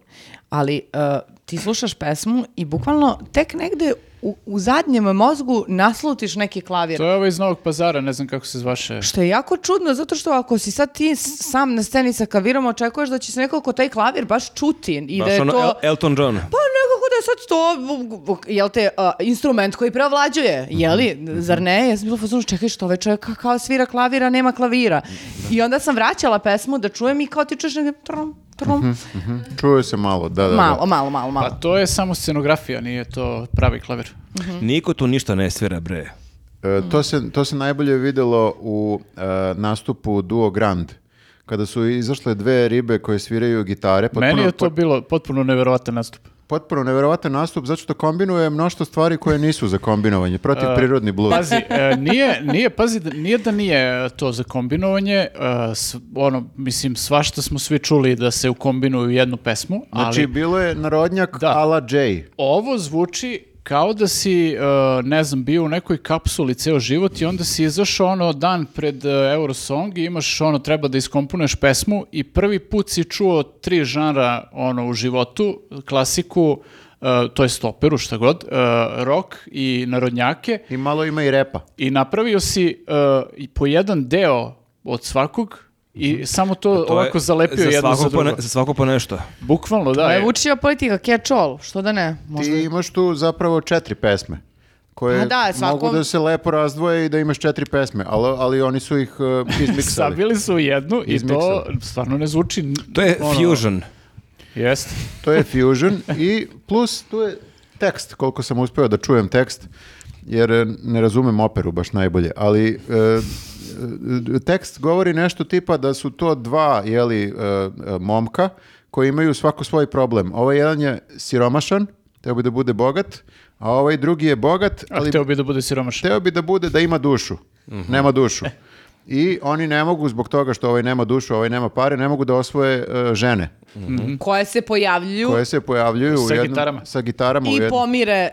Speaker 3: ali e, ti slušaš pesmu i bukvalno tek negde u, u zadnjem mozgu naslutiš neki klavir.
Speaker 2: To je ovo iz Novog pazara, ne znam kako se zvaše.
Speaker 3: Što je jako čudno, zato što ako si sad ti s- sam na sceni sa klavirom, očekuješ da će se nekako taj klavir baš čuti i da
Speaker 1: Baš
Speaker 3: je
Speaker 1: ono
Speaker 3: to...
Speaker 1: El- Elton John.
Speaker 3: Pa nekako da sad to, jel te, a, instrument koji prevlađuje, je li? Zar ne? Ja sam bila u fazonu, čekaj što ovaj čovjek ka- kao svira klavira, nema klavira. I onda sam vraćala pesmu da čujem i kao ti čuješ negdje trom, trom.
Speaker 4: Mhm. Čuje se malo, da, da, da.
Speaker 3: Malo, malo, malo, malo.
Speaker 2: Pa to je samo scenografija, nije to pravi klavir.
Speaker 3: Mhm.
Speaker 1: Niko tu ništa ne svira, bre.
Speaker 4: E, to, se, to se najbolje videlo u e, nastupu Duo Grand, kada su izašle dve ribe koje sviraju gitare.
Speaker 2: Meni
Speaker 4: potpuno-
Speaker 2: je to bilo potpuno neverovatan nastup.
Speaker 4: Potpuno neverovatan nastup, zato što kombinuje mnoštvo stvari koje nisu za kombinovanje, protiv prirodni bluz.
Speaker 1: pa
Speaker 4: (laughs)
Speaker 2: Pazi, e, nije, nije, pazi, da- nije da nije e, to za kombinovanje, e, s- ono, mislim, svašta smo svi čuli da se ukombinuju u jednu pesmu, ali
Speaker 4: Znači, bilo je narodnjak
Speaker 2: Da.
Speaker 4: ala Jay.
Speaker 2: ovo zvuči kao da si, e, ne znam, bio u nekoj kapsuli ceo život i onda si izašao ono dan pred e, Eurosong i imaš ono, treba da iskomponuješ pesmu i prvi put si čuo tri žanra ono u životu, klasiku, e, to je stoperu, šta god, e, rock i narodnjake
Speaker 4: I malo ima i repa.
Speaker 2: i napravio si uh, i po jedan deo od svakog i samo to,
Speaker 1: Mhm. To je
Speaker 2: ovako zalepio jedno
Speaker 1: svako
Speaker 2: za drugo.
Speaker 1: Po ne- za svako po nešto.
Speaker 2: Bukvalno, da.
Speaker 3: To je
Speaker 2: je-
Speaker 3: Vučićeva politika, catch all, što da ne? Možda
Speaker 4: Ti imaš tu zapravo četiri pesme koje
Speaker 3: A da, svakom-
Speaker 4: mogu da se lepo razdvoje i da imaš četiri pesme, ali, ali oni su ih uh,
Speaker 3: (laughs)
Speaker 4: izmiksali.
Speaker 2: Sabili su u jednu i to
Speaker 4: Izmiksali.
Speaker 2: stvarno ne zvuči... ono,
Speaker 1: To je
Speaker 3: Ono,
Speaker 1: fusion.
Speaker 2: Jeste.
Speaker 4: To je fusion i plus tu je tekst, koliko sam uspeo da čujem tekst, jer e, ne razumem operu baš najbolje, ali e, e, tekst govori nešto tipa da su to dva jeli, e, e, momka koji imaju svako svoj problem. Ovaj jedan je siromašan, teo bi da bude bogat, a ovaj drugi je bogat,
Speaker 2: Ali
Speaker 4: ali
Speaker 2: teo bi da bude siromašan.
Speaker 4: Hteo bi da bude da ima dušu. Nema dušu. I oni ne mogu zbog toga što ovaj nema dušu, ovaj nema pare, ne mogu da osvoje e, žene
Speaker 3: koje se pojavljuju
Speaker 4: koje se pojavljuju u
Speaker 2: Sa
Speaker 4: jednom,
Speaker 2: gitarama.
Speaker 4: sa gitarama u
Speaker 3: i
Speaker 4: jednom.
Speaker 3: pomire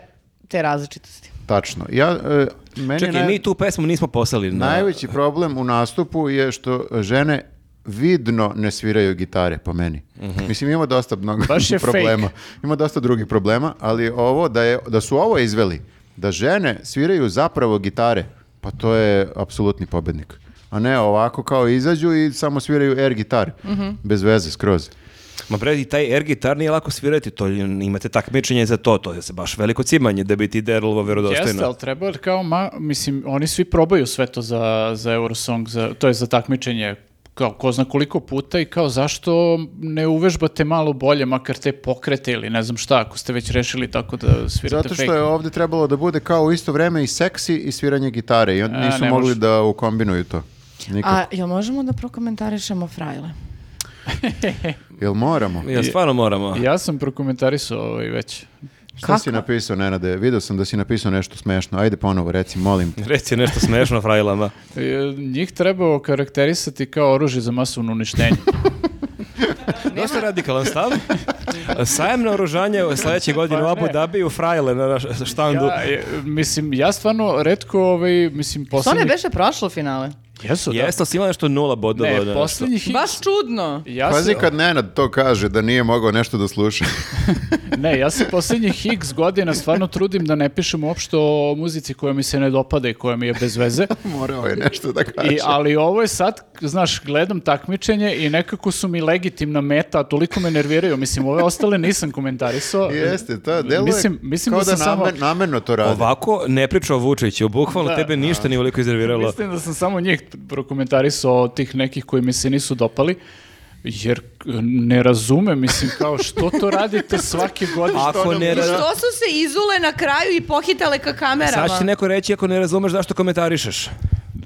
Speaker 3: te različitosti.
Speaker 4: Tačno. Ja, e, meni
Speaker 1: Čekaj,
Speaker 4: naj-
Speaker 1: mi tu pesmu nismo poslali. Na...
Speaker 4: najveći problem u nastupu je što žene vidno ne sviraju gitare po meni. Mislim ima dosta mnogo
Speaker 2: Mhm. Baš je fake.
Speaker 4: problema. Ima dosta drugih problema, ali ovo da je da su ovo izveli da žene sviraju zapravo gitare, pa to je apsolutni pobednik. A ne ovako kao izađu i samo sviraju air gitare. Bez veze skroz.
Speaker 1: Ma bre, i taj air gitar nije lako svirati, to imate takmičenje za to, to je se baš veliko cimanje da bi ti derlovo
Speaker 2: Jeste,
Speaker 1: vjerodostojno.
Speaker 2: ali treba jer kao, ma, mislim, oni svi probaju sve to za, za Eurosong, za, to je za takmičenje kao ko zna koliko puta i kao zašto ne uvežbate malo bolje makar te pokrete ili ne znam šta ako ste već rešili tako da svirate
Speaker 4: Zato
Speaker 2: fake.
Speaker 4: što je ovdje trebalo da bude kao u isto vrijeme i seksi i sviranje gitare i
Speaker 2: A,
Speaker 4: oni nisu
Speaker 2: ne
Speaker 4: mogli
Speaker 2: može.
Speaker 4: da ukombinuju to. Nikako.
Speaker 3: A jel možemo da prokomentarišemo frajle?
Speaker 4: Jel moramo?
Speaker 1: Ja stvarno moramo.
Speaker 2: Ja sam prokomentarisao ovaj već.
Speaker 4: Šta
Speaker 3: Kako?
Speaker 4: si napisao, Nenade? Vidio sam da si napisao nešto smešno. Ajde ponovo, reci, molim. te.
Speaker 1: Reci nešto smešno frajlama.
Speaker 2: E, Njih treba okarakterisati kao oružje za masovno uništenje.
Speaker 1: Dosta radikalan (laughs) stav. Sajem na oružanje sljedeće godine u Abu Dhabi u frajle na naš- štandu.
Speaker 2: ja, e, mislim, ja stvarno redko, ovaj, mislim,
Speaker 3: Što ne
Speaker 2: posljednjih...
Speaker 3: beše prošlo finale?
Speaker 2: Jesu, da.
Speaker 1: Jeste, ali si imala nešto nula bodova. da,
Speaker 2: Ne,
Speaker 1: nešto?
Speaker 2: posljednjih...
Speaker 3: Baš čudno.
Speaker 2: Ja
Speaker 4: Pazi
Speaker 2: se,
Speaker 4: kad Nenad to kaže da nije mogao nešto
Speaker 2: (laughs)
Speaker 4: da sluša.
Speaker 2: ne, ja se posljednjih x godina stvarno trudim da ne pišem uopšte o muzici koja mi se ne dopada i koja mi je bez veze.
Speaker 4: Morao je Ovaj nešto da kaže.
Speaker 2: I, ali ovo je sad, znaš, gledam takmičenje i nekako su mi legitimna meta, a toliko me nerviraju. Mislim, ove ostale nisam komentarisao.
Speaker 4: Jeste, to delo
Speaker 2: Mislim- mislim
Speaker 4: kao
Speaker 2: da
Speaker 4: da,
Speaker 2: sam samo-
Speaker 4: namer- namerno to radi.
Speaker 1: Ovako ne priča o Vučiću, bukvalno tebe ništa nije uveliko iznerviralo.
Speaker 2: Mislim da sam samo njih prokomentarisao tih nekih koji mi se nisu dopali. Jer k- ne razume, mislim, kao što to radite svake godine?
Speaker 1: Ako ne...
Speaker 3: I što su se izule na kraju i pohitale ka kamerama?
Speaker 1: Sad će neko reći ako ne razumeš zašto komentarišeš.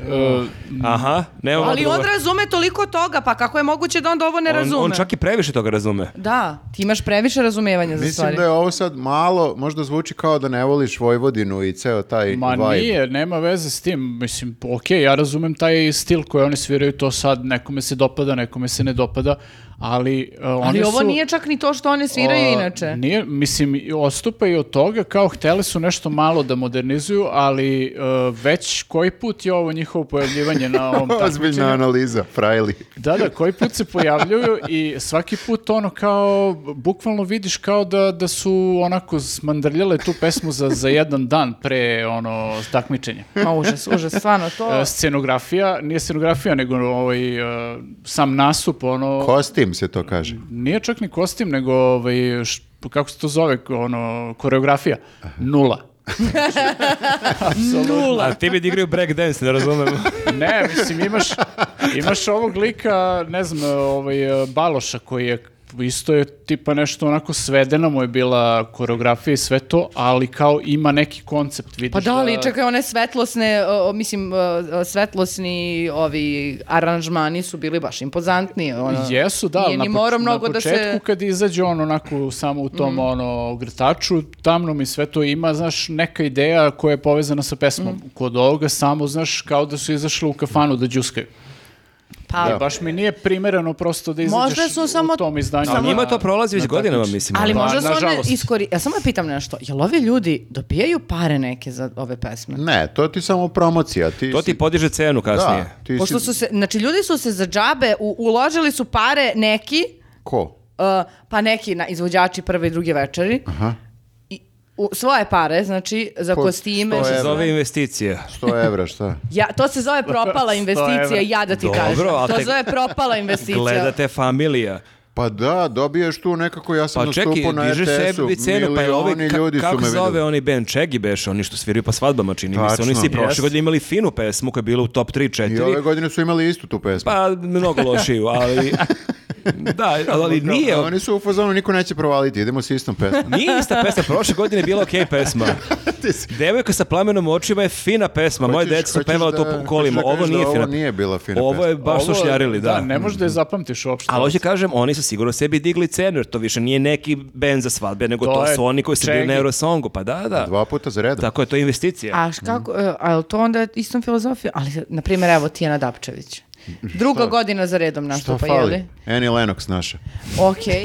Speaker 2: E,
Speaker 1: Aha, nemamo
Speaker 3: Ali on
Speaker 1: odgovor.
Speaker 3: razume toliko toga, pa kako je moguće da onda ovo ne razume?
Speaker 1: On, on čak i previše toga razume.
Speaker 3: Da, ti imaš previše razumevanja za
Speaker 4: Mislim
Speaker 3: stvari.
Speaker 4: da je ovo sad malo, možda zvuči kao da ne voliš Vojvodinu i ceo taj
Speaker 2: Ma
Speaker 4: vibe.
Speaker 2: nije, nema veze s tim. Mislim, ok, ja razumem taj stil koji oni sviraju to sad, nekome se dopada, nekome se ne dopada, ali e, oni
Speaker 3: Ali ovo
Speaker 2: su-
Speaker 3: nije čak ni to što one sviraju
Speaker 2: A,
Speaker 3: inače.
Speaker 2: Nije, mislim, i odstupaju od toga, kao hteli su nešto malo da modernizuju, ali e, već koji put je ovo njihovo pojavljivanje na
Speaker 4: (laughs)
Speaker 2: ovom
Speaker 4: Ozbiljna
Speaker 2: takmičenju?
Speaker 4: analiza, frajli.
Speaker 2: Da, da, koji put se pojavljuju i svaki put ono kao, bukvalno vidiš kao da, da su onako smandrljale tu pesmu za, za jedan dan pre ono takmičenja.
Speaker 3: Ma užas, užas, stvarno to.
Speaker 2: (laughs) E, scenografija, nije scenografija, nego ovaj, e, sam nastup, ono...
Speaker 4: Kosti, kostim se to kaže.
Speaker 2: Nije čak ni kostim, nego ovaj, š- kako se to zove, ono, koreografija. Nula.
Speaker 1: A ti bi igrao break dance, ne
Speaker 3: (laughs)
Speaker 1: razumem.
Speaker 2: Ne, mislim, imaš, imaš ovog lika, ne znam, ovaj, Baloša koji je isto je tipa nešto onako svedena mu je bila koreografija i sve to, ali kao ima neki koncept, vidiš
Speaker 3: Pa da, ali
Speaker 2: da-
Speaker 3: čekaj, one svetlosne, o, o, mislim, o, o, svetlosni ovi aranžmani su bili baš impozantni. Ono,
Speaker 2: Jesu, Pa da, ali
Speaker 3: Nije
Speaker 2: na,
Speaker 3: ni
Speaker 2: poč-
Speaker 3: morao
Speaker 2: na
Speaker 3: mnogo da
Speaker 2: početku
Speaker 3: se... Mm.
Speaker 2: kad izađe on onako samo u tom ono grtaču, tamnom i sve to ima, znaš, neka ideja koja je povezana sa pesmom.
Speaker 3: Mm.
Speaker 2: Kod ovoga samo, znaš, kao da su izašli u kafanu da đuskaju.
Speaker 3: Pa,
Speaker 2: I baš mi nije primereno prosto da izađeš
Speaker 3: Možda su samo-
Speaker 2: u tom izdanju.
Speaker 1: A
Speaker 3: Samo-
Speaker 1: njima to prolazi već
Speaker 2: na
Speaker 1: godinama,
Speaker 2: takmič-
Speaker 1: mislim.
Speaker 3: Ali
Speaker 2: Pa,
Speaker 3: možda su one
Speaker 2: nažalost.
Speaker 3: iskori... Ja samo pitam nešto. Jel ovi ljudi dobijaju pare neke za ove pesme?
Speaker 4: Ne, to ti samo promocija. Ti
Speaker 1: ono. To
Speaker 4: si-
Speaker 1: ti podiže cenu kasnije.
Speaker 4: Da, ti
Speaker 3: Pošto
Speaker 4: si-
Speaker 3: su se, znači ljudi su se za džabe, u- uložili su pare neki,
Speaker 4: Ko?
Speaker 3: uh, pa neki na, izvođači prve i druge večeri,
Speaker 4: Aha.
Speaker 3: i, u, svoje pare, znači, za
Speaker 4: Po
Speaker 3: kostime.
Speaker 1: To se
Speaker 4: evra.
Speaker 1: zove investicija.
Speaker 4: 100 evra, šta?
Speaker 3: Ja, to se zove propala investicija,
Speaker 2: evra.
Speaker 3: ja da ti
Speaker 1: Dobro,
Speaker 3: kažem.
Speaker 1: ali
Speaker 3: To
Speaker 1: te-
Speaker 3: zove propala investicija.
Speaker 1: Gledate familija.
Speaker 4: Pa da, dobiješ tu nekako, ja sam
Speaker 1: Pa čekaj,
Speaker 4: nastupao na
Speaker 1: dižeš
Speaker 4: RTS-u,
Speaker 1: sebi cenu, pa je ovaj,
Speaker 4: milioni
Speaker 1: ka-
Speaker 4: ljudi su
Speaker 1: kako
Speaker 4: me
Speaker 1: zove ono,
Speaker 4: vidjeli.
Speaker 1: onaj band Čegi beš, oni što sviraju po svadbama, čini mi se,
Speaker 4: Tačno.
Speaker 1: oni svi prošle
Speaker 2: Yes.
Speaker 1: godine imali finu pesmu koja je bila u top 3, 4,
Speaker 4: I ove godine su imali istu tu pesmu.
Speaker 1: pa mnogo lošiju,
Speaker 4: (laughs)
Speaker 1: ali... da, ali nije,
Speaker 4: A Oni su u fazonu, niko neće provaliti, idemo s istom
Speaker 1: (laughs)
Speaker 4: pesmom.
Speaker 1: Nije ista pesma, prošle godine je bila okej pesma.
Speaker 4: (laughs) Ti si-
Speaker 1: Devojka sa plamenom u očima je fina pesma, moje
Speaker 4: Hoćeš-
Speaker 1: djeca Pa su
Speaker 4: hoćeš
Speaker 1: pevala
Speaker 4: da-
Speaker 1: to po kolima,
Speaker 4: hoćeš da
Speaker 1: ovo
Speaker 4: kažeš da
Speaker 1: nije
Speaker 4: ovo
Speaker 1: fina
Speaker 4: nije bila fina
Speaker 1: Ovo je
Speaker 4: pesma.
Speaker 1: baš
Speaker 2: Ovo-
Speaker 1: su šljarili, da.
Speaker 2: ne možeš
Speaker 4: Mhm.
Speaker 2: da je zapamtiš uopšte.
Speaker 1: Ali hoće kažem, oni su sigurno sebi digli cenu, jer to više nije neki band za svadbe, nego to,
Speaker 2: To je
Speaker 1: su oni koji su bili
Speaker 2: Čegi.
Speaker 1: na Eurosongu, pa da, da.
Speaker 4: Dva puta za redom.
Speaker 1: Tako je, to je investicija.
Speaker 3: A š- kako, e, a jel to onda je istom filozofijom? Ali, na primjer, evo Tijana Dapčević. Druga godina za redom
Speaker 4: Šta
Speaker 3: nastupa, je li?
Speaker 4: fali? Annie Lennox naša.
Speaker 3: Okej.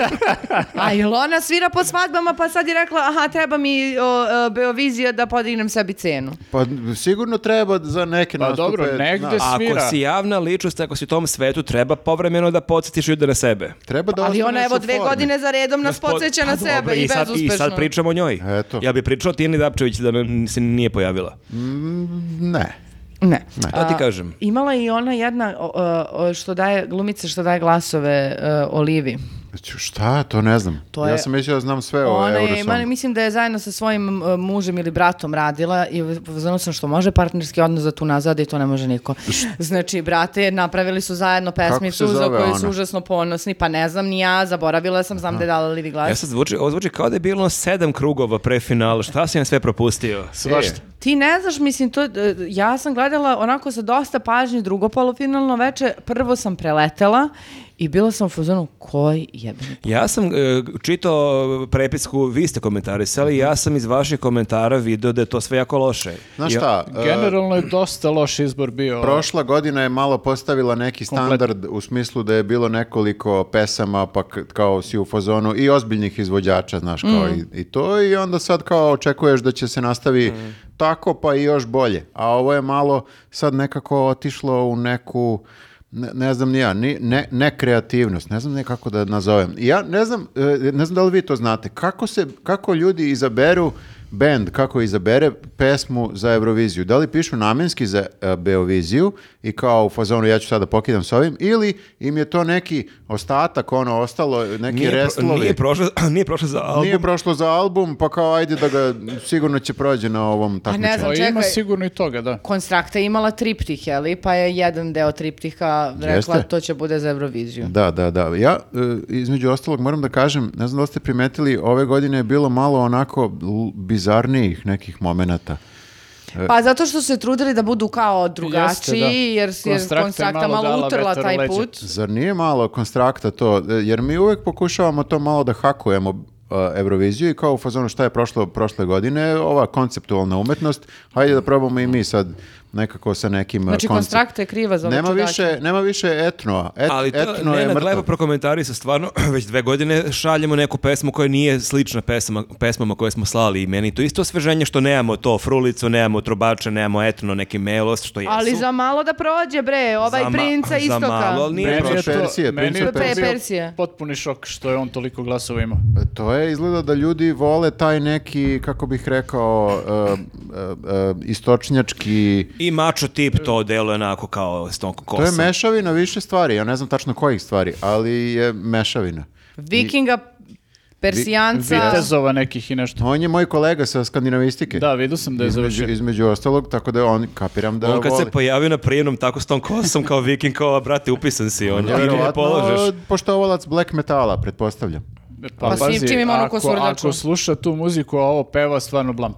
Speaker 3: A jel ona svira po svadbama pa sad je rekla aha treba mi o, e, Beovizija da podignem sebi cenu.
Speaker 4: Pa sigurno treba za neke
Speaker 2: Pa
Speaker 4: nastupe.
Speaker 2: dobro, negde
Speaker 4: znaš,
Speaker 1: Ako
Speaker 2: svira.
Speaker 1: si javna ličnost, ako si u tom svetu, treba povremeno da podsjetiš ljude na sebe.
Speaker 4: Treba da
Speaker 3: Ali ona
Speaker 4: ostaneš
Speaker 3: evo
Speaker 4: u
Speaker 3: dve
Speaker 4: formi.
Speaker 3: godine za redom nas
Speaker 1: Gospod-
Speaker 3: podsjeća na
Speaker 1: A dobro,
Speaker 3: sebe i,
Speaker 1: i sad,
Speaker 3: bezuspešno.
Speaker 1: I sad pričamo o njoj.
Speaker 4: Eto.
Speaker 1: Ja bi pričao Tini Dapčević da nam se nije pojavila.
Speaker 4: Ne.
Speaker 3: Ne.
Speaker 1: To ti kažem.
Speaker 3: Imala je i ona jedna o, o, o, što daje glumice što daje glasove e, Olivi.
Speaker 4: Ću, Znači, Šta? To ne znam.
Speaker 3: To
Speaker 4: ja
Speaker 3: je-
Speaker 4: sam mislio da znam sve o
Speaker 3: Ona je, ima-
Speaker 4: Eurosongu.
Speaker 3: mislim da je zajedno sa svojim e, mužem ili bratom radila i povezano sam što može partnerski odnos da tu nazad i to ne može niko. Znači, brate, napravili su zajedno pesmicu
Speaker 4: se
Speaker 3: za
Speaker 4: zove
Speaker 3: koju
Speaker 4: ona?
Speaker 3: su užasno ponosni, pa ne znam ni ja, zaboravila sam, znam da je dala Livi glas.
Speaker 1: Ja sad zvuči, ovo zvuči kao da je bilo sedam krugova pre finala. Šta si nam sve propustio?
Speaker 2: Svašta.
Speaker 4: E,
Speaker 3: Ti ne znaš, mislim, to, e, ja sam gledala onako sa dosta pažnje drugo polufinalno veče, prvo sam preletela i bila sam u fuzonu koji jebeni
Speaker 1: Ja sam e, čitao prepisku, vi ste komentarisali, ja sam iz vaših komentara video da je to sve jako loše.
Speaker 4: Znaš
Speaker 1: I-
Speaker 4: šta, e,
Speaker 2: Generalno je dosta loš izbor bio.
Speaker 4: prošla godina je malo postavila neki standard u smislu da je bilo nekoliko pesama, pa k- kao si u fazonu i ozbiljnih izvođača, znaš, kao
Speaker 3: Mm.
Speaker 4: i, i to i onda sad kao očekuješ da će se nastavi
Speaker 3: Mm.
Speaker 4: tako pa i još bolje. A ovo je malo sad nekako otišlo u neku Ne, ne znam ni ja, ni, ne, ne kreativnost, ne znam ni kako da nazovem. Ja ne znam, e, ne znam da li vi to znate, kako, se, kako ljudi izaberu band, kako izabere pesmu za Euroviziju. Da li pišu namenski za e, Beoviziju i kao u fazonu ja ću sada pokidam s ovim, ili im je to neki ostatak, ono ostalo, neki
Speaker 1: Nije, pro-
Speaker 4: restlovi.
Speaker 1: nije, prošlo, nije prošlo za (clears throat) album.
Speaker 4: Nije prošlo za album, pa kao ajde da ga sigurno će prođe na ovom
Speaker 3: ne
Speaker 4: takmičenju.
Speaker 3: znam,
Speaker 2: Pa
Speaker 3: Čekaj.
Speaker 2: ima sigurno i toga, da.
Speaker 3: Konstrakta je imala triptih, je li? Pa je jedan deo triptiha rekla
Speaker 4: Jeste.
Speaker 3: to će bude za Euroviziju.
Speaker 4: Da, da, da. Ja, e, između ostalog, moram da kažem, ne znam da li ste primetili, ove godine je bilo malo onako l- bizarnijih nekih momenata.
Speaker 3: Pa zato što su se trudili da budu kao drugačiji,
Speaker 2: da.
Speaker 3: jer se
Speaker 2: Konstrakta je
Speaker 3: Konstrakta
Speaker 2: malo
Speaker 3: malo
Speaker 2: dala
Speaker 3: utrla
Speaker 2: vetar u
Speaker 3: taj
Speaker 2: leđa.
Speaker 3: put.
Speaker 4: Zar nije malo konstrakta to? E, Jer mi uvek pokušavamo to malo da hakujemo e, Euroviziju i kao u fazonu šta je prošlo prošle godine, ova konceptualna umetnost, hajde da probamo i mi sad nekako sa nekim e,
Speaker 3: Znači,
Speaker 4: koncept-
Speaker 3: Konstrakta je kriva za ove
Speaker 4: Nema
Speaker 3: čudake.
Speaker 4: više, nema više etnoa. Et,
Speaker 1: Ali to
Speaker 4: etno je
Speaker 1: Nenad
Speaker 4: mrtav.
Speaker 1: lepo prokomentarisao, stvarno (clears throat) već dve godine šaljemo neku pesmu koja nije slična pesama, pesmama koje smo slali i meni to isto osveženje što nemamo to frulicu, nemamo trubače, nemamo etno, neki melos, što jesu.
Speaker 3: Ali za malo da prođe, bre, ovaj
Speaker 1: Za ma-
Speaker 3: princa
Speaker 1: za
Speaker 3: istoka.
Speaker 1: malo, ali nije
Speaker 4: Meni
Speaker 1: prošlo.
Speaker 4: je to- Persije,
Speaker 2: meni
Speaker 4: princa
Speaker 2: je to bio
Speaker 3: Persije. Persije.
Speaker 2: potpuni šok što je on toliko glasova imao.
Speaker 4: To je izgleda da ljudi vole taj neki, kako bih rekao, e, e, e, istočnjački
Speaker 1: I mačo tip to deluje onako kao stonko kosa.
Speaker 4: To je mešavina više stvari, ja ne znam tačno kojih stvari, ali je mešavina.
Speaker 3: Vikinga, Persijanca.
Speaker 2: Vitezova nekih i nešto.
Speaker 4: On je moj kolega sa skandinavistike.
Speaker 2: Da, vidio sam da je
Speaker 4: između,
Speaker 2: završio.
Speaker 4: između ostalog, tako da on kapiram da
Speaker 1: On kad
Speaker 4: voli.
Speaker 1: se pojavio na prijemnom tako s tom kosom kao viking, kao, "A, brate, upisan si, on,
Speaker 4: Ja,
Speaker 1: ti ne
Speaker 4: verovatno,
Speaker 1: položeš.
Speaker 4: poštovalac black metala, pretpostavljam.
Speaker 3: Pa s
Speaker 2: pazi,
Speaker 3: čim ima onu
Speaker 2: ako,
Speaker 3: kosurdaču.
Speaker 2: ako sluša tu muziku, a ovo peva, stvarno blam.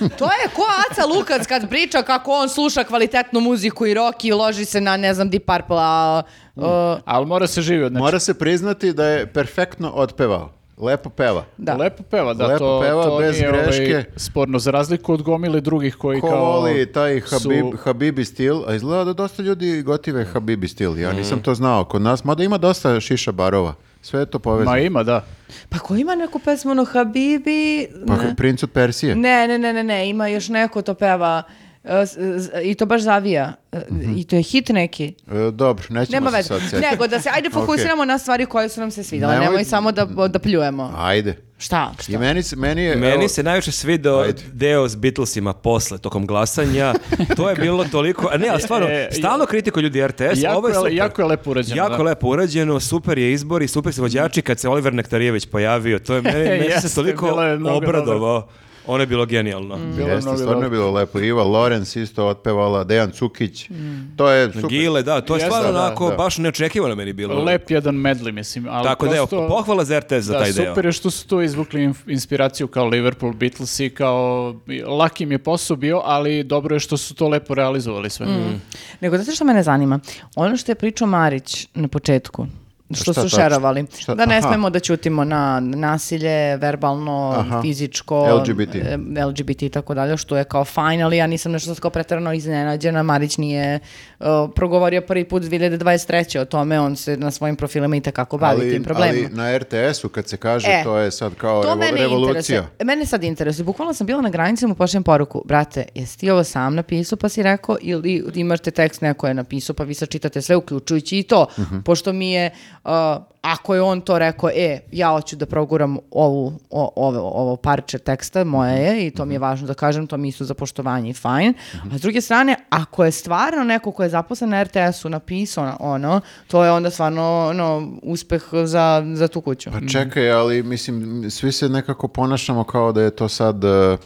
Speaker 3: To je ko Aca Lukac kad priča kako on sluša kvalitetnu muziku i rock i loži se na, ne znam, Deep Purple, a, a,
Speaker 2: Ali mora se živi od nečega.
Speaker 4: Mora se priznati da je perfektno otpevao. Lepo peva.
Speaker 3: da.
Speaker 2: Lepo peva, da,
Speaker 4: Lepo
Speaker 2: to,
Speaker 4: peva,
Speaker 2: to
Speaker 4: bez
Speaker 2: nije ovaj,
Speaker 4: greške.
Speaker 2: sporno, za razliku od gomile drugih koji
Speaker 4: Ko
Speaker 2: kao...
Speaker 4: voli taj Habib,
Speaker 2: su-
Speaker 4: Habibi stil, a izgleda da dosta ljudi gotive Habibi stil. Ja nisam to znao kod nas, mada ima dosta šiša barova. Sve je to povezano.
Speaker 2: Ma ima, da.
Speaker 3: Pa ko ima neku pesmu, ono Habibi?
Speaker 4: Pa
Speaker 3: Ne.
Speaker 4: princ od Persije.
Speaker 3: Ne, ne, ne, ne, ne, ima još neko to peva e, s- z- i to baš zavija. E, I to je hit neki.
Speaker 4: E, dobro, nećemo
Speaker 3: Nema
Speaker 4: se
Speaker 3: veze.
Speaker 4: sad sjetiti.
Speaker 3: Nego da se ajde fokusiramo na stvari koje su nam se svidjele.
Speaker 4: Nemoj-
Speaker 3: Nemoj, samo da da pljujemo.
Speaker 4: Ajde.
Speaker 3: Šta? Šta?
Speaker 4: I meni, se- meni je... evo,
Speaker 1: Meni se najviše svidao
Speaker 4: Ajde.
Speaker 1: deo s Beatlesima posle, tokom glasanja. To je bilo toliko... A ne, ali
Speaker 2: (laughs)
Speaker 1: stvarno,
Speaker 2: E,
Speaker 1: stalno kritiku ljudi RTS.
Speaker 2: Jako
Speaker 1: E ovo je
Speaker 2: je-
Speaker 1: super.
Speaker 2: jako je lepo urađeno,
Speaker 1: Jako
Speaker 2: da.
Speaker 1: lepo urađeno, super je izbor i super su vođači kad se Oliver Nektarijević pojavio. To je
Speaker 2: (laughs)
Speaker 1: meni, meni se
Speaker 2: Jeste,
Speaker 1: toliko
Speaker 2: bilo je mnogo
Speaker 1: obradovao. Ono je bilo genijalno.
Speaker 2: Bilo je
Speaker 4: Jeste,
Speaker 2: mnogo
Speaker 4: stvarno je
Speaker 2: dobro.
Speaker 4: bilo lepo. Iva Lorenz isto otpevala, Dejan Cukić.
Speaker 3: Mm.
Speaker 4: To je super.
Speaker 1: Gile, da, to je
Speaker 2: Jeste,
Speaker 1: stvarno
Speaker 2: da,
Speaker 1: onako
Speaker 4: da.
Speaker 1: baš neočekivano meni bilo.
Speaker 2: Lep jedan medli, mislim. Ali
Speaker 1: Tako da, evo,
Speaker 2: prosto-
Speaker 1: pohvala za RTS za
Speaker 2: Da,
Speaker 1: taj deo.
Speaker 2: super je što su tu izvukli inf- inspiraciju kao Liverpool, Beatles i kao laki im je posao bio, ali dobro je što su to lepo realizovali sve.
Speaker 4: Mm.
Speaker 3: Nego zato što mene zanima. Ono što je pričao Marić na početku, što
Speaker 4: Šta
Speaker 3: su
Speaker 4: tačno?
Speaker 3: šerovali.
Speaker 4: Šta-
Speaker 3: Da ne
Speaker 4: aha.
Speaker 3: smemo da ćutimo na nasilje, verbalno,
Speaker 4: Aha.
Speaker 3: fizičko,
Speaker 4: LGBT.
Speaker 3: e, LGBT i tako dalje, što je kao fajn, ali ja nisam nešto kao pretrano iznenađena. Marić nije e, progovorio prvi put 2023. o tome, on se na svojim profilima i tekako bavi tim problemima.
Speaker 4: ali na RTS-u kad se kaže
Speaker 3: E,
Speaker 4: to je sad kao revo-
Speaker 3: mene
Speaker 4: revolucija.
Speaker 3: interesuje. E, Mene sad interesuje. Bukvalno sam bila na granici i mu pošaljem poruku. Brate, jesi ti ovo sam napisao pa si rekao ili imate tekst neko je napisao pa vi sad čitate sve uključujući i to.
Speaker 4: Mhm.
Speaker 3: Pošto mi je, uh, ako je on to rekao, e, ja hoću da proguram ovu, o- ovo, ovo parče teksta, moje je i to
Speaker 4: Mhm.
Speaker 3: mi je važno da kažem, to mi isto za poštovanje i fajn. A s druge strane, ako je stvarno neko ko je zaposlen na RTS-u napisao na- ono, to je onda stvarno ono, uspeh za, za tu kuću.
Speaker 4: Pa čekaj, ali mislim, svi se nekako ponašamo kao da je to sad... e,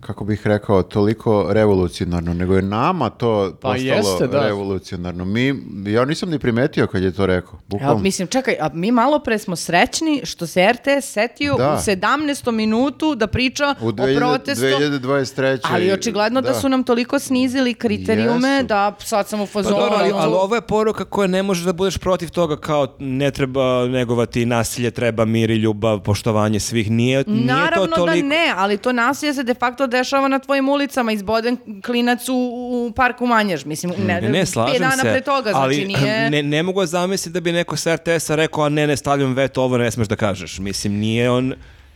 Speaker 4: kako bih rekao, toliko revolucionarno, nego je nama to
Speaker 2: Pa
Speaker 4: postalo
Speaker 2: jeste, da.
Speaker 4: revolucionarno. Mi, ja nisam ni primetio kad je to rekao.
Speaker 3: Ja,
Speaker 4: Bukvalno.
Speaker 3: mislim, čekaj, a mi malo pre smo srećni što se RTS setio
Speaker 4: Da.
Speaker 3: u 17. minutu da priča
Speaker 4: u
Speaker 3: o
Speaker 4: 2000
Speaker 3: protestu.
Speaker 4: 2023.
Speaker 3: Ali očigledno da. su nam toliko snizili kriterijume
Speaker 4: Jesu.
Speaker 3: da sad sam u
Speaker 1: Pa
Speaker 3: fazonu.
Speaker 1: dobro, ali, ali
Speaker 3: ono,
Speaker 1: ovo je poruka koja ne može da budeš protiv toga kao ne treba negovati nasilje, treba mir i ljubav, poštovanje svih. Nije, nije to
Speaker 3: Naravno
Speaker 1: toliko...
Speaker 3: da ne, ali to nasilje se de facto dešava na tvojim ulicama, izboden klinac u, u parku Manjež, mislim, ne,
Speaker 1: Mm, Ne, ne,
Speaker 3: pet
Speaker 1: slažem
Speaker 3: dana
Speaker 1: se.
Speaker 3: pre toga, znači
Speaker 1: ali
Speaker 3: nije...
Speaker 1: (laughs) ne, ne mogu zamisliti da bi neko sa RTS-a rekao, a ne, ne stavljam veto, ovo ne smeš da kažeš. Mislim, nije on...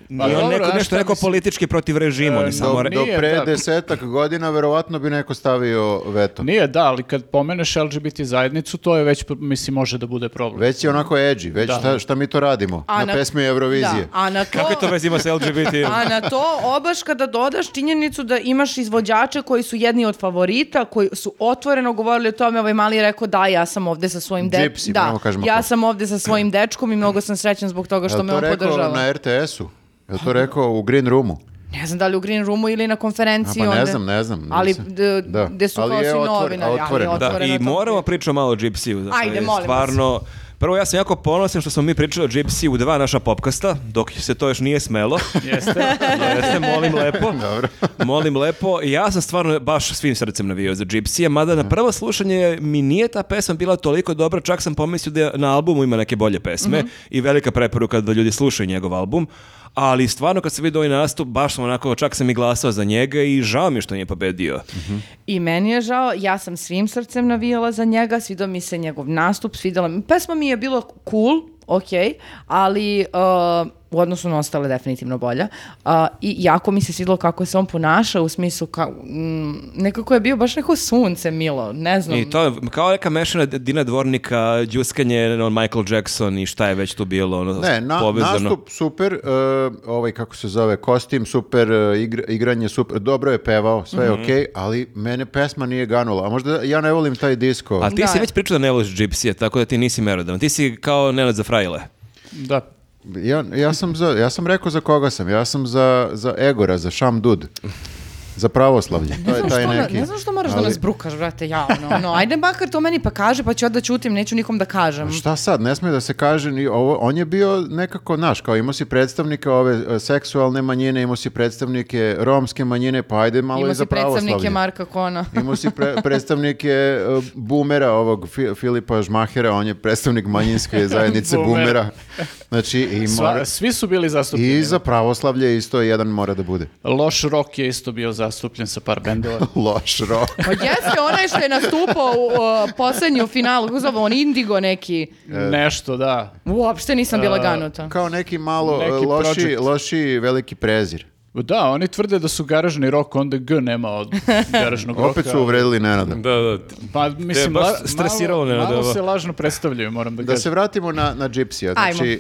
Speaker 1: Nije on
Speaker 2: dobro,
Speaker 1: neko,
Speaker 2: znaš
Speaker 1: nešto
Speaker 2: šta
Speaker 1: rekao
Speaker 2: mislim?
Speaker 1: politički protiv režima, on je
Speaker 2: E,
Speaker 1: samo
Speaker 4: Do,
Speaker 1: re...
Speaker 2: dobro,
Speaker 4: do
Speaker 2: Nije,
Speaker 4: pre
Speaker 2: da.
Speaker 4: desetak godina verovatno bi neko stavio veto.
Speaker 2: Nije, da, ali kad pomeneš LGBT zajednicu, to je već, mislim, može da bude problem.
Speaker 4: Već je onako edgy, već šta, šta mi to radimo?
Speaker 3: A
Speaker 4: na pesmi Eurovizije.
Speaker 3: Da, a na to...
Speaker 1: Kako je to vez ima sa LGBT? (laughs)
Speaker 4: (laughs)
Speaker 3: A na to obaš kada dodaš činjenicu da imaš izvođače koji su jedni od favorita, koji su otvoreno govorili o tome, ovaj mali je rekao da, ja sam ovde sa svojim
Speaker 4: Gypsy,
Speaker 3: dečkom. Da,
Speaker 4: moramo kažemo
Speaker 3: ja
Speaker 4: ko.
Speaker 3: sam ovde sa
Speaker 4: (clears throat)
Speaker 3: svojim dečkom i mnogo sam srećan zbog toga
Speaker 4: Jel
Speaker 3: što me on
Speaker 4: to rekao
Speaker 3: podržava.
Speaker 4: na RTS-u? Je to rekao u Green Roomu?
Speaker 3: Ne znam da li u Green Roomu ili na
Speaker 4: A,
Speaker 3: konferenciji.
Speaker 4: pa ne
Speaker 3: onda.
Speaker 4: znam, ne znam.
Speaker 3: Ali
Speaker 4: nisam.
Speaker 3: d-
Speaker 4: Da.
Speaker 3: gde su
Speaker 4: Ali
Speaker 3: kao
Speaker 4: je
Speaker 3: svi
Speaker 4: otvor-
Speaker 3: novinari, ali
Speaker 4: otvoreno, da.
Speaker 1: Da,
Speaker 3: otvoreno
Speaker 1: i
Speaker 3: to.
Speaker 1: moramo pričati malo o Gypsiju. zato
Speaker 3: Ajde,
Speaker 1: je
Speaker 3: molim vas.
Speaker 1: Stvarno, prvo ja sam jako ponosan što smo mi pričali o Gypsiju u dva naša popkasta, dok se to još nije smelo.
Speaker 2: Jeste?
Speaker 1: Jeste, molim lepo. Molim lepo. Ja sam stvarno baš svim srcem navio za Gypsija, mada na prvo slušanje mi nije ta pesma bila toliko dobra, čak sam pomislio da na albumu ima neke bolje pesme
Speaker 3: Mhm.
Speaker 1: i velika preporuka da ljudi slušaju njegov album. Ali stvarno kad sam vidio ovaj nastup, baš sam onako, čak sam i glasao za njega i žao mi je što nije pobedio.
Speaker 3: I meni je žao, ja sam svim srcem navijala za njega, svidao mi se njegov nastup, svidala mi, pesma mi je bilo cool, ok, ali uh, u odnosu na ostale definitivno bolja. Uh, I jako mi se svidilo kako se on ponašao u smislu, ka, mm, nekako je bio baš neko sunce milo, ne znam.
Speaker 1: I to je kao neka mešana Dina Dvornika, džuskanje, ono, Michael Jackson i šta je već tu bilo, ono,
Speaker 4: Ne, na,
Speaker 1: povezano.
Speaker 4: nastup super, e, ovaj kako se zove, kostim super, e, igra- igranje super, dobro je pevao, sve
Speaker 1: Mhm.
Speaker 4: je okej, ali mene pesma nije ganula, a možda ja ne volim taj disco.
Speaker 1: A ti
Speaker 3: Da.
Speaker 1: si već pričao da ne voliš džipsije, tako da ti nisi merodan. Ti si kao Nenad za frajle.
Speaker 2: Da.
Speaker 4: Ja, ja, sam za, ja sam rekao za koga sam, ja sam za, za Egora, za Šam Dud, za pravoslavlje, to je
Speaker 3: Ne znam
Speaker 4: taj
Speaker 3: što na-
Speaker 4: neki.
Speaker 3: Ne znam što moraš da
Speaker 4: ali-
Speaker 3: nas brukaš, brate, javno. No, ajde makar to meni pa kaže, pa ću ja da ćutim, neću nikom da kažem.
Speaker 4: Šta sad, ne smije da se kaže ni ovo, on je bio nekako, naš, kao imao si predstavnike ove e, seksualne manjine, imao si predstavnike romske manjine, pa ajde malo
Speaker 3: Imao
Speaker 4: i za
Speaker 3: si predstavnike
Speaker 4: pravoslavlje.
Speaker 3: Marka Kona.
Speaker 4: Imao si pre- predstavnike e, boomera ovog Fi- Filipa Žmahera, on je predstavnik
Speaker 1: (laughs)
Speaker 4: manjinske zajednice
Speaker 2: Boomer.
Speaker 4: boomera. Znači, i, mora-
Speaker 2: Sva, svi su bili zastupljeni.
Speaker 4: i za pravoslavlje isto jedan mora da bude. (laughs)
Speaker 2: Loš rock je isto bio zastupljen sa par bendova.
Speaker 4: Loš rok.
Speaker 3: Pa jeste onaj što je nastupao u o, poslednju finalu, kako zove on Indigo neki.
Speaker 4: E.
Speaker 2: Nešto, da.
Speaker 3: Uopšte nisam bila ganuta.
Speaker 4: Kao neki malo e,
Speaker 2: Neki
Speaker 4: loši,
Speaker 2: project.
Speaker 4: loši veliki prezir.
Speaker 2: Da, oni tvrde da su garažni rock, onda G nema od
Speaker 4: (laughs)
Speaker 2: garažnog roka.
Speaker 4: Opet su uvredili Nenada.
Speaker 1: Da, da.
Speaker 2: Pa mislim,
Speaker 1: Te baš
Speaker 2: la-
Speaker 1: stresiralo,
Speaker 2: malo,
Speaker 1: Nenade,
Speaker 2: malo
Speaker 1: ovo.
Speaker 2: se lažno predstavljaju, moram da,
Speaker 4: Da
Speaker 2: kažem.
Speaker 4: se vratimo na, na Gypsy-a. Znači,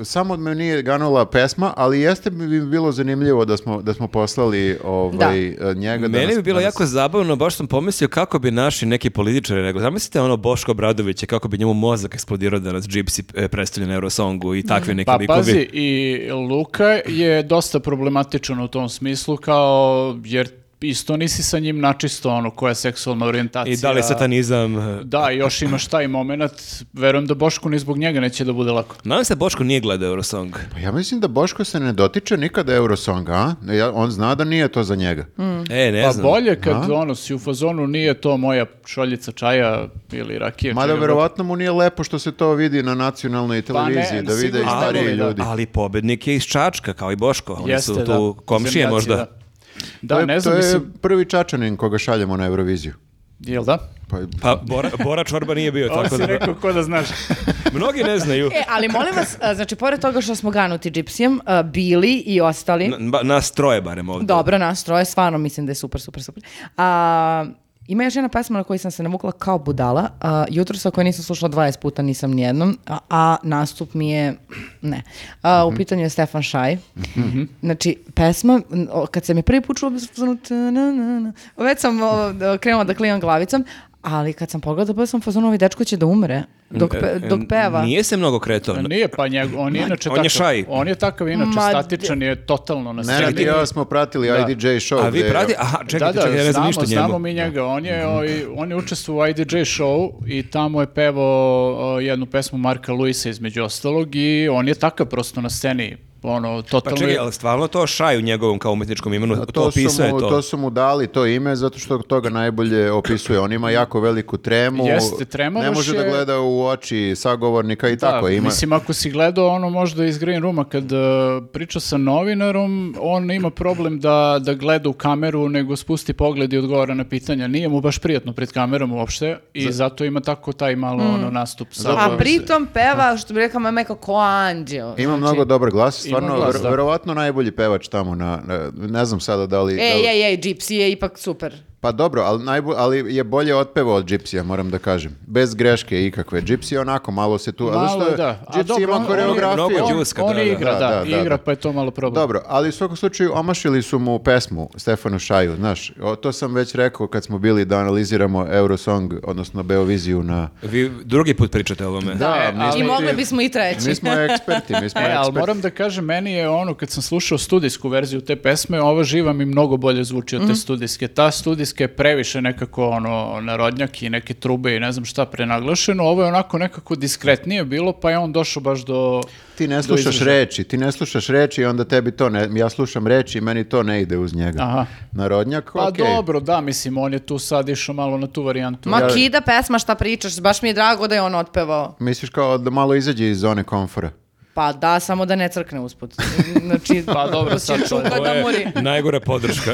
Speaker 4: e, samo me nije ganula pesma, ali jeste bi mi bilo zanimljivo da smo, da smo poslali ovaj, e, njega. da
Speaker 1: Meni
Speaker 4: nas-
Speaker 1: bi bilo
Speaker 4: da nas-
Speaker 1: jako zabavno, baš sam pomislio kako bi naši neki političari rekli. Zamislite ono Boško Bradovića, kako bi njemu mozak eksplodirao da nas džipsi e, predstavlja na Eurosongu i takvi neki
Speaker 2: Pa
Speaker 1: likovi.
Speaker 2: pazi, i Luka je dosta problematičan u tom smislu, kao, jer isto nisi sa njim načisto ono koja je seksualna orijentacija.
Speaker 1: I da li je satanizam... e,
Speaker 2: Da, još imaš taj moment, verujem da Bošku ni zbog njega neće da bude lako.
Speaker 1: Nadam se da Boško nije gledao Eurosong.
Speaker 4: Pa ja mislim da Boško se ne dotiče nikada Eurosonga, a? Ja- on zna da nije to za njega.
Speaker 1: E, ne
Speaker 2: Pa
Speaker 1: znam.
Speaker 2: bolje kad ono si u fazonu nije to moja šoljica čaja ili rakije.
Speaker 4: Mada
Speaker 2: čega Pa
Speaker 4: verovatno mu nije lepo što se to vidi na nacionalnoj
Speaker 2: ne,
Speaker 4: televiziji, da vide i
Speaker 2: sigurno
Speaker 4: stariji
Speaker 2: ne voli, da.
Speaker 4: ljudi.
Speaker 1: Ali pobednik je iz Čačka, kao i Boško. Oni
Speaker 2: Jeste,
Speaker 1: su
Speaker 2: da.
Speaker 1: tu komšije
Speaker 2: Zemljaci,
Speaker 1: možda.
Speaker 2: Da,
Speaker 4: to
Speaker 2: Da,
Speaker 4: je,
Speaker 2: ne znam,
Speaker 4: to je
Speaker 2: mislim,
Speaker 4: prvi Čačanin koga šaljemo na Euroviziju.
Speaker 2: jel da? (laughs)
Speaker 4: Pa,
Speaker 1: Pa Bora, Bora Čorba nije bio,
Speaker 2: Ovo
Speaker 1: tako
Speaker 2: si
Speaker 1: da...
Speaker 2: rekao ko da znaš.
Speaker 1: (laughs) Mnogi ne znaju.
Speaker 3: (laughs) E, ali molim vas, a, znači, pored toga što smo ganuti džipsijem, a, bili i ostali,
Speaker 1: Na- ba- nas troje barem ovdje.
Speaker 3: dobro nas troje, stvarno mislim da je super, super, super. A, ima još jedna pesma na koju sam se navukla kao budala. A, jutro sa kojoj nisam slušala 20 puta, nisam nijednom, a, a nastup mi je, ne. A,
Speaker 1: Mhm.
Speaker 3: u pitanju je Stefan Šaj. Znači, pesma, n- o, kad se mi prvi put čula, bila sam u fazonu, "Ta-na-na-na." već sam o, d- krenula da klimam glavicom, ali kad sam pogledala, bila sam u fazonu, ovaj dečko će da umre dok, pe-
Speaker 1: E,
Speaker 3: dok peva.
Speaker 1: Nije se mnogo kretao.
Speaker 2: Nije pa njegov, on je inače
Speaker 1: on je
Speaker 2: takav.
Speaker 1: šaj.
Speaker 2: On je takav, inače
Speaker 3: Ma,
Speaker 2: statičan je totalno na
Speaker 4: Nenad i
Speaker 2: sceni.
Speaker 4: ja smo pratili IDJ show.
Speaker 1: A vi
Speaker 4: gde-
Speaker 1: prati... Aha, čekajte,
Speaker 2: da, da,
Speaker 1: čekajte, ja ne znam
Speaker 2: znamo,
Speaker 1: ništa o njemu.
Speaker 2: znamo mi njega. On je, ovaj, on je učestvovao u IDJ show i tamo je pevao o, jednu pesmu Marka Luisa između ostalog i on je takav prosto na sceni. Ono,
Speaker 1: Pa
Speaker 2: totalno
Speaker 1: čekaj,
Speaker 2: je-
Speaker 1: ali stvarno to šaj u njegovom kao umetničkom imenu,
Speaker 4: A
Speaker 1: to, opisuje
Speaker 4: su mu,
Speaker 1: to.
Speaker 4: su mu dali to ime zato što toga najbolje opisuje. On ima jako veliku tremu.
Speaker 2: Jeste, trema
Speaker 4: Ne
Speaker 2: baš
Speaker 4: može da
Speaker 2: je-
Speaker 4: gleda u oči sagovornika i
Speaker 2: Da,
Speaker 4: tako. Ima...
Speaker 2: Mislim, ako si gledao ono možda iz Green Rooma, kad e, priča sa novinarom, on ima problem da, da gleda u kameru, nego spusti pogled i odgovara na pitanja. Nije mu baš prijatno pred kamerom uopšte i zato ima tako taj malo ono nastup. Sa,
Speaker 3: Mm. A pritom peva, što bi rekao mama, je kao ko anđeo.
Speaker 4: Ima mnogo dobar glas, stvarno,
Speaker 2: Znači, glas,
Speaker 4: ver-
Speaker 2: da.
Speaker 4: verovatno najbolji pevač tamo na, na- ne znam sada da li... da li-
Speaker 3: Ej, ej, ej, Gypsy E, je ipak super.
Speaker 4: Pa dobro, ali, najbo- ali je bolje otpevao od Gypsy-a, moram da kažem. Bez greške ikakve. Gypsy je onako malo se tu... a
Speaker 2: Malo
Speaker 4: Pa zato što je-
Speaker 2: da. A
Speaker 4: Gypsy
Speaker 2: dobro, on-
Speaker 4: ima
Speaker 2: on je
Speaker 4: koreografiju.
Speaker 1: mnogo
Speaker 2: on,
Speaker 1: Đuska,
Speaker 2: on
Speaker 1: da, da,
Speaker 2: igra,
Speaker 4: da,
Speaker 2: da,
Speaker 4: da, da.
Speaker 2: igra, pa je to malo problem.
Speaker 4: Dobro, ali u svakom slučaju omašili su mu pesmu Stefanu Šaju, znaš, o, to sam već rekao kad smo bili da analiziramo Eurosong, odnosno Beoviziju na...
Speaker 1: Vi drugi put pričate o ovome.
Speaker 2: Da, e, ali-
Speaker 3: I mogli bismo i treći.
Speaker 4: Mi smo eksperti, mi smo
Speaker 2: E, ali
Speaker 4: eksperti.
Speaker 2: moram da kažem, meni je ono, kad sam slušao studijsku verziju te pesme, ova živa mi mnogo bolje zvuči
Speaker 3: Mhm.
Speaker 2: od te studijske. Ta studijska je previše nekako ono, narodnjak i neke trube i ne znam šta prenaglašeno. Ovo je onako nekako diskretnije bilo, pa je on došao baš do...
Speaker 4: Ti ne
Speaker 2: do
Speaker 4: slušaš
Speaker 2: izražaja.
Speaker 4: reči, ti ne slušaš reči i onda tebi to ne... Ja slušam reči i meni to ne ide uz njega.
Speaker 2: Aha.
Speaker 4: Narodnjak,
Speaker 2: Pa
Speaker 4: okej.
Speaker 2: dobro, da, mislim, on je tu sad išao malo na tu varijantu.
Speaker 3: Ma kida pesma šta pričaš, baš mi je drago da je on otpevao.
Speaker 4: Misliš kao da malo izađe iz zone komfora.
Speaker 3: Pa da, samo da ne crkne usput. Znači,
Speaker 2: (laughs) Pa dobro,
Speaker 3: prosto će
Speaker 2: sad to je-
Speaker 3: čuka
Speaker 1: To
Speaker 3: da muri.
Speaker 1: je najgora
Speaker 3: (laughs)
Speaker 1: podrška.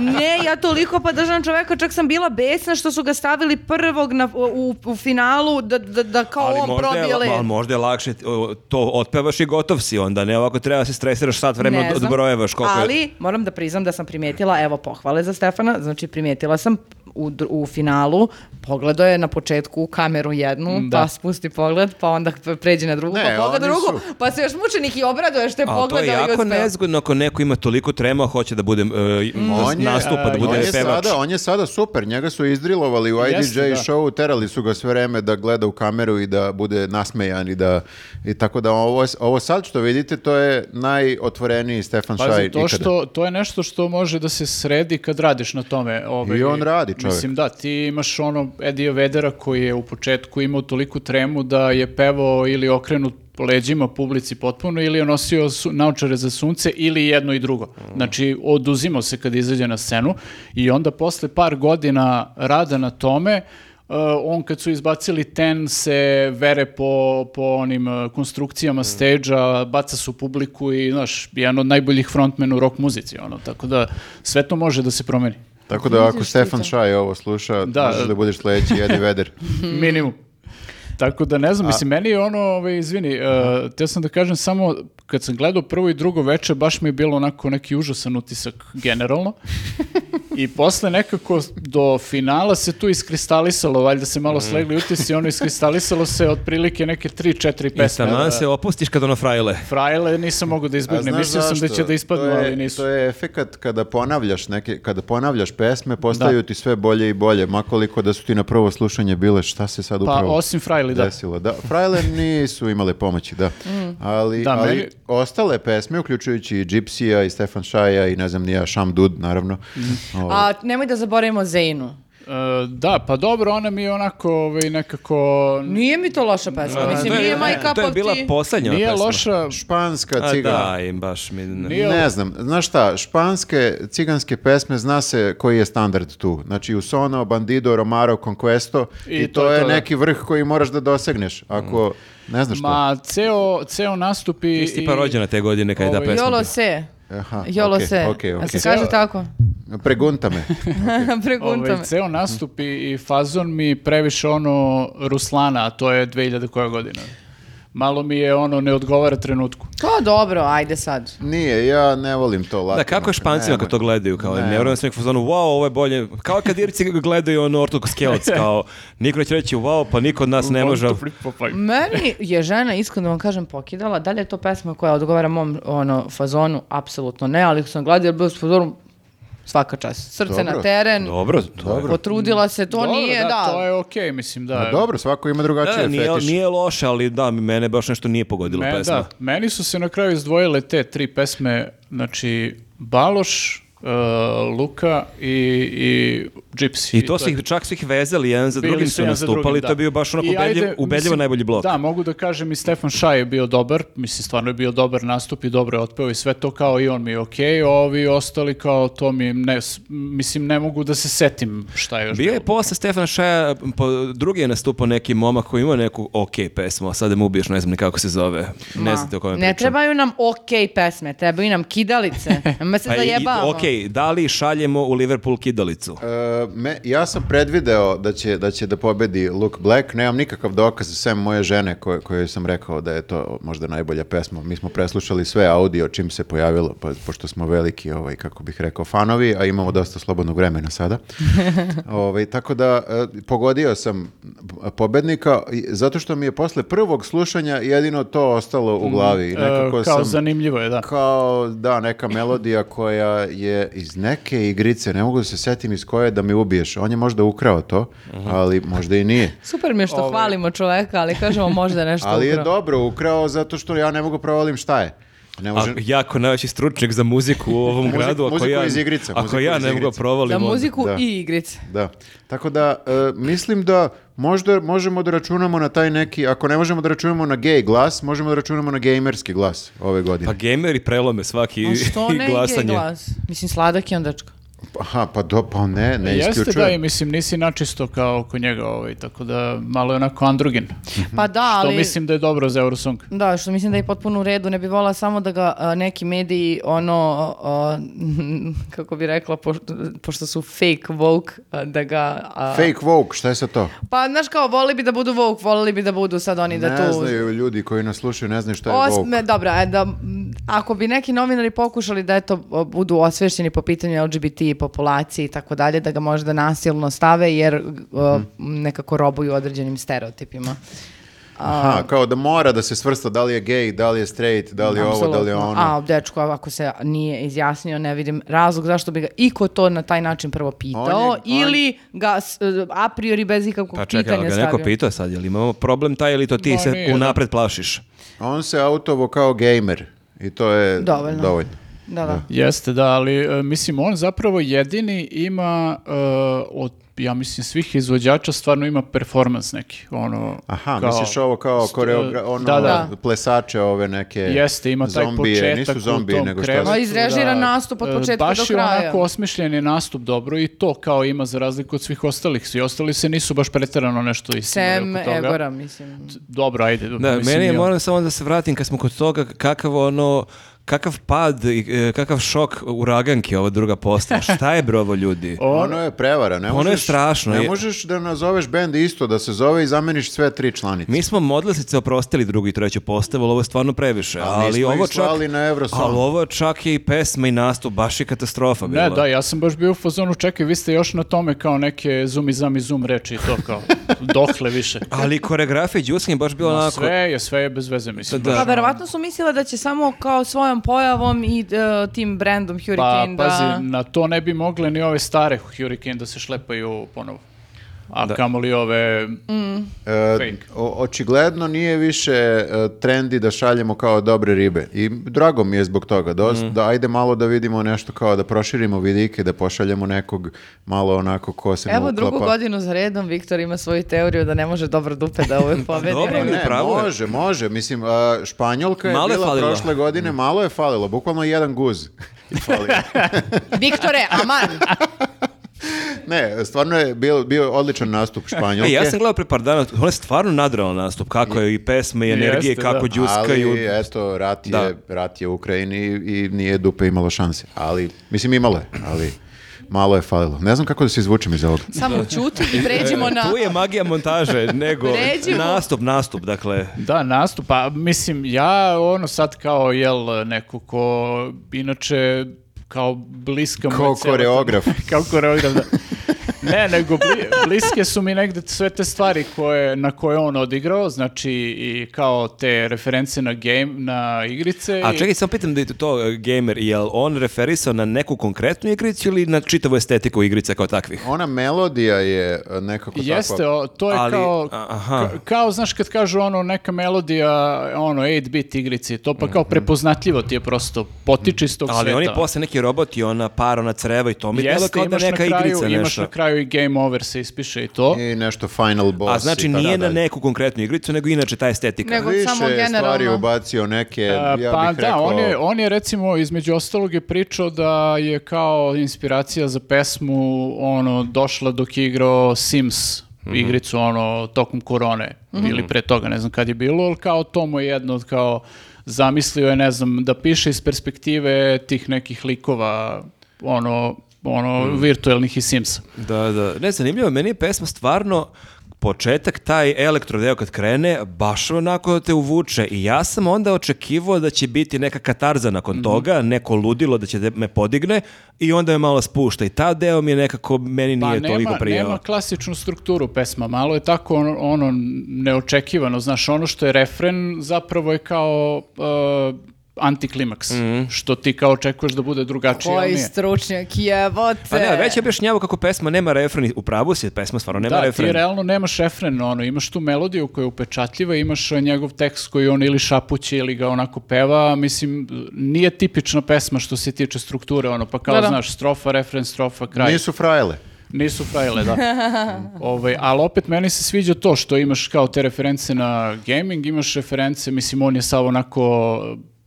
Speaker 3: Ne, ja toliko pa držam čoveka, čak sam bila besna što su ga stavili prvog na, u, u finalu da, da, da kao
Speaker 1: Ali
Speaker 3: on
Speaker 1: možda, je,
Speaker 3: probije led.
Speaker 1: ali možda je lakše o, to otpevaš i gotov si onda, ne ovako treba da se stresiraš sat vremena
Speaker 3: Ne
Speaker 1: od,
Speaker 3: znam.
Speaker 1: odbrojevaš koliko
Speaker 3: Ali
Speaker 1: je.
Speaker 3: moram da priznam da sam primijetila, evo pohvale za Stefana, znači primijetila sam u, dr- u finalu, pogledao je na početku u kameru jednu,
Speaker 2: Da.
Speaker 3: pa spusti pogled, pa onda p- pređe na drugu,
Speaker 4: Ne,
Speaker 3: pa pogleda
Speaker 4: oni
Speaker 3: drugu,
Speaker 4: su-
Speaker 3: pa se još mučenik i obraduje što je
Speaker 1: Ali to
Speaker 3: pogledao
Speaker 1: je
Speaker 3: i
Speaker 1: jako
Speaker 3: uspeo.
Speaker 1: nezgodno ako neko ima toliko trema, a hoće da bude e,
Speaker 4: Mm. On je, e,
Speaker 1: nastupa, da
Speaker 2: a,
Speaker 1: bude
Speaker 4: on je
Speaker 1: pevač.
Speaker 4: sada, on je sada super, njega su izdrilovali u IDJ
Speaker 2: Jeste, da.
Speaker 4: showu, terali su ga sve vreme da gleda u kameru i da bude nasmejan i da i tako da ovo, ovo sad što vidite to je najotvoreniji Stefan Šaj
Speaker 2: Pazi, to,
Speaker 4: ikada.
Speaker 2: Pa što, to je nešto što može da se sredi kad radiš na tome. Ovaj,
Speaker 4: I on radi, čovek.
Speaker 2: Mislim, da, ti imaš ono Edija Vedera koji je u početku imao toliku tremu da je pevao ili okrenut leđima publici potpuno ili je nosio su, naočare za sunce ili jedno i drugo. Znači, oduzimao se kad izađe na scenu i onda posle par godina rada na tome Uh, on kad su izbacili ten se vere po, po onim uh,
Speaker 4: Mm.
Speaker 2: konstrukcijama stage-a, baca su publiku i, znaš, jedan od najboljih frontmena u rock muzici, ono, tako da sve to može da se promeni.
Speaker 4: Tako da ako Stefan Šaj ovo sluša,
Speaker 2: Da.
Speaker 4: možeš da budeš sledeći Eddie Vedder.
Speaker 2: (laughs) Minimum. Tako da ne znam, mislim, meni je ono, ovaj, izvini, uh, teo sam da kažem samo, kad sam gledao prvo i drugo veče, baš mi je bilo onako neki užasan utisak
Speaker 4: (laughs)
Speaker 2: generalno. I posle nekako do finala se tu iskristalisalo, valjda se
Speaker 4: Mm.
Speaker 2: malo slegli utisi, ono iskristalisalo se otprilike neke 3, 4
Speaker 1: I
Speaker 2: pesme.
Speaker 1: taman se opustiš kad ono frajle.
Speaker 2: Frajle nisam mogao da
Speaker 4: A
Speaker 2: izbjegnem,
Speaker 4: znaš
Speaker 2: mislio sam da
Speaker 4: zašto?
Speaker 2: će da ispadnu,
Speaker 4: To je-
Speaker 2: ali nisu.
Speaker 4: To je efekat kada ponavljaš neke, kada ponavljaš pesme, postaju ti sve bolje i bolje, makoliko da su ti na prvo slušanje bile šta se sad
Speaker 2: Pa
Speaker 4: upravo
Speaker 2: osim Frajli, da. Mm.
Speaker 4: desilo. Da, Frajle nisu imale pomoći, da. Ali,
Speaker 2: Da,
Speaker 4: ali
Speaker 2: meni-
Speaker 4: ostale pesme, uključujući i Gypsy-a i Stefan Šaja i ne znam nija, Sham Dud, naravno.
Speaker 2: Mm.
Speaker 4: Ovaj, Ovo,
Speaker 3: A nemoj da zaboravimo Zeinu.
Speaker 2: E, da, pa dobro, ona mi je onako ovaj, nekako...
Speaker 3: Nije mi to loša pesma,
Speaker 1: A,
Speaker 3: mislim,
Speaker 1: to je-
Speaker 3: nije my cup
Speaker 1: To je
Speaker 3: of
Speaker 1: bila
Speaker 3: tea.
Speaker 1: poslednja
Speaker 2: Nije
Speaker 1: pesma.
Speaker 2: loša,
Speaker 4: španska
Speaker 1: A
Speaker 4: cigana.
Speaker 1: da, im baš mi ne-
Speaker 2: Nije ovo-
Speaker 4: Ne znam, znaš šta, španske, ciganske pesme zna se koji je standard tu. Znači Usono, Bandido, Romaro, Conquesto i, to, je,
Speaker 2: to, da.
Speaker 4: neki vrh koji moraš da dosegneš. Ako, ne znaš što.
Speaker 2: Ma, ceo, ceo nastup
Speaker 1: Ti
Speaker 2: i...
Speaker 1: si pa rođena te godine kad je ta
Speaker 2: Ovaj-
Speaker 1: pesma. bila.
Speaker 3: Jolo se.
Speaker 4: Aha,
Speaker 3: Jolo
Speaker 4: okej,
Speaker 3: se.
Speaker 4: okej,
Speaker 3: A se
Speaker 4: okej.
Speaker 3: kaže tako?
Speaker 4: Pregunta
Speaker 3: (laughs)
Speaker 4: me.
Speaker 3: Pregunta
Speaker 2: Ovaj,
Speaker 3: me.
Speaker 2: ceo nastup i, i fazon mi previše ono Ruslana, a to je 2000 koja godina. Malo mi je ono, ne odgovara trenutku.
Speaker 3: To dobro, ajde sad.
Speaker 4: Nije, ja ne volim to latino.
Speaker 1: Da, kako je špancima kad to gledaju, kao ne vjerujem da sam u fazonu, wow, ovo je bolje, kao kad Irci gledaju ono Ortog
Speaker 4: (laughs)
Speaker 1: Skelec, kao niko neće reći, wow, pa niko od nas ne može.
Speaker 2: pa,
Speaker 3: Meni je žena, iskreno da vam kažem, pokidala. Da li je to pesma koja odgovara mom ono, fazonu? Apsolutno ne, ali sam gledala jer bio s fazonom svaka čast. Srce na
Speaker 4: Dobro.
Speaker 3: teren,
Speaker 1: Dobro, to je.
Speaker 3: potrudila se, to
Speaker 2: Dobro,
Speaker 3: nije, da.
Speaker 2: To je okej, mislim, da.
Speaker 4: Ma dobro, svako ima drugačije
Speaker 1: Da, nije,
Speaker 4: fetiš.
Speaker 1: nije loše, ali da, mene baš nešto nije pogodilo
Speaker 2: Me-
Speaker 1: pesma.
Speaker 2: da, meni su se na kraju izdvojile te tri pesme, znači Baloš, e, Luka i, i Gypsy.
Speaker 1: I to
Speaker 2: je
Speaker 1: su ih čak su ih vezali, jedan za
Speaker 2: Bili
Speaker 1: drugim
Speaker 2: su
Speaker 1: su
Speaker 2: jedan za drugim,
Speaker 1: nastupali,
Speaker 2: da.
Speaker 1: to je bio baš onako
Speaker 2: I
Speaker 1: ubedljiv-
Speaker 2: ajde,
Speaker 1: ubedljivo,
Speaker 2: mislim,
Speaker 1: najbolji blok.
Speaker 2: Da, mogu da kažem i Stefan Šaj je bio dobar, mislim stvarno je bio dobar nastup i dobro je otpeo i sve to kao i on mi je okej, a ovi ostali kao to mi ne, s- mislim ne mogu da se setim šta je još
Speaker 1: Bio je
Speaker 2: bilo.
Speaker 1: posle Stefana Šaja, po, drugi je nastupao neki momak koji ima neku ok pesmu, a sada mu ubiješ, ne znam ni kako se zove. Ne
Speaker 3: Ma,
Speaker 1: znate o kome
Speaker 3: Ne
Speaker 1: pričam.
Speaker 3: trebaju nam okej pesme, trebaju nam kidalice.
Speaker 1: (laughs)
Speaker 3: Ma se
Speaker 1: Pa i-
Speaker 3: zajebavamo.
Speaker 1: ok, da li šaljemo u Liverpool kidalicu?
Speaker 4: E, me, ja sam predvideo da će, da će da pobedi Luke Black, nemam nikakav dokaz sem moje žene koje, kojoj sam rekao da je to možda najbolja pesma. Mi smo preslušali sve audio čim se pojavilo, pa, pošto smo veliki, ovaj, kako bih rekao, fanovi, a imamo dosta slobodnog vremena sada. ovaj, tako da e, pogodio sam pobednika i- zato što mi je posle prvog slušanja jedino to ostalo u glavi. i
Speaker 2: E,
Speaker 4: Nekako
Speaker 2: kao
Speaker 4: sam-
Speaker 2: zanimljivo je, da.
Speaker 4: kao da neka melodija koja je iz neke igrice, ne mogu da se setim iz koje da mi ubiješ. On je možda ukrao to, ali možda i nije.
Speaker 3: Super mi je
Speaker 2: Ovaj.
Speaker 3: što hvalimo čoveka, ali kažemo možda nešto
Speaker 4: Ali je
Speaker 3: ukrao.
Speaker 4: dobro ukrao zato što ja ne mogu provalim šta je. Ne
Speaker 1: A,
Speaker 4: može...
Speaker 1: jako najveći stručnjak za muziku u ovom
Speaker 4: Muziku-
Speaker 1: gradu. Ako
Speaker 4: muziku
Speaker 1: ja,
Speaker 4: iz igrice,
Speaker 1: Ako
Speaker 4: muziku
Speaker 1: ja
Speaker 4: iz
Speaker 1: ne mogu da
Speaker 4: igrice.
Speaker 1: provalim
Speaker 3: Za
Speaker 1: onda.
Speaker 3: muziku
Speaker 4: Da.
Speaker 3: i igrice.
Speaker 4: Da. Tako da e, mislim da možda možemo da računamo na taj neki, ako ne možemo da računamo na gay glas, možemo da računamo na gamerski glas ove godine.
Speaker 1: Pa gameri prelome svaki
Speaker 3: A što
Speaker 1: i (laughs)
Speaker 3: ne ide i
Speaker 1: glasanje.
Speaker 3: glas? Mislim, sladak je ondačka.
Speaker 4: Aha, pa, do, pa ne, ne
Speaker 2: Jeste
Speaker 4: isključujem.
Speaker 2: da i mislim nisi načisto kao oko njega ovaj, tako da malo je onako androgin.
Speaker 1: Mhm.
Speaker 3: Pa da,
Speaker 2: To
Speaker 3: ali...
Speaker 2: mislim da je dobro za Eurosong.
Speaker 3: Da, što mislim da je potpuno u redu, ne bi volila samo da ga a, neki mediji, ono, a, (laughs) kako bi rekla, pošto, pošto su fake woke, a, da ga... a,
Speaker 4: Fake woke, šta je sa to?
Speaker 3: Pa, znaš kao, volili bi da budu woke, volili bi da budu sad oni da
Speaker 4: ne
Speaker 3: tu...
Speaker 4: znaju ljudi koji nas slušaju, ne znaju šta je woke.
Speaker 3: Osme, dobro, e, da, m, ako bi neki novinari pokušali da eto, o, budu osvješćeni po pitanju LGBT populacije i tako dalje, da ga možda nasilno stave jer o,
Speaker 4: Mhm.
Speaker 3: nekako robuju određenim stereotipima.
Speaker 4: Aha, kao da mora da se svrsta da li je gej, da li je straight, da li je ovo, da li je
Speaker 3: Apsolutno.
Speaker 4: ono.
Speaker 3: A, dečko, ako se nije izjasnio, ne vidim razlog zašto bi ga iko to na taj način prvo pitao
Speaker 4: On je-
Speaker 3: ili ga s- e, a priori bez ikakvog
Speaker 1: Pa čekaj, ali
Speaker 3: pitanja
Speaker 1: ga neko
Speaker 3: stavio.
Speaker 1: pitao sad, jel imamo problem taj ili to ti
Speaker 2: Da,
Speaker 1: se
Speaker 2: nije, da.
Speaker 1: unapred plašiš?
Speaker 4: On se autovo kao gamer i to je
Speaker 3: Dovoljno.
Speaker 4: dovoljno.
Speaker 3: Da, da.
Speaker 2: Jeste, da, ali e, mislim on zapravo jedini ima e, od ja mislim svih izvođača stvarno ima performans neki, ono
Speaker 4: Aha,
Speaker 2: kao-
Speaker 4: misliš ovo kao
Speaker 2: st-
Speaker 4: koreogra... ono,
Speaker 2: Da, da.
Speaker 4: plesače ove neke
Speaker 2: Jeste, ima taj
Speaker 4: zombije,
Speaker 2: početak
Speaker 4: nisu zombije,
Speaker 2: u tom
Speaker 4: nego šta
Speaker 2: krevetu,
Speaker 3: A
Speaker 4: su-
Speaker 3: izrežira nastup od
Speaker 2: E,
Speaker 3: početka
Speaker 2: Baš
Speaker 3: do
Speaker 2: je
Speaker 3: kraja.
Speaker 2: onako osmišljen je nastup dobro i to kao ima za razliku od svih ostalih. Svi ostali se nisu baš pretjerano nešto istinili
Speaker 3: Sem
Speaker 2: oko toga.
Speaker 3: Egora, mislim.
Speaker 2: Dobro, ajde.
Speaker 4: Pa
Speaker 1: Da,
Speaker 2: mislim,
Speaker 1: meni je,
Speaker 2: i on.
Speaker 1: moram samo da se vratim kad smo kod toga kakav ono kakav pad i e, kakav šok uraganke ova druga
Speaker 4: (laughs)
Speaker 1: postava. Šta je brovo ljudi?
Speaker 3: Pa
Speaker 4: Ono je prevara, ne
Speaker 1: Ono je
Speaker 4: možeš,
Speaker 1: strašno,
Speaker 4: Ne
Speaker 1: je-
Speaker 4: možeš da nazoveš bend isto, da se zove i zameniš sve tri članice.
Speaker 1: Mi smo modlasice oprostili drugu i treću postavu, ali ovo je stvarno previše.
Speaker 4: Ali
Speaker 1: Ali,
Speaker 4: nismo
Speaker 1: ovo
Speaker 4: ih
Speaker 1: čak,
Speaker 4: slali na Eurosong.
Speaker 1: ali ovo čak je i pesma i nastup, baš je katastrofa bila.
Speaker 2: Ne, da, ja sam baš bio u fazonu, čekaj, vi ste još na tome kao neke zoom i zam i zoom reči i to kao, dokle više.
Speaker 1: Ali koreografija Đuskin je baš bila
Speaker 2: Ma,
Speaker 1: onako...
Speaker 2: sve je, sve je bez veze, mislim.
Speaker 1: Da, da.
Speaker 2: baš
Speaker 3: Pa
Speaker 2: ono.
Speaker 3: verovatno su mislila da će samo kao svojom pojavom i e, tim brendom
Speaker 2: Pa,
Speaker 3: Hurricane da...
Speaker 2: pazi, na to ne bi mogle ni ove stare Hurricane da se šlepaju ponovo. A kamoli ove...
Speaker 3: Mm.
Speaker 4: E,
Speaker 2: Fake.
Speaker 4: o- očigledno nije više e, trendi da šaljemo kao dobre ribe i drago mi je zbog toga da,
Speaker 1: Mm.
Speaker 4: os- da ajde malo da vidimo nešto kao da proširimo vidike, da pošaljemo nekog malo onako ko se pa- ne
Speaker 3: Evo drugu
Speaker 4: uklapa.
Speaker 3: godinu za redom Viktor ima svoju teoriju da ne može dobro dupe da
Speaker 1: (laughs)
Speaker 3: uvek pobedi.
Speaker 1: Pa dobro,
Speaker 4: E, Ne,
Speaker 1: ali upravo je.
Speaker 4: može, može, mislim a, Španjolka je
Speaker 1: Malo je
Speaker 4: bila
Speaker 1: falilo. Mm.
Speaker 4: prošle godine, malo je falilo, bukvalno jedan guz (laughs) je
Speaker 1: (laughs)
Speaker 4: falio.
Speaker 3: Viktore, aman!
Speaker 4: ne, stvarno je bio, bio odličan nastup
Speaker 1: (laughs)
Speaker 4: Španjolke.
Speaker 1: E, ja sam gledao pre par dana, on je stvarno nadrao nastup, kako je i pesme i energije,
Speaker 2: Jeste,
Speaker 1: kako
Speaker 2: da.
Speaker 1: džuskaju.
Speaker 4: Ali, eto, rat je,
Speaker 1: Da.
Speaker 4: rat je u Ukrajini i, i nije dupe imalo šanse. Ali, mislim, imalo je, ali malo je falilo. Ne znam kako da se izvučem iz ovog.
Speaker 3: Samo ćuti i pređimo na...
Speaker 1: (laughs) E, Tu je magija montaže, nego
Speaker 3: (laughs) Pređimo.
Speaker 1: nastup, nastup, dakle.
Speaker 2: Da, nastup, pa mislim, ja ono sad kao, jel, neko ko, inače, kao bliska... mu je
Speaker 4: Kao
Speaker 2: cela ta-
Speaker 4: koreograf.
Speaker 2: (laughs) kao koreograf, da. Ne, nego bli- bliske su mi negde sve te stvari koje, na koje je on odigrao, znači i kao te reference na game, na igrice.
Speaker 1: A
Speaker 2: i-
Speaker 1: čekaj, samo pitam da je to e, gamer, je li on referisao na neku konkretnu igricu ili na čitavu estetiku igrice kao takvih?
Speaker 4: Ona melodija je e, nekako
Speaker 2: Jeste,
Speaker 4: takva.
Speaker 2: o, to je
Speaker 1: Ali,
Speaker 2: kao,
Speaker 1: a- aha.
Speaker 2: ka- kao, znaš, kad kažu ono neka melodija, ono, 8-bit igrici, to pa kao prepoznatljivo ti je prosto, potiče iz tog
Speaker 1: Mhm. Ali
Speaker 2: sveta.
Speaker 1: on je posle neki robot i ona para, ona creva i to mi je delo kao da
Speaker 2: imaš na
Speaker 1: neka
Speaker 2: kraju-
Speaker 1: igrica
Speaker 2: Imaš
Speaker 1: nešto.
Speaker 2: na kraju i game over se ispiše i to.
Speaker 4: I nešto final boss.
Speaker 1: A znači
Speaker 4: i
Speaker 2: pa
Speaker 4: tada
Speaker 1: nije na
Speaker 4: dalje.
Speaker 1: neku konkretnu igricu, nego inače ta estetika.
Speaker 3: Nego
Speaker 4: Više
Speaker 3: samo
Speaker 4: je stvari
Speaker 3: generalno.
Speaker 4: ubacio neke, ja
Speaker 2: A,
Speaker 4: bih
Speaker 2: pa da,
Speaker 4: rekao,
Speaker 2: on je, on je recimo između ostalog je pričao da je kao inspiracija za pesmu ono došla dok je igrao Sims
Speaker 4: Mhm.
Speaker 2: igricu ono tokom korone ili pre toga, ne znam kad je bilo, ali kao to mu je jedno od kao zamislio je, ne znam, da piše iz perspektive tih nekih likova ono ono
Speaker 4: Mhm.
Speaker 2: virtuelnih i Simsa.
Speaker 1: Da, da. Ne, zanimljivo, meni je pesma stvarno početak, taj elektrodeo kad krene, baš onako te uvuče i ja sam onda očekivao da će biti neka katarza
Speaker 2: Mhm.
Speaker 1: nakon toga, neko ludilo da će te- me podigne i onda me malo spušta i ta deo mi je nekako, meni
Speaker 2: Pa
Speaker 1: nije
Speaker 2: nema,
Speaker 1: toliko prijao.
Speaker 2: nema klasičnu strukturu pesma, malo je tako ono, ono neočekivano, znaš, ono što je refren zapravo je kao uh, antiklimaks,
Speaker 1: Mhm.
Speaker 2: što ti kao očekuješ da bude drugačije, ali
Speaker 3: Koji
Speaker 2: nije.
Speaker 3: stručnjak, jebote!
Speaker 1: Pa ne, već je objašnjavao kako pesma nema refren, i u pravu si, pesma stvarno nema
Speaker 2: Da,
Speaker 1: refren.
Speaker 2: ti realno nemaš refren, ono, imaš tu melodiju koja je upečatljiva, imaš eh, njegov tekst koji on ili šapuće ili ga onako peva, mislim, nije tipična pesma što se tiče strukture, ono, pa kao,
Speaker 3: Da, da.
Speaker 2: znaš, strofa, refren, strofa, kraj.
Speaker 4: Nisu frajle.
Speaker 2: Nisu frajle, da.
Speaker 4: (laughs)
Speaker 2: ovaj, ali opet meni se sviđa to što imaš kao te reference na gaming, imaš reference, mislim on je sav onako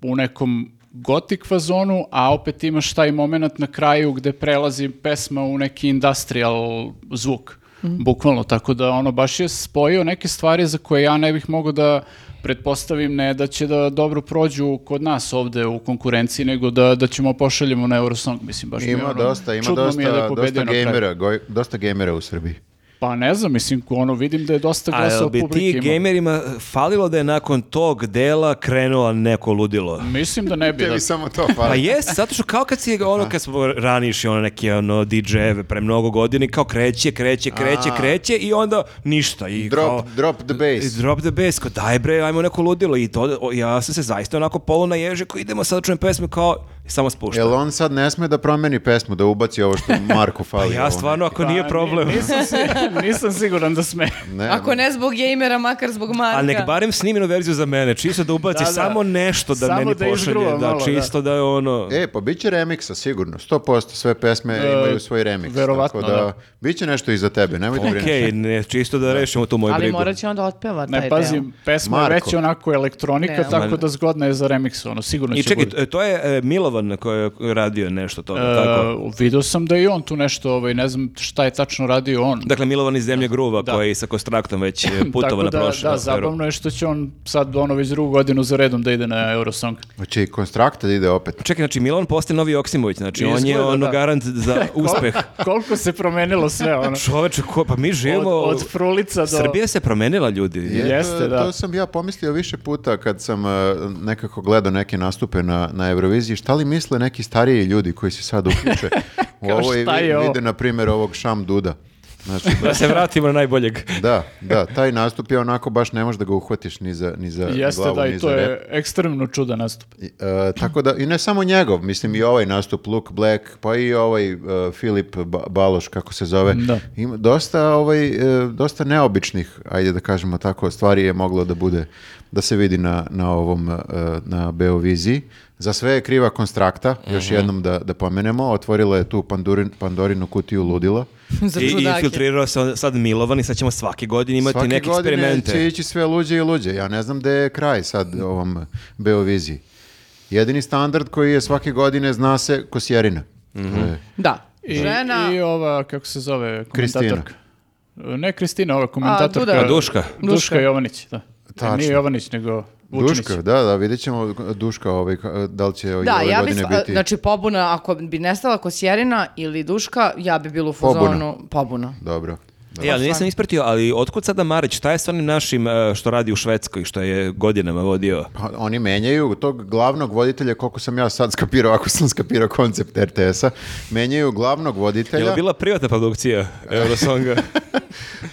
Speaker 2: u nekom gotik fazonu, a opet imaš taj moment na kraju gde prelazi pesma u neki industrial zvuk.
Speaker 4: Mhm.
Speaker 2: Bukvalno, tako da ono baš je spojio neke stvari za koje ja ne bih mogao da pretpostavim ne da će da dobro prođu kod nas ovde u konkurenciji, nego da, da ćemo pošaljemo na Eurosong, mislim, baš mi je
Speaker 4: Ima
Speaker 2: ono,
Speaker 4: dosta, ima
Speaker 2: čudno
Speaker 4: dosta,
Speaker 2: mi je da je
Speaker 4: dosta
Speaker 2: pobedio na kraju.
Speaker 4: gamera, goj- dosta gamera u Srbiji.
Speaker 2: Pa ne znam, mislim, ono, vidim da je dosta
Speaker 1: A
Speaker 2: glasa
Speaker 1: jel
Speaker 2: od
Speaker 1: bi
Speaker 2: publike
Speaker 1: ti
Speaker 2: imao.
Speaker 1: gamerima falilo da je nakon tog dela krenulo neko ludilo?
Speaker 2: Mislim da ne bi. da.
Speaker 4: Tebi samo to
Speaker 1: Pa
Speaker 4: fali.
Speaker 1: jes, zato što kao kad si,
Speaker 4: (laughs)
Speaker 1: ono, kad smo raniš ono neke ono, DJ-eve pre mnogo godini, kao kreće, kreće, kreće, kreće i onda ništa. I kao,
Speaker 4: drop, drop the
Speaker 1: I
Speaker 4: bass.
Speaker 1: Drop the bass, kao daj bre, ajmo neko ludilo i to, o, ja sam se zaista onako polu na ježe, kao idemo sad da čujem pesmu, kao i samo spušta.
Speaker 4: Jel on sad ne sme da promeni pesmu, da ubaci
Speaker 2: (laughs)
Speaker 4: ovo što
Speaker 1: Pa
Speaker 4: Marko fali?
Speaker 1: ja
Speaker 4: ovo?
Speaker 1: stvarno, ako
Speaker 2: Pa,
Speaker 1: nije
Speaker 2: ni-
Speaker 1: problem.
Speaker 2: Nisam,
Speaker 1: (laughs)
Speaker 2: si- nisam siguran da sme.
Speaker 4: Ne,
Speaker 3: Ako ne zbog gamera, makar zbog Marka.
Speaker 1: Ali nek barem sniminu verziju za mene, čisto da ubaci
Speaker 2: Da, da.
Speaker 1: samo nešto da
Speaker 2: Samo
Speaker 1: meni
Speaker 2: da
Speaker 1: pošalje,
Speaker 2: izgruva
Speaker 1: da,
Speaker 2: malo, da.
Speaker 1: čisto da. je ono...
Speaker 4: E, pa bit će remiksa, sigurno. 100% sve pesme imaju svoj remiks.
Speaker 2: verovatno,
Speaker 4: tako da,
Speaker 2: da.
Speaker 4: Bit će nešto i za tebe, nemoj da brineš.
Speaker 1: Okej, ne, čisto da rešimo tu moju
Speaker 3: Ali
Speaker 1: brigu.
Speaker 3: morat će onda otpeva taj
Speaker 2: Ne, pazi, pesma je
Speaker 4: Marko.
Speaker 2: već onako elektronika,
Speaker 3: Ne,
Speaker 2: tako
Speaker 1: ali-
Speaker 2: da zgodna je za remix, ono, sigurno
Speaker 1: I
Speaker 2: će
Speaker 1: čekaj,
Speaker 2: bude.
Speaker 1: to- to je e, Milovan koji je radio nešto toga,
Speaker 2: E,
Speaker 1: tako?
Speaker 2: video sam da i on tu nešto, ovaj, ne znam šta je tačno radio on.
Speaker 1: Dakle, Milovan iz Zemlje Gruva koji je sa Konstraktom već (laughs) e, putovao
Speaker 2: Tako
Speaker 1: na
Speaker 2: da,
Speaker 1: prošle.
Speaker 2: da, zabavno je što će on sad ono već drugu godinu za redom da ide na Eurosong.
Speaker 4: Hoće i konstrakta da Znači, ide opet.
Speaker 1: Čekaj, znači Milovan postaje novi Joksimović, znači on je
Speaker 2: Izgleda,
Speaker 1: ono
Speaker 2: da.
Speaker 1: garant (laughs) za uspeh.
Speaker 2: (laughs) Koliko se promenilo sve, ono.
Speaker 1: Čoveče, ko, pa mi
Speaker 2: Od,
Speaker 1: živimo...
Speaker 2: od frulica do...
Speaker 1: Srbija se promenila, ljudi.
Speaker 4: Je, to-
Speaker 2: Jeste, da.
Speaker 4: To sam ja pomislio više puta kad sam e, nekako gledao neke nastupe na, na Euroviziji. Šta li misle neki stariji ljudi koji se
Speaker 2: (laughs)
Speaker 4: sad uključe u
Speaker 2: Kao,
Speaker 4: ovo i
Speaker 2: šta je
Speaker 4: vi-
Speaker 2: ovo?
Speaker 4: vide, na primjer, ovog Šam Duda. Znači,
Speaker 1: (laughs) Da se vratimo na najboljeg.
Speaker 4: da, da, taj nastup je onako baš ne možeš da ga uhvatiš ni za, ni za
Speaker 2: Jeste
Speaker 4: glavu,
Speaker 2: da,
Speaker 4: ni
Speaker 2: i to
Speaker 4: za rep.
Speaker 2: je ekstremno čudan nastup.
Speaker 4: I, e, tako da, i ne samo njegov, mislim i ovaj nastup Luke Black, pa i ovaj e, Filip Ba- Baloš, kako se zove.
Speaker 2: Da.
Speaker 4: Ima dosta, ovaj, e, dosta neobičnih, ajde da kažemo tako, stvari je moglo da bude, da se vidi na, na ovom, e, na Beoviziji. Za sve je kriva konstrakta, još jednom da, da pomenemo, otvorila je tu Pandurin, Pandorinu kutiju ludila.
Speaker 3: Za
Speaker 1: I, i
Speaker 3: čudake.
Speaker 1: infiltrirao se on- sad Milovan i sad ćemo svake godine imati
Speaker 4: Svake
Speaker 1: neke
Speaker 4: godine
Speaker 1: eksperimente.
Speaker 4: će ići sve luđe i luđe. Ja ne znam gde je kraj sad ovom Beoviziji. Jedini standard koji je svake godine zna se Kosjerina. To
Speaker 1: Mhm.
Speaker 4: je-
Speaker 3: Da.
Speaker 2: I,
Speaker 3: Žena...
Speaker 2: I ova, kako se zove, komentatorka. Ne Kristina, ova komentatorka.
Speaker 3: Duda.
Speaker 1: A Duška?
Speaker 2: Duška,
Speaker 3: Duška.
Speaker 2: Jovanić, da. E,
Speaker 4: Tačno.
Speaker 2: Nije Jovanić, nego Vučinić.
Speaker 4: Duška, da, da, vidjet ćemo Duška ovaj, ka- da li će
Speaker 3: Da,
Speaker 4: ove
Speaker 3: ja bi,
Speaker 4: godine
Speaker 3: a,
Speaker 4: biti...
Speaker 3: znači pobuna, ako bi nestala Kosjerina ili Duška, ja bi bila u fazonu pobuna.
Speaker 4: Dobro. Da.
Speaker 1: E, ali nisam ispratio, ali otkud sada Marić, šta je s onim našim e, što radi u Švedskoj, što je godinama vodio?
Speaker 4: Pa, Oni menjaju tog glavnog voditelja, koliko sam ja sad skapirao, ako sam skapirao koncept RTS-a, menjaju glavnog
Speaker 1: Je
Speaker 4: voditelja,
Speaker 1: li bila privatna
Speaker 4: (laughs)
Speaker 1: produkcija Eurosonga?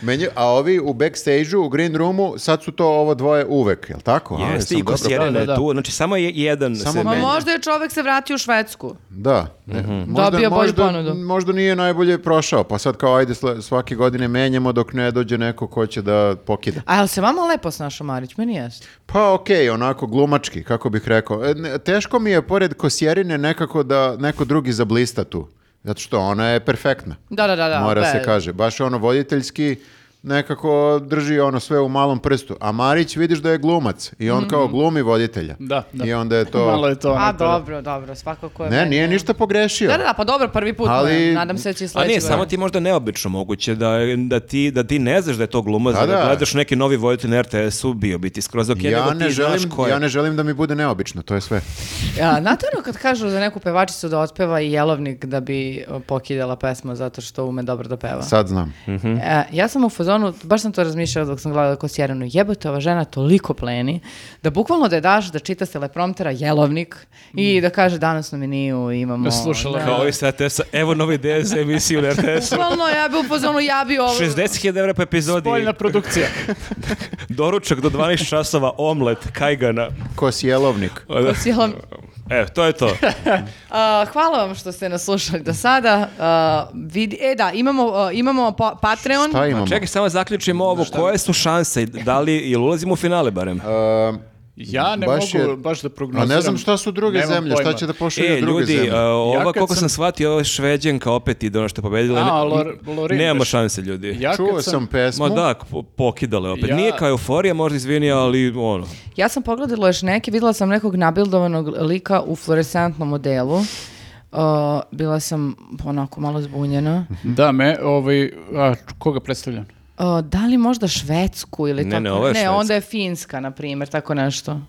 Speaker 4: menjaju, a ovi u backstage-u, u green roomu, sad su to ovo dvoje uvek, jel tako? A,
Speaker 1: Jeste,
Speaker 4: jesam
Speaker 1: i
Speaker 4: Pa, dobro
Speaker 1: Kosjerina
Speaker 2: da, da,
Speaker 1: je
Speaker 2: da.
Speaker 1: tu, znači samo je jedan
Speaker 4: Samo
Speaker 1: se
Speaker 4: Ma
Speaker 3: Ma
Speaker 1: menja.
Speaker 3: možda je čovek se vratio u Švedsku.
Speaker 4: Da. ne,
Speaker 2: Mhm.
Speaker 4: možda,
Speaker 3: Dobio bolju
Speaker 4: možda,
Speaker 3: ponudu.
Speaker 4: možda nije najbolje prošao, pa sad kao ajde sle- svake godine menjamo dok ne dođe neko ko će da pokida.
Speaker 3: A jel se vama lepo snašao Marić? Meni jeste.
Speaker 4: Pa okej, onako glumački, kako bih rekao. E, ne, teško mi je pored Kosjerine nekako da neko drugi zablista tu. Zato što ona je perfektna.
Speaker 3: Da, da, da. da
Speaker 4: Mora
Speaker 3: be-
Speaker 4: se kaže. Baš ono voditeljski nekako drži ono sve u malom prstu. A Marić vidiš da je glumac i
Speaker 3: Mhm.
Speaker 4: on kao glumi voditelja.
Speaker 2: Da, da.
Speaker 4: I onda je to...
Speaker 2: (laughs) Malo je to
Speaker 3: A
Speaker 2: onako, da.
Speaker 3: dobro, dobro, svakako je.
Speaker 4: Ne,
Speaker 3: meni-
Speaker 4: nije ništa pogrešio.
Speaker 3: Da, da, da, pa dobro, prvi put.
Speaker 4: Ali-
Speaker 3: moram, Nadam se da će i
Speaker 1: A
Speaker 3: sledeći.
Speaker 1: nije, samo ti možda neobično moguće da, da, ti, da ti ne znaš da je to glumac,
Speaker 4: Da,
Speaker 1: da,
Speaker 4: da.
Speaker 1: gledaš neki novi voditelj na RTS-u, bio bi ti skroz ok,
Speaker 4: Ja
Speaker 1: nego ti
Speaker 4: ne,
Speaker 1: znaš
Speaker 4: želim,
Speaker 1: ko je.
Speaker 4: ja ne želim da mi bude neobično, to je sve.
Speaker 3: Ja, znate ono kad kažu za neku pevačicu da otpeva i jelovnik da bi e, pokidala pesmu zato što ume dobro da peva.
Speaker 4: Sad znam.
Speaker 1: Hm.
Speaker 3: E, ja sam u fazonu, baš sam to razmišljala dok sam gledala Kosjeranu, jebote ova žena toliko pleni, da bukvalno da je daš da čita s telepromptera jelovnik i da kaže danas na meniju imamo...
Speaker 2: Da slušala
Speaker 1: Kao ovi sa RTS-a, evo novi ideje za emisiju na
Speaker 2: (laughs)
Speaker 1: RTS-u.
Speaker 3: Bukvalno ja bi u fazonu, ja bi ovo...
Speaker 1: 60.000 evra po epizodi,
Speaker 2: Spoljna produkcija.
Speaker 1: doručak do 12 časova, omlet, kajgana.
Speaker 4: Kosjelovnik.
Speaker 1: Pa
Speaker 3: Kosjelan-
Speaker 1: E, to je to.
Speaker 3: A, hvala vam što ste nas slušali do sada. A, vidi, e da, imamo, a, imamo pa- Patreon.
Speaker 4: Šta (laughs) imamo?
Speaker 1: Čekaj, samo zaključimo ovo. Koje su šanse? Da li, jel ulazimo u finale barem?
Speaker 4: Um,
Speaker 2: Ja ne
Speaker 4: Baš
Speaker 2: mogu
Speaker 4: je-
Speaker 2: baš da
Speaker 4: A
Speaker 2: prognoziram.
Speaker 4: ne znam šta su druge
Speaker 2: Nemam
Speaker 4: zemlje, šta
Speaker 2: pojma.
Speaker 4: će da pošalju
Speaker 1: E,
Speaker 4: druge
Speaker 1: ljudi,
Speaker 4: zemlje.
Speaker 1: a, ova,
Speaker 2: Ja kad
Speaker 1: koliko sam...
Speaker 2: sam
Speaker 1: shvatio, ova je šveđenka opet ide ono što je pobedila.
Speaker 2: A,
Speaker 1: Ne-
Speaker 2: Lor- Lorin,
Speaker 1: Nema
Speaker 2: nešto.
Speaker 1: šanse, ljudi.
Speaker 2: Ja kad
Speaker 4: Čuo sam pesmu.
Speaker 1: Ma da, po- pokidale opet.
Speaker 2: Ja-
Speaker 1: Nije kao euforija, možda izvini, ali ono.
Speaker 3: Ja sam pogledala još neke, videla sam nekog nabildovanog lika u fluorescentnom modelu. Uh, bila sam onako malo zbunjena.
Speaker 2: Da, me, ovaj, a, koga predstavljam?
Speaker 3: Uh, da li možda Švedsku ili
Speaker 1: Ne,
Speaker 3: tako?
Speaker 1: ne, ovo je Švedska.
Speaker 3: onda je Finska, na primjer, tako nešto.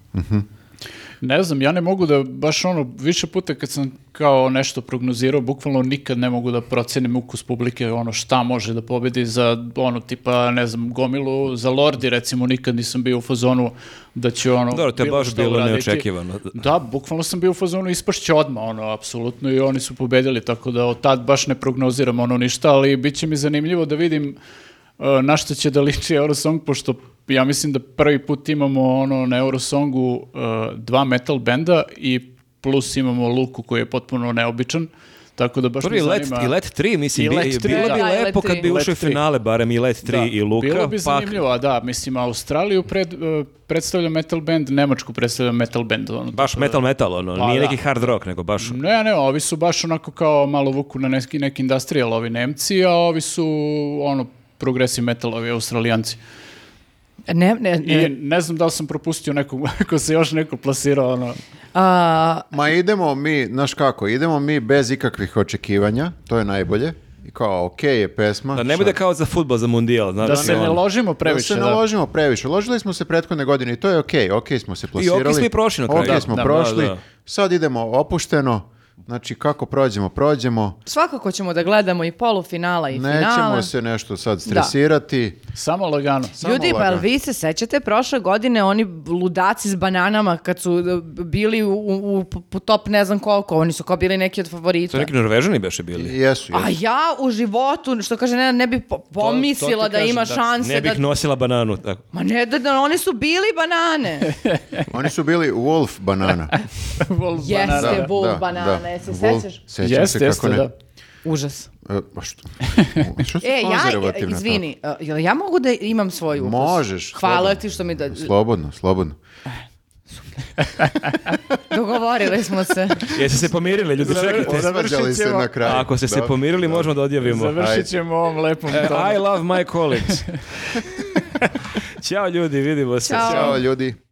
Speaker 2: Ne znam, ja ne mogu da, baš ono, više puta kad sam kao nešto prognozirao, bukvalno nikad ne mogu da procenim ukus publike, ono šta može da pobedi za, ono, tipa, ne znam, gomilu, za Lordi, recimo, nikad nisam bio u fazonu da će, ono,
Speaker 1: Dobro, to je
Speaker 2: bilo
Speaker 1: baš
Speaker 2: šta
Speaker 1: bilo
Speaker 2: uraditi.
Speaker 1: neočekivano.
Speaker 2: Da, bukvalno sam bio u fazonu ispašće odmah, ono, apsolutno, i oni su pobedili, tako da od tad baš ne prognoziram ono ništa, ali bit će mi zanimljivo da vidim uh, na što će da liči Eurosong, pošto ja mislim da prvi put imamo ono na Eurosongu uh, dva metal benda i plus imamo Luku koji je potpuno neobičan, tako da baš
Speaker 1: Dobro,
Speaker 2: me
Speaker 1: i let,
Speaker 2: zanima...
Speaker 1: i let 3, mislim,
Speaker 2: I
Speaker 1: bi-
Speaker 2: Let tri,
Speaker 1: bilo bi
Speaker 3: da.
Speaker 1: lepo kad bi
Speaker 2: Let
Speaker 1: ušao u
Speaker 2: tri.
Speaker 1: finale, barem i Let 3
Speaker 2: Da,
Speaker 1: i Luka.
Speaker 2: Bilo bi
Speaker 1: pa-
Speaker 2: zanimljivo, a da, mislim, Australiju pred, uh, predstavlja metal band, Nemačku predstavlja metal band. Ono,
Speaker 1: Baš metal metal, ono,
Speaker 2: Pa
Speaker 1: nije
Speaker 2: da.
Speaker 1: neki hard rock, nego baš...
Speaker 2: Ne, ne, ovi su baš onako kao malo vuku na neki, neki industrial ovi Nemci, a ovi su ono progressive metal ovi Australijanci.
Speaker 3: Ne, ne,
Speaker 2: I
Speaker 3: ne.
Speaker 2: ne znam da li sam propustio nekog, (laughs) ako se još neko plasirao, ono,
Speaker 3: A,
Speaker 4: Ma idemo mi, znaš kako, idemo mi bez ikakvih očekivanja, to je najbolje. I kao, okej je pesma.
Speaker 1: Da ne bude kao za futbol, za mundijal, znaš.
Speaker 2: da se
Speaker 1: ono.
Speaker 2: ne ložimo
Speaker 4: Previše,
Speaker 2: previše.
Speaker 4: da se naložimo previše. Ložili smo se prethodne godine i to je okej, okej smo se plasirali.
Speaker 1: okej smo i prošli na kraju.
Speaker 4: Okej
Speaker 1: Da,
Speaker 4: smo
Speaker 1: da,
Speaker 4: prošli.
Speaker 1: da, da.
Speaker 4: Sad idemo opušteno. Znači, kako prođemo, prođemo.
Speaker 3: svakako ćemo da gledamo i polufinala i finala.
Speaker 4: Nećemo se nešto sad stresirati.
Speaker 2: Samo lagano.
Speaker 4: Samo
Speaker 3: Ljudi, pa jel
Speaker 4: lagano.
Speaker 3: vi se sećate prošle godine oni ludaci s bananama kad su e, bili u, u, u top ne znam koliko, oni su kao bili neki od
Speaker 1: To
Speaker 3: favorita.
Speaker 1: neki Norvežani beše bili.
Speaker 4: Jesu,
Speaker 3: A
Speaker 4: jesu.
Speaker 3: ja u životu, što kaže, ne, ne bi po- pomislila da
Speaker 2: kažem,
Speaker 3: ima
Speaker 2: da.
Speaker 3: šanse
Speaker 1: Ne
Speaker 3: da...
Speaker 1: bih nosila bananu, tako.
Speaker 3: Ma ne, da, da, oni su bili
Speaker 4: (laughs)
Speaker 3: banane.
Speaker 4: Oni su bili Wolf banana.
Speaker 2: Vol- banana.
Speaker 3: (laughs) Jeste,
Speaker 4: Da,
Speaker 3: bol
Speaker 4: da,
Speaker 3: banana,
Speaker 4: da.
Speaker 3: jesi
Speaker 4: Wolf,
Speaker 3: sećaš?
Speaker 4: Sećam se
Speaker 2: Jeste,
Speaker 4: kako
Speaker 2: jeste,
Speaker 4: ne.
Speaker 2: da.
Speaker 3: Užas.
Speaker 4: E, pa što? Što
Speaker 3: (laughs)
Speaker 4: su
Speaker 3: E, ja,
Speaker 4: konzervativne tako?
Speaker 3: izvini, e, jel ja mogu da imam svoj ukus?
Speaker 4: Možeš,
Speaker 3: Hvala
Speaker 4: slobodno.
Speaker 3: ti što mi da...
Speaker 4: Slobodno, slobodno.
Speaker 3: Dogovorili smo
Speaker 4: (laughs)
Speaker 3: se.
Speaker 1: Jeste se pomirili, ljudi, čekajte.
Speaker 4: Posvađali se
Speaker 2: ćemo.
Speaker 4: na kraju.
Speaker 1: Ako ste se
Speaker 4: Dobro.
Speaker 1: pomirili, možemo da odjavimo.
Speaker 2: Završit ćemo ovom lepom
Speaker 1: E,
Speaker 2: tonu. (laughs)
Speaker 1: I love my colleagues. Ćao ljudi, vidimo se.
Speaker 3: Ćao.
Speaker 4: Ćao ljudi.